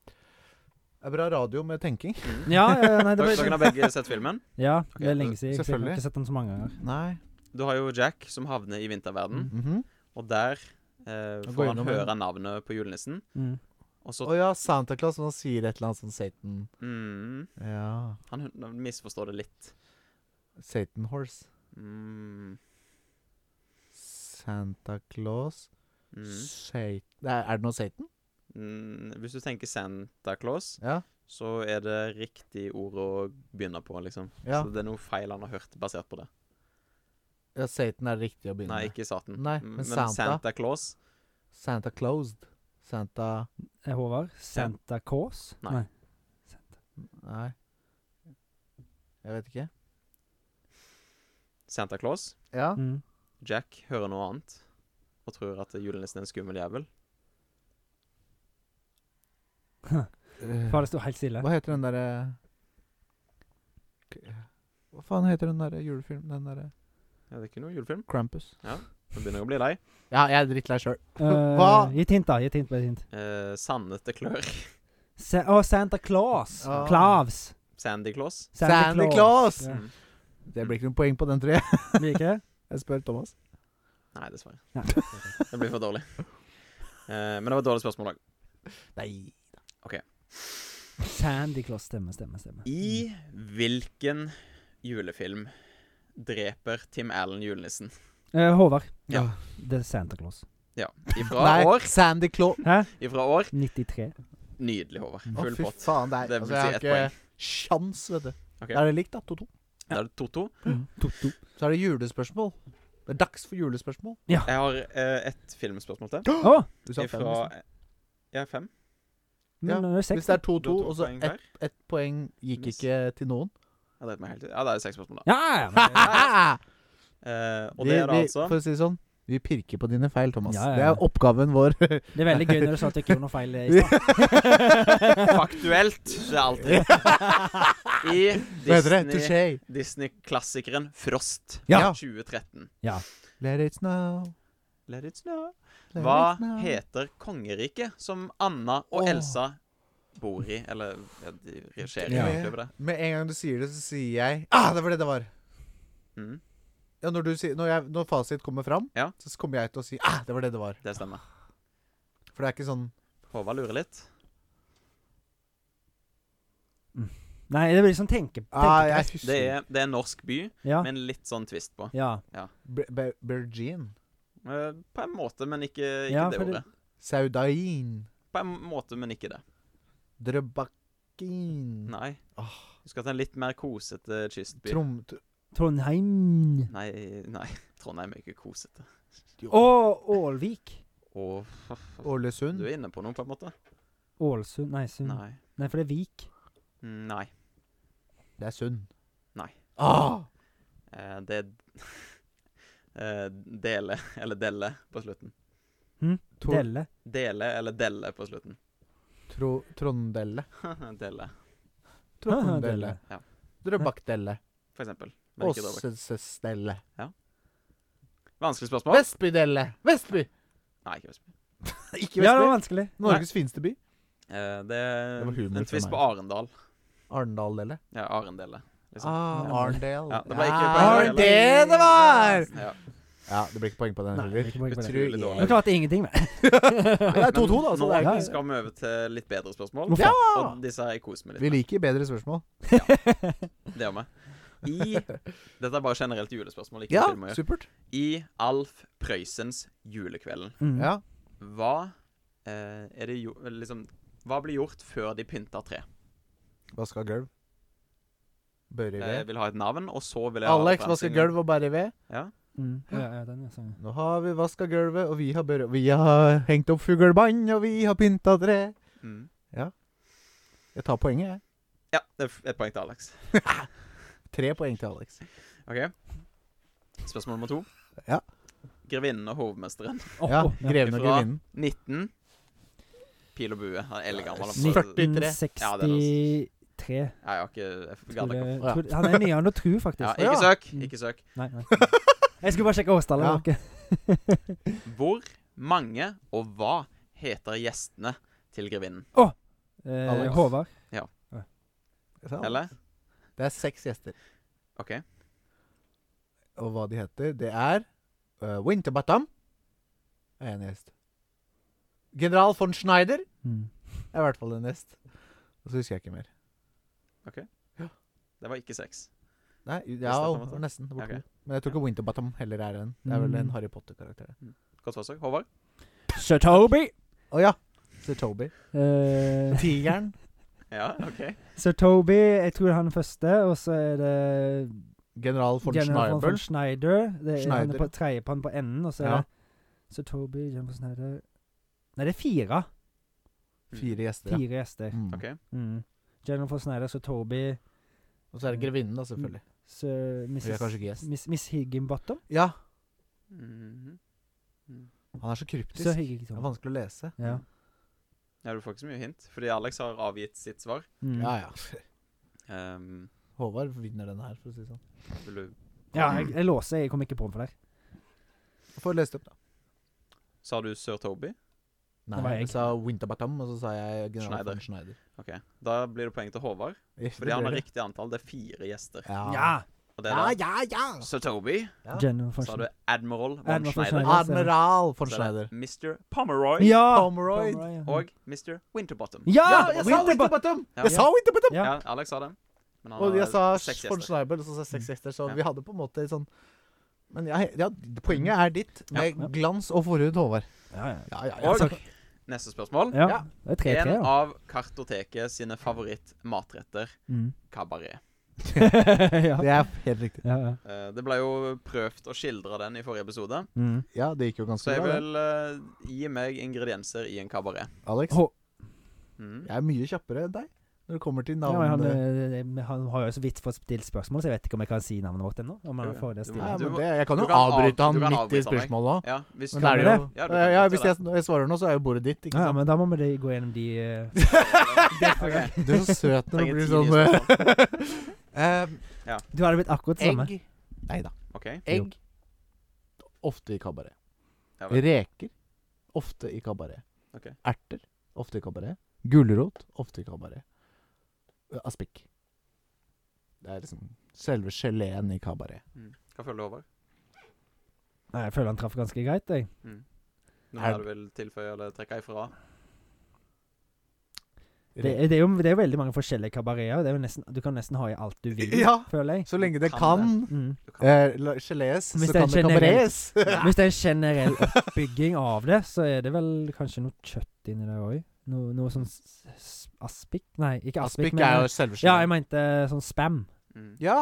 S1: Det er bra radio med tenking.
S3: Mm.
S2: Ja, ja, nei, det
S3: Dere
S2: var
S3: dere har begge sett filmen.
S2: Ja, det er
S3: Ok,
S2: lenge siden. så Jeg har
S1: selvfølgelig.
S2: ikke sett den så mange ganger.
S1: Nei.
S3: Du har jo Jack som havner i vinterverden,
S1: Mhm.
S3: og der eh,
S1: går
S3: får han
S1: gjennom
S3: høre navnet på julenissen,
S2: Mm.
S3: og
S1: Å
S3: så
S1: ja, Santa Claus. Han sier et eller annet sånn Satan
S3: mm,
S1: Ja.
S3: Han hun- misforstår det litt.
S1: Satan Horse.
S3: Mm,
S1: Santa Claus
S3: mm,
S1: Satan Er er det noe Satan?
S3: mm. Hvis du tenker Santa Claus,
S1: Ja.
S3: så er det riktig ord å begynne på, liksom.
S1: Ja,
S3: Så det er noe feil han har hørt basert på det.
S1: ja Satan er det riktige å begynne
S3: Nei,
S1: med.
S3: ikke Satan.
S1: Nei,
S3: Mm,
S1: men
S3: men
S1: Santa.
S3: Santa. Claus
S1: Santa Closed. Santa
S2: Eh, Håvard? Santa Claus?
S3: Nei.
S1: Nei. Jeg vet ikke.
S3: Santa Claus.
S1: Ja.
S2: Mm.
S3: Jack hører noe annet og tror at julenissen er en skummel jævel.
S1: Eh.
S2: Bare det sto helt stille.
S1: Hva heter den derre Hva faen heter den derre julefilmen? Den derre
S3: Ja, det er ikke noe julefilm.
S1: Krampus.
S3: Nå begynner jeg å bli lei.
S1: Ja, jeg er drittlei sjøl.
S2: Eh,
S1: Hva?
S2: Gi et hint, da. Gi et hint. Bare et hint.
S3: Eh, sandete klør.
S2: Sa å, Santa Claus!
S1: Ah.
S2: Clavs!
S3: Sandy Claus.
S1: Santa Claus!
S2: Ja.
S3: Mm.
S1: Det blir ikke noen poeng på den, tror jeg.
S2: Blir ikke det?
S1: Jeg spør Thomas.
S3: Nei, dessverre.
S2: Nei.
S3: Det blir for dårlig. Eh, men det var et dårlig spørsmål òg.
S1: Nei.
S2: Sandy Claus. Stemme, stemme, stemme.
S3: I hvilken julefilm dreper Tim Allen julenissen?
S2: Eh, Håvard.
S3: Ja.
S2: Det er Santa Claus.
S3: Ja. Ifra
S1: Nei,
S3: år.
S1: Sandy Claus
S2: Hæ?
S3: Ifra år.
S2: 93.
S3: Nydelig, Håvard.
S1: Å,
S3: Full
S1: fy
S3: pott.
S1: faen. Det er,
S3: Det
S1: altså,
S3: vil
S1: jeg
S3: si
S1: har
S3: ett
S1: ikke sjans, vet du.
S3: Ok.
S1: Da er det likt, da. 2-2.
S3: Da er det 2-2.
S2: Mm. Toto.
S1: Så er det julespørsmål. Det er dags for julespørsmål.
S3: Jeg har eh, et filmspørsmål til.
S2: Å!
S1: Du sa fem.
S3: Ifra
S1: liksom.
S3: Jeg er fem.
S2: Men
S1: Ja,
S2: nå er det seks.
S1: Hvis det er
S3: Du
S1: 2-2,
S3: har to
S1: og så
S3: poeng hver.
S1: ett et poeng gikk
S3: Miss.
S1: ikke til noen
S3: Ja, det er meg helt til. Ja, det er seks spørsmål, da.
S2: Ja, ja, men,
S3: Eh, og
S1: Vi-
S3: det er da
S1: vi-
S3: altså
S1: For å si det sånn, vi pirker på dine feil, Thomas.
S2: Ja, ja,
S1: Det
S2: ja.
S1: er oppgaven vår.
S2: det er veldig gøy når du sa at det ikke gjorde noe feil eh, i stad.
S3: Faktuelt, så er alt rett. I
S1: Hva heter det?
S3: Disney-
S1: Touché.
S3: Disney-klassikeren Frost
S1: Ja.
S3: 2013.
S1: Let it snow.
S3: Let it snow.
S1: Let it
S3: Hva
S1: snow.
S3: heter kongeriket som Anna og
S1: Åh.
S3: Elsa bor i? Eller ja, de regisserer jo
S2: Ja.
S3: egentlig over det.
S1: Med en gang du sier det, så sier jeg Ah, det var det det var!
S3: Mm,
S1: Ja, når, du sier, når, jeg, når fasit kommer fram,
S3: Ja.
S1: så kommer jeg til å si Ah, det var det det var.
S3: det stemmer.
S1: For det er ikke sånn
S3: Håvard lurer litt.
S2: Nei, det blir sånn tenke...
S1: ah,
S2: tenke
S1: jeg
S3: Det
S1: husker.
S3: er, det er en norsk by,
S2: ja.
S3: med en litt sånn twist på.
S2: ja.
S1: Be- Be- Bergin.
S3: Eh, på en måte, men ikke, ikke
S2: Ja,
S3: det
S2: for det-
S3: ordet.
S1: Saudain.
S3: På en måte, men ikke det.
S1: Drøbakin.
S3: Nei.
S1: Åh.
S3: Du skal til en litt mer kosete kystby.
S1: Trom... tr-
S2: Trondheim
S3: Nei, nei. Trondheim er ikke kosete.
S2: Og Ålvik.
S3: Å,
S1: Ålesund.
S3: du er inne på noe, på en måte?
S2: Ålesund Nei,
S1: Mm.
S2: Sund. Nei.
S3: Nei.
S2: for det er Vik.
S3: Mm, Nei.
S1: Det er Sund.
S3: Nei.
S1: Ah!
S3: Eh, det eh, Dele, eller delle, på slutten.
S1: Tor-
S2: Delle.
S3: Dele eller delle på slutten.
S1: Tro Trondelle.
S3: delle,
S1: Trondelle.
S3: Ja.
S1: Drøbakdelle.
S3: for eksempel. Men ikke Drøbak.
S1: Åssestelle.
S3: Vanskelig spørsmål?
S1: Vestbydelle. Vestby!
S3: Nei, ikke Vestby.
S1: Ikke
S2: Ja, det var
S1: Vestby.
S2: vanskelig.
S1: Norges fineste by.
S3: Eh, det
S1: Det var
S3: er
S1: humor
S3: en
S1: fra
S3: twist
S1: meg.
S3: på Arendal.
S1: Arendaldelle.
S3: Ja, Arendelle. liksom.
S1: Ah,
S2: Ja.
S1: Arendal.
S3: Ja, det ble ikke
S1: Ja,
S3: poeng
S1: var
S3: heller.
S1: det det var!
S3: Ja.
S1: Ja, det ble ikke poeng på den
S2: Nei, det er
S1: heller.
S2: ikke poeng på det.
S1: Tror
S3: Utrolig dårlig.
S2: Jeg klarte ingenting, men.
S1: Det er 2-2, da. Så
S3: Nå
S1: det er
S2: Ja, ja.
S1: ikke
S3: skal vi over til litt bedre spørsmål.
S2: Ja!
S3: Og disse her jeg koser
S1: Vi
S3: meg litt med.
S1: liker bedre spørsmål.
S3: Det gjør vi. I Dette er bare generelt julespørsmål. Ikke
S1: Ja,
S3: film å gjøre.
S1: supert.
S3: I Alf Prøysens 'Julekvelden',
S2: Mm.
S1: Ja.
S3: hva eh, er det jo Liksom Hva blir gjort før de pynter tre?
S1: Vaska gulv. Børre i
S3: Jeg
S1: ved.
S3: Eh, vil ha et navn, og så vil jeg ha
S1: Alex vasker
S3: referansen.
S1: gulv og bærer i ved.
S3: Ja.
S2: Mm. Ja, ja, den er sånn.
S1: Nå har vi vaska gulvet, og vi har børre Vi har hengt opp fuglebånd, og vi har pynta tre.
S3: Mm.
S1: Jeg tar poenget, jeg.
S3: ja. Det er f- et poeng til Alex.
S1: Tre poeng til Alex.
S3: OK. Spørsmål nummer to.
S1: Ja.
S3: Grevinnen og hovmesteren.
S2: Åh,
S1: Ja,
S2: åh,
S1: Greven og
S3: Ifra-
S1: grevinnen.
S3: 19. Pil og bue. Han er eldgammel. altså.
S2: 1963
S3: Ja,
S2: ja,
S3: det er Jeg har ikke Jeg
S2: tror
S3: gadd ikke
S2: jeg-
S1: Ja.
S2: tror- Han er nyere enn du tror,
S3: Ja,
S2: faktisk.
S1: Ja.
S3: ikke søk,
S2: Mm.
S3: ikke søk.
S2: Nei, nei. Jeg skulle bare sjekke årstallet.
S1: Ja.
S2: dere.
S3: Hvor mange og hva heter gjestene til grevinnen?
S2: Eh,
S1: Alex.
S2: Håvard.
S1: Jeg sa
S3: Eller?
S1: Det er seks gjester.
S3: OK.
S1: Og hva de heter, det er uh, Winterbottom er en gjest. General von Schneider
S2: Mm.
S1: er i hvert fall en gjest. Og så husker jeg ikke mer.
S3: Det var ikke seks.
S1: Nei,
S3: det
S1: ja,
S3: på en
S1: det var
S3: måte?
S1: nesten. Det var
S3: Ok.
S1: to. Men jeg tror ikke Winterbottom heller er en. Det er vel en
S2: Mm.
S1: Harry Potter-karakter.
S3: Godt forsøk. Håvard?
S2: Sir Toby.
S1: Å ja! Sir Toby.
S2: Eh,
S1: Tigeren.
S3: Ja, OK.
S2: Sir Toby, jeg tror han er første, og så er det
S1: General von
S2: General von- von
S1: Schneider.
S2: Schneider. Det er, han er
S1: Schneider.
S2: på tredjepann på enden, og så er
S1: Ja.
S2: det Sir Toby, General von Schneider Nei, det er fire.
S1: Fire gjester, ja.
S2: Fire gjester.
S1: Mm.
S3: OK.
S2: Mm. General von Schneider, Sir Toby,
S1: Og så er det grevinnen, da, selvfølgelig.
S2: Mm. Sir
S1: Hun er
S2: Mrs.
S1: kanskje ikke gjest.
S2: Miss, Miss Higginbottom?
S1: Ja,
S3: Mhm.
S1: han er så
S2: Sir
S1: kryptisk. Det er
S2: Higginbottom.
S1: vanskelig å lese.
S2: Ja.
S3: Ja, du får ikke så mye hint, fordi Alex har avgitt sitt svar.
S2: Mm.
S1: Ja
S2: ja.
S1: ja.
S3: Ehm,
S1: Håvard vinner den her, for å si det sånn.
S3: vil du
S2: jeg, jeg låser. Jeg kom ikke på den for deg.
S1: Få lest opp, da.
S3: Sa du Sir Toby?
S1: Nei,
S2: Det var jeg.
S1: jeg sa Winterbottom, og så sa jeg General
S3: Schneider.
S1: von Schneider.
S3: OK. Da blir det poeng til Håvard,
S1: Yes,
S3: fordi
S1: det
S3: han
S1: blir
S3: har
S1: det.
S3: riktig antall. Det er fire gjester.
S1: Ja.
S3: Og det er da
S1: ja, ja!
S3: Sir Toby.
S1: Ja.
S2: General von
S3: Så har du
S2: Schneider.
S3: Admiral von
S2: Admiral von
S3: Schneider.
S2: Schneider.
S1: Admiral von
S3: Så er
S1: Schneider.
S3: det Mr. Pomeroy
S2: Ja!
S1: Pomeroy.
S2: Pomeroy, ja.
S3: og Mr. Winterbottom.
S2: Ja!
S1: Ja, jeg sa
S2: Winterbottom.
S1: Winterbottom!
S3: Ja.
S1: Jeg sa Winterbottom!
S2: Ja.
S3: Ja, Alex sa det. Men han
S1: Og
S3: har
S1: jeg sa
S3: seks
S1: von
S3: gjester.
S1: Schneider, og så sa jeg seks gjester, så
S3: Ja.
S1: vi hadde på en måte sånn Men ja, ja, poenget er ditt, med
S2: Ja.
S1: glans og forhud, Håvard.
S2: Ja, ja.
S1: Ja, ja, ja.
S3: Og
S1: takk.
S3: neste spørsmål.
S2: ja.
S1: Ja.
S2: Det er 3-3,
S3: En
S2: da.
S3: av Kartoteket sine favorittmatretter
S2: Mm.
S3: kabaret.
S2: ja.
S1: Det er helt riktig.
S2: Ja, ja.
S3: Eh, Det ble jo prøvd å skildre den i forrige episode,
S2: Mm.
S1: Ja, det gikk jo ganske
S3: så jeg
S1: bra. det.
S3: vil eh, gi meg ingredienser i en kabaret.
S1: Alex?
S2: Hå-
S3: Mm.
S1: Jeg er mye kjappere enn deg når det kommer til
S2: Ja, men han,
S1: navnet.
S2: eh, han har jo så vidt fått stilt spørsmål, så jeg vet ikke om jeg kan si navnet vårt ennå. Om
S3: Jo,
S2: han
S3: ja.
S2: får det
S3: Du må-
S1: Nei,
S2: stilt.
S1: men
S3: må-
S1: det, jeg kan
S3: du
S1: jo
S3: kan av-
S1: avbryte han
S3: du kan
S1: midt i
S3: avbryte meg.
S1: spørsmålet òg.
S3: Ja, hvis
S1: Men det
S3: du-
S1: er det jo.
S3: Ja, du
S1: Ja,
S3: kan
S1: ja,
S3: fortelle.
S1: hvis jeg, når jeg svarer nå, så er jo bordet ditt. Ikke
S2: Ja,
S1: sant?
S2: men da må vi gå gjennom de eh,
S3: Ok.
S1: Du er så søt når
S3: Trenger
S1: du blir
S3: tid i
S1: sånn eh,
S2: Du hadde blitt akkurat det samme.
S1: Egg. Nei da.
S3: OK.
S1: Egg. Ofte i kabaret.
S3: Ja vel.
S1: Reker. Ofte i kabaret.
S3: Ok.
S1: Erter. Ofte i kabaret. Gulrot. Ofte i kabaret. Eh, Aspik. Det er liksom selve geleen i kabaret.
S3: Mm. Hva føler du over?
S2: Nei, jeg føler han traff ganske greit, jeg.
S3: Mm. Noe
S1: Er-
S3: mer du vil tilføye eller trekke ifra?
S2: Det,
S1: Re-
S2: det, er jo, det er jo veldig mange forskjellige kabareter. Det er jo nesten, du kan nesten ha i alt du vil,
S1: Ja,
S2: føler jeg.
S1: så lenge det
S3: Kan
S1: kan,
S2: Mm.
S3: Du kan.
S1: eh, la- gelees,
S2: Hvis
S1: så
S2: det er
S1: kan det
S2: generelt.
S1: kabarees.
S2: Hvis det er en generell oppbygging av det, så er det vel kanskje noe kjøtt inni der òg. Noe, noe sånn s- s- aspik Nei, ikke aspik.
S1: Aspik
S2: men,
S1: er jo selve
S2: ja, jeg
S1: geleen.
S2: mente sånn spam.
S3: Mm.
S1: Ja.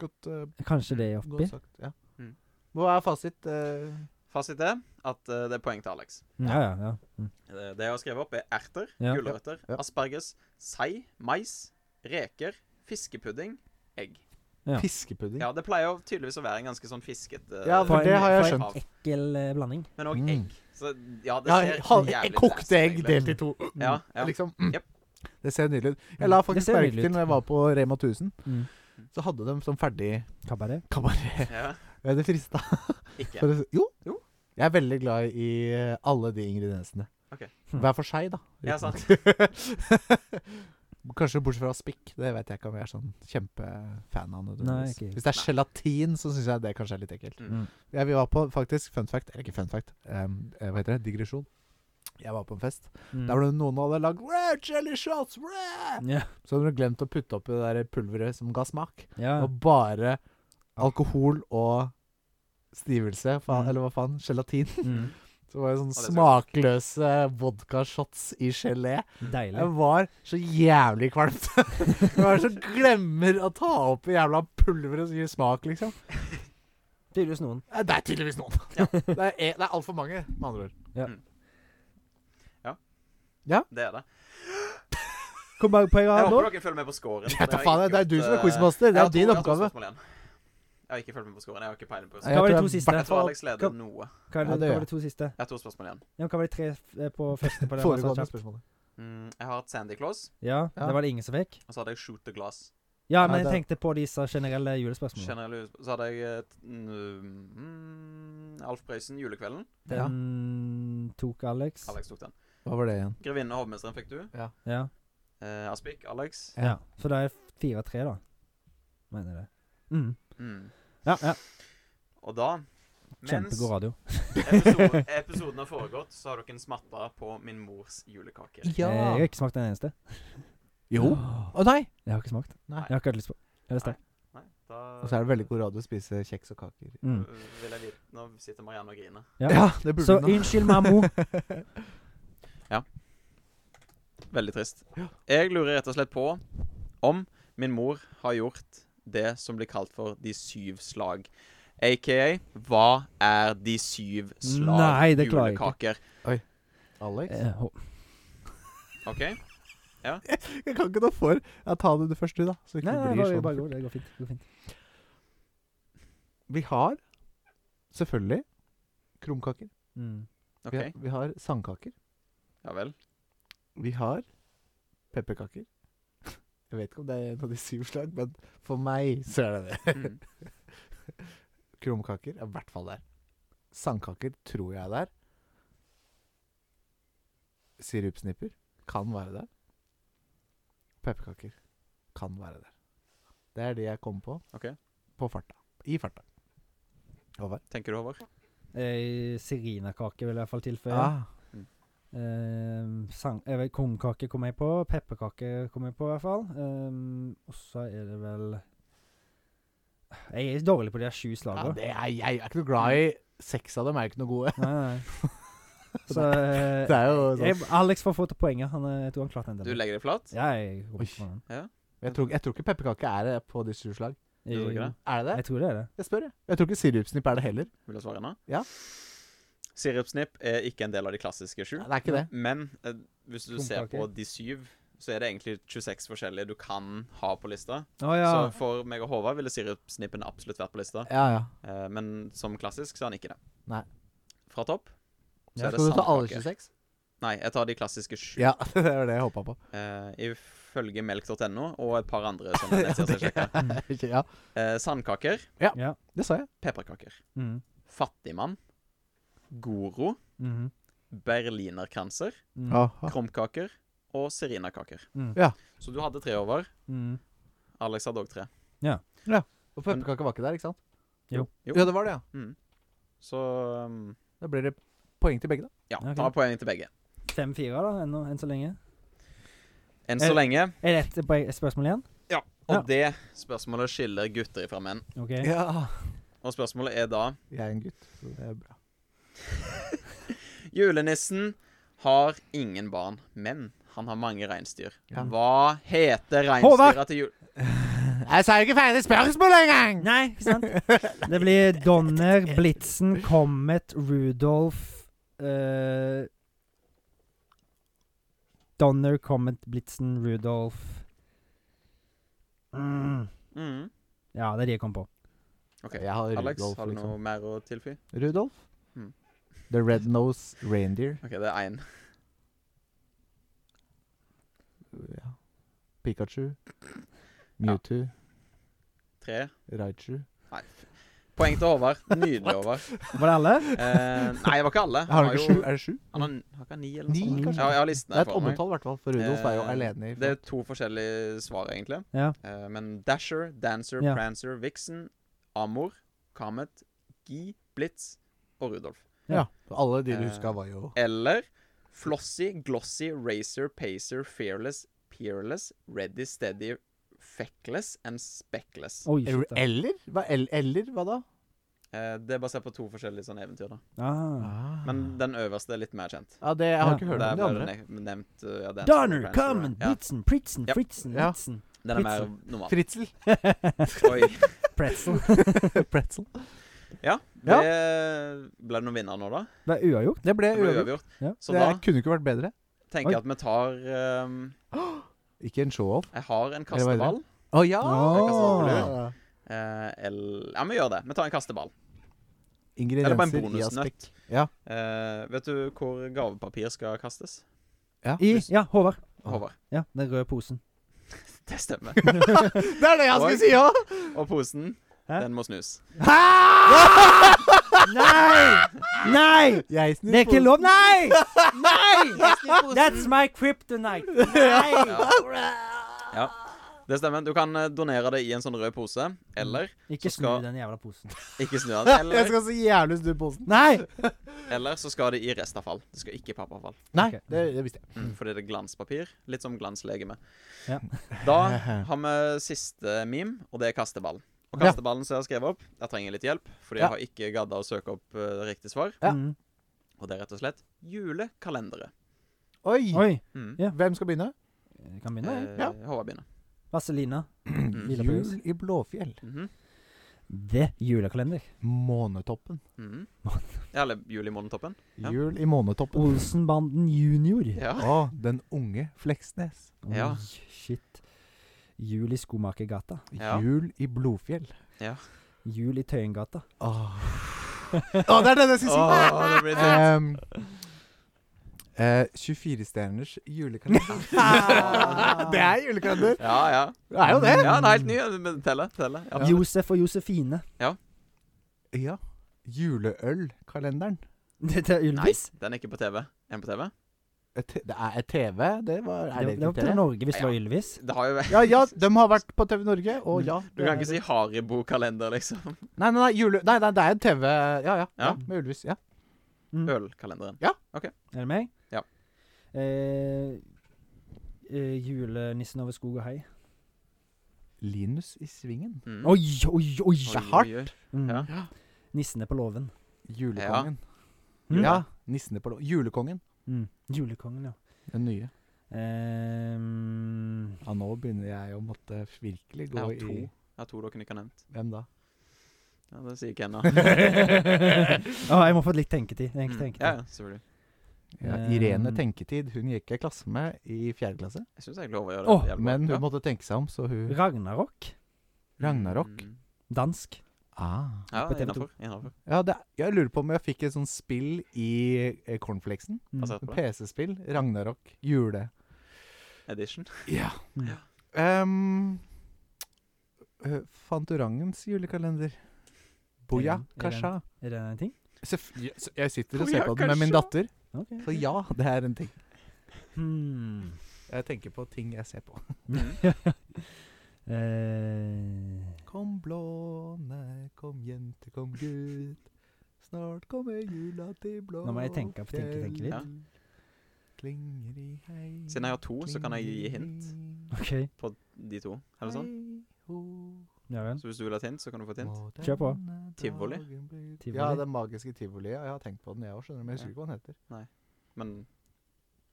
S1: Godt, eh,
S2: Kanskje det er oppi.
S1: godt sagt. Ja.
S3: Mm.
S1: Hva er fasit? eh?
S3: Fasit er at eh, det er poeng til Alex. Eh,
S2: Ja, ja, ja. Mm.
S3: Det det jeg har skrevet opp, er erter,
S2: Ja.
S3: gulrøtter,
S1: Ja.
S3: asperges, sei, mais, reker, fiskepudding, egg.
S2: Ja.
S1: Fiskepudding.
S3: Ja, det pleier jo tydeligvis å være en ganske sånn fisket eh,
S1: Ja, Mm. for
S2: det har jeg
S3: av-
S1: skjønt.
S2: Ekkel eh, blanding.
S3: Men òg
S1: Mm.
S3: egg. Så ja, det
S1: Ja,
S3: ser
S1: halv-
S3: så jævlig
S1: kokte
S3: nasty
S1: egg
S3: egentlig.
S1: delt i to.
S3: Ja, ja. Mm.
S1: Liksom.
S3: Jep.
S1: Det ser nydelig ut.
S2: Mm.
S1: Jeg la
S2: Det
S1: faktisk
S2: ser
S1: merke
S2: nydelig
S1: til
S2: ut.
S1: når jeg var på Rema 1000,
S2: Mm.
S1: så hadde de sånn ferdig
S2: Kabaret.
S1: kabaret.
S3: Ja,
S1: Jeg er frista.
S3: ikke.
S1: For å si- Jo.
S3: Jo.
S1: Jeg er veldig glad i eh, alle de ingrediensene. Hm.
S3: Ok.
S1: Hver for seg, da.
S3: Ja, sant.
S1: Kanskje bortsett fra spikk. Det vet jeg ikke om jeg er sånn kjempefan av. nødvendigvis.
S2: ikke jeg.
S1: Hvis det er gelatin, så syns jeg det kanskje er litt ekkelt.
S3: Mm.
S1: Jeg, vi var på faktisk fun fact Eller ikke fun fact, em, eh, hva heter det? Digresjon. Jeg var på en fest.
S2: Mm.
S1: Der var det noen som hadde lagd rare jelly shots. Rare!
S2: Ja,
S1: Så hadde de glemt å putte oppi det der pulveret som ga smak.
S2: ja.
S1: Og bare alkohol og stivelse, faen,
S2: Mm.
S1: eller hva faen, gelatin.
S2: Mm.
S1: Så var det sånne
S3: det ser
S1: smakløse vodkashots i gelé.
S2: Deilig.
S1: Jeg var så jævlig kvalmt. Hva er det som glemmer å ta oppi jævla pulveret som gir smak, liksom?
S2: Tydeligvis noen.
S1: Eh, Det er tydeligvis noen. Det er, e- det er altfor mange, med andre ord.
S3: Det er det.
S2: Hvor mange poeng har
S3: Jeg
S2: han nå?
S3: håper dere følger med på scoren. for
S1: Jeg tar
S3: har
S1: faen,
S3: ikke
S1: det er du
S3: gjort,
S1: som er
S3: eh,
S1: quizmaster. Det
S3: jeg
S1: er
S3: har to-
S1: din
S3: jeg har to
S1: oppgave.
S3: spørsmål igjen. Jeg har ikke fulgt med på scoren. Jeg har ikke peiling på
S1: Jeg
S3: scoren.
S2: Hva var de
S1: tror
S2: to
S1: jeg
S2: siste?
S3: Jeg tror Alex leder
S2: Kom.
S3: noe.
S2: Hva, er det,
S1: Ja, det
S2: hva
S1: gjør
S2: var de to siste?
S3: Jeg har to spørsmål igjen.
S2: Ja, hva var de tre eh, på første? på det jeg sa
S1: Foregående
S2: kjapt?
S1: spørsmål.
S3: Mm, jeg har hatt Sandy Claus,
S2: Ja,
S1: Ja.
S2: det var det ingen som fikk?
S3: og så hadde jeg Shoot the Glass.
S2: Ja,
S1: Nei,
S2: men jeg
S1: det-
S2: tenkte på disse generelle julespørsmålene.
S3: Generell, så hadde jeg eh, t- mm, Alf Prøysen, 'Julekvelden'.
S1: Ja.
S2: Den tok Alex.
S3: Alex tok den.
S1: Hva var det igjen?
S3: 'Grevinnen og hovmesteren' fikk du.
S2: Ja.
S3: Eh, Aspik, Alex.
S1: Ja.
S2: ja. Så da er det fire-tre, da. Mener jeg det. Mm.
S3: Mm.
S2: Ja, ja.
S3: Og da, mens
S2: Kjempegod radio.
S3: episode, episoden har foregått, så har dere smatta på min mors julekake.
S2: Eh, Jeg har ikke smakt en eneste.
S1: Jo.
S2: Åh,
S1: Å nei!
S2: Jeg har ikke smakt.
S1: Nei.
S2: Jeg har ikke hatt lyst på Jeg er
S3: Nei.
S2: sterk.
S3: Nei, da
S1: Og så er det veldig god radio å spise kjeks og kaker.
S2: Mm.
S3: øh, vil jeg vite, Nå sitter Marianne og griner.
S2: Ja.
S1: Ja, det burde
S2: Så
S1: du nå.
S2: unnskyld, mammo.
S3: Veldig trist. Jeg lurer rett og slett på om min mor har gjort det som blir kalt for de syv slag. Aka hva er de syv slag
S2: Nei, det klarer jeg
S3: julekaker?
S1: Alex?
S2: Eh, hå-
S3: OK?
S1: Jeg kan ikke noe for ja, Ta det du først, du, da. Så ikke
S2: Nei, nei,
S1: det blir
S2: bare,
S1: sånn.
S2: bare gå. Det går fint. Det går fint.
S1: Vi har selvfølgelig krumkaker.
S2: Mm.
S3: ok,
S1: Vi, har, vi har sandkaker.
S3: Ja vel.
S1: Vi har pepperkaker. Jeg vet ikke om det er en av de syv slag, men for meg så er det det.
S3: Mm.
S1: Krumkaker er i hvert fall der. Sandkaker tror jeg er der. Sirupsnipper kan være der. Pepperkaker kan være der. Det er det jeg kom på.
S3: Ok.
S1: På farta. I farta. Håvard?
S3: Tenker du over?
S2: Eh, Serinakake vil jeg i hvert fall tilføye.
S1: Ah,
S2: Eh, sang, eh, vel, Kornkake kom jeg på. Pepperkake kom jeg på, i hvert fall. Eh, og så er det vel Jeg er dårlig på de her sju
S1: ja,
S2: slagene.
S1: det er, jeg er ikke noe glad i Seks av dem er ikke noe gode.
S2: Nei, nei, nei. Så eh,
S1: Det er jo sånn.
S2: jeg, Alex får få til poenget. Han, eh, jeg tror han klarte en
S3: Du
S2: del.
S3: legger deg flat?
S2: Ja, jeg går
S1: Oi.
S2: på den.
S1: Jeg tror, jeg tror ikke pepperkake er det på de sju slag.
S3: Du tror ikke det?
S1: Er det det?
S2: Jeg tror det er det.
S1: Jeg spør, jeg. Jeg tror ikke sirupsnipp er det heller.
S3: Vil du svare nå?
S1: Ja.
S3: Sirupsnipp er ikke en del av de klassiske sju.
S1: Nei, Det er ikke det.
S3: Men eh, hvis du ser
S2: Skumkake.
S3: på de syv, så er det egentlig 26 forskjellige du kan ha på lista.
S2: Å ja.
S3: Så for meg og Håvard ville sirupsnippen absolutt vært på lista.
S1: Ja, ja.
S3: Eh, men som klassisk så er han ikke det.
S1: Nei.
S3: Fra topp så
S1: Ja,
S3: er det
S1: skal du ta alle
S3: sandkake.
S1: 26?
S3: Nei, jeg tar de klassiske sju.
S1: Ja, det var det jeg håpa på.
S3: eh, ifølge melk.no og et par andre sånne nettsider som jeg sjekker.
S1: Ikke- ja,
S3: Eh, sandkaker,
S2: ja.
S1: det sa jeg.
S3: pepperkaker,
S2: Mm.
S3: fattigmann, goro,
S2: Mhm.
S3: berlinerkranser,
S2: Mm.
S1: Ja, ja.
S3: krumkaker og serinakaker.
S2: Mm.
S1: Ja.
S3: Så du hadde tre over.
S2: Mm.
S3: Alex hadde òg tre.
S1: Og pepperkake var ikke der, ikke sant?
S2: Jo.
S3: Jo.
S1: Ja, det var det, ja.
S3: Så um,
S1: Da blir det poeng til begge, da.
S3: ja,
S2: Ok.
S3: ta poeng til begge.
S2: Fem-fire, da, ennå, enn så lenge.
S3: Enn så
S2: Eh,
S3: lenge.
S2: Er det et poeng- et spørsmål igjen?
S3: Ja. Og det spørsmålet skiller gutter fra menn.
S2: OK.
S1: Ja.
S3: Og spørsmålet er da
S1: Jeg er en gutt, så det er bra.
S3: Julenissen har ingen barn, men han har mange reinsdyr.
S1: Ja.
S3: Hva heter
S2: Håvard!
S3: reinsdyra til jul...
S1: Jeg sa ikke ferdig spørsmål engang!
S2: Nei, ikke sant? Det blir Donner, Blitzen, Comet, Rudolf eh, Donner, Comet, Blitzen, Rudolf mm.
S3: Mm.
S2: Ja, det er de jeg kom på.
S3: Ok,
S1: Jeg har
S3: Alex,
S1: Rudolf,
S3: har du
S1: liksom.
S3: noe mer å tilføye?
S1: Rudolf?
S3: Mm.
S1: The Red-Nosed Reindeer.
S3: OK, det er én.
S1: Ja. Pikachu. Mewtwo.
S3: Tre.
S1: Raichu.
S3: Nei. f- Poeng til Håvard. Nydelig, Håvard.
S2: Var det alle?
S3: Eh, nei, det var ikke alle.
S1: Har du
S3: var
S1: ikke sju? Er det sju?
S3: han har, har ikke han ni, eller noe
S1: Ni,
S3: sånt?
S1: kanskje?
S3: Ja, jeg har listene
S1: Det er et
S3: foran meg.
S1: oppetall, i hvert fall. For Rudolf er jo
S3: Eh,
S1: alene i
S3: Det er to forskjellige svar, egentlig.
S2: Ja.
S3: Eh, men Dasher, Dancer,
S2: Ja.
S3: Prancer, Vixen, Amor, Comet, Gi, Blitz og Rudolf.
S1: Ja. Alle de du
S3: Eh,
S1: huska, var jo
S3: Eller Flossy, Glossy, Racer, Pacer, Fearless, Peerless, Ready, Steady, Feckless and Speckless.
S2: Oi,
S1: Er-
S2: shit. da.
S1: Eller? Hva, el- eller hva da?
S3: Eh, det er basert på to forskjellige sånne eventyr, da.
S2: Ah.
S3: Men den øverste er litt mer kjent.
S1: ja, det, Jeg har
S2: Ja.
S1: ikke hørt
S3: Der
S1: om de
S3: ble
S1: andre.
S3: det ne- nevnt eh, ja, Dancer,
S2: Donner,
S3: Prancer,
S2: Comet,
S3: ja.
S2: Blitzen, Pritzen,
S3: Ja.
S2: Fritzen,
S1: Ja.
S2: Blitzen.
S3: Den er mer
S2: Blitzer.
S3: normal.
S1: Fritzel.
S3: Oi.
S2: Pretzel.
S1: Pretzel.
S3: Ja, det ble det noen vinnere nå, da.
S2: Det er uavgjort.
S1: Det ble
S3: Det ble
S1: uavgjort.
S3: uavgjort.
S2: Ja.
S3: Så
S1: Det
S3: da
S1: kunne ikke vært bedre.
S3: tenker
S1: Oi.
S3: jeg at vi tar ehm,
S1: Ikke en show-off. Ah.
S3: Jeg har en
S1: Eller hva er det?
S3: kasteball.
S1: Å ja!
S3: Ja. Eh, el- ja, vi gjør det. Vi tar en kasteball. Eller bare en
S1: Ingredienser i aspekt.
S3: bonusnøtt.
S1: Ja.
S3: Eh, vet du hvor gavepapir skal kastes?
S2: I Ja, Håvard.
S3: Håvard.
S2: Ja, den røde posen.
S3: Det stemmer.
S1: Det er det jeg
S3: Oi.
S1: skulle si òg!
S3: Og posen,
S2: Hæ?
S3: den må snus.
S2: Nei! Nei!
S1: Jeg snur
S2: Det er ikke
S1: posen.
S2: lov. Nei! Nei! That's my kryptonite. Nei!
S3: Ja. Det stemmer. Du kan eh, donere det i en sånn rød pose, eller
S2: Ikke
S3: Så skal-
S2: snu den jævla posen.
S3: ikke snu den.
S1: Jeg
S3: Eller,
S1: skal så jævlig snu posen.
S2: Nei!
S3: eller så skal det i restavfall. Det skal ikke i papperavfall.
S1: Nei,
S2: Ok.
S1: det, det visste jeg.
S3: Mm, fordi det er glanspapir. Litt som glanslegeme.
S2: Ja.
S3: Da har vi siste meme, og det er kasteball. Og
S1: Ja.
S3: kasteballen som jeg har skrevet opp, jeg trenger litt hjelp, fordi
S1: Ja.
S3: jeg har ikke gadda å søke opp eh, riktig svar.
S1: Ja.
S2: Mm.
S3: Og det er rett og slett julekalendere.
S1: Oi!
S2: Oi.
S3: Mm.
S2: Ja.
S1: Hvem skal begynne?
S2: Jeg kan begynne. jeg.
S3: Eh,
S1: ja.
S3: Håvard begynner.
S2: Vaselina.
S3: Mm.
S2: Lilla pus.
S1: Jul i Blåfjell.
S3: Mhm.
S2: Det. Julekalender.
S1: Månetoppen.
S3: Mhm. Ja, eller Jul i månetoppen. Ja.
S1: Jul i Månetoppen.
S2: Oh, Olsenbanden junior.
S3: Ja.
S1: Å, den unge Fleksnes.
S2: Oi,
S3: Ja.
S2: Shit. Jul i Skomakergata.
S3: Ja.
S1: Jul i Blodfjell.
S2: Jul i Tøyengata.
S1: Åh. Åh, det er den jeg skulle si!
S3: Åh, det blir tøft.
S1: Ehm, eh, 24-stjerners julekalender. det er julekalender!
S3: Ja, ja.
S1: Det er jo det.
S3: Ja, den er helt ny, men teller. teller. Ja.
S2: Josef og Josefine.
S1: Ja. Juleølkalenderen.
S2: Det er
S3: Nei,
S2: Ylvis.
S3: den er ikke på TV. Er den på TV?
S1: Et te- Det er et TV? Det var, er
S2: Det
S1: det,
S2: var- det var
S1: ikke
S2: på
S1: TV?
S2: Norge hvis det var Ylvis.
S3: Det har jo
S1: Ja, ja, de har vært på TV Norge, og ja
S3: Du kan ikke si Haribo-kalender, liksom.
S1: Nei, nei, nei, jule, nei, nei det er en TV Ja, ja. ja
S3: Ja.
S1: med Ulvis. Ja.
S2: Mm.
S3: Ølkalenderen.
S2: Er det meg?
S3: Ja.
S2: Eh, eh, julenissen over skog og hei.
S1: Linus i Svingen.
S3: Mm.
S2: Oi, oi, oi!
S3: Oi,
S1: det er hardt.
S3: oi, oi.
S2: Mm.
S3: Ja.
S2: Nissene på låven.
S1: Julekongen. Ja.
S2: Mm.
S1: Nissene på lå... Julekongen.
S2: Mm. Julekongen, ja. Eh,
S1: Den nye.
S2: Ehm,
S1: Ja, nå begynner jeg å måtte virkelig gå
S3: Jeg har
S1: i
S3: to. Jeg har to dere ikke har nevnt.
S1: Hvem da?
S3: Ja, det sier Ken, da.
S2: Å, jeg må få litt tenketid. Jeg,
S3: Mm. Ja, ja, selvfølgelig.
S1: Ja, Irene
S2: Um,
S1: Tenketid. Hun gikk jeg i klasse med i fjerde klasse.
S3: Jeg syns jeg lover å gjøre det.
S2: Åh,
S3: jævlig bra.
S1: Men hun
S3: Ja.
S1: måtte tenke seg om, så hun
S2: Ragnarok.
S1: Ragnarok.
S3: Mm.
S2: Dansk.
S1: Ah.
S3: Ja,
S2: På TV2.
S3: innafor. Innafor.
S1: Ja, det, jeg lurer på om jeg fikk et sånt spill i eh, cornflakesen.
S2: Mm.
S3: Altså, på det.
S1: PC-spill. Ragnarok. Jule.
S3: Edition.
S1: Ja.
S2: Ja.
S1: Um, eh, Fantorangens julekalender. Boja
S2: Er den- er den-
S1: Kasha.
S2: Er det en ting?
S1: Seff- ja, s- Jeg sitter og ser
S3: Boja
S1: på den med min
S3: Kasha.
S1: datter,
S2: Ok.
S1: så ja, det er en ting.
S2: Hmm.
S1: Jeg tenker på ting jeg ser på.
S2: Eh,
S1: Kom blåne, kom jente, kom gutt. Snart kommer jula til blå
S2: Nå må jeg tenke- tenke- tenke litt.
S3: Ja.
S1: Klinger i hei
S3: Siden jeg har to, så kan jeg gi hint
S2: OK.
S3: på de to. Eller sånn.
S2: Ja vel.
S3: Så hvis du vil ha et hint, så kan du få et hint.
S2: Kjør på.
S1: eh,
S3: Tivoli.
S2: Tivoli.
S1: Ja, den magiske tivoli. Ja, jeg har tenkt på den, jeg òg, skjønner du. Men jeg husker ikke hva den heter.
S3: Men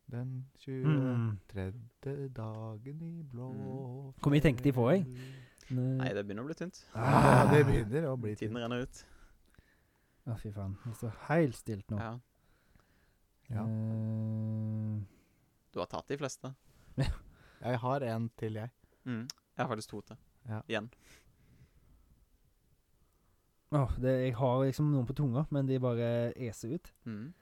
S1: Den 23.
S2: Mm.
S1: dagen i blå
S3: Mm.
S2: Hvor mye tenkte de på, jeg?
S1: fjell.
S3: nei, det begynner å bli tynt.
S1: Ja, det begynner å
S2: Ah.
S1: bli tid.
S3: Tiden renner ut.
S2: Å, fy faen. Det står helt stilt nå.
S3: Ja.
S1: Ja.
S2: Eh,
S3: Du har tatt de fleste.
S1: Jeg har en til, jeg.
S3: Mm. Jeg har faktisk to til.
S1: Ja.
S3: Igjen.
S2: åh, det, jeg har liksom noen på tunga, men de bare eser ut.
S3: Mm.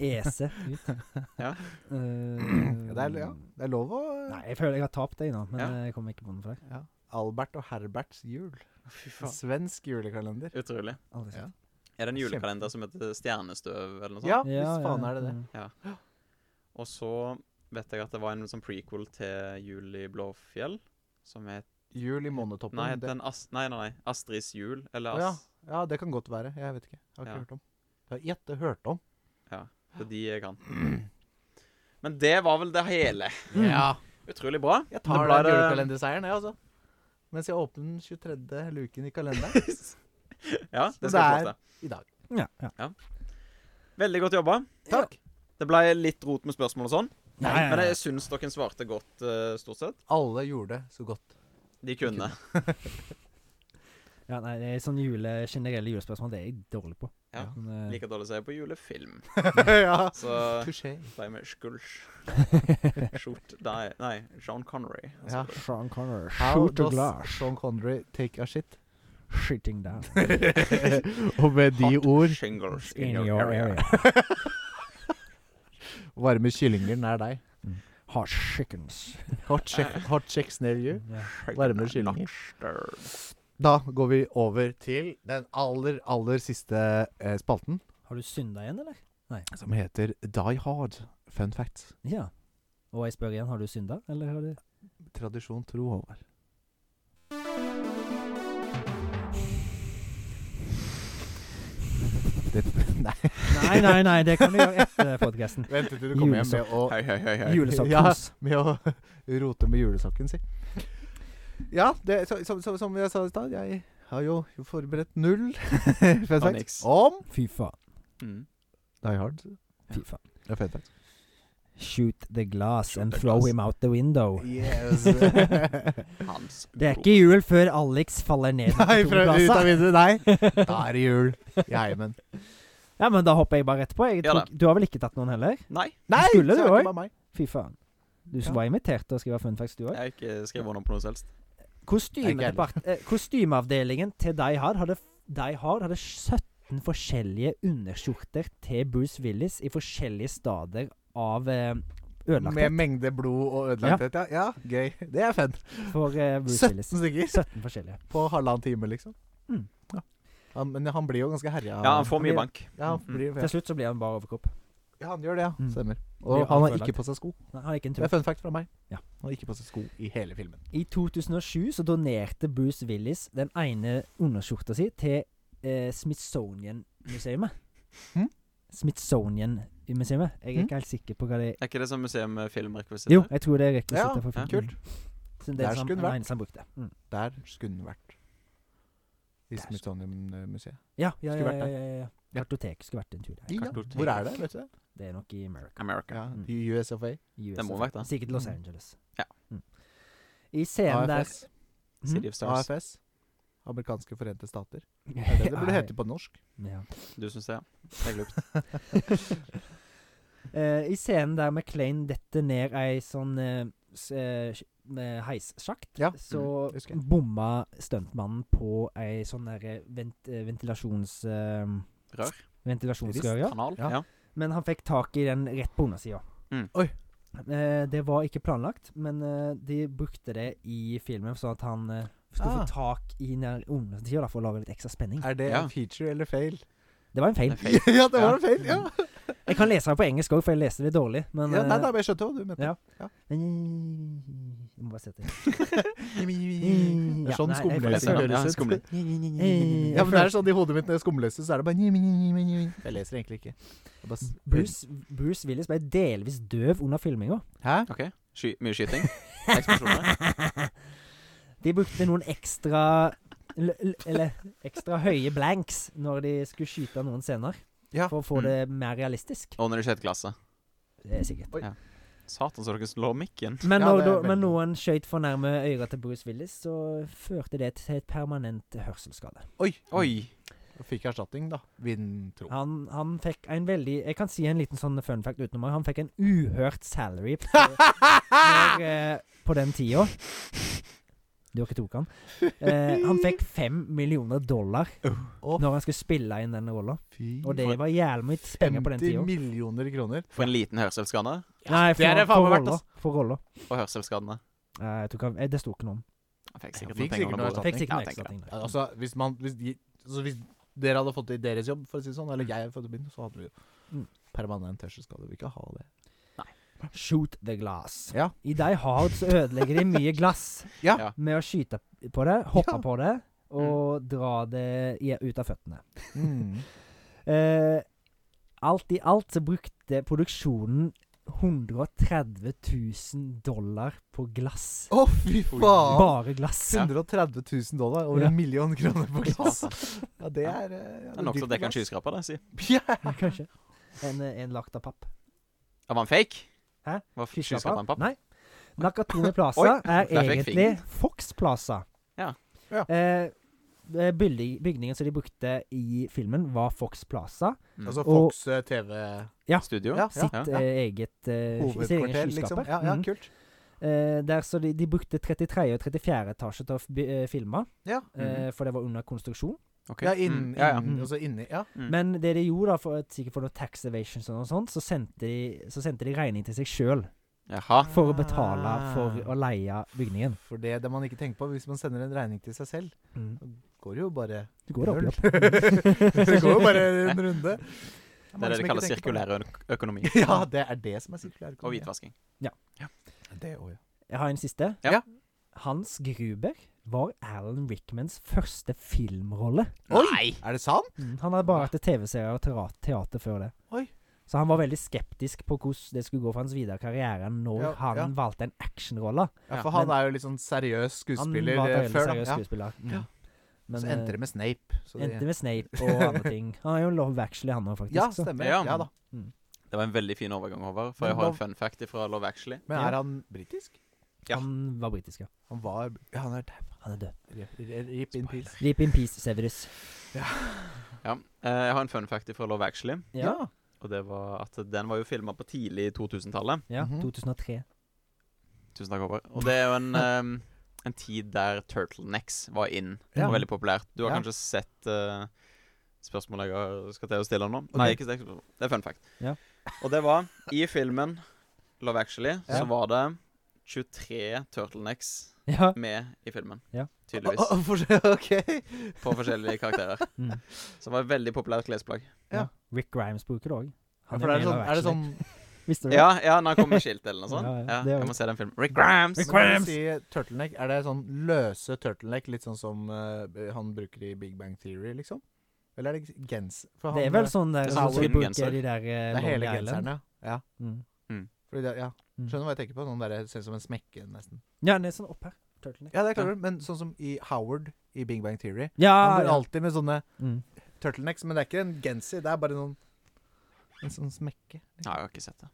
S2: Ese ut.
S3: Ja.
S2: Eh,
S1: Ja, det, er, ja, det er lov å
S2: Nei, jeg føler jeg har tapt deg nå, men
S3: Ja.
S2: eh, jeg kommer ikke på noen flere.
S1: ja. Albert og Herberts jul.
S3: Fy
S1: En
S3: faen.
S1: svensk julekalender.
S3: Utrolig.
S2: Aldri
S1: Ja.
S2: sett.
S3: Er det en julekalender som heter Stjernestøv, eller noe sånt?
S1: Ja, hvis faen er det det.
S2: mm.
S3: Og så vet jeg at det var en sånn prequel til Jul i Blåfjell, som het
S1: Jul i månetoppen.
S3: Nei,
S1: det,
S3: den Ast nei, nei, nei. Astrids jul.
S1: Å
S3: Eller
S1: ja.
S3: Ast...
S1: ja, det kan godt være. Jeg vet ikke. Jeg har ikke
S3: Ja.
S1: hørt om. Jeg har gjette hørt om.
S3: Det er de jeg kan. Men det var vel det hele.
S1: Ja.
S3: Utrolig bra.
S1: Jeg
S3: Da
S1: tar
S3: ble
S1: den
S3: det-
S1: julekalenderseieren, jeg, altså. Mens jeg åpner den 23. luken i kalenderen
S3: Ja,
S1: Men
S3: det skal
S1: Sånn det er-
S3: jeg fortsette.
S1: i dag.
S2: Mm. Ja, ja.
S3: Veldig godt jobba.
S1: Takk.
S3: Det ble litt rot med spørsmål og sånn,
S2: Nei,
S3: men jeg syns dere svarte godt, eh, stort sett.
S1: Alle gjorde det så godt.
S3: De kunne.
S2: ja, nei, det er sånn jule, generelle julespørsmål, det er jeg dårlig på.
S3: Ja.
S2: Men, eh,
S3: Like dårlig som jeg er på julefilm.
S1: ja.
S3: Så
S1: Touché.
S3: ble jeg med skulsj. Skjort deg Nei, John Connery.
S1: Ja.
S2: Sean Connery,
S1: How
S2: shoot a
S1: does
S2: glass,
S1: Sean Connery take a shit?
S2: shitting down
S1: Og med de
S3: Hot
S1: ord
S3: Shingles
S2: in your area.
S1: varme kyllinger nær deg.
S2: Hot chickens.
S1: Hot, chick- hot chicks near you.
S2: Ja.
S1: Varme kyllinger. Da går vi over til den aller, aller siste eh, spalten,
S2: Har du synda igjen, eller?
S1: som heter Die Hard fun facts.
S2: Ja. Og jeg spør igjen, har du synda, eller har du
S1: Tradisjon tro, Håvard. Det, nei.
S2: Nei, nei, nei, det kan vi gjøre etter podkasten.
S1: Vent til du kommer
S2: kommer hjem
S1: hjem med å,
S3: Hei, hei, hei. hei.
S2: Julesokkos.
S1: med å rote med julesokken sin. Ja, det, så, som, som, som jeg sa i stad, jeg har jo forberedt null fun facts
S3: niks.
S1: om
S2: Fy faen.
S3: Mm.
S1: Die Hard.
S2: Fy faen.
S1: Ja, fun facts.
S2: Shoot the glass
S3: Shoot
S2: and
S3: the
S2: throw
S3: glass.
S2: him out the window.
S1: Yes.
S3: Hans
S2: Det er ikke jul før Alex faller ned
S1: Nei,
S2: på
S1: fra, ut av
S2: glassene.
S1: vinduet. Nei, da er det jul i heimen.
S2: Ja, men da hopper jeg bare rett på. Jeg
S3: Ja da.
S2: tok, du har vel ikke tatt noen heller?
S3: Nei,
S1: Nei,
S2: Skulle
S1: så
S2: du
S1: er det
S2: også?
S1: bare meg.
S2: Fy faen. Du
S1: Ja.
S2: var invitert til å skrive fun facts, du
S3: jeg
S2: òg.
S3: har ikke skrevet under på noe som helst.
S1: Jeg er ikke
S2: Kostymedepart- eh, Kostymeavdelingen til Die Hard hadde, Die Hard hadde 17 forskjellige underskjorter til Bruce Willis i forskjellige stader av eh,
S1: Med
S2: ødelagthet
S1: mengde blod og ødelagthet. Ja. ja, gøy. Det er fun.
S2: for eh,
S1: 17
S2: Bruce Willis.
S1: stykker
S2: 17 forskjellige.
S1: på halvannen time, liksom.
S2: Mm.
S1: Ja. Han, men han blir jo ganske herja.
S3: Ja, han får mye bank.
S1: Ja, han, blir,
S2: Til slutt så blir han bare overkropp.
S1: ja, han gjør det, ja.
S2: Mm.
S1: Stemmer.
S2: Blir
S1: Og
S2: jo
S1: han har
S2: altfor
S1: ikke på seg sko.
S2: Nei, han er ikke en
S1: Det
S2: tur.
S1: er fun fact fra meg.
S2: Ja.
S1: Han har ikke på seg sko i hele filmen.
S2: I 2007 så donerte Bruce Willis den ene underskjorta si til eh, Smithsonian-museet.
S1: Hm?
S2: Smithsonian-museet. Jeg er
S1: Hm?
S2: ikke helt sikker på hva det er.
S3: Er ikke det sånn museum med filmrekvisitter?
S2: Jo, jeg tror det er rekvisitter
S1: Ja,
S2: for filmen.
S1: kult.
S2: Så det
S1: Der
S2: er som
S1: skulle det
S2: den
S1: vært.
S2: eneste han brukte. Mm.
S1: Der skulle den vært. I
S2: Der.
S1: Smithsonian-museet.
S2: Ja, ja,
S1: Skulle
S2: ja,
S1: vært
S2: ja,
S1: der.
S2: ja, ja. Kartotek skulle vært en tur der.
S1: Ja.
S3: Kartotek.
S1: Hvor er det? Vet du det?
S2: Det er nok i America.
S3: America.
S1: Ja,
S2: Mm.
S1: i USFA.
S2: USA.
S3: Det må vært det.
S2: Sikkert Los
S1: Mm.
S2: Angeles.
S3: Ja.
S2: Mm. I scenen der
S1: AFS.
S2: Hm?
S1: Mm-hmm.
S3: City of Stars.
S1: AFS. Amerikanske forente stater. Det er det det burde hete på norsk.
S2: Mm. Ja.
S3: Du syns det, ja. Det er glupt.
S2: Eh, I scenen der McLean detter ned ei sånn eh, s- eh, sj- eh, heissjakt,
S1: Ja,
S2: så
S1: mm, husker jeg.
S2: bomma stuntmannen på ei sånn derre vent, eh, ventilasjons... Eh,
S3: Rør.
S2: Ventilasjonsrør, ja.
S3: Kanal.
S1: Ja.
S3: Ja.
S2: Men han fikk tak i den rett på undersida.
S3: Mm.
S1: Oi.
S2: Eh, det var ikke planlagt, men eh, de brukte det i filmen sånn at han eh,
S1: Ah.
S2: skulle få tak i den undersida for å lage litt ekstra spenning.
S1: Er det
S3: Ja.
S1: en feature eller fail?
S2: Det var en feil.
S3: Det er feil.
S1: ja, det var
S3: Ja.
S1: en fail! Ja.
S2: Jeg kan lese det på engelsk òg, for jeg leste det dårlig. Men
S1: ja nei,
S2: eh,
S1: da, men jeg skjønte hva du mente.
S2: ja.
S1: Ja.
S2: Jeg må bare sette det.
S1: Det er sånn
S2: Ja, nei, jeg
S1: skumleser
S2: leser det.
S1: høres ut.
S3: skumle.
S2: Eh,
S1: Ja, men det er sånn i hodet mitt når jeg skumleser, så er det bare Jeg leser egentlig ikke. Jeg bare s-
S2: Bruce, Bruce Willis ble delvis døv under filminga.
S1: Hæ?
S3: OK. Sky, mye skyting. Eksplosjoner.
S2: De brukte noen ekstra l- l- Eller ekstra høye blanks når de skulle skyte noen scener.
S1: Ja.
S2: For å få
S3: Mm.
S2: det mer realistisk.
S3: Og når det skjedde klasse.
S2: Det er sikkert.
S3: Satan, så dere slår mikken.
S2: Men
S1: Ja,
S2: når,
S1: det er
S2: da-
S1: veldig-
S2: men noen skjøt for nærme øret til Bruce Willis, så førte det til et permanent hørselsskade.
S1: Oi!
S3: Oi.
S1: Og Fikk erstatning, da. Vintro.
S2: Han, han fikk en veldig Jeg kan si en liten sånn fun fact utenom. Han fikk en uhørt salary på,
S1: Ah!
S2: når, eh, på den tida. Du har ikke tok han. Eh, han fikk fem millioner dollar
S1: Å,
S2: når han skulle spille inn den rolla.
S1: fy
S2: Og det var jævlig mye penger på
S1: 50
S2: den tida.
S1: millioner kroner.
S3: For en liten hørselsskade.
S2: Nei,
S1: det er det faen meg verdt,
S2: rolla.
S1: ass.
S2: For rolla.
S3: Og hørselsskadene.
S2: Eh, jeg tror ikke han- eh, det sto ikke noe om.
S3: Jeg fikk
S1: Ja,
S3: sikkert
S1: fikk
S3: noen penger
S1: sikkert
S3: under
S1: noe
S3: bordet.
S2: Fikk sikkert
S3: Ja,
S2: noe
S3: tenker
S2: ekstra
S3: jeg.
S2: ting.
S1: Ja, altså, hvis man hvis, de, altså, hvis dere hadde fått det i deres jobb, for å si det sånn, eller jeg hadde fått det i min, så hadde vi jo
S2: Mm.
S1: permanent hørselsskade. Vi vil ikke ha det.
S2: Shoot the glass.
S1: Ja.
S2: I Die Hard så ødelegger de mye glass
S1: Ja.
S3: Ja.
S2: med å skyte på det, hoppe
S1: Ja.
S2: på det og dra det i, ut av føttene.
S1: Mm.
S2: Eh, alt i alt så brukte produksjonen 130 000 dollar på glass.
S1: Å, fy faen!
S2: Bare glass.
S1: 130 000 dollar, over
S2: Ja.
S1: en million kroner på glass.
S3: Satan.
S1: Ja, det er eh, ja,
S3: Det er nok til
S1: dyrt
S3: å dekke
S1: på
S3: en
S1: glass.
S3: skyskraper, det, si.
S1: Ja.
S2: Kanskje. En, eh, en lagt av papp.
S3: Ja, var han fake?
S2: Hæ?
S3: Var f-
S2: Fisk av
S3: skyskraperen papp?
S2: Nei. Nakatone Plaza
S3: Oi,
S2: er
S3: der fikk jeg
S2: egentlig Fox Plaza.
S3: Ja.
S1: Ja.
S2: Eh, eh, byldi- bygningen som de brukte i filmen, var Fox Plaza.
S3: Mm.
S1: Altså
S2: Og-
S1: Fox eh, TV
S3: Studio?
S1: Ja,
S2: Sitt
S3: Ja.
S2: eh, eget eh, sk- sin egen
S1: hovedkvarter, liksom.
S2: skyskaper.
S1: Ja, ja,
S2: Mhm.
S1: kult.
S2: Eh, der så de, de brukte 33. og 34. etasje til å f- by- eh, filme,
S1: Ja,
S2: eh,
S3: Mhm.
S2: for det var under konstruksjon.
S3: Ok.
S1: ja, inn,
S3: Mm, ja, ja.
S1: inn, altså inni Ja.
S3: Mm.
S2: Men det de gjorde, da, for, sikkert for noe tax evasions og noe sånt, så sendte de, så sendte de regning til seg sjøl
S3: Jaha.
S2: for å betale for å leie bygningen.
S1: For det er det man ikke tenker på. Hvis man sender en regning til seg selv,
S2: Mm.
S1: går det jo bare
S2: Det går opp i opp.
S1: det går jo bare en runde.
S3: Det er det de kaller sirkulær ø- økonomi.
S1: Ja, det er det som er sirkulær
S3: Og
S1: økonomi.
S3: hvitvasking.
S1: Ja, Det òg, ja.
S2: Jeg har en siste.
S3: Ja.
S2: Hans Gruber var Alan Rickmans første filmrolle.
S1: Oi!
S3: Nei!
S1: Er det sant?
S2: Han hadde bare vært i TV-serier og tera- teater før det.
S1: Mm. Ah. Oi.
S2: Så han var veldig skeptisk på hvordan det skulle gå for hans videre karriere når
S1: Ja,
S2: han
S1: ja.
S2: valgte en actionrolle.
S1: Ja,
S3: Ja,
S1: for han
S2: men-
S1: er jo litt sånn seriøs
S2: Han
S1: skuespiller
S2: var
S1: eh,
S2: veldig
S1: før,
S2: seriøs
S1: da. Ja.
S2: skuespiller. Mm.
S1: Ja.
S2: Men
S1: så endte
S2: endte,
S1: det med Snape. Så det,
S2: endte med Snape og andre ting. Han er jo Love Actually, han òg, faktisk.
S1: ja,
S2: så.
S1: stemmer.
S3: Ja.
S1: Ja da.
S3: Det var en veldig fin overgang, Håvard. For
S1: Men
S3: jeg har
S1: da-
S3: en fun fact fra Love Actually.
S1: Men
S2: Ja.
S1: er han britisk?
S3: Ja.
S2: Han var britisk, ja.
S1: Han var Ja, han er dau.
S2: Han er død.
S1: Rip- Rip in peace.
S2: Sleep in peace, Severus.
S3: Ja. Eh, Jeg har en fun fact fra Love Actually.
S2: Ja.
S3: Og det var at den var jo filma på tidlig 2000-tallet.
S2: ja
S1: Mhm.
S2: 2003.
S3: Tusen takk, Håvard. Og det er jo en, ehm, en tid der turtlenecks var in.
S1: Ja.
S3: Og veldig populært. Du har
S1: Ja.
S3: kanskje sett eh, spørsmålet jeg har- skal til å stille nå?
S1: Ok.
S3: Nei, ikke det. Det er fun fact.
S2: Ja.
S3: Og det var i filmen Love Actually,
S1: Ja.
S3: så var det 23 turtlenecks
S2: Ja.
S3: med i filmen.
S2: Ja.
S3: Tydeligvis.
S1: Å, å, for- OK.
S3: På forskjellige karakterer.
S2: Mm.
S3: Så det var et veldig populært klesplagg.
S2: ja.
S1: Ja.
S2: Rick Grimes bruker det òg.
S1: Ja, for det er, sånn, er det sånn
S2: Visste du det?
S3: Ja, ja, når han kom med skilt eller noe sånt.
S2: Ja, ja,
S3: Ja,
S2: det er jo-
S3: jeg må se den filmen. Rick Grams!
S2: Rick
S1: Når
S2: Grimes.
S1: du sier turtleneck, er det sånn løse turtleneck, litt sånn som eh, han bruker i Big Bang Theory, liksom? Eller er det gens? For
S2: Det er
S1: han,
S2: vel
S1: eh,
S2: sånn der
S3: Det er
S2: sånn
S3: sånn
S2: som de
S3: skinngenser.
S2: bruker de der eh,
S1: Det er hele
S2: Long Island.
S1: genseren, ja. ja.
S2: Mm.
S1: Fordi det, ja.
S2: Mm.
S1: Skjønner hva jeg tenker på? Noen der ser ut som en smekke, nesten.
S2: Ja, den er sånn opp her. Turtleneck.
S1: Ja, det klarer du, men sånn som i Howard i Big Bang Theory.
S2: Ja,
S1: Han går
S2: Ah, ja.
S1: alltid med sånne
S2: Mm.
S1: turtlenecks, men det er ikke en genser, det er bare noen en sånn smekke.
S3: Nei, jeg har ikke sett det.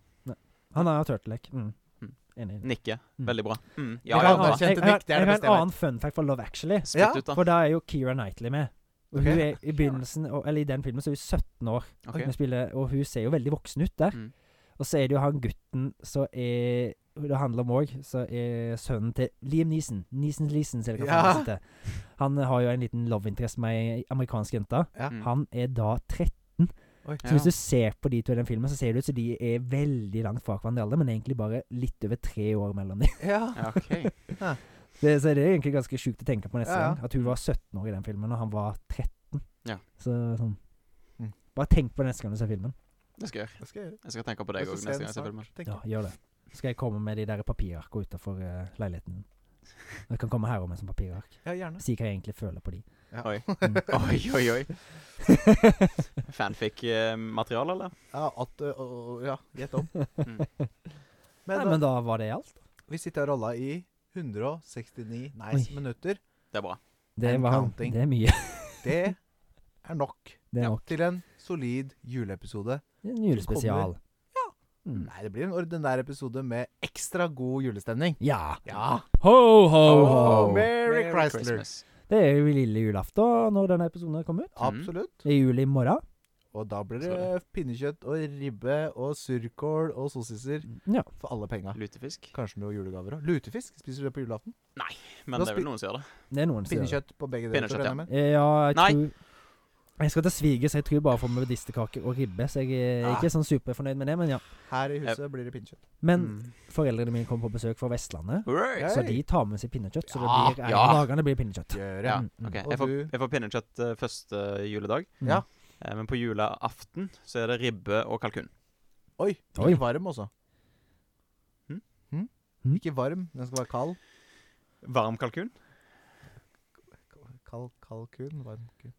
S2: Han er jo turtleneck. Mm.
S3: Mm.
S2: enig.
S3: Nikke.
S2: Mm.
S3: Veldig bra. Mm.
S2: Jeg
S3: Ja,
S2: har
S3: ja,
S2: en
S3: bra.
S2: annen- jeg-
S1: Anerkjente
S2: jeg har-
S1: dikt, det er det
S2: Jeg har
S1: beste
S2: en
S1: jeg
S2: annen fun fact fra Love Actually.
S3: Spytt
S1: Ja.
S3: ut, da.
S2: For da er jo Keira Knightley med. Og hun
S1: Ok.
S2: er i begynnelsen, og- eller i den filmen så er hun 17 år,
S3: Ok.
S2: Hun spiller, og hun ser jo veldig voksen ut der.
S3: Mm.
S2: Og så er det jo han gutten som er Det handler om òg, så er sønnen til Liam Neeson. Neeson Leeson, ser dere hva
S1: Ja.
S2: han heter. Han har jo en liten love interest med ei amerikansk jente.
S1: Ja.
S3: Mm.
S2: Han er da 13.
S1: Oi.
S2: Så hvis du ser på de to i den filmen, så ser det ut som de er veldig langt fra hverandre i alder, men egentlig bare litt over tre år mellom dem.
S1: Ja.
S3: Ja, ok.
S2: Det, så det er egentlig ganske sjukt å tenke på neste
S1: Ja, ja.
S2: gang. At hun var 17 år i den filmen, og han var 13.
S3: Ja.
S2: Så sånn
S1: Mm.
S2: Bare tenk på det neste gang du ser filmen.
S3: Det skal jeg gjøre.
S1: Det skal jeg gjøre.
S3: Jeg skal tenke på deg
S1: Jeg skal
S3: òg
S1: se
S3: neste
S1: den
S3: gang jeg ser
S1: snart,
S3: filmen.
S1: tenker
S2: Ja,
S1: jeg.
S2: gjør det. Skal jeg komme med de der papirarkene utafor eh, leiligheten? Jeg kan komme her om en sånn papirark.
S1: Ja, gjerne.
S2: Si hva jeg egentlig føler på de.
S3: Oi.
S2: Mm.
S3: Oi, oi, oi. Fanfic-materiale, eh, eller?
S1: Ja, at, ø, ø, ja gjett om.
S3: Mm.
S1: Men,
S2: Nei,
S1: da,
S2: men da var det alt.
S1: vi sitter og roller i 169 nice
S2: Oi.
S1: minutter.
S3: Det er bra.
S2: Det,
S1: And
S2: var,
S1: counting.
S2: det er mye.
S1: Det er nok
S2: Det er
S3: Ja.
S2: nok.
S1: til en solid juleepisode.
S2: Det er En julespesial. Mm.
S1: Nei, det blir en ordinær episode med ekstra god julestemning.
S2: Ja.
S1: Ja.
S2: Ho, ho, ho.
S1: Oh, Merry Chrysler.
S3: Christmas. Mm.
S2: Det er jo lille julaften når denne episoden kommer ut.
S1: Absolutt.
S2: Det er jul i morgen.
S1: Og da blir
S3: Så
S1: det pinnekjøtt og ribbe og surkål og sossiser
S2: Ja.
S1: for alle penga.
S3: Lutefisk?
S1: Kanskje noe julegaver òg. Lutefisk spiser du det på julaften?
S3: Men
S1: Da
S3: det er vel
S1: spi-
S3: noen som gjør det.
S2: Det er noen som gjør det.
S1: Pinnekjøtt på begge deler.
S3: Pinnekjøtt, ja.
S2: Eh, Ja, jeg
S3: Nei.
S2: tror Jeg skal til svigers, jeg tror jeg bare får medisterkake og ribbe, så jeg er
S1: Ah.
S2: ikke sånn superfornøyd med det, men ja.
S1: Her i huset blir det pinnekjøtt.
S2: Men
S3: Mm.
S2: foreldrene mine kommer på besøk fra Vestlandet.
S3: Hooray!
S1: Ja.
S2: Så
S1: Hei.
S2: de tar med seg pinnekjøtt. Så det
S1: Ja,
S2: blir, ja.
S3: ja.
S2: dagene blir pinnekjøtt.
S1: Gjør
S3: Ja,
S1: jeg.
S2: Mm, mm.
S3: ok.
S1: Og
S3: Jeg får,
S1: du-
S3: jeg får pinnekjøtt eh, første juledag.
S1: Ja.
S3: Eh, Men på julaften så er det ribbe og kalkun.
S1: Oi,
S2: Oi.
S1: ikke varm også.
S3: Hm?
S1: Hm?
S2: Hm?
S1: Ikke varm, den skal være kald.
S3: Varm kalkun?
S1: Kald kalkun, varm kun.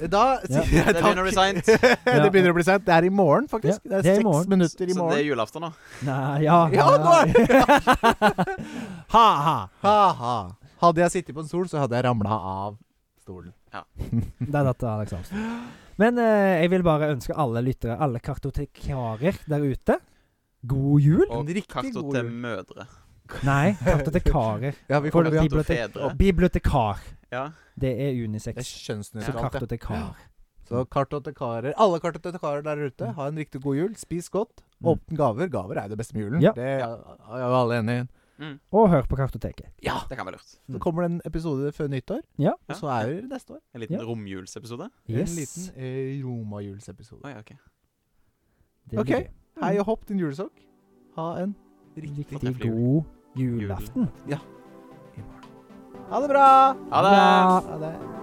S1: Eh, Da
S2: Ja.
S1: sier jeg
S3: Det
S1: takk.
S3: begynner å bli seint.
S1: det begynner å bli seint. Det er i morgen, faktisk.
S2: Ja,
S1: det er
S2: det er i
S1: seks
S2: morgen.
S1: minutter i
S3: Så det er
S1: morgen.
S3: julaften, da.
S2: Nei, ja.
S1: Ja, nå er
S2: Ha-ha.
S1: Ha-ha. Hadde jeg sittet på en stol, så hadde jeg ramla av stolen.
S2: Det er dette Alex Armstrong. Men eh, jeg vil bare ønske alle lyttere, alle kartotekarer der ute, god jul.
S1: En
S3: Og
S1: riktig
S3: karto
S1: god
S3: til
S1: jul.
S3: mødre.
S2: Nei, kartotekarer.
S1: Ja, vi
S2: For
S1: får,
S2: de
S1: ja.
S2: blir-
S3: Karto
S2: bibliotek-
S3: fedre.
S2: Bibliotekar.
S3: Ja.
S2: Det er
S1: Det er
S2: unisex. Så
S1: kjønnsnøytralt. ja.
S2: kartotekar.
S1: Så kartotekarer Alle kartotekarer der ute, ha en riktig god jul. Spis godt.
S2: Mm.
S1: Åpne gaver. Gaver er jo det beste med julen.
S2: Ja.
S1: Det er er jo alle enige i.
S3: Mm.
S2: Og hør på Kartoteket.
S1: Ja.
S3: Det kan være lurt.
S1: Så kommer det en episode før nyttår,
S2: Mm. Ja.
S1: og så er det neste år.
S3: En liten
S2: Ja.
S3: romjulsepisode?
S1: En
S2: Yes.
S1: liten eh, romajulsepisode.
S3: Å ja, OK.
S2: Det
S1: Ok.
S2: blir det.
S1: Hei og hopp din julesokk. Ha en riktig
S2: Riktig god julaften.
S1: Ha det bra!
S3: Ha det!
S2: Ja.
S1: Ha det.